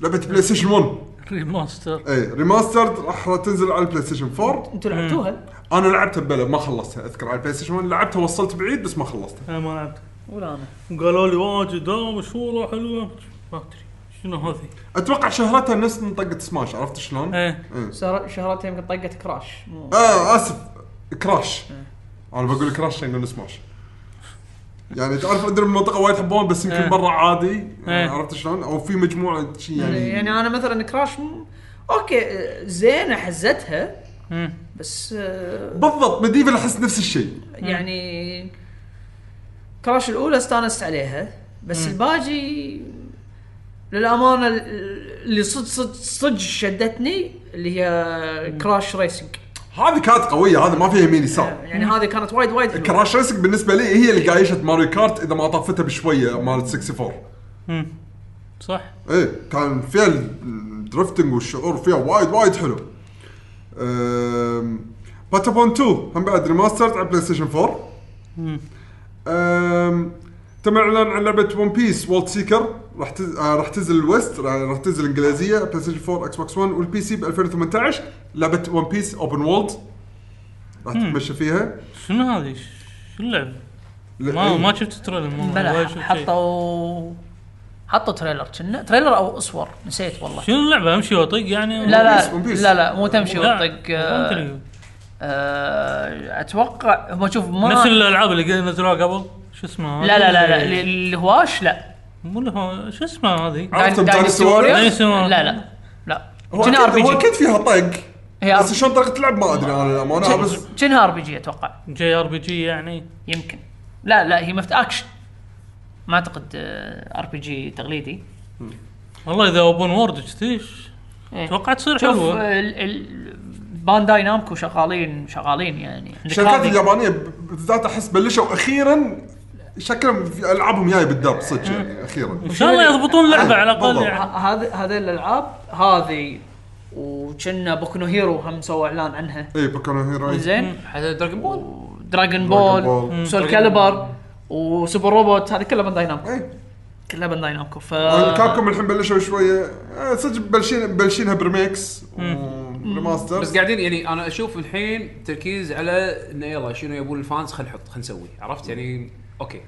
لعبه بلاي ستيشن 1
ريماستر
اي ريماسترد إيه، راح تنزل على البلاي ستيشن 4
انتوا لعبتوها
انا لعبتها بلا ما خلصتها اذكر على البلاي ستيشن 1 لعبتها وصلت بعيد بس ما خلصتها
انا ما لعبت
ولا انا
قالوا لي واجد اه مشهوره حلوه ما ادري شنو هذه
اتوقع شهرتها نفس منطقه سماش عرفت شلون؟
ايه
سهر- شهرتها يمكن طقت كراش مو
آه، اه اسف كراش انا بقول كراش عشان اقول سماش يعني تعرف عندنا بالمنطقه وايد يحبون بس
إيه.
يمكن برا عادي يعني
إيه.
عرفت شلون؟ او في مجموعه شي يعني
يعني انا مثلا كراش م... اوكي آه، زين حزتها
مم.
بس آه،
بالضبط مديفل احس نفس الشيء
يعني كراش الاولى استانست عليها بس الباجي للامانه ال- اللي صد صد صد شدتني اللي هي كراش ريسنج
هذه كانت قويه هذه ما فيها يمين يسار
يعني هذه كانت وايد وايد حلوة.
كراش ريسك بالنسبه لي هي اللي قايشه ماريو كارت اذا ما طفتها بشويه مالت 64
صح
ايه كان فيها الدرفتنج والشعور فيها وايد وايد حلو. أم، باتابون 2 هم بعد ريماسترد على بلاي ستيشن 4. امم تم اعلان عن لعبه ون بيس وولد سيكر راح تز... آه، راح تنزل الويست راح راح تنزل الانجليزيه بلاي ستيشن 4 اكس بوكس 1 والبي سي ب 2018 لعبه ون بيس اوبن وولد راح تتمشى فيها
شنو هذه؟ شو اللعبه؟
لا،
ما
إيه.
ما شفت التريلر مو
بلا
ولا شفت شيء.
حطوا حطوا تريلر كنا تريلر او اصور نسيت والله
شنو اللعبه امشي واطق يعني
لا لا
One Piece.
لا لا مو تمشي آه، وطق
لا، فهمت لي.
اتوقع هم شوف ما
نفس الالعاب اللي قد- نزلوها قبل شو اسمها
لا لا لا لا ال- الهواش لا
مو اللي هو شو اسمها هذه؟
عرفتم
داين-
Dynasty
Warriors؟
Warriors؟
Dynasty Warriors.
لا لا لا
هو
كنا ار
اكيد هو
بي
اكيد فيها طق بس
جي
شلون طريقه اللعب ما ادري انا للامانه بس
كنا ار بي جي اتوقع
جي ار بي جي يعني
يمكن لا لا هي مفت اكشن ما اعتقد ار بي جي تقليدي
والله اذا اوبن وورد كذي ش-
إيه.
اتوقع تصير
شوف آه،
حلوه
ال- ال- بانداي نامكو شغالين شغالين يعني عندك
الشركات
هذه.
اليابانيه بالذات احس بلشوا اخيرا شكلهم في العابهم جايه بالدرب صدق يعني اخيرا
ان شاء الله يضبطون لعبه على الاقل
بالضبط.
يعني
ه- هذه هذه الالعاب هذه وكنا بوكو هيرو هم سووا اعلان عنها
اي بوكو هيرو
زين
هذا دراجون بول
دراجون بول
بول.
سول كاليبر وسوبر روبوت هذه كلها بانداي نامكو
اي
كلها بانداي نامكو ف
آه.
كابكم إيه. آه، الحين بلشوا شويه آه، صدق بلشين بلشينها بريميكس وريماستر
بس قاعدين يعني انا اشوف الحين تركيز على انه يلا شنو يبون الفانز خلينا نحط خلينا نسوي عرفت يعني اوكي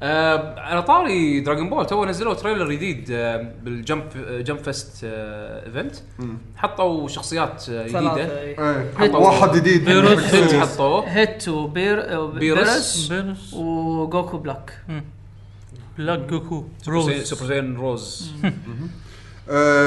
آه على طاري دراجون بول تو نزلوا تريلر جديد آه بالجمب آه جمب فيست آه ايفنت حطوا شخصيات آه جديده
ثلاثة.
إيه.
هيت.
واحد جديد
فيروس.
هيت حطوه
هيت وبير بيرس
بيرس.
بيرس
وجوكو بلاك
بلاك جوكو
سوبر
روز
سوبرزين روز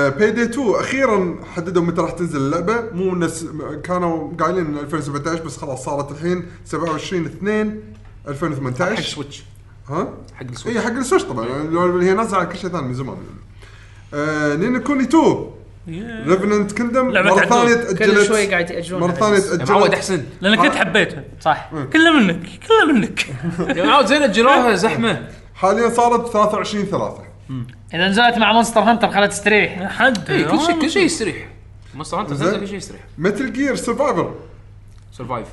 باي داي 2 اخيرا حددوا متى راح تنزل اللعبه مو نس... كانوا قايلين إن 2017 بس خلاص صارت الحين 27 2 2018
حق سويتش
ها؟
حق السويتش
اي إيه، حق السويتش طبعا لو هي نازله على كل شيء ثاني من زمان آه نينو كوني 2 ريفننت كندم
لعبة
مره
تعدون.
ثانيه
كل
تاجلت
شوي قاعد ياجلون
مره ثانيه
يا معود
تاجلت
احسن
لان كنت حبيتها
صح
كلها منك كلها منك
يا معود زين
إيه.
اجلوها زحمه
حاليا صارت 23 3
اذا نزلت مع مونستر هانتر خلت تستريح
حد
اي إيه، كل شيء
آه،
كل شيء يستريح مونستر هانتر
زين.
نزل كل شيء يستريح
متل جير سرفايفر
سرفايف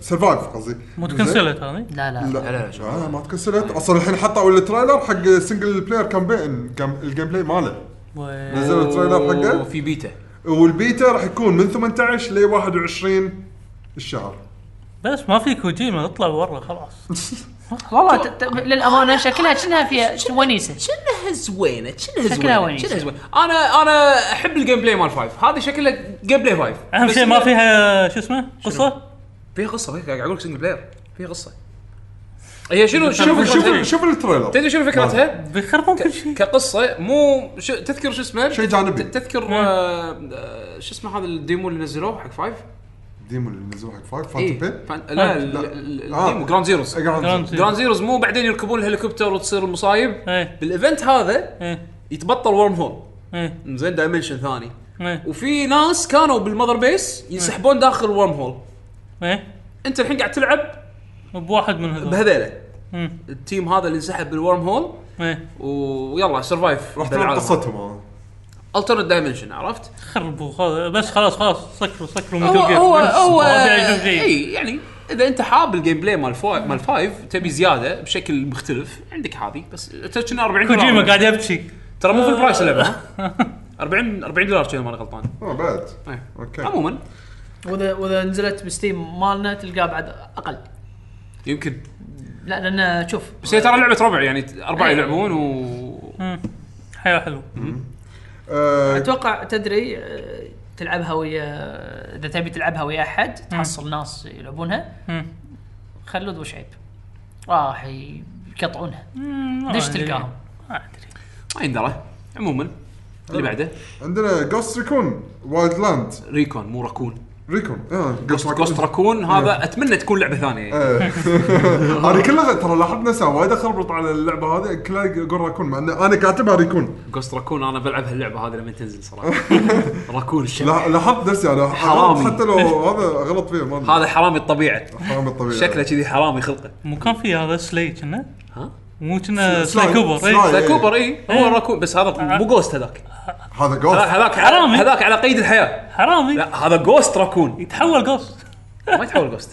سرفايف آه، قصدي
مو
زين.
تكنسلت هذه
لا لا
لا
لا،
لا
لا، شو.
لا ما تكسلت اصلا الحين حطوا التريلر حق سنجل بلاير كامبين كام- الجيم بلاي ماله
وي.
نزلوا التريلر إيه، حقه
وفي بيتا
والبيتا راح يكون من 18 ل 21 الشهر
بس ما في كوجيما اطلع برا خلاص
والله ت- ت- للامانه شكلها شنها فيها ونيسه
شنها زوينه شنها
شكلها
زوينه
وين
شنها
يصير؟
زوينه انا انا احب الجيم بلاي مال فايف هذا شكله جيم بلاي فايف
اهم
بس
شيء ما
إنه-
فيها شو اسمه قصه
فيها قصه فيها قاعد اقول لك سنجل بلاير فيها قصه هي شنو شوف
شوف
شوف
شوف التريلر
تدري شنو فكرتها؟
بيخربون كل شيء
ك- كقصه مو شو تذكر شو اسمه؟
شيء جانبي.
ت- تذكر آه، آه، شو اسمه هذا الديمو اللي نزلوه حق فايف؟
ديمو اللي نزلوه حق فايف
إيه،
فانتوم بين
فان- لا ال-
لا.
ال-
آه.
الديمو جراوند زيروز
جراند
أقعد-
زيرو.
جراوند زيروز مو بعدين يركبون الهليكوبتر وتصير المصايب
ايه
بالايفنت هذا
ايه
يتبطل ورم هول
ايه
زين دايمنشن ثاني
ايه
وفي ناس كانوا بالمذر بيس ينسحبون داخل ورم هول
ايه
انت الحين قاعد تلعب
بواحد من هذول
بهذيله
مم.
التيم هذا اللي انسحب بالورم هول
ايه
ويلا سرفايف
راح تلعب قصتهم آه.
الترنت دايمنشن عرفت؟
خربوا خلاص بس خلاص خلاص سكروا سكروا
هو
Metal Gear.
هو
بس
هو
ما في عجب شيء
اي يعني اذا انت حاب الجيم بلاي مال فو- مال فايف تبي زياده بشكل مختلف عندك هذه بس ترى كنا 40
كوجيما
دولار
قاعد يبكي
ترى مو في البرايس اللعبه ها؟ 40 40 دولار كذا ماني غلطان
اه بعد
إيه.
اوكي
عموما
واذا واذا نزلت بستيم مالنا تلقاه بعد اقل
يمكن
لا لان شوف
بس هي ترى لعبه ربع يعني اربعه
إيه.
يلعبون و
حياه حلوه
آه،
اتوقع تدري آه، تلعبها ويا اذا تبي تلعبها ويا احد تحصل ناس يلعبونها
مم.
خلود وشعيب راح ي- يقطعونها
ما
دش
أدري.
تلقاهم
ما ادري
ما يندرى عموما اللي بعده
عندنا جوست ريكون وايلد لاند
ريكون مو راكون
ريكون اه
جوست راكون هذا اتمنى تكون لعبه ثانيه يعني.
إيه. انا كلها ترى لاحظنا سوا وايد اخربط على اللعبه هذه كلها اقول راكون مع ان انا كاتبها ريكون
جوست راكون انا بلعب هاللعبه هذه لما تنزل صراحه راكون الشبح
لا- لاحظت نفسي انا
حرامي.
حتى لو هذا غلط فيه ما أدري.
هذا حرامي الطبيعه
حرام الطبيعي
شكله كذي حرامي خلقه
مو كان في هذا سلي كنا
ها؟
مو كنا
سلاي-
سلاي كوبر
سلاي.
إيه. آه.
لا كوبر اي هو راكون بس هذا مو جوست هذاك
هذا جوست
هذاك
حرامي.
هذاك على قيد الحياه
حرامي
لا هذا جوست راكون
إيه. يتحول جوست
ما يتحول جوست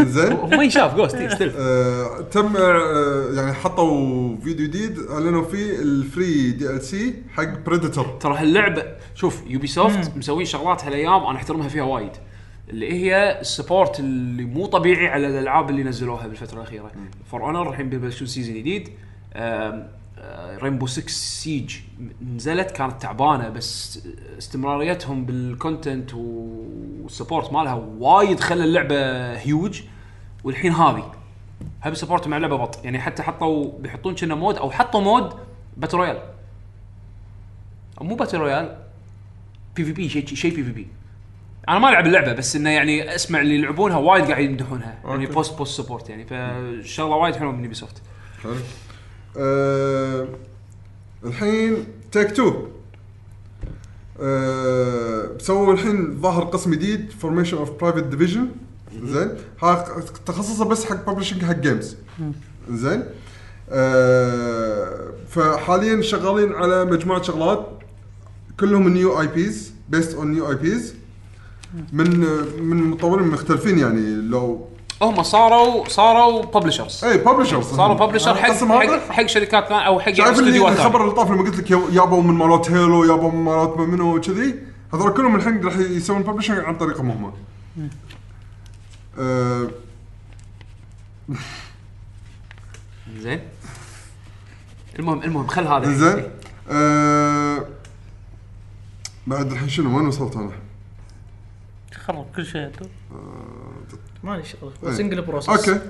زين
هو ما ينشاف جوست إي، ستيل
آه، تم آه، يعني حطوا فيديو جديد اعلنوا فيه الفري دي ال سي حق بريدتور
ترى هاللعبه شوف يوبي سوفت مسوين شغلات هالايام انا احترمها فيها وايد اللي هي السبورت اللي مو طبيعي على الالعاب اللي نزلوها بالفتره الاخيره فور اونر الحين بيبلشون سيزون جديد آه، ريمبو 6 سيج نزلت كانت تعبانه بس استمراريتهم بالكونتنت والسبورت مالها وايد خلى اللعبه هيوج والحين هذه هب سبورت مع لعبه بط يعني حتى حطوا بيحطون كنا مود او حطوا مود باتل رويال أو مو باتل رويال بي في بي شيء شيء بي في بي انا ما العب اللعبه بس انه يعني اسمع اللي يلعبونها وايد قاعد يمدحونها يعني
أوكي.
بوست بوست سبورت يعني فشغله وايد حلوه من يوبي سوفت
آه، الحين تيك تو آه، سووا الحين ظاهر قسم جديد فورميشن اوف برايفت ديفيجن زين ها- تخصصه بس حق ببلشنج حق جيمز زين آه، فحاليا شغالين على مجموعه شغلات كلهم نيو اي بيز بيست اون نيو اي بيز من من مطورين مختلفين يعني لو
هم صاروا صاروا ببلشرز
اي ببلشرز
صاروا ببلشر حق
القسم هذا؟
حق, حق شركات ثانيه او حق يعني
شايف اللي
استديوهات
الخبر
ثانيه
اللي طاف لما قلت لك يا- يابوا من مالات هيلو يابوا من مالات ما منو وكذي هذول كلهم الحين راح يسوون ببلشنج عن طريقهم هم. آه،
زين المهم المهم خل هذا إيه.
زين آه، بعد الحين شنو وين وصلت انا؟
خرب كل شيء أنت.
ما لي شغل سنجل بروسس
اوكي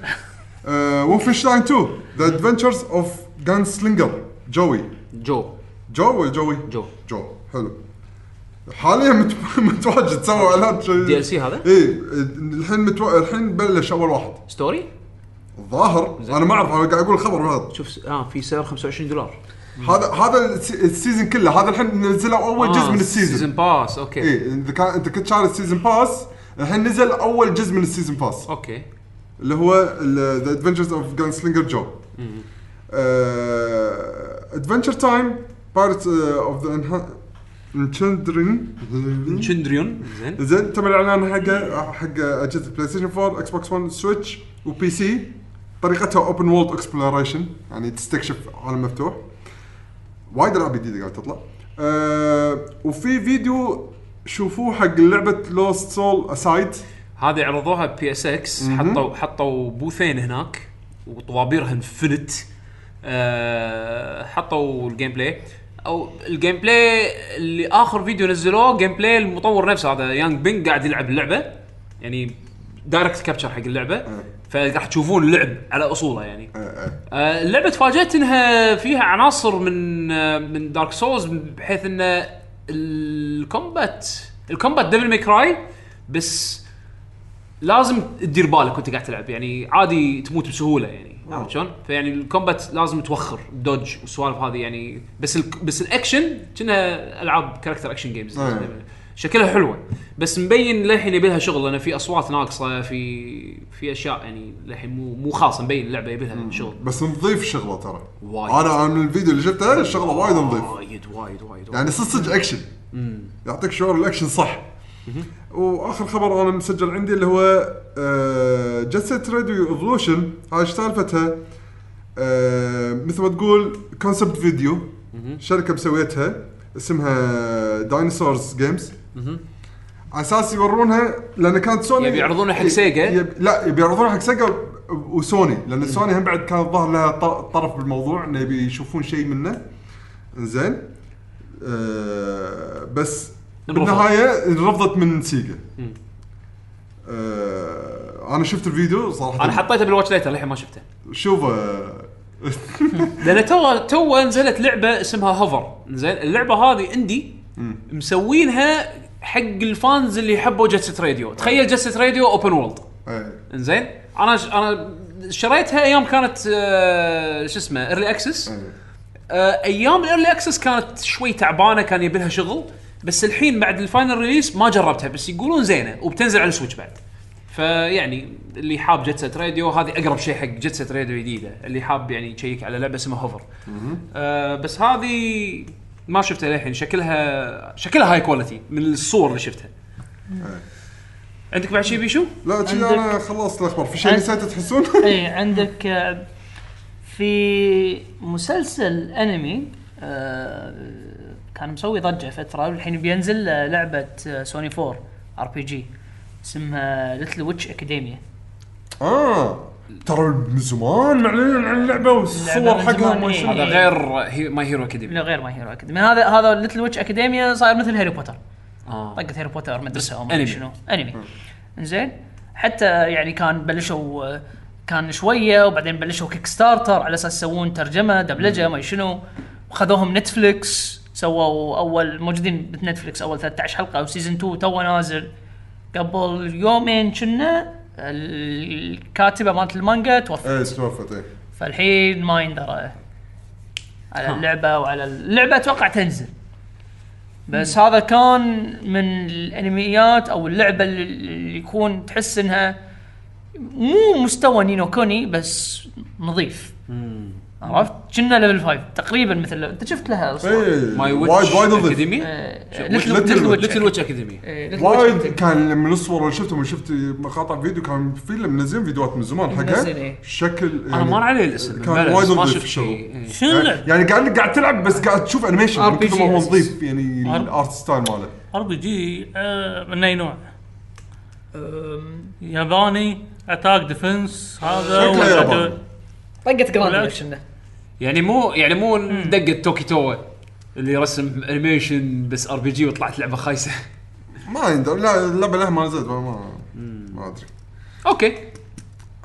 وولفنشتاين 2 ذا ادفنتشرز اوف جان سلينجر جوي
جو
جو ولا جوي؟
جو.
جو حلو حاليا مت- متواجد سووا اعلان
دي ال سي هذا
ايه الحين متو... الحين بلش اول واحد
ستوري
الظاهر انا ما اعرف انا قاعد اقول خبر هذا
شوف س- اه في سعر 25 دولار
هذا هذا الس- السيزون كله هذا الحين نزلوا اول
آه،
جزء من إيه. السيزون
سيزون باس اوكي
اي انت كان انت كنت شاري السيزون باس الحين نزل اول جزء من السيزون باس
اوكي
اللي هو ذا ادفنتشرز اوف جان سلينجر جو آه، ادفنتشر تايم بارت اوف ذا انشندرين
شندريون زين
زين تم الاعلان حقه حق اجهزه بلاي ستيشن 4 اكس بوكس 1 سويتش وبي سي طريقتها اوبن وولد اكسبلوريشن يعني تستكشف عالم مفتوح وايد العاب جديده قاعد تطلع أه وفي فيديو شوفوه حق لعبه لوست سول اسايد
هذه عرضوها بي اس اكس حطوا حطوا بوثين هناك وطوابيرها انفنت آه حطوا الجيم بلاي او الجيم بلاي اللي اخر فيديو نزلوه جيم بلاي المطور نفسه هذا يانج بينج قاعد يلعب اللعبه يعني دايركت كابتشر حق اللعبه فراح تشوفون اللعب على اصوله يعني آه، اللعبه تفاجات انها فيها عناصر من آه، من دارك سولز بحيث ان الكومبات الكومبات ديفل ماي كراي بس لازم تدير بالك وانت قاعد تلعب يعني عادي تموت بسهوله يعني عرفت شلون؟ فيعني الكومبات لازم توخر دوج والسوالف هذه يعني بس ال بس الاكشن كنا العاب كاركتر اكشن جيمز
أيوة.
شكلها حلوه بس مبين للحين يبي لها شغل لان في اصوات ناقصه في في اشياء يعني للحين مو مو خاصه مبين اللعبه يبي لها شغل
بس نظيف شغله ترى
وايد.
انا من الفيديو اللي شفته الشغله وايد نظيف
وايد وايد وايد
يعني صدق صدق اكشن يعطيك شعور الاكشن صح واخر خبر انا مسجل عندي اللي هو آه، جست راديو ايفولوشن هاي ايش سالفتها؟ آه، مثل ما تقول كونسبت فيديو شركه مسويتها اسمها داينوسورز جيمز على اساس يورونها لان كانت سوني
يبي يعرضونها حق سيجا.
يب- لا يبي يعرضونها حق سيجا وسوني لان سوني هم بعد كان ظهر لها ط- طرف بالموضوع انه يبي يشوفون شيء منه زين آه بس
انرفضت.
بالنهايه انرفضت من سيجا آه انا شفت الفيديو صراحه
انا حطيته بالواتش ليتر للحين ما شفته
شوف آه،
لان تو تو نزلت لعبه اسمها هوفر زين اللعبه هذه اندي مسوينها حق الفانز اللي يحبوا جست راديو تخيل جست راديو اوبن وولد
إيه.
زين انا ش... انا شريتها ايام كانت آه، شو اسمه آه، ايرلي اكسس ايام الايرلي اكسس كانت شوي تعبانه كان يبي لها شغل بس الحين بعد الفاينل ريليس ما جربتها بس يقولون زينه وبتنزل على السويتش بعد فيعني اللي حاب جت سيت راديو هذه اقرب شيء حق جت سيت راديو جديده اللي حاب يعني يشيك على لعبه اسمها هوفر آه بس هذه ما شفتها للحين شكلها شكلها هاي كواليتي من الصور اللي شفتها عندك بعد شيء بيشو؟
لا شي انا خلصت الاخبار في شيء
عن- إيه.
نسيت تحسون؟
اي عندك آه، في مسلسل انمي آه، كان مسوي ضجه فتره والحين بينزل آه، لعبه آه، سوني 4 ار بي جي اسمها ليتل ويتش اكاديميا
اه ترى من زمان معلنين عن اللعبه والصور
اللعبة من
حقها
زمان،
وما
إيه.
شنو.
هذا غير هي ماي هيرو اكاديمي
من غير ما هيرو اكاديميا هذا هذا ليتل ويتش اكاديميا صاير مثل هاري بوتر
آه.
طقت هاري بوتر مدرسه او ما
أنمي.
أدري شنو انمي زين حتى يعني كان بلشوا كان شويه وبعدين بلشوا كيك ستارتر على اساس يسوون ترجمه دبلجه ما أدري شنو وخذوهم نتفليكس سووا اول موجودين بنتفليكس اول 13 حلقه او سيزون 2 تو نازل قبل يومين كنا الكاتبه مالت المانجا توفت
ايه توفت ايه
فالحين ما يندرى على اللعبه وعلى اللعبه اتوقع تنزل بس هذا كان من الانميات او اللعبه اللي- اللي يكون تحس انها مو مستوى نينو كوني بس نظيف عرفت؟ كنا ليفل 5 تقريبا مثل انت شفت لها آه، صور
ايه
ماي
وايد وايد نظيف
اكاديمي
Little
ليتل ويتش اكاديمي
إيه. آه،
وايد كان من الصور اللي شفتهم وشفت مقاطع فيديو كان في اللي منزلين فيديوهات من زمان
منزلين،
حقها
إيه.
شكل
انا
يعني
مر علي الاسم
كان
بلس،
وايد
ما
نظيف
شفت
شغل.
شيء إيه.
شنو اللعب؟
يعني قاعد قاعد تلعب بس قاعد تشوف انيميشن من
RPG
كثر ما هو
بس.
نظيف يعني الارت ستايل ماله
ار بي جي آه، من اي نوع؟ ياباني اتاك ديفنس هذا
شكله
ولا-
ياباني.
طقت
بالعكس.
جراند
يعني مو يعني مو دقه توكي توا اللي رسم انيميشن بس ار بي جي وطلعت لعبه خايسه
ما يندر لا اللعبه لها ما نزلت ما ما ادري
اوكي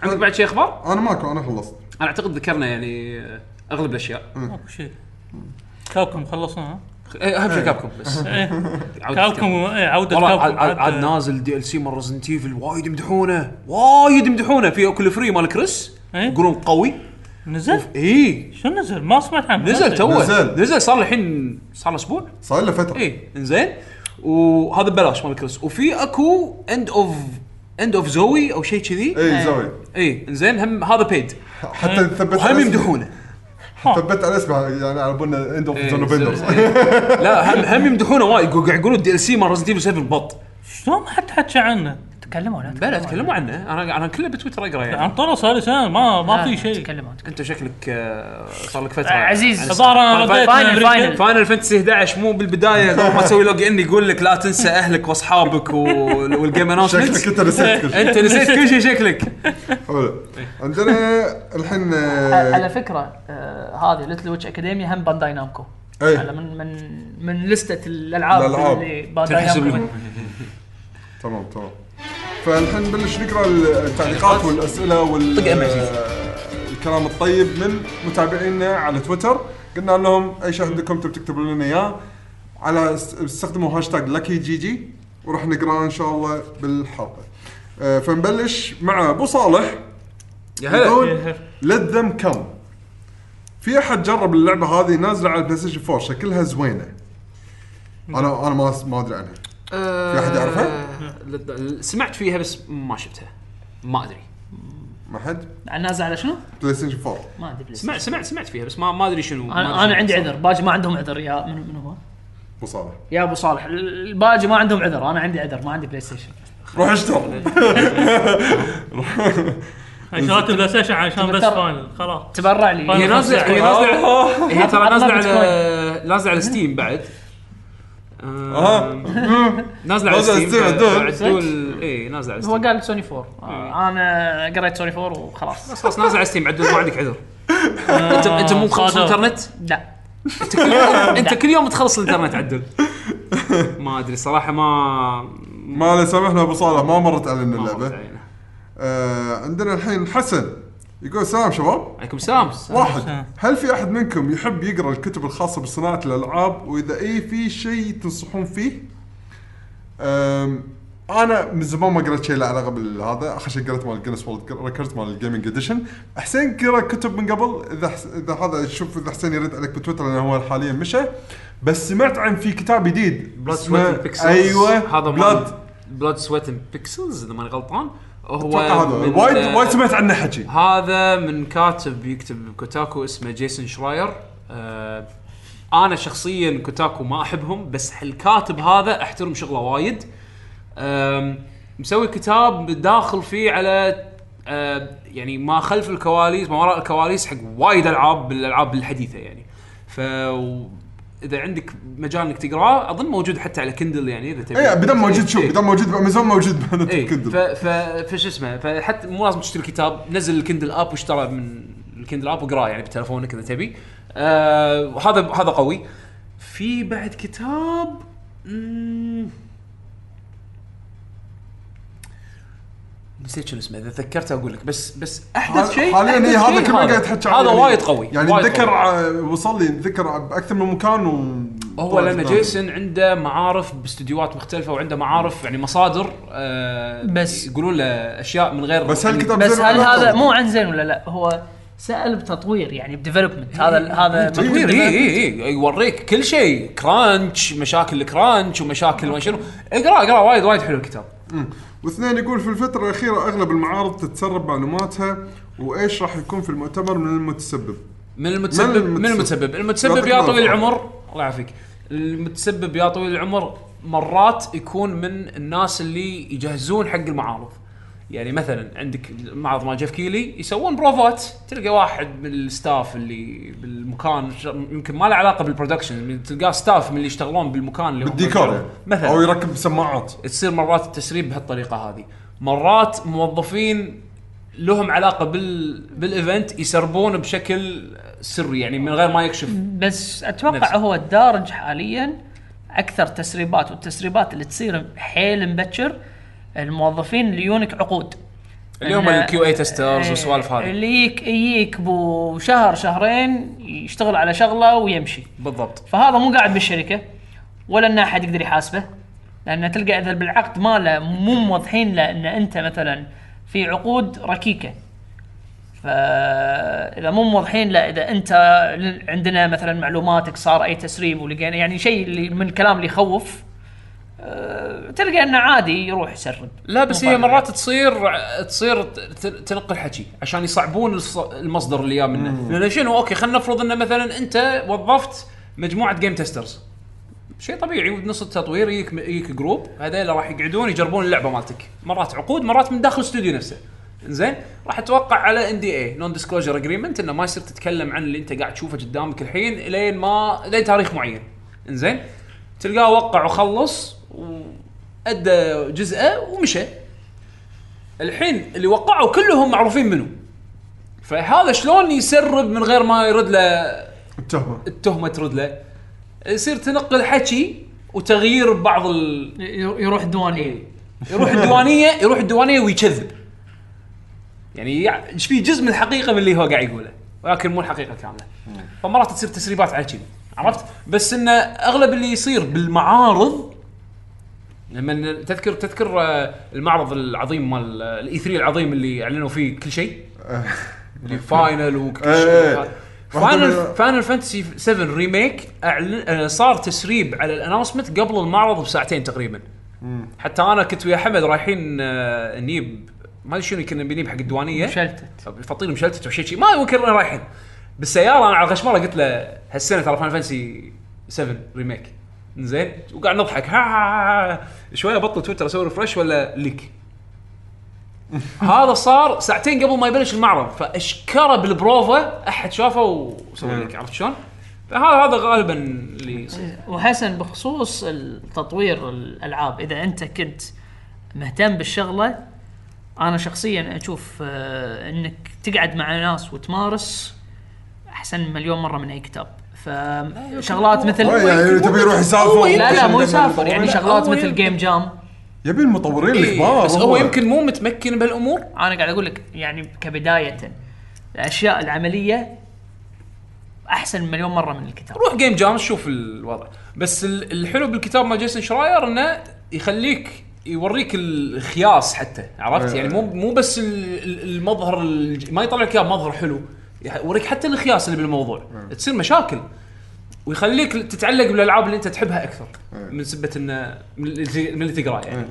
عندك بعد شيء اخبار؟
انا ماكو انا خلصت
انا اعتقد ذكرنا يعني آه، اغلب الاشياء
ماكو شيء كابكم خلصنا ها؟
إيه، اهم شيء كابكم بس
إيه،
عودة
كابكم
كابكوم.
إيه، عوده
والله عاد-
كابكم
عاد عاد
حتى-
نازل دي ال سي مال ريزنت ايفل وايد يمدحونه وايد يمدحونه في اوكل فري مال كريس
إيه؟
يقولون قوي إيه.
نزل
اي
شنو نزل؟ ما سمعت عنه
نزل توه
نزل.
نزل صار الحين صار له اسبوع
صار له فتره
اي انزين وهذا ببلاش مال كريس وفي اكو اند اوف اند اوف زوي او شيء كذي
اي إيه، زوي
اي انزين هم هذا بيد
حتى ثبت
وهم
على اسمه.
يمدحونه
ثبت على اسمها يعني على بالنا اند اوف
إيه،
ذا نوفندر
إيه. لا هم هم يمدحونه وايد يقول- قاعد يقولون الدي ال سي مال ريزنت 7 بط
شلون ما حد حكى عنه؟
تكلموا ولا
بلا تكلموا عنه انا انا كله بتويتر اقرا يعني
عن طرف صار لي سنه ما ما في شيء
تكلموا
انت شكلك آه، صار لك فتره
عزيز
الظاهر انا
فاين-
رديت
فاينل-
من أمريكا.
فاينل.
فاينل فانتسي 11 مو بالبدايه قبل ما تسوي لوج ان يقول لك لا تنسى اهلك واصحابك وال- والجيم اناونسمنت
شكلك انت نسيت كل شيء
انت نسيت كل شيء شكلك
حلو عندنا الحين آه،
على فكره آه، هذه ليتل ويتش اكاديميا هم بانداي نامكو
إيه.
على من من من لسته الالعاب
الألعاب.
اللي بانداي
تنحسب
نامكو
لهم.
تمام تمام فالحين نبلش نقرا التعليقات والاسئله وال الكلام الطيب من متابعينا على تويتر قلنا لهم اي شيء عندكم تبي تكتبوا لنا اياه على است- استخدموا هاشتاج لكي جي جي وراح نقراه ان شاء الله بالحلقه آه، فنبلش مع ابو صالح
يا
يقول
هلا.
let them come في احد جرب اللعبه هذه نازله على البلاي ستيشن 4 شكلها زوينه انا انا ما ما ادري عنها في أحد يعرفها؟
سمعت فيها بس ما شفتها ما ادري
ما حد
آه، نازل على شنو؟
بلاي ستيشن 4
ما ادري بلاي
سمعت سمعت سمعت فيها بس ما ما ادري شنو ما أدري
انا انا
شنو
عندي
صار.
عذر باجي ما عندهم عذر يا من, من هو؟
ابو صالح
يا ابو صالح ال- الباجي ما عندهم عذر انا عندي عذر ما عندي بلاي ستيشن
روح اشتغل
شريت بلاي ستيشن عشان بس
ترى-
فاينل خلاص
تبرع لي
هي نازله هي نازله هي ترى نازله على نازله على ستيم بعد
آه.
نازله على
نازلة على
ستيم
ستيم،
بعد-
عدول.
بعد دول اي نازله على
هو
ستيم
قال سوني 4
إيه.
آه، انا قريت سوني 4 وخلاص
بس خلاص نازله على ستيم عدول ما عندك عذر
آه،
انت انت مو مخلص
صادق.
الانترنت
لا
انت كل يوم انت كل يوم تخلص الانترنت عدل ما ادري صراحه ما
ما لا سامحنا ابو صالح ما مرت علينا
ما مرت
اللعبه
علينا.
آه عندنا الحين حسن يقول السلام شباب
عليكم السلام
واحد هل في احد منكم يحب يقرا الكتب الخاصه بصناعه الالعاب واذا اي إيه في شيء تنصحون فيه أم، انا من زمان ما قريت شيء له علاقه بالهذا اخر شيء قريت مال جينيس وورلد ريكورد مال الجيمنج اديشن حسين قرا كتب من قبل اذا حس... اذا هذا شوف اذا حسين يرد عليك بتويتر لانه هو حاليا مشى بس سمعت عن في كتاب جديد
بلاد
اسمه-
سويت بيكسلز
ايوه
هذا
بلاد
بلاد بلاد سويت بيكسلز اذا ماني غلطان هو
اتوقع هذا
من-
وايد وايد سمعت عنه حكي
هذا من كاتب يكتب بكوتاكو اسمه جيسون شراير آه انا شخصيا كوتاكو ما احبهم بس الكاتب هذا احترم شغله وايد آم، مسوي كتاب داخل فيه على آه يعني ما خلف الكواليس ما وراء الكواليس حق وايد العاب بالالعاب الحديثه يعني ف اذا عندك مجال انك تقراه اظن موجود حتى على كندل يعني اذا تبي
اي بدل موجود شوف
إيه.
بدل موجود بامازون موجود بهنت
اي ف
كندل
إيه، ف فش اسمه فحتى مو لازم تشتري كتاب نزل الكندل اب واشترى من الكندل اب وقراه يعني بتلفونك اذا تبي آه وهذا هذا قوي في بعد كتاب مم. نسيت شنو اسمه اذا تذكرته اقول لك بس بس احدث شيء
حاليا
أحدث
إيه، هذا
شيء
كله قاعد تحكي عنه
هذا وايد قوي
يعني
وايد
اتذكر
قوي.
ع- وصل لي اتذكر باكثر آه، من مكان و طيب، نعم.
هو لان جيسون عنده معارف باستديوهات مختلفه وعنده معارف يعني مصادر آه
بس-
يقولون له اشياء من غير
بس هل كتاب
بس
زين
هل
ولا لا؟
هذا مو عن زين ولا لا هو سال بتطوير يعني بديفلوبمنت هذا هذا
تطوير
إيه،
اي اي اي إيه، يوريك كل شيء كرانش مشاكل الكرانش ومشاكل ما شنو اقرا اقرا وايد وايد حلو الكتاب
واثنين يقول في الفترة الأخيرة أغلب المعارض تتسرب معلوماتها وإيش راح يكون في المؤتمر من المتسبب
من المتسبب
من
من المتسبب المتسبب
يعطيك
يا طويل
العافية.
العمر الله يعافيك المتسبب يا طويل العمر مرات يكون من الناس اللي يجهزون حق المعارض يعني مثلا عندك معرض مال جيف كيلي يسوون بروفات تلقى واحد من الستاف اللي بالمكان ش- يمكن ما له علاقه بالبرودكشن تلقاه ستاف من اللي يشتغلون بالمكان اللي هم-
بالديكور يعني.
مثلا
أو يركب سماعات
تصير مرات التسريب بهالطريقه هذه مرات موظفين لهم علاقه بال بالايفنت يسربون بشكل سري يعني من غير ما يكشف
بس اتوقع
نفسه.
هو الدارج حاليا اكثر تسريبات والتسريبات اللي تصير حيل مبكر الموظفين اللي يونك عقود
اللي هم
إن-
الكيو اي تسترز
إيه،
والسوالف هذه
اللي يك يجيك بو شهر شهرين يشتغل على شغله ويمشي
بالضبط
فهذا مو قاعد بالشركه ولا ان احد يقدر يحاسبه لان تلقى اذا بالعقد ماله مو موضحين له ان انت مثلا في عقود ركيكه فاذا مو موضحين له اذا انت عندنا مثلا معلوماتك صار اي تسريب ولقينا يعني شيء اللي من الكلام اللي يخوف أه، تلقى انه عادي يروح يسرب
لا بس
مو
هي
فارق.
مرات تصير تصير ت- تنقل حكي عشان يصعبون الص- المصدر اللي جاي منه لان شنو اوكي خلينا نفرض انه مثلا انت وظفت مجموعه جيم تيسترز شيء طبيعي بنص التطوير يجيك يجيك جروب هذول راح يقعدون يجربون اللعبه مالتك مرات عقود مرات من داخل الاستوديو نفسه زين راح اتوقع على ان دي اي نون ديسكلوجر اجريمنت انه ما يصير تتكلم عن اللي انت قاعد تشوفه قدامك الحين لين ما لين تاريخ معين زين تلقاه وقع وخلص وادى جزءه ومشى الحين اللي وقعوا كلهم معروفين منه فهذا شلون يسرب من غير ما يرد له
التهمة
التهمه ترد له يصير تنقل حكي وتغيير بعض ال...
يروح دواني
يروح الديوانيه يروح الديوانيه ويكذب يعني يع- ايش في جزء من الحقيقه من اللي هو قاعد يقوله ولكن مو الحقيقه كامله فمرات تصير تسريبات على كذي عرفت بس انه اغلب اللي يصير بالمعارض لما تذكر تذكر آه، المعرض العظيم مال الاي 3 العظيم اللي اعلنوا فيه كل شيء
آه.
اللي فاينل وكل
إيه.
شيء
واحدة
فاينل
من-
فاينل فانتسي 7 ريميك أعلن آه، صار تسريب على الاناونسمنت قبل المعرض بساعتين تقريبا حتى انا كنت ويا حمد رايحين آه، نجيب ما ادري شنو كنا بنجيب حق الديوانيه
شلتت
فطير مشلتت وشي شي ما يمكن إننا رايحين بالسياره انا على الغشمره قلت له هالسنه ترى فان فانسي 7 ريميك زين وقاعد نضحك ها ها ها شويه بطل تويتر اسوي ريفرش ولا ليك هذا صار ساعتين قبل ما يبلش المعرض فاشكره بالبروفا احد شافه وسوى ليك عرفت شلون؟ فهذا هذا غالبا اللي يصير
وحسن بخصوص التطوير الالعاب اذا انت كنت مهتم بالشغله انا شخصيا اشوف آه، انك تقعد مع ناس وتمارس احسن مليون مره من اي كتاب فشغلات
أوه،
مثل
يعني تبي يروح يسافر
لا لا مو يسافر يعني
لا،
شغلات
هو
مثل
يمكن-
جيم جام
يبي المطورين
إيه،
الكبار
بس هو يمكن مو متمكن بهالامور
انا قاعد اقول لك يعني كبدايه الاشياء العمليه احسن مليون مره من الكتاب
روح جيم جام شوف الوضع بس ال- الحلو بالكتاب مال جيسون شراير انه يخليك يوريك الخياس حتى عرفت يعني مو مو بس ال- ال- المظهر الج- ما يطلع لك إياه مظهر حلو يح- يوريك حتى الخياس اللي بالموضوع تصير مشاكل ويخليك تتعلق بالالعاب اللي انت تحبها اكثر من سبه انه من اللي ت- من اللي تقراه يعني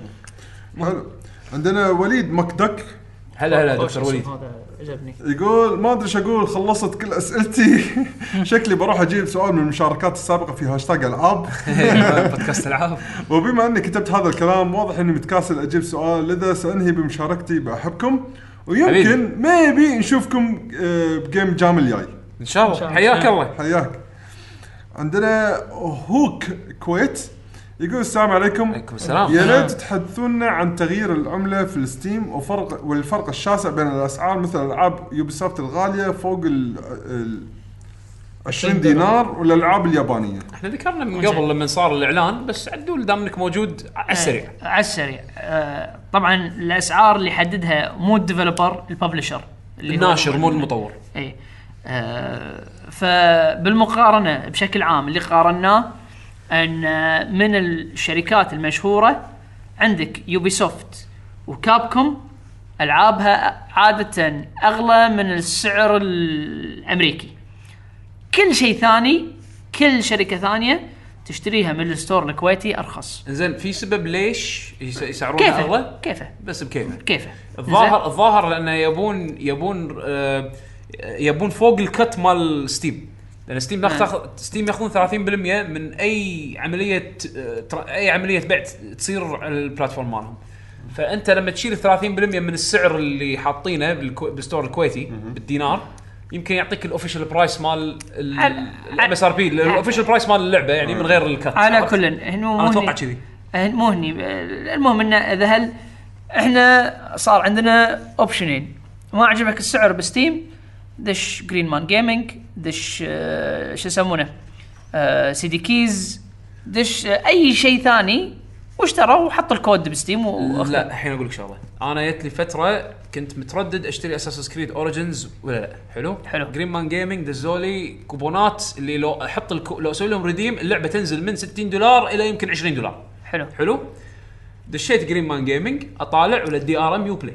حلو. عندنا وليد مكدك
هلا هلا دكتور
خوش
وليد
اسم هذا عجبني
يقول ما ادري ايش اقول خلصت كل اسئلتي شكلي بروح اجيب سؤال من المشاركات السابقه في هاشتاج العاب
بودكاست العاب
وبما اني كتبت هذا الكلام واضح اني متكاسل اجيب سؤال لذا سانهي بمشاركتي باحبكم
حبيبي.
ويمكن ميبي نشوفكم آه، بجيم جام الجاي
ان شاء الله حياك الله
حياك عندنا هوك كويت يقول السلام عليكم
عليكم السلام.
يا ريت تحدثونا عن تغيير العمله في الستيم وفرق والفرق الشاسع بين الاسعار مثل العاب يوبيسوفت الغاليه فوق ال ال 20 دينار والالعاب اليابانيه
احنا ذكرنا من قبل لما صار الاعلان بس عدول دام انك موجود على السريع
آه، على السريع آه، طبعا الاسعار اللي يحددها مو الديفلوبر الببلشر اللي هو-
الناشر مو المطور
اي آه، فبالمقارنه بشكل عام اللي قارناه ان آه، من الشركات المشهوره عندك يوبي سوفت وكابكوم العابها عاده اغلى من السعر الامريكي كل شيء ثاني كل شركه ثانيه تشتريها من الستور الكويتي ارخص
زين في سبب ليش يس- يسعرون
كيفه
اغلى؟
كيفه
بس بكيفه
كيفه
الظاهر الظاهر لانه يبون يبون آه، يبون فوق الكت مال ستيم لان ستيم ياخذ ستيم ياخذون 30% من اي عمليه آه، تر- اي عمليه بيع ت- تصير على البلاتفورم مالهم فانت لما تشيل 30% من السعر اللي حاطينه بالكو- بالستور الكويتي بالدينار يمكن يعطيك الاوفيشال برايس مال
على-
الام اس ار بي الاوفيشال برايس مال اللعبه يعني من غير الكت
على
عرفت؟
كل هنو
انا اتوقع كذي
هن- مو هني آه، المهم انه اذا هل احنا صار عندنا اوبشنين ما عجبك السعر بستيم دش جرين مان جيمنج دش آه، شو يسمونه آه، سي دي كيز دش آه، اي شيء ثاني واشتروا وحط الكود بستيم و- واخذ
لا الحين اقول لك شغله انا جت لي فتره كنت متردد اشتري اساس كريد اوريجنز ولا لا حلو
حلو.
جرين مان جيمنج دزولي كوبونات اللي لو احط الكو... لو اسوي لهم ريديم اللعبه تنزل من 60 دولار الى يمكن 20 دولار
حلو
حلو دشيت جرين مان جيمنج اطالع ولا الدي ار ام يو بلاي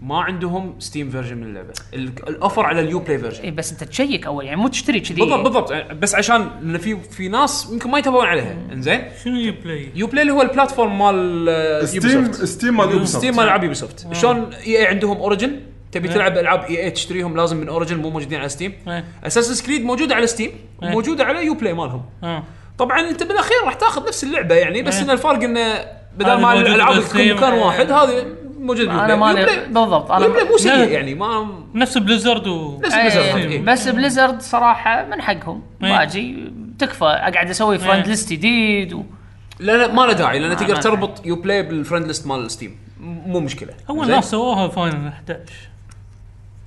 ما عندهم ستيم فيرجن من اللعبه ال- الاوفر على اليو بلاي فيرجن
اي إيه، بس انت تشيك اول يعني مو تشتري كذي
بالضبط بالضبط بس عشان إن في في ناس يمكن ما يتابعون عليها انزين
شنو يبلاي؟
يو بلاي اللي هو البلاتفورم مال آه،
ستيم
Ubisoft.
ستيم مال Ubisoft.
ستيم العاب يوبي
آه.
سوفت شلون اي اي عندهم اوريجن تبي تلعب العاب اي اي تشتريهم لازم من اوريجن مو موجودين على ستيم
إيه.
اساس كريد موجوده على ستيم
إيه.
وموجوده على يو بلاي مالهم
آه.
طبعا انت بالاخير راح تاخذ نفس اللعبه يعني بس
إيه.
ان الفرق انه بدل
هذه
ما
موجودة
الالعاب
بالستيم.
تكون مكان
إيه.
واحد هذه موجوده
انا مالي بالضبط انا
يو بلاي مو
لا.
سيء يعني ما
نفس بليزرد و
نفس
أي-
Blizzard. إيه.
بس بليزرد صراحه من حقهم
إيه.
ما اجي تكفى اقعد اسوي فرند
إيه.
ليست جديد و...
لا لا ما له داعي
آه.
لان تقدر
ما-
تربط يو بلاي بالفرند ليست مال ستيم مو مشكله
اول
زين؟
ناس سووها فاينل 11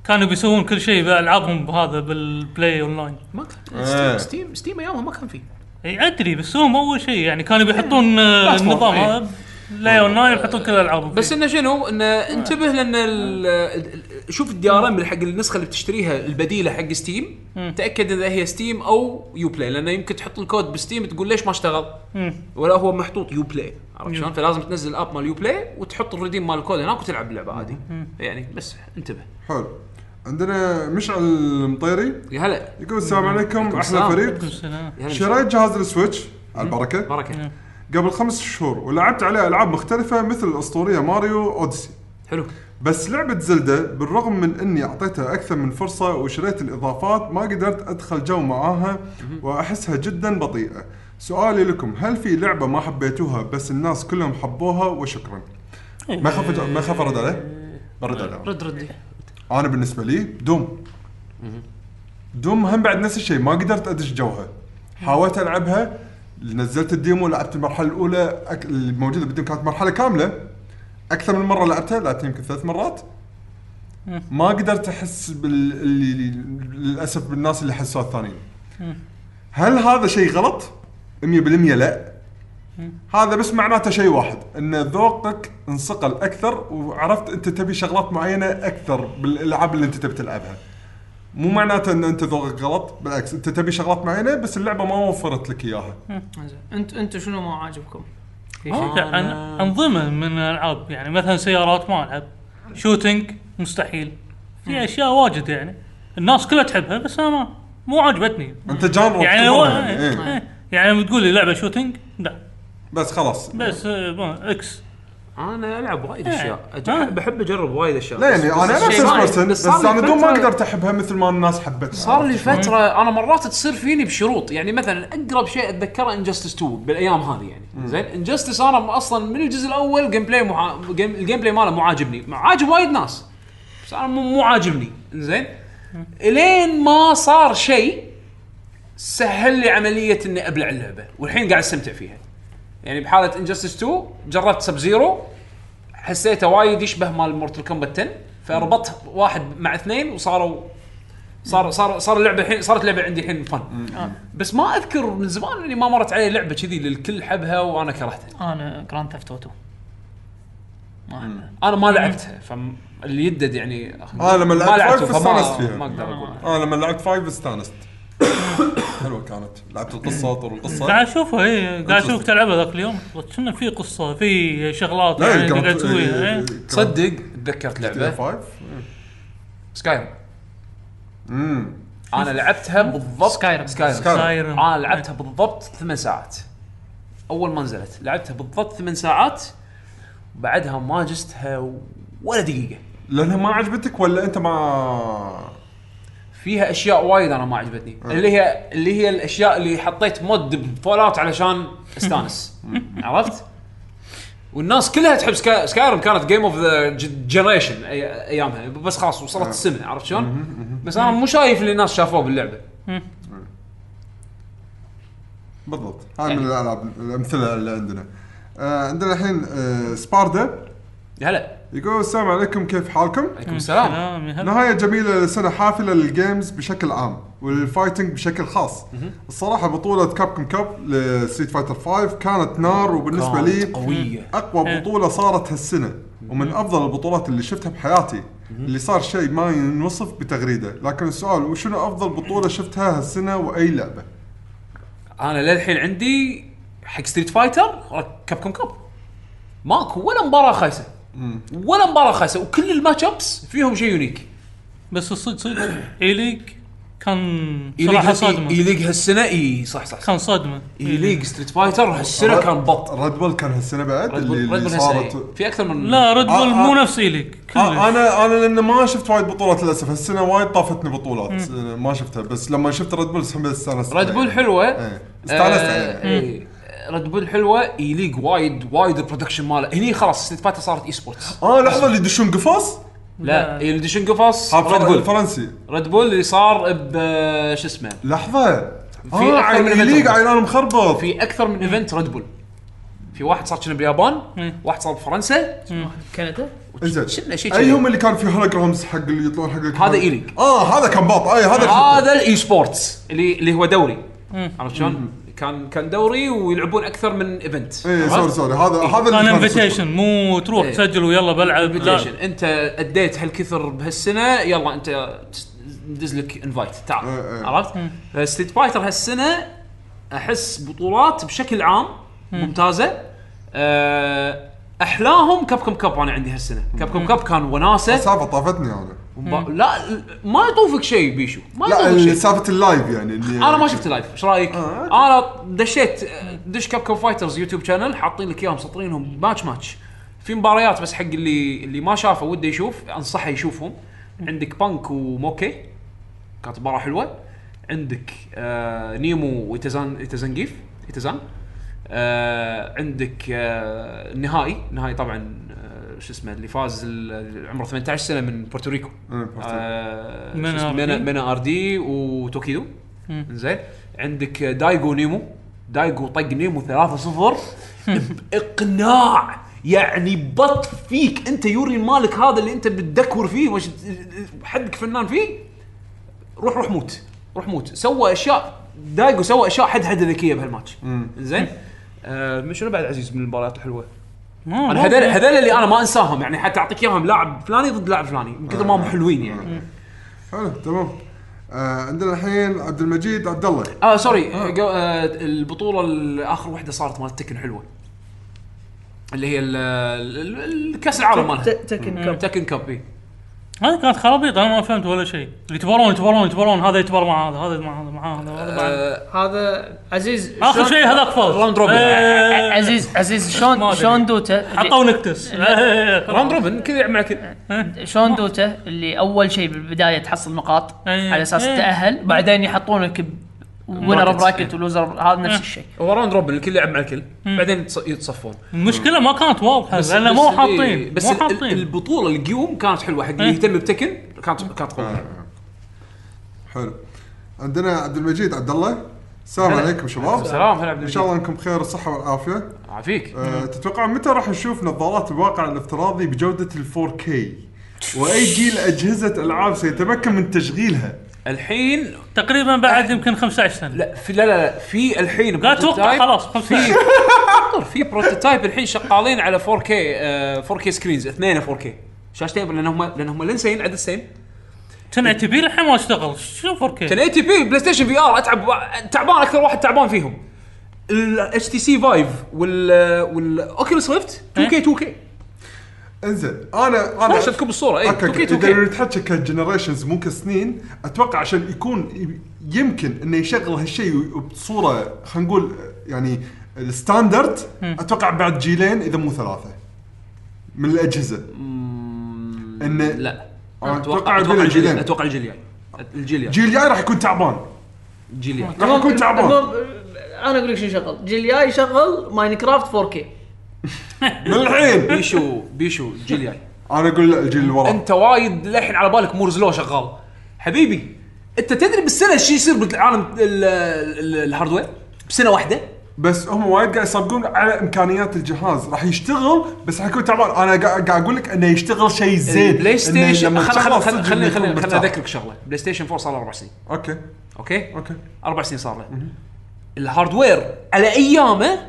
كانوا بيسوون كل شيء بالعابهم بهذا بالبلاي اونلاين
ما كان ستيم-
إيه.
ستيم ستيم ايامها ما كان فيه
اي ادري بس هم اول شيء يعني كانوا بيحطون آه،
بلاتفورم،
النظام
إيه.
هذا بلاي اونلاين يحطون كل الالعاب
بس
فيه.
انه شنو انه
آه.
انتبه لان ال- ال- شوف الدي ار ام حق النسخه اللي بتشتريها البديله حق ستيم تاكد اذا هي ستيم او يو بلاي لانه يمكن تحط الكود بستيم تقول ليش ما اشتغل
مم.
ولا هو محطوط يو بلاي عرفت شلون فلازم تنزل الاب مال يو بلاي وتحط الريديم مال الكود هناك وتلعب اللعبه عادي يعني بس انتبه
حلو عندنا مشعل المطيري
يا هلا
يقول السلام عليكم احلى
السلام. يعني
فريق
سلام.
يا هلا
شريت جهاز السويتش على البركه
بركه
قبل خمس شهور ولعبت عليه العاب مختلفه مثل الاسطوريه ماريو اوديسي
حلو
بس لعبة زلدة بالرغم من اني اعطيتها اكثر من فرصة وشريت الاضافات ما قدرت ادخل جو معاها واحسها جدا بطيئة. سؤالي لكم هل في لعبة ما حبيتوها بس الناس كلهم حبوها وشكرا. ما خاف ما خاف ارد عليه؟ برد عليه.
رد رد
انا بالنسبة لي دوم. دوم هم بعد نفس الشيء ما قدرت ادش جوها. حاولت العبها نزلت الديمو لعبت المرحلة الأولى أك... الموجودة بالديمو كانت مرحلة كاملة أكثر من مرة لعبتها لعبتها يمكن ثلاث مرات ما قدرت احس بال اللي للاسف بالناس اللي حسوها الثانيين. هل هذا شيء غلط؟ 100% لا. هذا بس معناته شيء واحد ان ذوقك انصقل اكثر وعرفت انت تبي شغلات معينه اكثر بالالعاب اللي انت تبي تلعبها مو معناته ان انت ذوقك غلط بالعكس انت تبي شغلات معينه بس اللعبه ما وفرت لك اياها
زين انت انت شنو ما عاجبكم؟
عن- انظمه من الالعاب يعني مثلا سيارات ما العب شوتنج مستحيل في اشياء واجد يعني الناس كلها تحبها بس انا ما مو عجبتني
انت جانر
يعني
تفضل
هو
يعني، إيه.
إيه. يعني بتقول لي لعبه شوتنج لا
بس خلاص
بس آه، ما- اكس
انا العب وايد
إيه.
اشياء أج-
آه.
بحب اجرب وايد اشياء
لا
بس-
يعني
بس الشيء
انا نفس
ما-
البيرسون
بس
بس
صار لي
انا بدون ما
فترة-
اقدر احبها مثل ما الناس حبتها
صار لي فتره انا مرات تصير فيني بشروط يعني مثلا اقرب شيء اتذكره انجستس 2 بالايام هذه يعني زين انجستس انا م- اصلا من الجزء الاول جيم بلاي محا... جيم... الجيم بلاي ماله مو عاجبني مع- عاجب وايد ناس بس انا مو, مو عاجبني زين الين ما صار شيء سهل لي عمليه اني ابلع اللعبه والحين قاعد استمتع فيها يعني بحاله انجستس 2 جربت سب زيرو حسيته وايد يشبه مال مورتل كومبات 10 فربطت واحد مع اثنين وصاروا صار صار صار اللعبه الحين صارت لعبه عندي الحين فن بس ما اذكر من زمان اني ما مرت علي لعبه كذي للكل حبها وانا كرهتها
انا جراند ثيفت اوتو
انا ما لعبتها فاللي يدد يعني أخ-
آه، لما
ما
لعبت
لعبته،
فايف
فما-
استانست فيها.
ما اقدر اقول
انا لما لعبت فايف استانست حلوه كانت لعبت القصه طور القصه
قاعد اشوفها اي قاعد اشوفك تلعبها ذاك اليوم كنا في قصه في شغلات
لا،
يعني
كانت-
تقعد تسويها إيه.
كانت-
تصدق تذكرت
كانت
لعبه
فايف
سكايرم
امم
انا لعبتها بالضبط
سكايرم.
سكايرم
سكايرم.
سايرن.
انا لعبتها بالضبط ثمان ساعات اول ما نزلت لعبتها بالضبط ثمان ساعات بعدها ما جستها ولا دقيقه
لانها ما عجبتك ولا انت ما
فيها اشياء وايد انا ما عجبتني اللي هي اللي هي الاشياء اللي حطيت مود بفول اوت علشان استانس عرفت والناس كلها تحب سكا... سكايرم كانت جيم اوف ذا جنريشن ايامها بس خلاص وصلت السمه عرفت شلون؟ بس انا مو شايف اللي الناس شافوه باللعبه
بالضبط هاي من الالعاب الامثله اللي عندنا آه عندنا الحين آه سباردا
يا هلا
يقول السلام عليكم كيف حالكم؟
عليكم السلام
سلام آه، يا هلا.
نهاية جميلة لسنة حافلة للجيمز بشكل عام وللفايتنج بشكل خاص. الصراحة بطولة كابكم كاب لستريت فايتر 5 كانت نار وبالنسبة لي
قوية.
أقوى بطولة صارت هالسنة ومن أفضل البطولات اللي شفتها بحياتي اللي صار شيء ما ينوصف بتغريدة، لكن السؤال وشنو أفضل بطولة شفتها هالسنة وأي لعبة؟
انا للحين عندي حق ستريت فايتر كاب كوم كاب ماكو ولا مباراه خايسه ولا مباراه خايسه وكل الماتش ابس فيهم شيء يونيك
بس الصدق صدق اي ليج كان
إي
صراحه
ليج- إي- إي
صدمه
ليج هالسنه اي صح صح, صح.
كان صدمه
آه،
اي ليج ستريت فايتر هالسنه كان بط
ريد بول كان هالسنة بعد
ريد
اللي,
بول
اللي
ريد بول هالسنة
صارت
إيه. في اكثر من
لا ريد بول
آه، آه.
مو نفس اي ليج
آه،
كلش
انا انا لان ما شفت وايد بطولات للاسف هالسنه وايد طافتني بطولات آه، ما شفتها بس لما شفت ريد بول حمد استانست
ريد بول حلوه
إيه. استانست
آه،
عليها
إيه. ريد بول حلوه اي ليج وايد وايد البرودكشن ماله هني خلاص ستريت فايتر صارت اي سبورتس
اه لحظه اللي يدشون قفص
لا الديشن قفص
هذا
ريد بول
فرنسي
ريد بول اللي صار ب شو اسمه
لحظه
أكثر
اه عين
من
الليج
إيفنت.
عين انا مخربط
في اكثر من ايفنت ريد بول في واحد صار كنا باليابان واحد صار بفرنسا
كندا
انزين
شفنا شيء
اي
شي.
هم اللي كان في هولوجرامز حق اللي يطلعون حق الكاميرا؟
هذا إي ليج.
اه هذا كان باط اي هذا شفته.
هذا الاي سبورتس اللي اللي هو دوري عرفت شلون؟ كان كان دوري ويلعبون اكثر من ايفنت
اي
عرفت؟
سوري سوري إيه، هذا هذا اللي
كان
كان
انفيتيشن مو تروح
إيه.
تسجل ويلا بلعب
انفيتيشن
لا
انت اديت هالكثر بهالسنه يلا انت تس- ندز لك انفايت تعال
إيه، إيه.
عرفت؟ ستريت فايتر هالسنه احس بطولات بشكل عام ممتازه أه، احلاهم كاب كوم كاب انا عندي هالسنه كاب كوم كاب كان وناسه
السالفه طافتني انا
ومبا- لا ما يطوفك شيء بيشو ما
لا
يطوفك شيء
سالفه اللايف يعني اللي
انا ما شفت لايف ايش رايك؟
آه، أوكي.
انا دشيت دش كاب كوم فايترز يوتيوب شانل حاطين لك اياهم مسطرينهم ماتش ماتش في مباريات بس حق اللي اللي ما شافه وده يشوف انصحه يشوفهم عندك بانك وموكي كانت مباراه حلوه عندك آه نيمو ويتزان يتزنجيف يتزان آه عندك آه النهائي النهائي طبعا آه، شو اسمه اللي فاز ال- عمره 18 سنه من بورتوريكو
آه، بورتوريكو.
آه،
منا
شو اسمه؟
RD.
منا منا ار دي وتوكيدو زين عندك دايجو نيمو دايجو طق نيمو 3-0 باقناع يعني بط فيك انت يوري مالك هذا اللي انت بتدكور فيه وش حدك فنان فيه روح روح موت روح موت سوى اشياء دايجو سوى اشياء حد حد ذكيه بهالماتش زين آه شنو بعد عزيز من المباريات الحلوه؟ انا هذول هذول اللي انا ما انساهم يعني حتى اعطيك اياهم لاعب فلاني ضد لاعب فلاني من كثر ما هم حلوين يعني
حلو تمام آه عندنا الحين عبد المجيد عبد الله
اه سوري آه. جو- آه البطوله ال- اخر واحده صارت مالت تكن حلوه اللي هي ال- ال- ال- الكاس العالم مالها
تكن
كاب تكن كاب إيه. إي.
هذه كانت خرابيط انا ما فهمت ولا شيء يتبارون يتبارون يتبارون هذا يتبار مع هذا هذا مع هذا مع هذا هذا مع-
آه،
هذا عزيز
اخر
شلون-
شيء هذاك فاز
راوند روبن.
إيه،
عزيز عزيز
ما
شلون
أدري.
شلون دوتا
حطوا نكتس eh,
راوند روبن كذا يلعب مع كل
شلون دوتا اللي اول شيء بالبدايه تحصل نقاط
إيه.
على اساس
إيه.
تتاهل بعدين يحطونك وينر براكت ولوزر هذا
إيه.
نفس الشيء
هو راوند روبن الكل يلعب مع الكل بعدين يتص- يتصفون
المشكله ما كانت واضحه
بس-
لان
بس
مو
إي،
حاطين
بس
مو
ال- ال-
حاطين
البطوله القيوم كانت حلوه حق اللي
إيه.
يهتم بتكن كانت كانت قويه
حلو عندنا عبد المجيد عبد الله السلام عليكم شباب
السلام هلا عبد
ان
المجيد.
شاء الله انكم بخير الصحه والعافيه
عافيك
أه تتوقع متى راح نشوف نظارات الواقع الافتراضي بجوده ال 4K واي جيل اجهزه العاب سيتمكن من تشغيلها
الحين
تقريبا بعد يمكن 15 سنه
لا في لا لا, لا في الحين
لا اتوقع
بروتوتايب-
خلاص 15
انظر في بروتوتايب الحين شغالين على 4K آه، 4K سكرينز اثنين 4K شاشتين لان هم لان هم لنسين عدد سين
10 تي بي الحين ما اشتغل شو 4 كي
1080 بي بلاي ستيشن في ار اتعب تعبان اكثر واحد تعبان فيهم الاتش تي سي فايف وال والاوكيولوس ريفت 2K
إيه.
2K
انزين انا انا
ما شفتكم إيه، بالصوره اي
اوكي
2K
اوكي اذا
2K
نتحكى كجنريشنز مو كسنين اتوقع عشان يكون ي- يمكن انه يشغل هالشيء بصوره خلينا نقول يعني الستاندرد اتوقع بعد جيلين اذا مو ثلاثه من الاجهزه انه
لا
أنا
اتوقع
بين
اتوقع الجيل
آه، الجيلين
اتوقع الجيل الجاي الجيل الجاي
الجيل الجاي راح يكون تعبان
الجيل الجاي
راح يكون تعبان
المهم، انا اقول لك شو شغل الجيل الجاي شغل ماينكرافت 4 كي
من الحين
بيشو بيشو الجيل الجاي
انا اقول لا الجيل اللي وراه
انت وايد للحين على بالك مورز لو شغال حبيبي انت تدري بالسنه شو يصير بالعالم ال- ال- الهاردوير بسنه واحده
بس هم وايد قاعد يصدقون على امكانيات الجهاز راح يشتغل بس راح يكون تعبان انا قاعد قاعد اقول لك انه يشتغل شيء زين
البلاي إيه. ستيشن خل- خل- خل- خليني خليني خليني
اذكر
اذكرك شغله بلاي ستيشن 4 صار له اربع سنين
اوكي
اوكي
اوكي
اربع سنين صار له الهاردوير على ايامه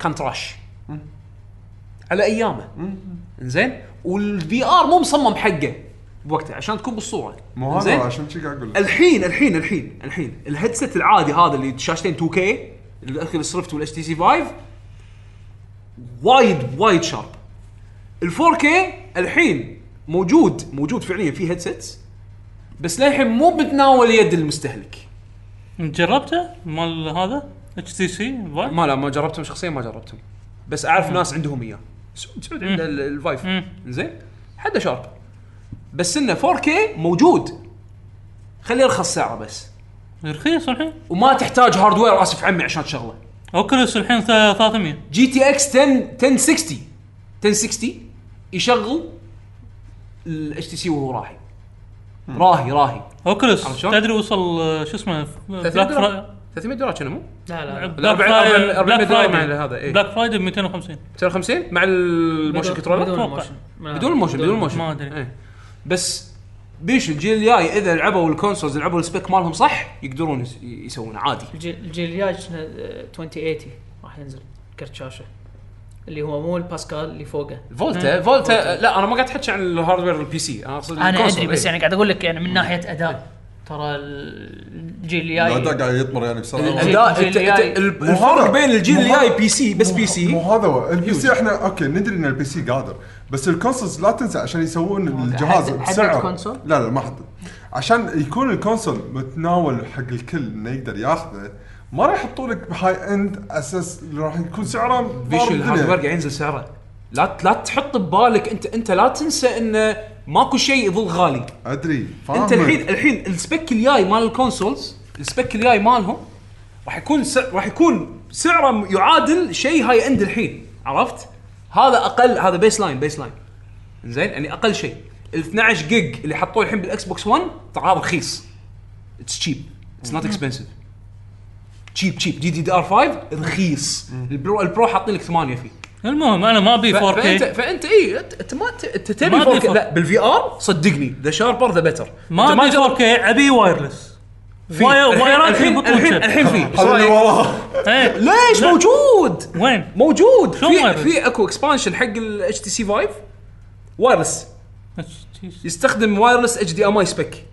كان تراش على ايامه زين والفي ار مو مصمم حقه بوقته عشان تكون بالصوره
مو
زين؟
هذا عشان شي قاعد اقول لك
الحين الحين الحين الحين الهيدسيت العادي هذا اللي شاشتين 2K الاكل صرفت والاتش تي سي 5 وايد وايد شارب ال 4K الحين موجود موجود فعليا في هيدسيتس بس للحين مو بتناول يد المستهلك
جربته مال هذا اتش تي سي
ما لا ما جربتهم شخصيا ما جربتهم بس اعرف ناس عندهم اياه سعود سعود عنده ال- الفايف زين حده شارب بس انه 4K موجود خليه يرخص سعره بس
رخيص الحين
وما تحتاج هاردوير اسف عمي عشان تشغله
اوكلس الحين ث- 300
جي تي اكس 10 1060 1060 يشغل الاتش تي سي وهو راهي راهي راهي
اوكلس
شلون؟
تدري وصل آه، شو اسمه بلاك
300
فرايداي
دولار 300 دولار كانوا مو؟
لا لا لا
بلاك
400
فرايداي-
دولار مع هذا، إيه.
بلاك فرايداي ب 250
250 مع الموشن كنترولر
بدون
أتوقع.
موشن
بدون الموشن بدون الموشن
ما أدري.
إيه. بس بيش الجيل الجاي اذا لعبوا الكونسولز لعبوا السبيك مالهم صح يقدرون يس- يسوون عادي
الجيل الجيل الجاي شنو، آه، 2080 راح ينزل كرت شاشه اللي هو مو الباسكال اللي فوقه
فولتا فولتا لا انا ما قاعد احكي عن الهاردوير البي سي انا اقصد
انا
الكونسول،
ادري بس
إيه.
يعني قاعد اقول لك يعني من ناحيه
طيب.
اداء ترى الجيل
الاداء
الجاي
قاعد يطمر يعني بسرعه
الأداء-
الجيل
الت-
الجاي.
الت- ال- الفرق بين الجيل الجاي بي سي بس بي سي
مو هذا هو البي سي احنا اوكي ندري ان البي سي قادر بس الكونسولز لا تنسى عشان يسوون الجهاز
حدد- حدد
بسعر
كونسول؟
لا لا ما حدد عشان يكون الكونسول متناول حق الكل انه يقدر ياخذه ما راح يحطوا لك بهاي اند اساس اللي راح يكون سعره ضارب
بيشو الهاردوير
الدنيا.
قاعد ينزل سعره لا لا تحط ببالك انت انت لا تنسى انه ماكو شيء يظل غالي
ادري
انت
فاهمك.
الحين الحين السبيك الجاي مال الكونسولز السبيك الجاي مالهم راح يكون سع... راح يكون سعره م- يعادل شيء هاي اند الحين عرفت؟ هذا اقل هذا بيس لاين بيس لاين زين يعني اقل شيء ال 12 جيج اللي حطوه الحين بالاكس بوكس 1 ترى هذا رخيص اتس تشيب اتس نوت اكسبنسيف تشيب تشيب دي دي دي ار 5 رخيص البرو البرو حاطين لك 8 فيه
المهم انا ما ابي
ف-
4
فانت
كي
فانت اي انت أنت ما إيه، ت- انت تبي
ما أبي
4K
فور-
لا بالفي ار صدقني ذا شاربر ذا بيتر
ما ابي 4 كي ابي وايرلس واير- وايرات هي بطول
الحين
شب
الحين في
هذا اللي وراه
إيه.
ليش
لا.
موجود
وين؟
موجود
شلون
في
وايرلس؟
في اكو اكسبانشن حق الاتش تي سي فايف وايرلس يستخدم وايرلس اتش دي ام اي سبيك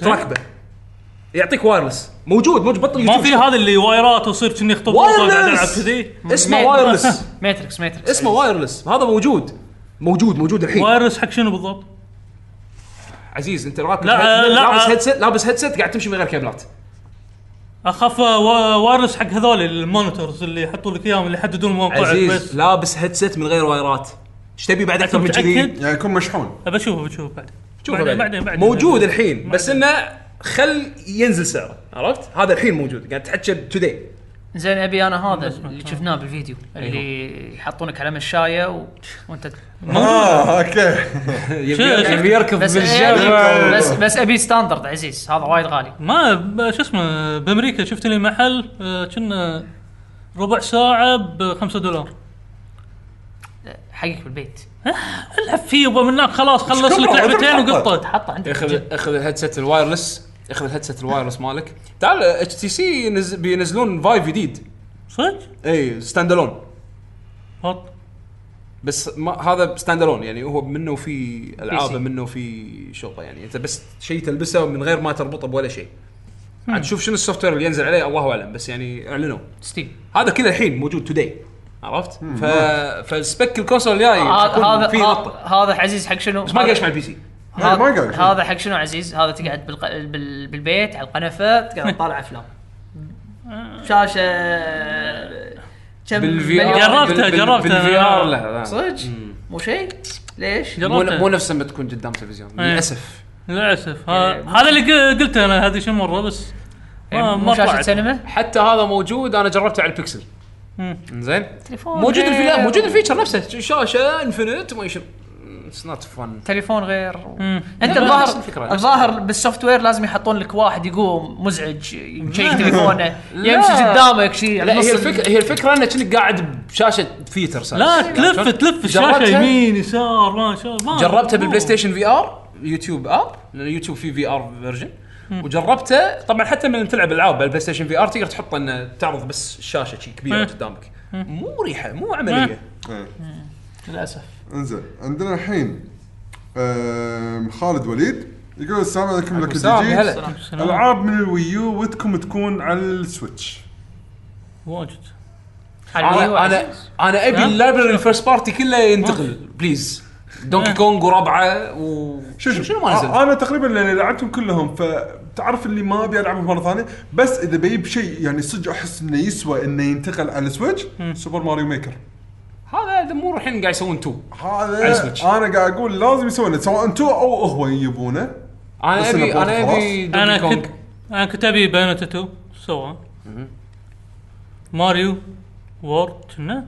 تركبه يعطيك وايرلس موجود موجود بطل
ما
يوتيوب
في هذا اللي وايرات وصير كني اخطب
وايرلس!
قاعد العب كذي
اسمه وايرلس
ماتريكس ماتريكس
اسمه وايرلس هذا موجود موجود موجود الحين
وايرلس حق شنو بالضبط؟
عزيز انت راكب
لا،
هيد-
لا.
لابس هيدسيت لابس هيدسيت قاعد تمشي من غير كابلات
اخاف آه، وا- وايرلس حق هذول المونيتورز اللي يحطوا لك اياهم اللي يحددون موقعك
عزيز
بس
لابس هيدسيت من غير وايرات ايش تبي بعد اكثر من كذي؟
متأكد؟
يعني يكون مشحون
ابى اشوفه بشوفه بعد
شوف
بعدين-
بعدين.
بعدين بعدين
موجود الحين بس انه خل ينزل سعره عرفت؟ هذا الحين موجود قاعد تحكي توداي
زين ابي انا هذا اللي شفناه بالفيديو
أيوه.
اللي يحطونك على مشايه و... وانت
اه اوكي
يعني
شو-
يركض
بس إيه،
بالجو
بس بس ابي ستاندرد عزيز هذا وايد غالي
ما ب- شو اسمه بامريكا شفت لي محل آه، كنا ربع ساعة ب 5 دولار
حقك بالبيت
العب فيه يبا من هناك خلاص خلص لك
كبره؟
لعبتين
حطه.
وقطت
حطه عندك
اخذ اخذ الهيدسيت الوايرلس اخذ الهيدسيت الوايرلس مالك تعال اتش تي سي بينزلون فايف جديد
صدق؟
اي ستاند الون
حط
بس ما هذا ستاند الون يعني هو منه في العابه منه في شغله يعني انت بس شيء تلبسه من غير ما تربطه بولا شيء عاد شوف شنو السوفت وير اللي ينزل عليه الله اعلم بس يعني اعلنوا
ستيم
هذا كله الحين موجود توداي عرفت؟ ف... فالسبك الكونسول الجاي
آه، هذا
هذا في نقطه
هذا عزيز حق شنو
بس ما قاعد مع البي سي
لا، ما قال.
هذا حق شنو عزيز هذا تقعد بالق... بال... بالبيت على القنفه تقعد تطالع افلام شاشه كم مليون؟
آر. جربتها-
بال- بال-
جربتها.
بالفي ار لا لا.
صدق مو شيء ليش؟
مو
جربته.
مو نفس لما تكون قدام تلفزيون
إيه.
للاسف
للاسف ها- هذا اللي قل- قلته انا هذه شو مره بس ما
إيه، مو
ما
شاشه
طلعت
سينما
حتى هذا موجود انا جربته على البكسل
مم. إيه.
زين موجود الفي لا، موجود الفيتشر نفسه شاشه انفنت وما يشوف اتس نوت فن
تليفون غير
مم.
انت
لا،
الظاهر
نفس الفكرة، نفس
الظاهر بالسوفت وير لازم يحطون لك واحد يقوم مزعج يمشي تليفونه يمشي قدامك شيء
يعني
لا هي
نص
الفكره هي الفكره انك كنت قاعد بشاشه فيتر سايز.
لا تلف تلف الشاشه
جربتها؟
يمين يسار ما شاء ما
جربته
مو.
بالبلاي ستيشن في ار يوتيوب اب لان يوتيوب فيه في ار فيرجن وجربته طبعا حتى من تلعب العاب بالبلاي ستيشن في ار تقدر تحط انه تعرض بس شاشه شي كبيره
مم.
قدامك مو مريحه مو عمليه
للاسف
انزين عندنا الحين آم، خالد وليد يقول السلام عليكم لك
السلام،
دي جي.
هلا.
العاب من الويو ودكم تكون على السويتش
واجد
انا انا انا ابي
أيوة، ها؟
اللايبرري الفيرست بارتي كله ينتقل بليز دونكي كونغ وربعه و
شو شو
شنو ما نزل؟
آه، انا تقريبا لاني لعبتهم كلهم فتعرف اللي ما ابي العبهم مره ثانيه بس اذا بجيب شيء يعني صدق احس انه يسوى انه ينتقل على السويتش سوبر ماريو ميكر
هذا مو الحين قاعد يسوون تو
هذا
على السويتش.
انا قاعد اقول لازم يسوونه سواء انتو او هو يجيبونه
انا
بس
ابي
إنه
انا
خلاص.
ابي دونكي
انا
كونغ
كنت انا كنت ابي بايونيتا 2 سوا ماريو وورد كنا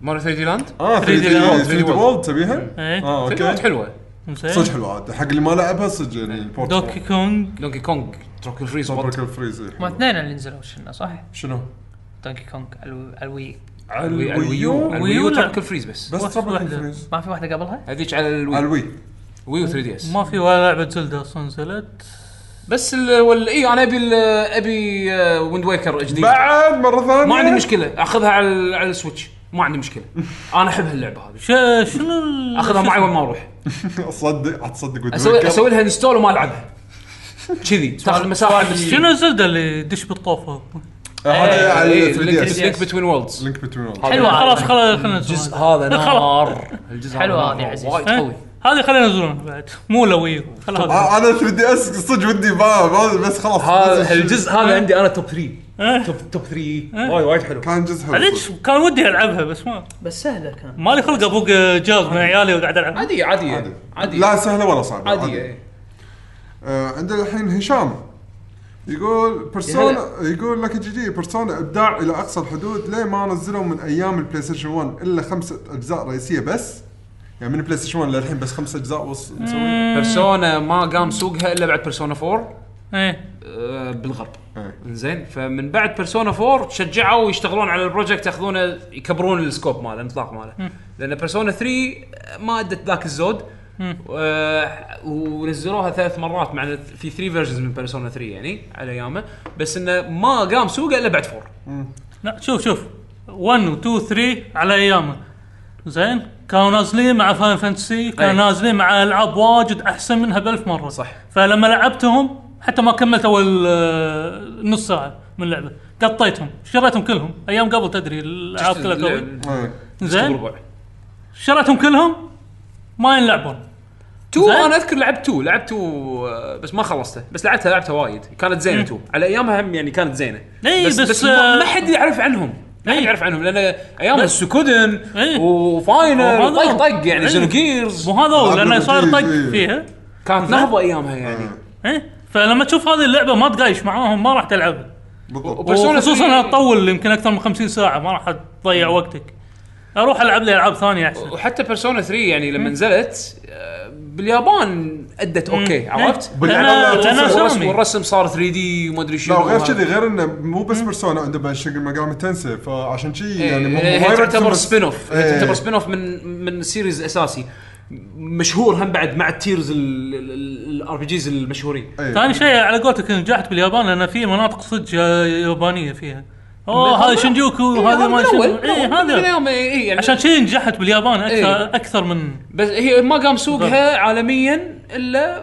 ماريو 3 دي لاند
اه 3
3D
دي
World،
3 دي
3D
وولد تبيها؟
ايه
اه
3 دي لاند
اوكي
حلوه
زين
صدق حلوه عاد حق اللي ما لعبها صدق
إيه.
يعني البورت
دوكي كونغ
دونكي كونغ تروكل فريز
صبرك الفريز
ما اثنين اللي نزلوا شنو صح؟
شنو؟
دونكي كونغ الو- الوي
على
الوي-
الويو
الوي.
الويو
لا.
تروكل فريز بس
بس
واحدة-
تربك
واحدة.
الفريز
ما في واحده قبلها؟
هذيك على الوي
على الوي
ويو 3 دي اس
ما في ولا لعبه زلدا اصلا نزلت
بس ال وال- اي انا ابي ال- ابي آه، ويند ويكر جديد
بعد مره ثانيه
ما عندي مشكله اخذها على ال- على السويتش ما عندي مشكله انا احب هاللعبه هذه
شا- شنو ال-
اخذها معي وين ما اروح
اصدق تصدق ودي
اسوي
أذكر.
اسوي لها انستول وما العبها كذي تاخذ مساحه من
شنو الزلده اللي يدش بالطوفه؟
آه، هذا على 3 دي اس
إيه، لينك بتوين وولدز
لينك بتوين worlds.
حلوة
خلاص خلاص خلينا
الجزء
نسولف.
هذا
خلاص.
نار الجزء
حلوة
هذا
هذه
نار،
عزيز.
وايد
إيه.
قوي
هذه خلينا نزلون بعد مو لويه خلاص
آه، انا 3 دي اس صدق ودي ما- ما- بس خلاص
هذا الجزء هذا عندي انا توب 3
إيه.
توب توب 3 وايد وايد حلو
كان جزء حلو
ليش كان ودي العبها بس ما
بس سهله كان
مالي خلق ابوق جاز من عيالي وقاعد العب
عادي عادي
عادي.
عادي
لا سهله ولا صعبه
عادي
آه، عندنا الحين هشام يقول بيرسونا يقول لك جي جي بيرسونا ابداع الى اقصى الحدود ليه ما نزلوا من ايام البلاي ستيشن 1 الا خمسة اجزاء رئيسيه بس يعني من البلاي ستيشن 1 للحين بس خمسة اجزاء وص... مسويين.
بيرسونا ما قام سوقها الا بعد بيرسونا 4
ايه
آه، بالغرب
إيه.
زين فمن بعد بيرسونا 4 تشجعوا يشتغلون على البروجكت ياخذونه يكبرون السكوب ماله الانطلاق ماله لان بيرسونا 3 ما ادت ذاك الزود آه، ونزلوها ثلاث مرات مع إن في 3 فيرجنز من بيرسونا 3 يعني على ايامه بس انه ما قام سوقه الا بعد 4
لا شوف شوف 1 و 2 3 على ايامه زين كانوا نازلين مع فاين فانتسي كانوا
أي.
نازلين مع العاب واجد احسن منها بألف مره
صح.
فلما لعبتهم حتى ما كملت اول آه، نص ساعه من اللعبه قطيتهم شريتهم كلهم ايام قبل تدري الالعاب كلها كوي
إيه،
زين
زين
شريتهم كلهم ما ينلعبون
2
زين.
انا اذكر لعبت 2 لعبت 2 آه، بس ما خلصته بس لعبتها لعبتها وايد كانت زينه 2 على ايامها هم يعني كانت زينه
إي،
بس,
بس،
بس ما
آه،
ما حد يعرف عنهم ما حد
إي.
يعرف عنهم لان ايامها
بس.
سكودن
إي.
وفاينل
وهذا-
طق طق يعني
إي.
زينو جيرز
مو هذول لانه صار طق
إيه.
فيها
كانت نهضه ايامها يعني
ايه فلما تشوف هذه اللعبه ما تقايش معاهم ما راح تلعبها
بالضبط
وبيرسونا
خصوصا
3
انها تطول يمكن اكثر من 50 ساعه ما راح تضيع وقتك اروح العب لي العاب ثانيه احسن
وحتى بيرسونا 3 يعني لما نزلت آه، باليابان ادت اوكي
مم.
عرفت؟
إيه. لأنها- لأنها
والرسم,
سامي
والرسم صار 3 دي وما ادري شنو
لا وغير
وهذا.
كذي غير انه مو بس بيرسونا عنده بعد شق المقام تنسى فعشان كذي يعني مو-
إيه،
ما
هي
يركزون
تعتبر
بس-
سبين اوف
إيه.
تعتبر سبين اوف من من سيريز اساسي مشهور هم بعد مع التيرز الار بي جيز المشهورين
إيه.
ثاني شيء على قولتك نجحت باليابان لان في مناطق صدق يابانيه فيها اوه هذا شنجوكو
إيه،
وهذا ما شنجوكو اي هذا
اي يعني
عشان شيء نجحت باليابان
إيه.
اكثر اكثر من
بس هي ما قام سوقها عالميا الا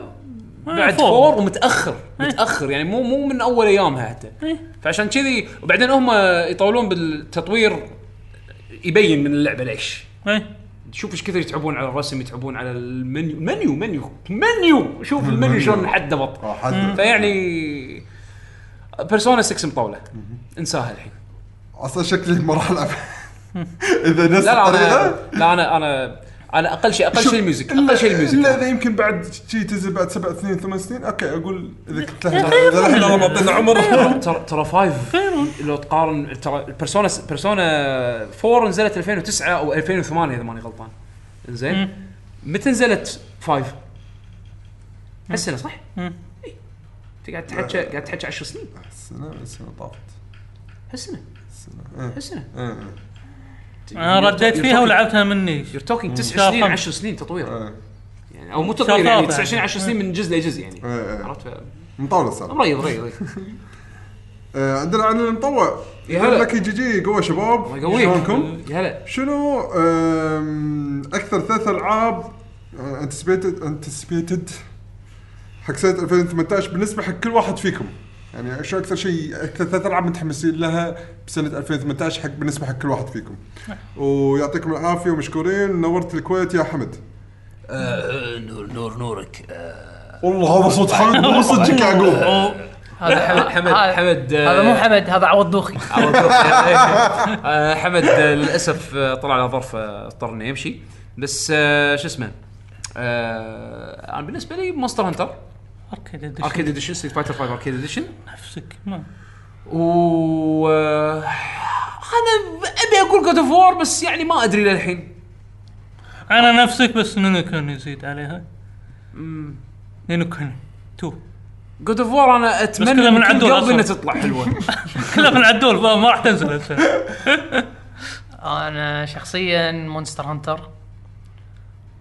بعد
فور.
فور ومتاخر متاخر يعني مو مو من اول ايامها حتى
إيه.
فعشان كذي وبعدين هم يطولون بالتطوير يبين من اللعبه ليش
إيه.
شوف ايش كثر يتعبون على الرسم يتعبون على المنيو منيو منيو منيو شوف المنيو شلون حد ضبط
آه، حد
فيعني بيرسونا 6 مطوله انساها الحين
اصلا شكلي ما راح العب اذا نفس
لا لا
الطريقه
انا لا انا انا انا اقل شيء اقل
شوف،
شيء الميوزك
إلا-
اقل شيء
الا
الميوزك
اذا يمكن بعد شي تنزل بعد سبع سنين ثمان سنين اوكي اقول اذا كنت لها
غير
إذا الحين
من-
الله ما اعطينا عمر
ترى ترى 5 لو تقارن ترى بيرسونا بيرسونا 4 نزلت 2009 او 2008 اذا ماني غلطان زين متى نزلت 5 هالسنه صح؟
مم.
إي. انت قاعد تحكي قاعد تحكي 10 سنين
السنه السنه طافت
هالسنه
إيه.
هالسنه
إيه، إيه.
انا رديت فيها ولعبتها مني
يور توكينج 9
شهر
سنين
خمس.
10 سنين تطوير
إيه،
يعني او مو
شهر
تطوير يعني
ثلاثة
9 سنين
يعني.
10 سنين من جزء لجزء يعني
إيه، إيه.
عرفت ف-
مطاوله صار
مريض مريض
آه، عندنا عن المطوع
يا هلا.
لك جي جي قوة شباب
يقويك
شلونكم؟
يا هلا
شنو آم، اكثر ثلاث العاب انتسبيتد انتسبيتد آه، حق سنة 2018 بالنسبة حق كل واحد فيكم يعني شو اكثر شيء اكثر ثلاث العاب متحمسين لها بسنة 2018 حق بالنسبة حق كل واحد فيكم ويعطيكم العافية ومشكورين نورت الكويت يا حمد
آه، نور نور نورك آه.
والله هذا صوت حمد مو صدق يعقوب
هذا حمد
حمد حمد آه،
هذا مو حمد هذا عوض دوخي
عوض دوخي.
آه، حمد آه، للاسف آه، طلع له ظرف آه، اضطر انه يمشي بس آه، شو اسمه آه، انا بالنسبه لي مونستر هانتر
اركيد أدش
اركيد اديشن ستريت فايتر 5 اركيد اديشن
نفسك ما
و آه، انا ابي اقول جود اوف وور بس يعني ما ادري للحين
انا نفسك بس نينوكون يزيد عليها نينوكون تو
جود اوف وور انا اتمنى
كلها من عدول
قلبي
أصلاً.
انها تطلع حلوه
كلها من عدول ما ما راح تنزل هالسنة.
انا شخصيا مونستر هانتر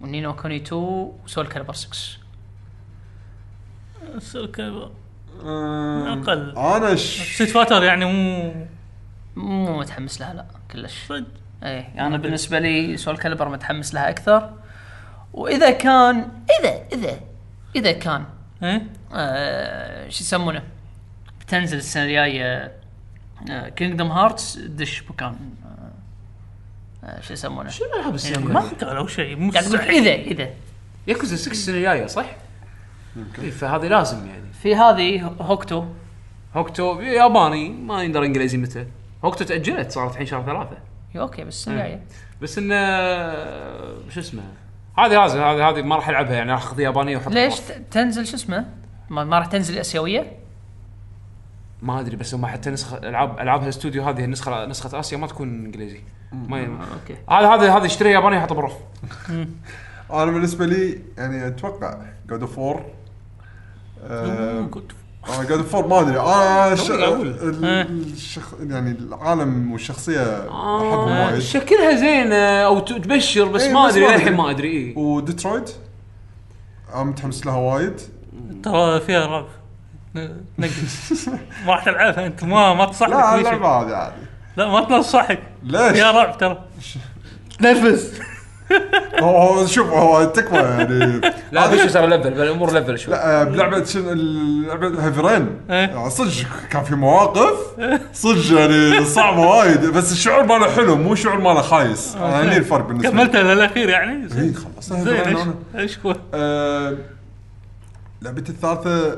ونينو كوني 2 وسول كالبر 6
السلك
آم،
أقل.
انا ش...
ستريت فايتر يعني مو
مو متحمس لها لا كلش
صدق
اي انا يعني بالنسبه لي سول كالبر متحمس لها اكثر واذا كان اذا اذا اذا كان
ايه
آه شو يسمونه بتنزل آه، السنه الجايه كينجدم هارتس دش مكان آه، آه شو يسمونه
شنو العاب السنه
يعني ما
الجاية؟
قالوا شيء
قاعد إيه اقول
مستحيل
اذا اذا
ياكوزا 6 السنه الجايه صح؟ إيه، فهذه لازم يعني
في هذه هوكتو
هوكتو ياباني ما يندر انجليزي متى هوكتو تاجلت صارت الحين شهر ثلاثه
اوكي إيه، بس السنه الجايه
بس انه شو اسمه هذه لازم هذه هذه ما راح العبها يعني راح اخذ يابانيه واحطها
ليش
برا.
ت- تنزل شو اسمه؟ ما, ما راح تنزل اسيويه؟
ما ادري بس هم حتى نسخه العاب العاب هالاستوديو هذه النسخه نسخه اسيا ما تكون انجليزي ما ي-
اوكي
هذا هذا هذا يشتري ياباني يحطه بالرف
انا بالنسبة لي يعني اتوقع جود اوف وور
آه،
آه، انا قاعد فور ما ادري انا ش... ال-
آه.
الشخ... يعني العالم والشخصيه احبهم آه، وايد
شكلها زين او ت- تبشر بس
إيه،
ما إيه.
بس
ادري
ما
للحين
أدري.
ما ادري اي
وديترويت انا متحمس لها وايد
ترى فيها رعب ن- نقل ما راح تلعبها انت ما ما تصحك
لا
ولا شيء.
اللعبه هذه عادي
لا ما تنصحك
ليش؟
يا رعب ترى
تنفس
هو هو شوف هو تكفى يعني
لا هذا شو صار ليفل الامور ليفل شوي
لا آه، بلعبه شنو لعبه هيفي رين
إيه.
آه، صدق كان في مواقف صدق يعني صعبه وايد بس الشعور ماله حلو مو شعور ماله خايس
آه.
يعني هني الفرق بالنسبه لي
كملتها للاخير يعني
إيه،
زين
خلصت Heavy Rain
زين
أنا.
إيش- إيه، ايش هو؟
آه، لعبتي الثالثه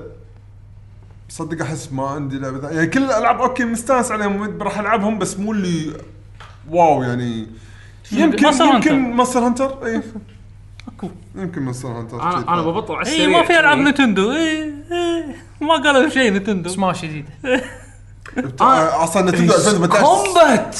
صدق احس ما عندي لعبه ثانية. يعني كل الالعاب اوكي مستانس عليهم راح العبهم بس مو اللي واو يعني يمكن
Monster Hunter.
يمكن مصر هانتر اي
أكو.
يمكن مصر هانتر
انا انا ببطل على
اي
السريع
إيه، ما في العاب
إيه.
نتندو اي إي، ما قالوا شيء نتندو
سماش جديد
بتاع- اصلا نتندو 2018
كومبات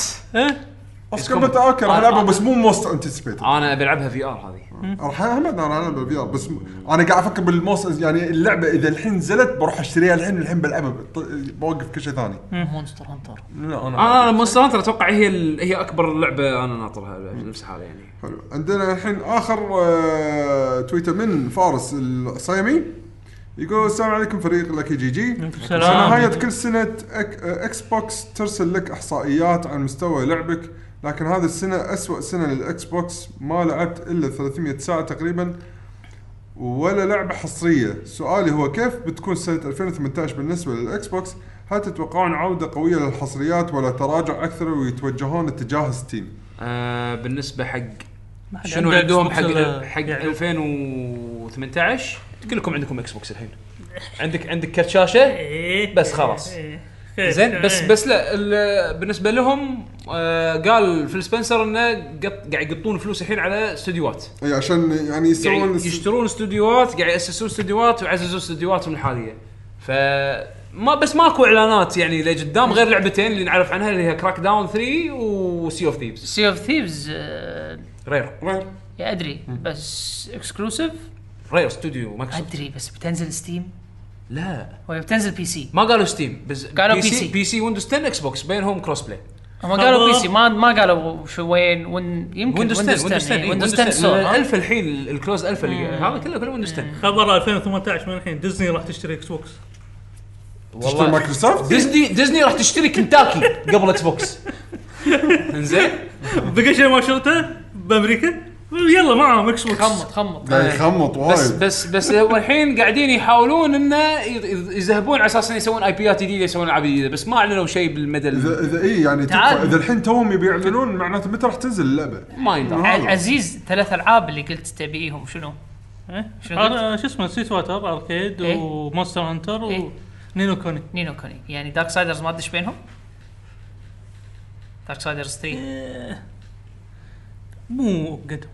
اوسكار بتا اوكي راح العبه بس مو موست انتسبيتد
انا بلعبها في ار هذه
راح احمد انا العب الفي ار بس م- انا قاعد افكر بالموست يعني اللعبه اذا الحين نزلت بروح اشتريها الحين والحين بلعبها بط- بوقف كل شيء ثاني
مونستر هانتر
لا
انا انا مونستر هانتر اتوقع هي ال- هي اكبر لعبه انا ناطرها نفس هذا يعني
حلو عندنا الحين اخر آه، تويتر من فارس الصيمي يقول السلام عليكم فريق لك جي جي
السلام.
نهاية كل سنة أك... اكس بوكس ترسل لك احصائيات عن مستوى لعبك لكن هذه السنة أسوأ سنة للاكس بوكس ما لعبت الا 300 ساعة تقريبا ولا لعبة حصرية سؤالي هو كيف بتكون سنة 2018 بالنسبة للاكس بوكس هل تتوقعون عودة قوية للحصريات ولا تراجع اكثر ويتوجهون اتجاه ستيم
آه بالنسبه حق
ما حد
شنو
عنده
عندهم
Xbox
حق
ولا-
حق
يعني
2018 كلكم عندكم اكس بوكس الحين عندك عندك كرت شاشه بس خلاص
إيه،
زين بس بس لا ال- بالنسبه لهم آه قال فيل سبنسر انه قط- قاعد يقطون فلوس الحين على استديوهات
اي عشان يعني يسوون
قاعد
الس-
يشترون استديوهات قاعد ياسسون استديوهات ويعززون استديوهاتهم الحاليه ف ما بس ماكو اعلانات يعني لقدام غير لعبتين اللي نعرف عنها اللي هي كراك داون 3 وسي اوف ثيفز
سي اوف ثيفز
رير
آه، يا ادري بس اكسكلوسيف
رير استوديو مايكروسوفت
ادري بس بتنزل ستيم
لا
ولا بتنزل بي سي
ما قالوا ستيم بس
قالوا
بي
PC.
سي بي سي ويندوز 10 اكس بوكس بينهم كروس بلاي
هم قالوا بي سي ما ما قالوا شو وين وين يمكن يعني
ويندوز 10 ويندوز 10
ويندوز 10
ستور
سول
الالف الحين ال- الكلوز الف اللي هذا كله كله ويندوز 10
خبر 2018 من الحين ديزني راح تشتري اكس بوكس
تشتري مايكروسوفت
ديزني ديزني راح تشتري كنتاكي قبل اكس بوكس انزين
بقى شيء ما شرته بامريكا يلا معهم اكس بوكس
خمط خمط
قاعد يعني يخمط
بس
وايد
بس بس هو الحين قاعدين يحاولون انه يض- يض- يذهبون على اساس انه يسوون اي بيات جديده يسوون العاب جديده بس ما اعلنوا شيء بالمدى
اذا اذا اي يعني تكفى اذا الحين توهم يبي يعلنون معناته متى راح تنزل اللعبه؟
ما يندرى
ع- عزيز ثلاث العاب اللي قلت تبيهم شنو؟
إيه.
شو
هذا شو اسمه سيت واتر اركيد
إيه.
ومونستر هانتر
إيه.
ونينو كوني
نينو كوني يعني دارك سايدرز ما تدش بينهم؟ دارك سايدرز 3
مو إيه. قدهم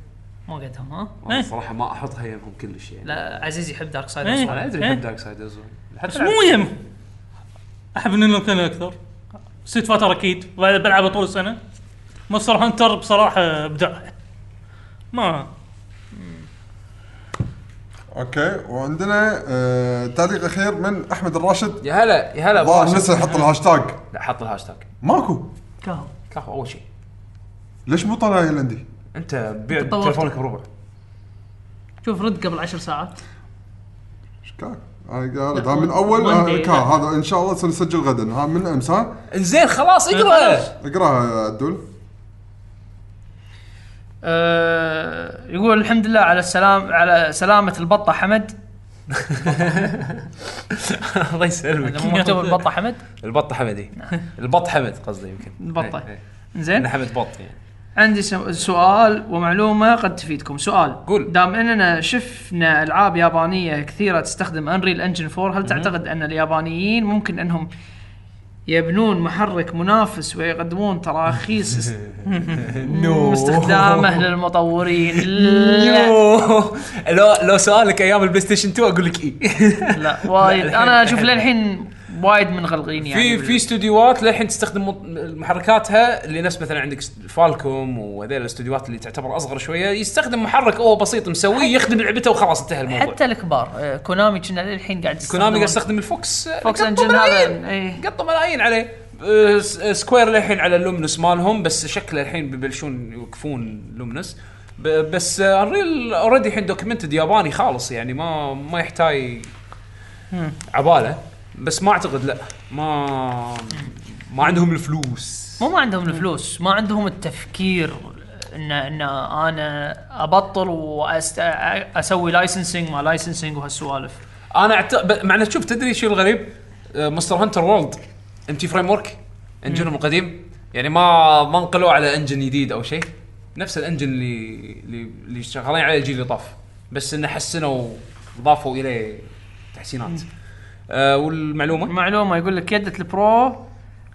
مو قدهم ها؟
أنا صراحه ما احطها يمهم كلش يعني
لا عزيز يحب دارك
إيه.
سايدرز
انا ادري احب دارك سايدرز
بس
حتى
مو يم احب نينو كوني اكثر سيت واتر اكيد بل- بلعبه طول السنه مونستر هانتر بصراحه ابداع ما
اوكي وعندنا آه تعليق اخير من احمد الراشد
يا هلا يا هلا
ظاهر
براشد.
نسى يحط الهاشتاج
لا حط الهاشتاج
ماكو
كفو اول شيء
ليش مو طالع لي عندي؟
انت بيع
تطورت.
تليفونك بربع
شوف رد قبل عشر ساعات
ايش كاك؟ انا قاعد
لا،
ها من اول
one
آه،
day،
كا
لا.
هذا ان شاء الله سنسجل غدا ها من امس ها
انزين خلاص اقرا
اقراها يا عدول
آه، يقول الحمد لله على السلام على سلامة البطة حمد
الله يسلمك
هذا مو مكتوب البطة حمد
البط حمدي
نعم.
البط حمد قصدي يمكن
البطة.
إيه، إيه.
زين
انا حمد بط يعني
عندي س- سؤال ومعلومة قد تفيدكم سؤال
قول.
دام اننا شفنا العاب يابانية كثيرة تستخدم انريل انجن 4 هل تعتقد ان اليابانيين ممكن انهم يبنون محرك منافس ويقدمون تراخيص است- استخدامه للمطورين لا
لو لو سالك ايام البلاي ستيشن 2 اقول لك إيه. اي
لا وايد انا اشوف للحين وايد منغلقين يعني
في في استديوهات للحين تستخدم مط- محركاتها اللي نفس مثلا عندك س- فالكوم وهذيل الاستديوهات اللي تعتبر اصغر شويه يستخدم محرك هو بسيط مسويه يخدم لعبته وخلاص انتهى الموضوع
حتى الكبار آه، كونامي كنا للحين قاعد يستخدمون-
كونامي قاعد يستخدم الفوكس
فوكس
قطوا
انجن
ملايين.
هذا
إيه.
ايه
قطوا ملايين عليه أه، س- سكوير للحين على اللومنس مالهم بس شكله الحين بيبلشون يوقفون لومنس ب- بس انريل اوريدي الحين دوكيومنتد ياباني خالص يعني ما ما يحتاج عباله بس ما اعتقد لا ما ما عندهم الفلوس
مو ما عندهم الفلوس ما عندهم التفكير ان ان انا ابطل واسوي لايسنسنج ما لايسنسنج وهالسوالف
انا أعت... ب- مع انه شوف تدري شو الغريب آه، مستر هانتر وورلد تي فريم ورك انجنهم القديم يعني ما ما انقلوا على انجن جديد او شيء نفس الانجن اللي اللي, اللي شغالين عليه الجيل اللي طاف بس انه حسنوا ضافوا اليه تحسينات آه والمعلومه
معلومه يقول لك يده البرو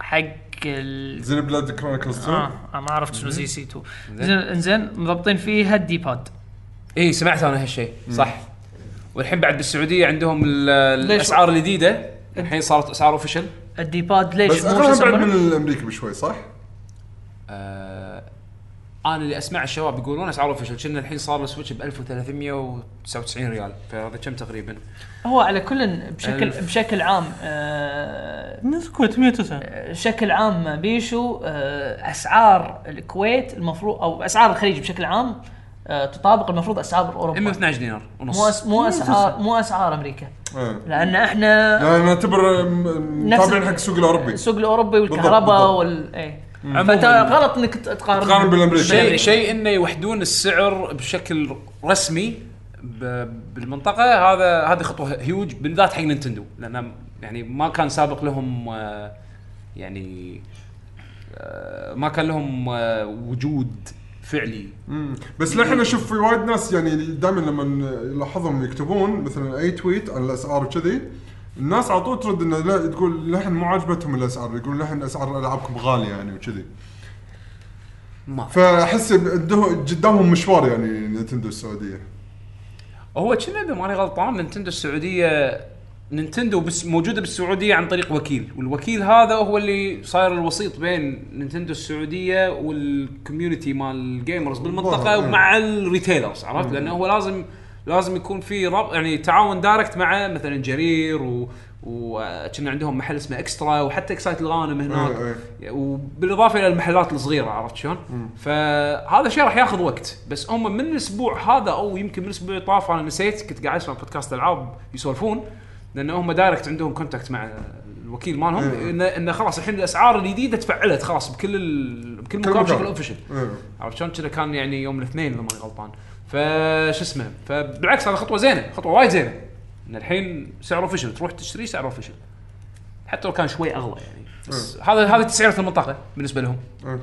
حق ال...
زين بلاد كرونيكلز 2
اه آه، ما عرفت شنو زي سي 2 زين انزين مضبطين فيها الدي باد
اي إيه، سمعت انا هالشيء صح والحين بعد بالسعوديه عندهم ال- الاسعار الجديده الحين صارت اسعار اوفيشل
الدي باد ليش
بس
مو شو
اغلى بعد من
يسمونه؟
الامريكي بشوي صح؟
آه، انا اللي اسمع الشباب يقولون اسعار اوفيشل كنا الحين صار السويتش ب 1399 ريال فهذا كم تقريبا؟
هو على كل بشكل
ألف.
بشكل عام آه،
نسكوت 109
إيه.
بشكل عام بيشو آه، اسعار الكويت المفروض او اسعار الخليج بشكل عام آه، تطابق المفروض اسعار
إمم.
اوروبا
112 دينار
مو
ونص
أس- مو اسعار مو اسعار امريكا
إيه.
لان احنا
يعني نعتبر م-
نفس-
متابعين حق السوق الاوروبي
السوق الاوروبي
بالضبط. إمم.
والكهرباء وال ايه فانت غلط انك ت- تقارن
تقارن بالامريكي
شيء شيء انه يوحدون السعر بشكل رسمي ب- بالمنطقه هذا هذه خطوه هيوج بالذات حق نينتندو لان يعني ما كان سابق لهم آه، يعني آه، ما كان لهم آه، وجود فعلي
مم. بس للحين اشوف في وايد ناس يعني دائما لما يلاحظهم يكتبون مثلا اي تويت عن الاسعار وكذي الناس على طول ترد انه لا تقول لحن مو عاجبتهم الاسعار يقول لحن اسعار العابكم غاليه يعني وكذي
ما
فاحس عندهم قدامهم مشوار يعني نتندو السعوديه
هو كنا اذا ماني غلطان نينتندو السعوديه نينتندو بس موجوده بالسعوديه عن طريق وكيل والوكيل هذا هو اللي صاير الوسيط بين نينتندو السعوديه والكوميونتي مال الجيمرز بالمنطقه
والله. إيه.
ومع الريتيلرز عرفت لانه هو لازم لازم يكون في رب يعني تعاون دايركت مع مثلا جرير و وكنا عندهم محل اسمه اكسترا وحتى اكسايت الغانم
إيه،
هناك وبالاضافه الى المحلات الصغيره عرفت شلون؟ فهذا الشيء راح ياخذ وقت بس هم من الاسبوع هذا او يمكن من الاسبوع اللي طاف انا نسيت كنت قاعد اسمع بودكاست العاب يسولفون لان هم دايركت عندهم كونتاكت مع الوكيل مالهم
إيه.
انه انه خلاص الحين الاسعار الجديده تفعلت خلاص بكل ال... بكل مكان
مكان.
بشكل اوفشل
إيه.
عرفت شلون؟ كذا كان يعني يوم الاثنين اذا ماني غلطان فشو اسمه فبالعكس هذا خطوه زينه خطوه وايد زينه ان الحين سعر اوفشل تروح تشتري سعر اوفشل حتى لو كان شوي اغلى يعني بس هذا هذا تسعيره المنطقه بالنسبه لهم
إيه.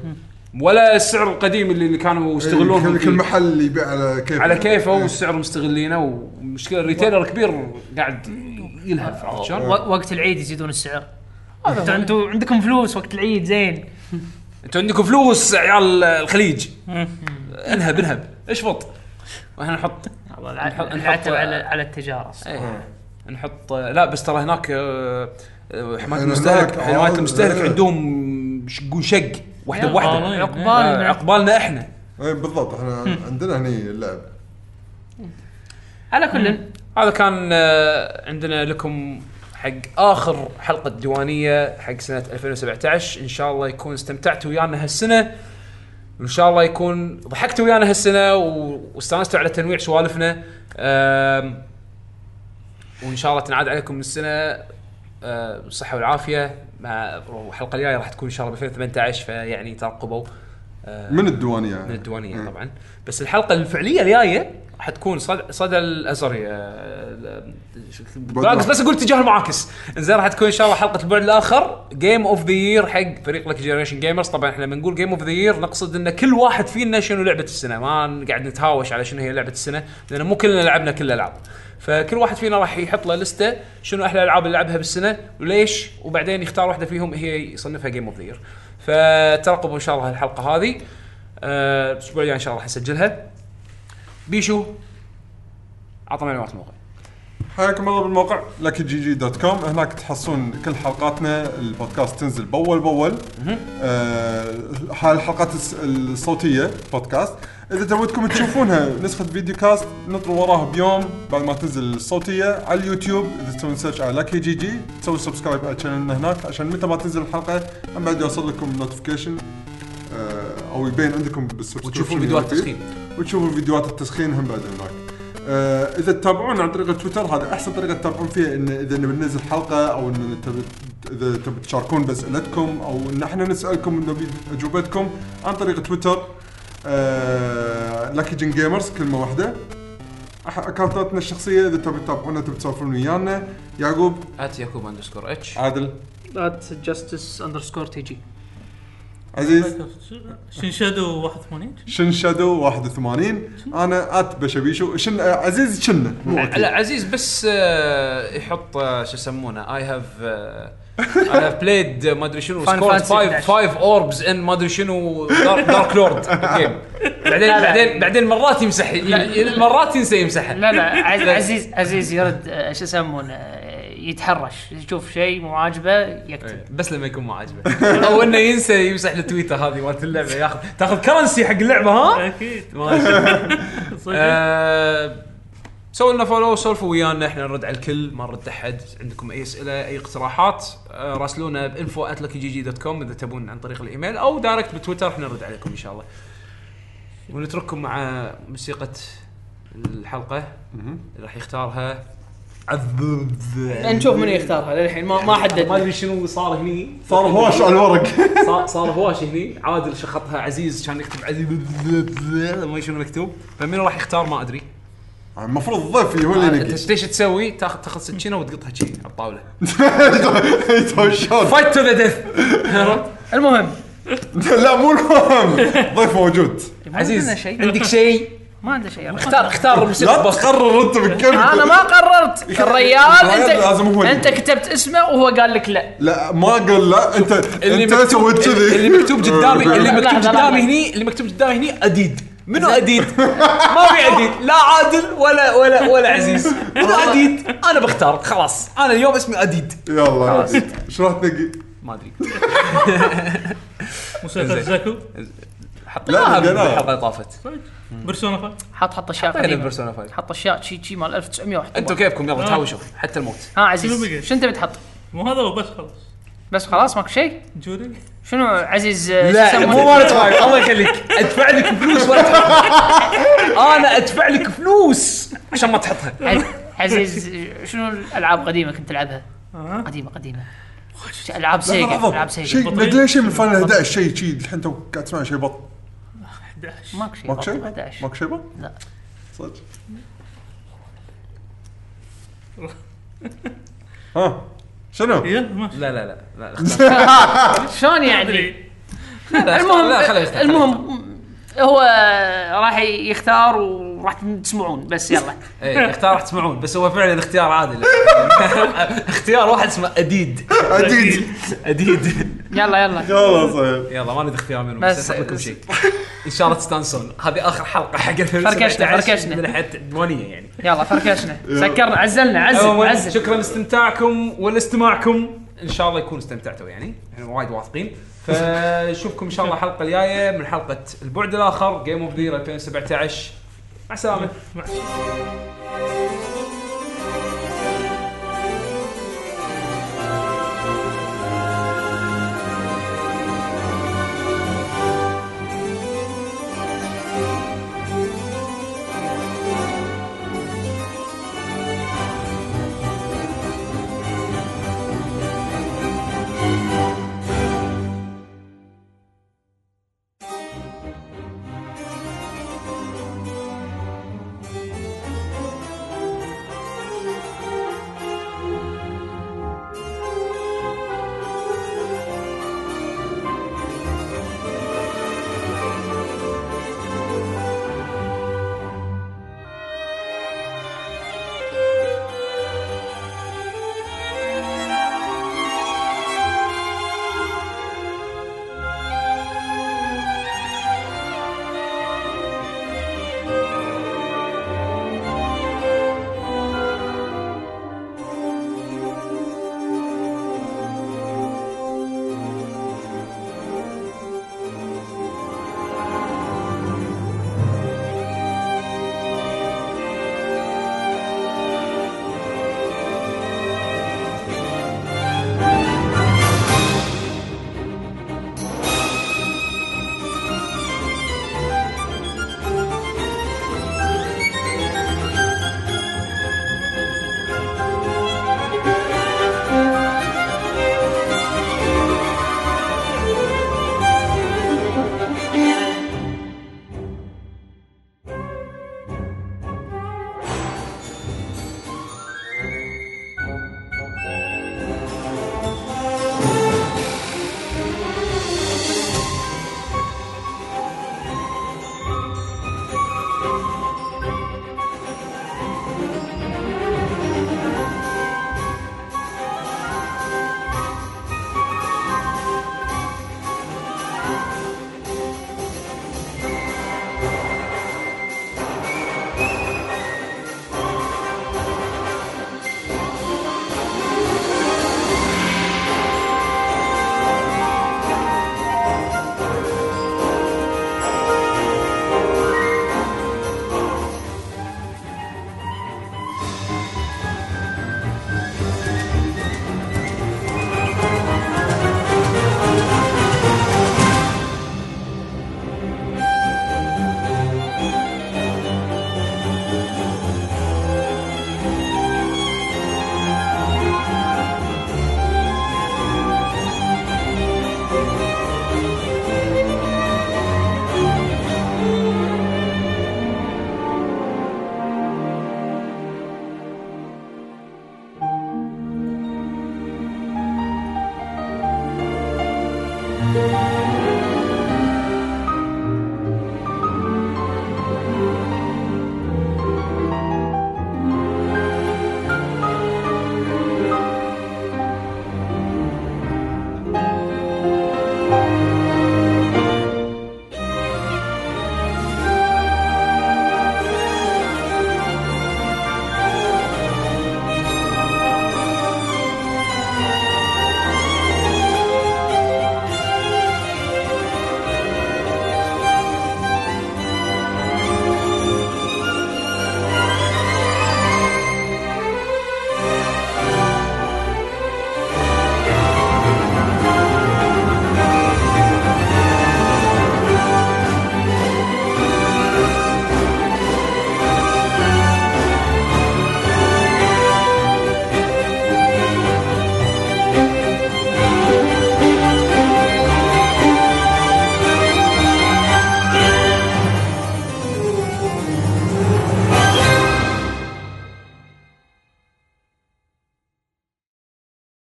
ولا السعر القديم اللي اللي كانوا يستغلون
كل- كل محل يبيع على كيفه
على كيفه
إيه.
والسعر مستغلينه ومشكله الريتيلر كبير قاعد يلهف عرفت
و-
شلون؟
وقت العيد يزيدون السعر انتوا انتوا عندكم فلوس وقت العيد زين
انتوا عندكم فلوس يا عيال الخليج انهب انهب اشفط واحنا نحط نحط- نحط-
نعتب على على التجاره
ايه نحط لا بس ترى هناك آه، آه، حمايه
هناك
المستهلك
آه،
حمايه المستهلك
آه.
عندهم شقون شق واحده
يا
بواحده
غالي.
آه،
عقبالنا
عقبالنا احنا
اي إيه، بالضبط احنا عندنا هني اللعب
على كل
إيه.
هذا كان آه، عندنا لكم حق اخر حلقه ديوانيه حق سنه 2017 ان شاء الله يكون استمتعتوا ويانا هالسنه وان شاء الله يكون ضحكتوا ويانا هالسنه و- واستانستوا على تنويع سوالفنا آم، وان شاء الله تنعاد عليكم السنه آه، بالصحه والعافيه مع الحلقه الجايه راح تكون ان شاء الله ب 2018 فيعني ترقبوا آه،
من الديوانيه يعني.
من الديوانيه طبعا بس الحلقه الفعليه الجايه راح تكون صدى صدى آه، الازري بس بس اقول اتجاه المعاكس زين راح تكون ان شاء الله حلقه البعد الاخر جيم اوف ذا يير حق فريق لك جنريشن جيمرز طبعا احنا لما نقول جيم اوف ذا يير نقصد ان كل واحد فينا شنو لعبه السنه ما قاعد نتهاوش على شنو هي لعبه السنه لان مو كلنا لعبنا كل الالعاب فكل واحد فينا راح يحط له لسته شنو احلى الالعاب اللي لعبها بالسنه وليش وبعدين يختار واحده فيهم هي يصنفها جيم اوف ذا يير فترقبوا ان شاء الله الحلقه هذه آه، الاسبوع الجاي ان شاء الله راح اسجلها بيشو عطنا معلومات الموقع
حياكم الله بالموقع لكي جي جي دوت كوم هناك تحصلون كل حلقاتنا البودكاست تنزل بول بول آه، هاي الحلقات الس- الصوتيه بودكاست اذا تودكم تشوفونها نسخه فيديو كاست نطروا وراها بيوم بعد ما تنزل الصوتيه على اليوتيوب اذا تسوون سيرش على لكي جي جي تسوي سبسكرايب على شانلنا هناك عشان متى ما تنزل الحلقه من بعد يوصل لكم نوتيفيكيشن او آه، يبين عندكم بالسبسكريبشن
وتشوفون فيديوهات
اللي فيه. وتشوفون فيديوهات التسخين هم بعد هناك آه، اذا تتابعون عن طريق تويتر هذا احسن طريقه تتابعون فيها ان اذا نبي ننزل حلقه او ان تبي اذا تبي تشاركون باسئلتكم او ان احنا نسالكم ونبي اجوبتكم عن طريق تويتر آه، لاكي جن جيمرز كلمه واحده أح- اكونتاتنا الشخصيه اذا تبي تتابعونا تبي تسولفون ويانا يعقوب
ات يعقوب اندرسكور اتش
عادل
ات جاستس اندرسكور تي جي
عزيز
شن شادو 81
شن شادو 81 انا ات بشبيشو شن آه، عزيز شنه مو أكيد.
لا عزيز بس آه، يحط آه، شو يسمونه آه، اي هاف اي هاف بلايد آه، ما ادري شنو سكورد
Fantasy
5
11.
5 اوربز ان ما ادري شنو دارك لورد الجيم بعدين بعدين بعدين مرات يمسح ي- مرات ينسى يمسحه
لا لا عز- عزيز عزيز يرد آه، شو يسمونه آه، يتحرش يشوف شيء مو عاجبه يكتب
بس لما يكون ما عاجبه او انه ينسى يمسح التويتر هذه مالت اللعبه ياخذ تاخذ كرنسي حق اللعبه ها
اكيد
ماشي
صدق
آه، سووا لنا فولو سولفوا ويانا احنا نرد على الكل ما نرد احد عندكم اي اسئله اي اقتراحات آه، راسلونا بانفو دوت كوم اذا تبون عن طريق الايميل او دايركت بتويتر احنا نرد عليكم ان شاء الله ونترككم مع موسيقى الحلقه اللي راح يختارها عذب
إيه. نشوف من يختارها للحين ما ما
ما
حدد
ادري شنو صار هني
صار هواش على الورق
صار صار هواش
هني عادل شخطها عزيز كان يكتب عزيز ما شنو مكتوب فمن راح يختار ما ادري
المفروض الضيف هو
آه،
اللي ينقي
انت ايش تسوي تاخذ تاخذ سكينه وتقطها شي على الطاوله
يتهشون.
فايت تو ذا ديث
المهم
لا مو المهم ضيف موجود
عزيز
عندنا شيء.
عندك شيء
ما عنده شيء
اختار اختار موسيقى
لا تقرر انت بكلمك
انا ما قررت الريال
لازم هو
انت
اللي-
انت كتبت اسمه وهو قال لك لا
لا ما قال لا انت
اللي
انت
مكتوب-
سويت كذي
اللي مكتوب قدامي اللي مكتوب
لحظة، لحظة.
قدامي هني اللي مكتوب قدامي هني اديد منو اديد؟ ما في اديد لا عادل ولا ولا ولا عزيز منو
آه.
اديد؟ انا بختار خلاص انا اليوم اسمي اديد
يلا ايش راح تنقي؟
ما ادري
موسيقى زاكو
حطيناها
لا، لا.
بالحلقه اللي طافت
بيرسونا 5
حط حط اشياء
طيب.
حطينا
قديمه
بيرسونا 5
حط اشياء شي شي مال 1901
انتم كيفكم
آه.
يلا تهاوشوا حتى الموت
شنو
ها عزيز
بقى؟
شو انت بتحط؟
مو هذا وبس خلاص
بس خلاص ماكو شيء؟
جوري
شنو عزيز آه، شو يسمونه؟
مالت فايف الله يخليك ادفع لك فلوس ولا تحطها. انا ادفع لك فلوس عشان ما تحطها
عز- عزيز آه، شنو الالعاب قديمه كنت تلعبها؟ قديمه قديمه شي العاب سيجا
لحظة،
العاب سيجا
شيء ندري شيء من فاينل 11 شيء شيء الحين تو قاعد تسمع شيء بط
ماكو شيء
ماكو شيء؟
11.
ماكو شيء بط؟
لا.
صدق ها شنو؟
يلا ماشي
لا لا لا لا
شلون يعني؟
ادري
المهم
لا، خليه يختار،
المهم هو راح يختار وراح تسمعون بس يلا
ايه اختار راح تسمعون بس هو فعلا اختيار عادل اختيار واحد اسمه اديد
عديد
اديد
يلا يلا
يلا صحيح
يلا ما ندري اختيار منو
بس-
بس أسحب لكم شيء ان شاء الله تستانسون هذه اخر حلقه حق 2017
فركشنا.
من ناحيه الديوانيه يعني
يلا فركشنا سكرنا عزلنا عزل
عموماً،
عزل
شكرا لاستمتاعكم ولاستماعكم ان شاء الله يكونوا استمتعتوا يعني احنا وايد واثقين فنشوفكم ان شاء الله الحلقه الجايه من حلقه البعد الاخر جيم اوف ذير 2017 مع السلامه
مع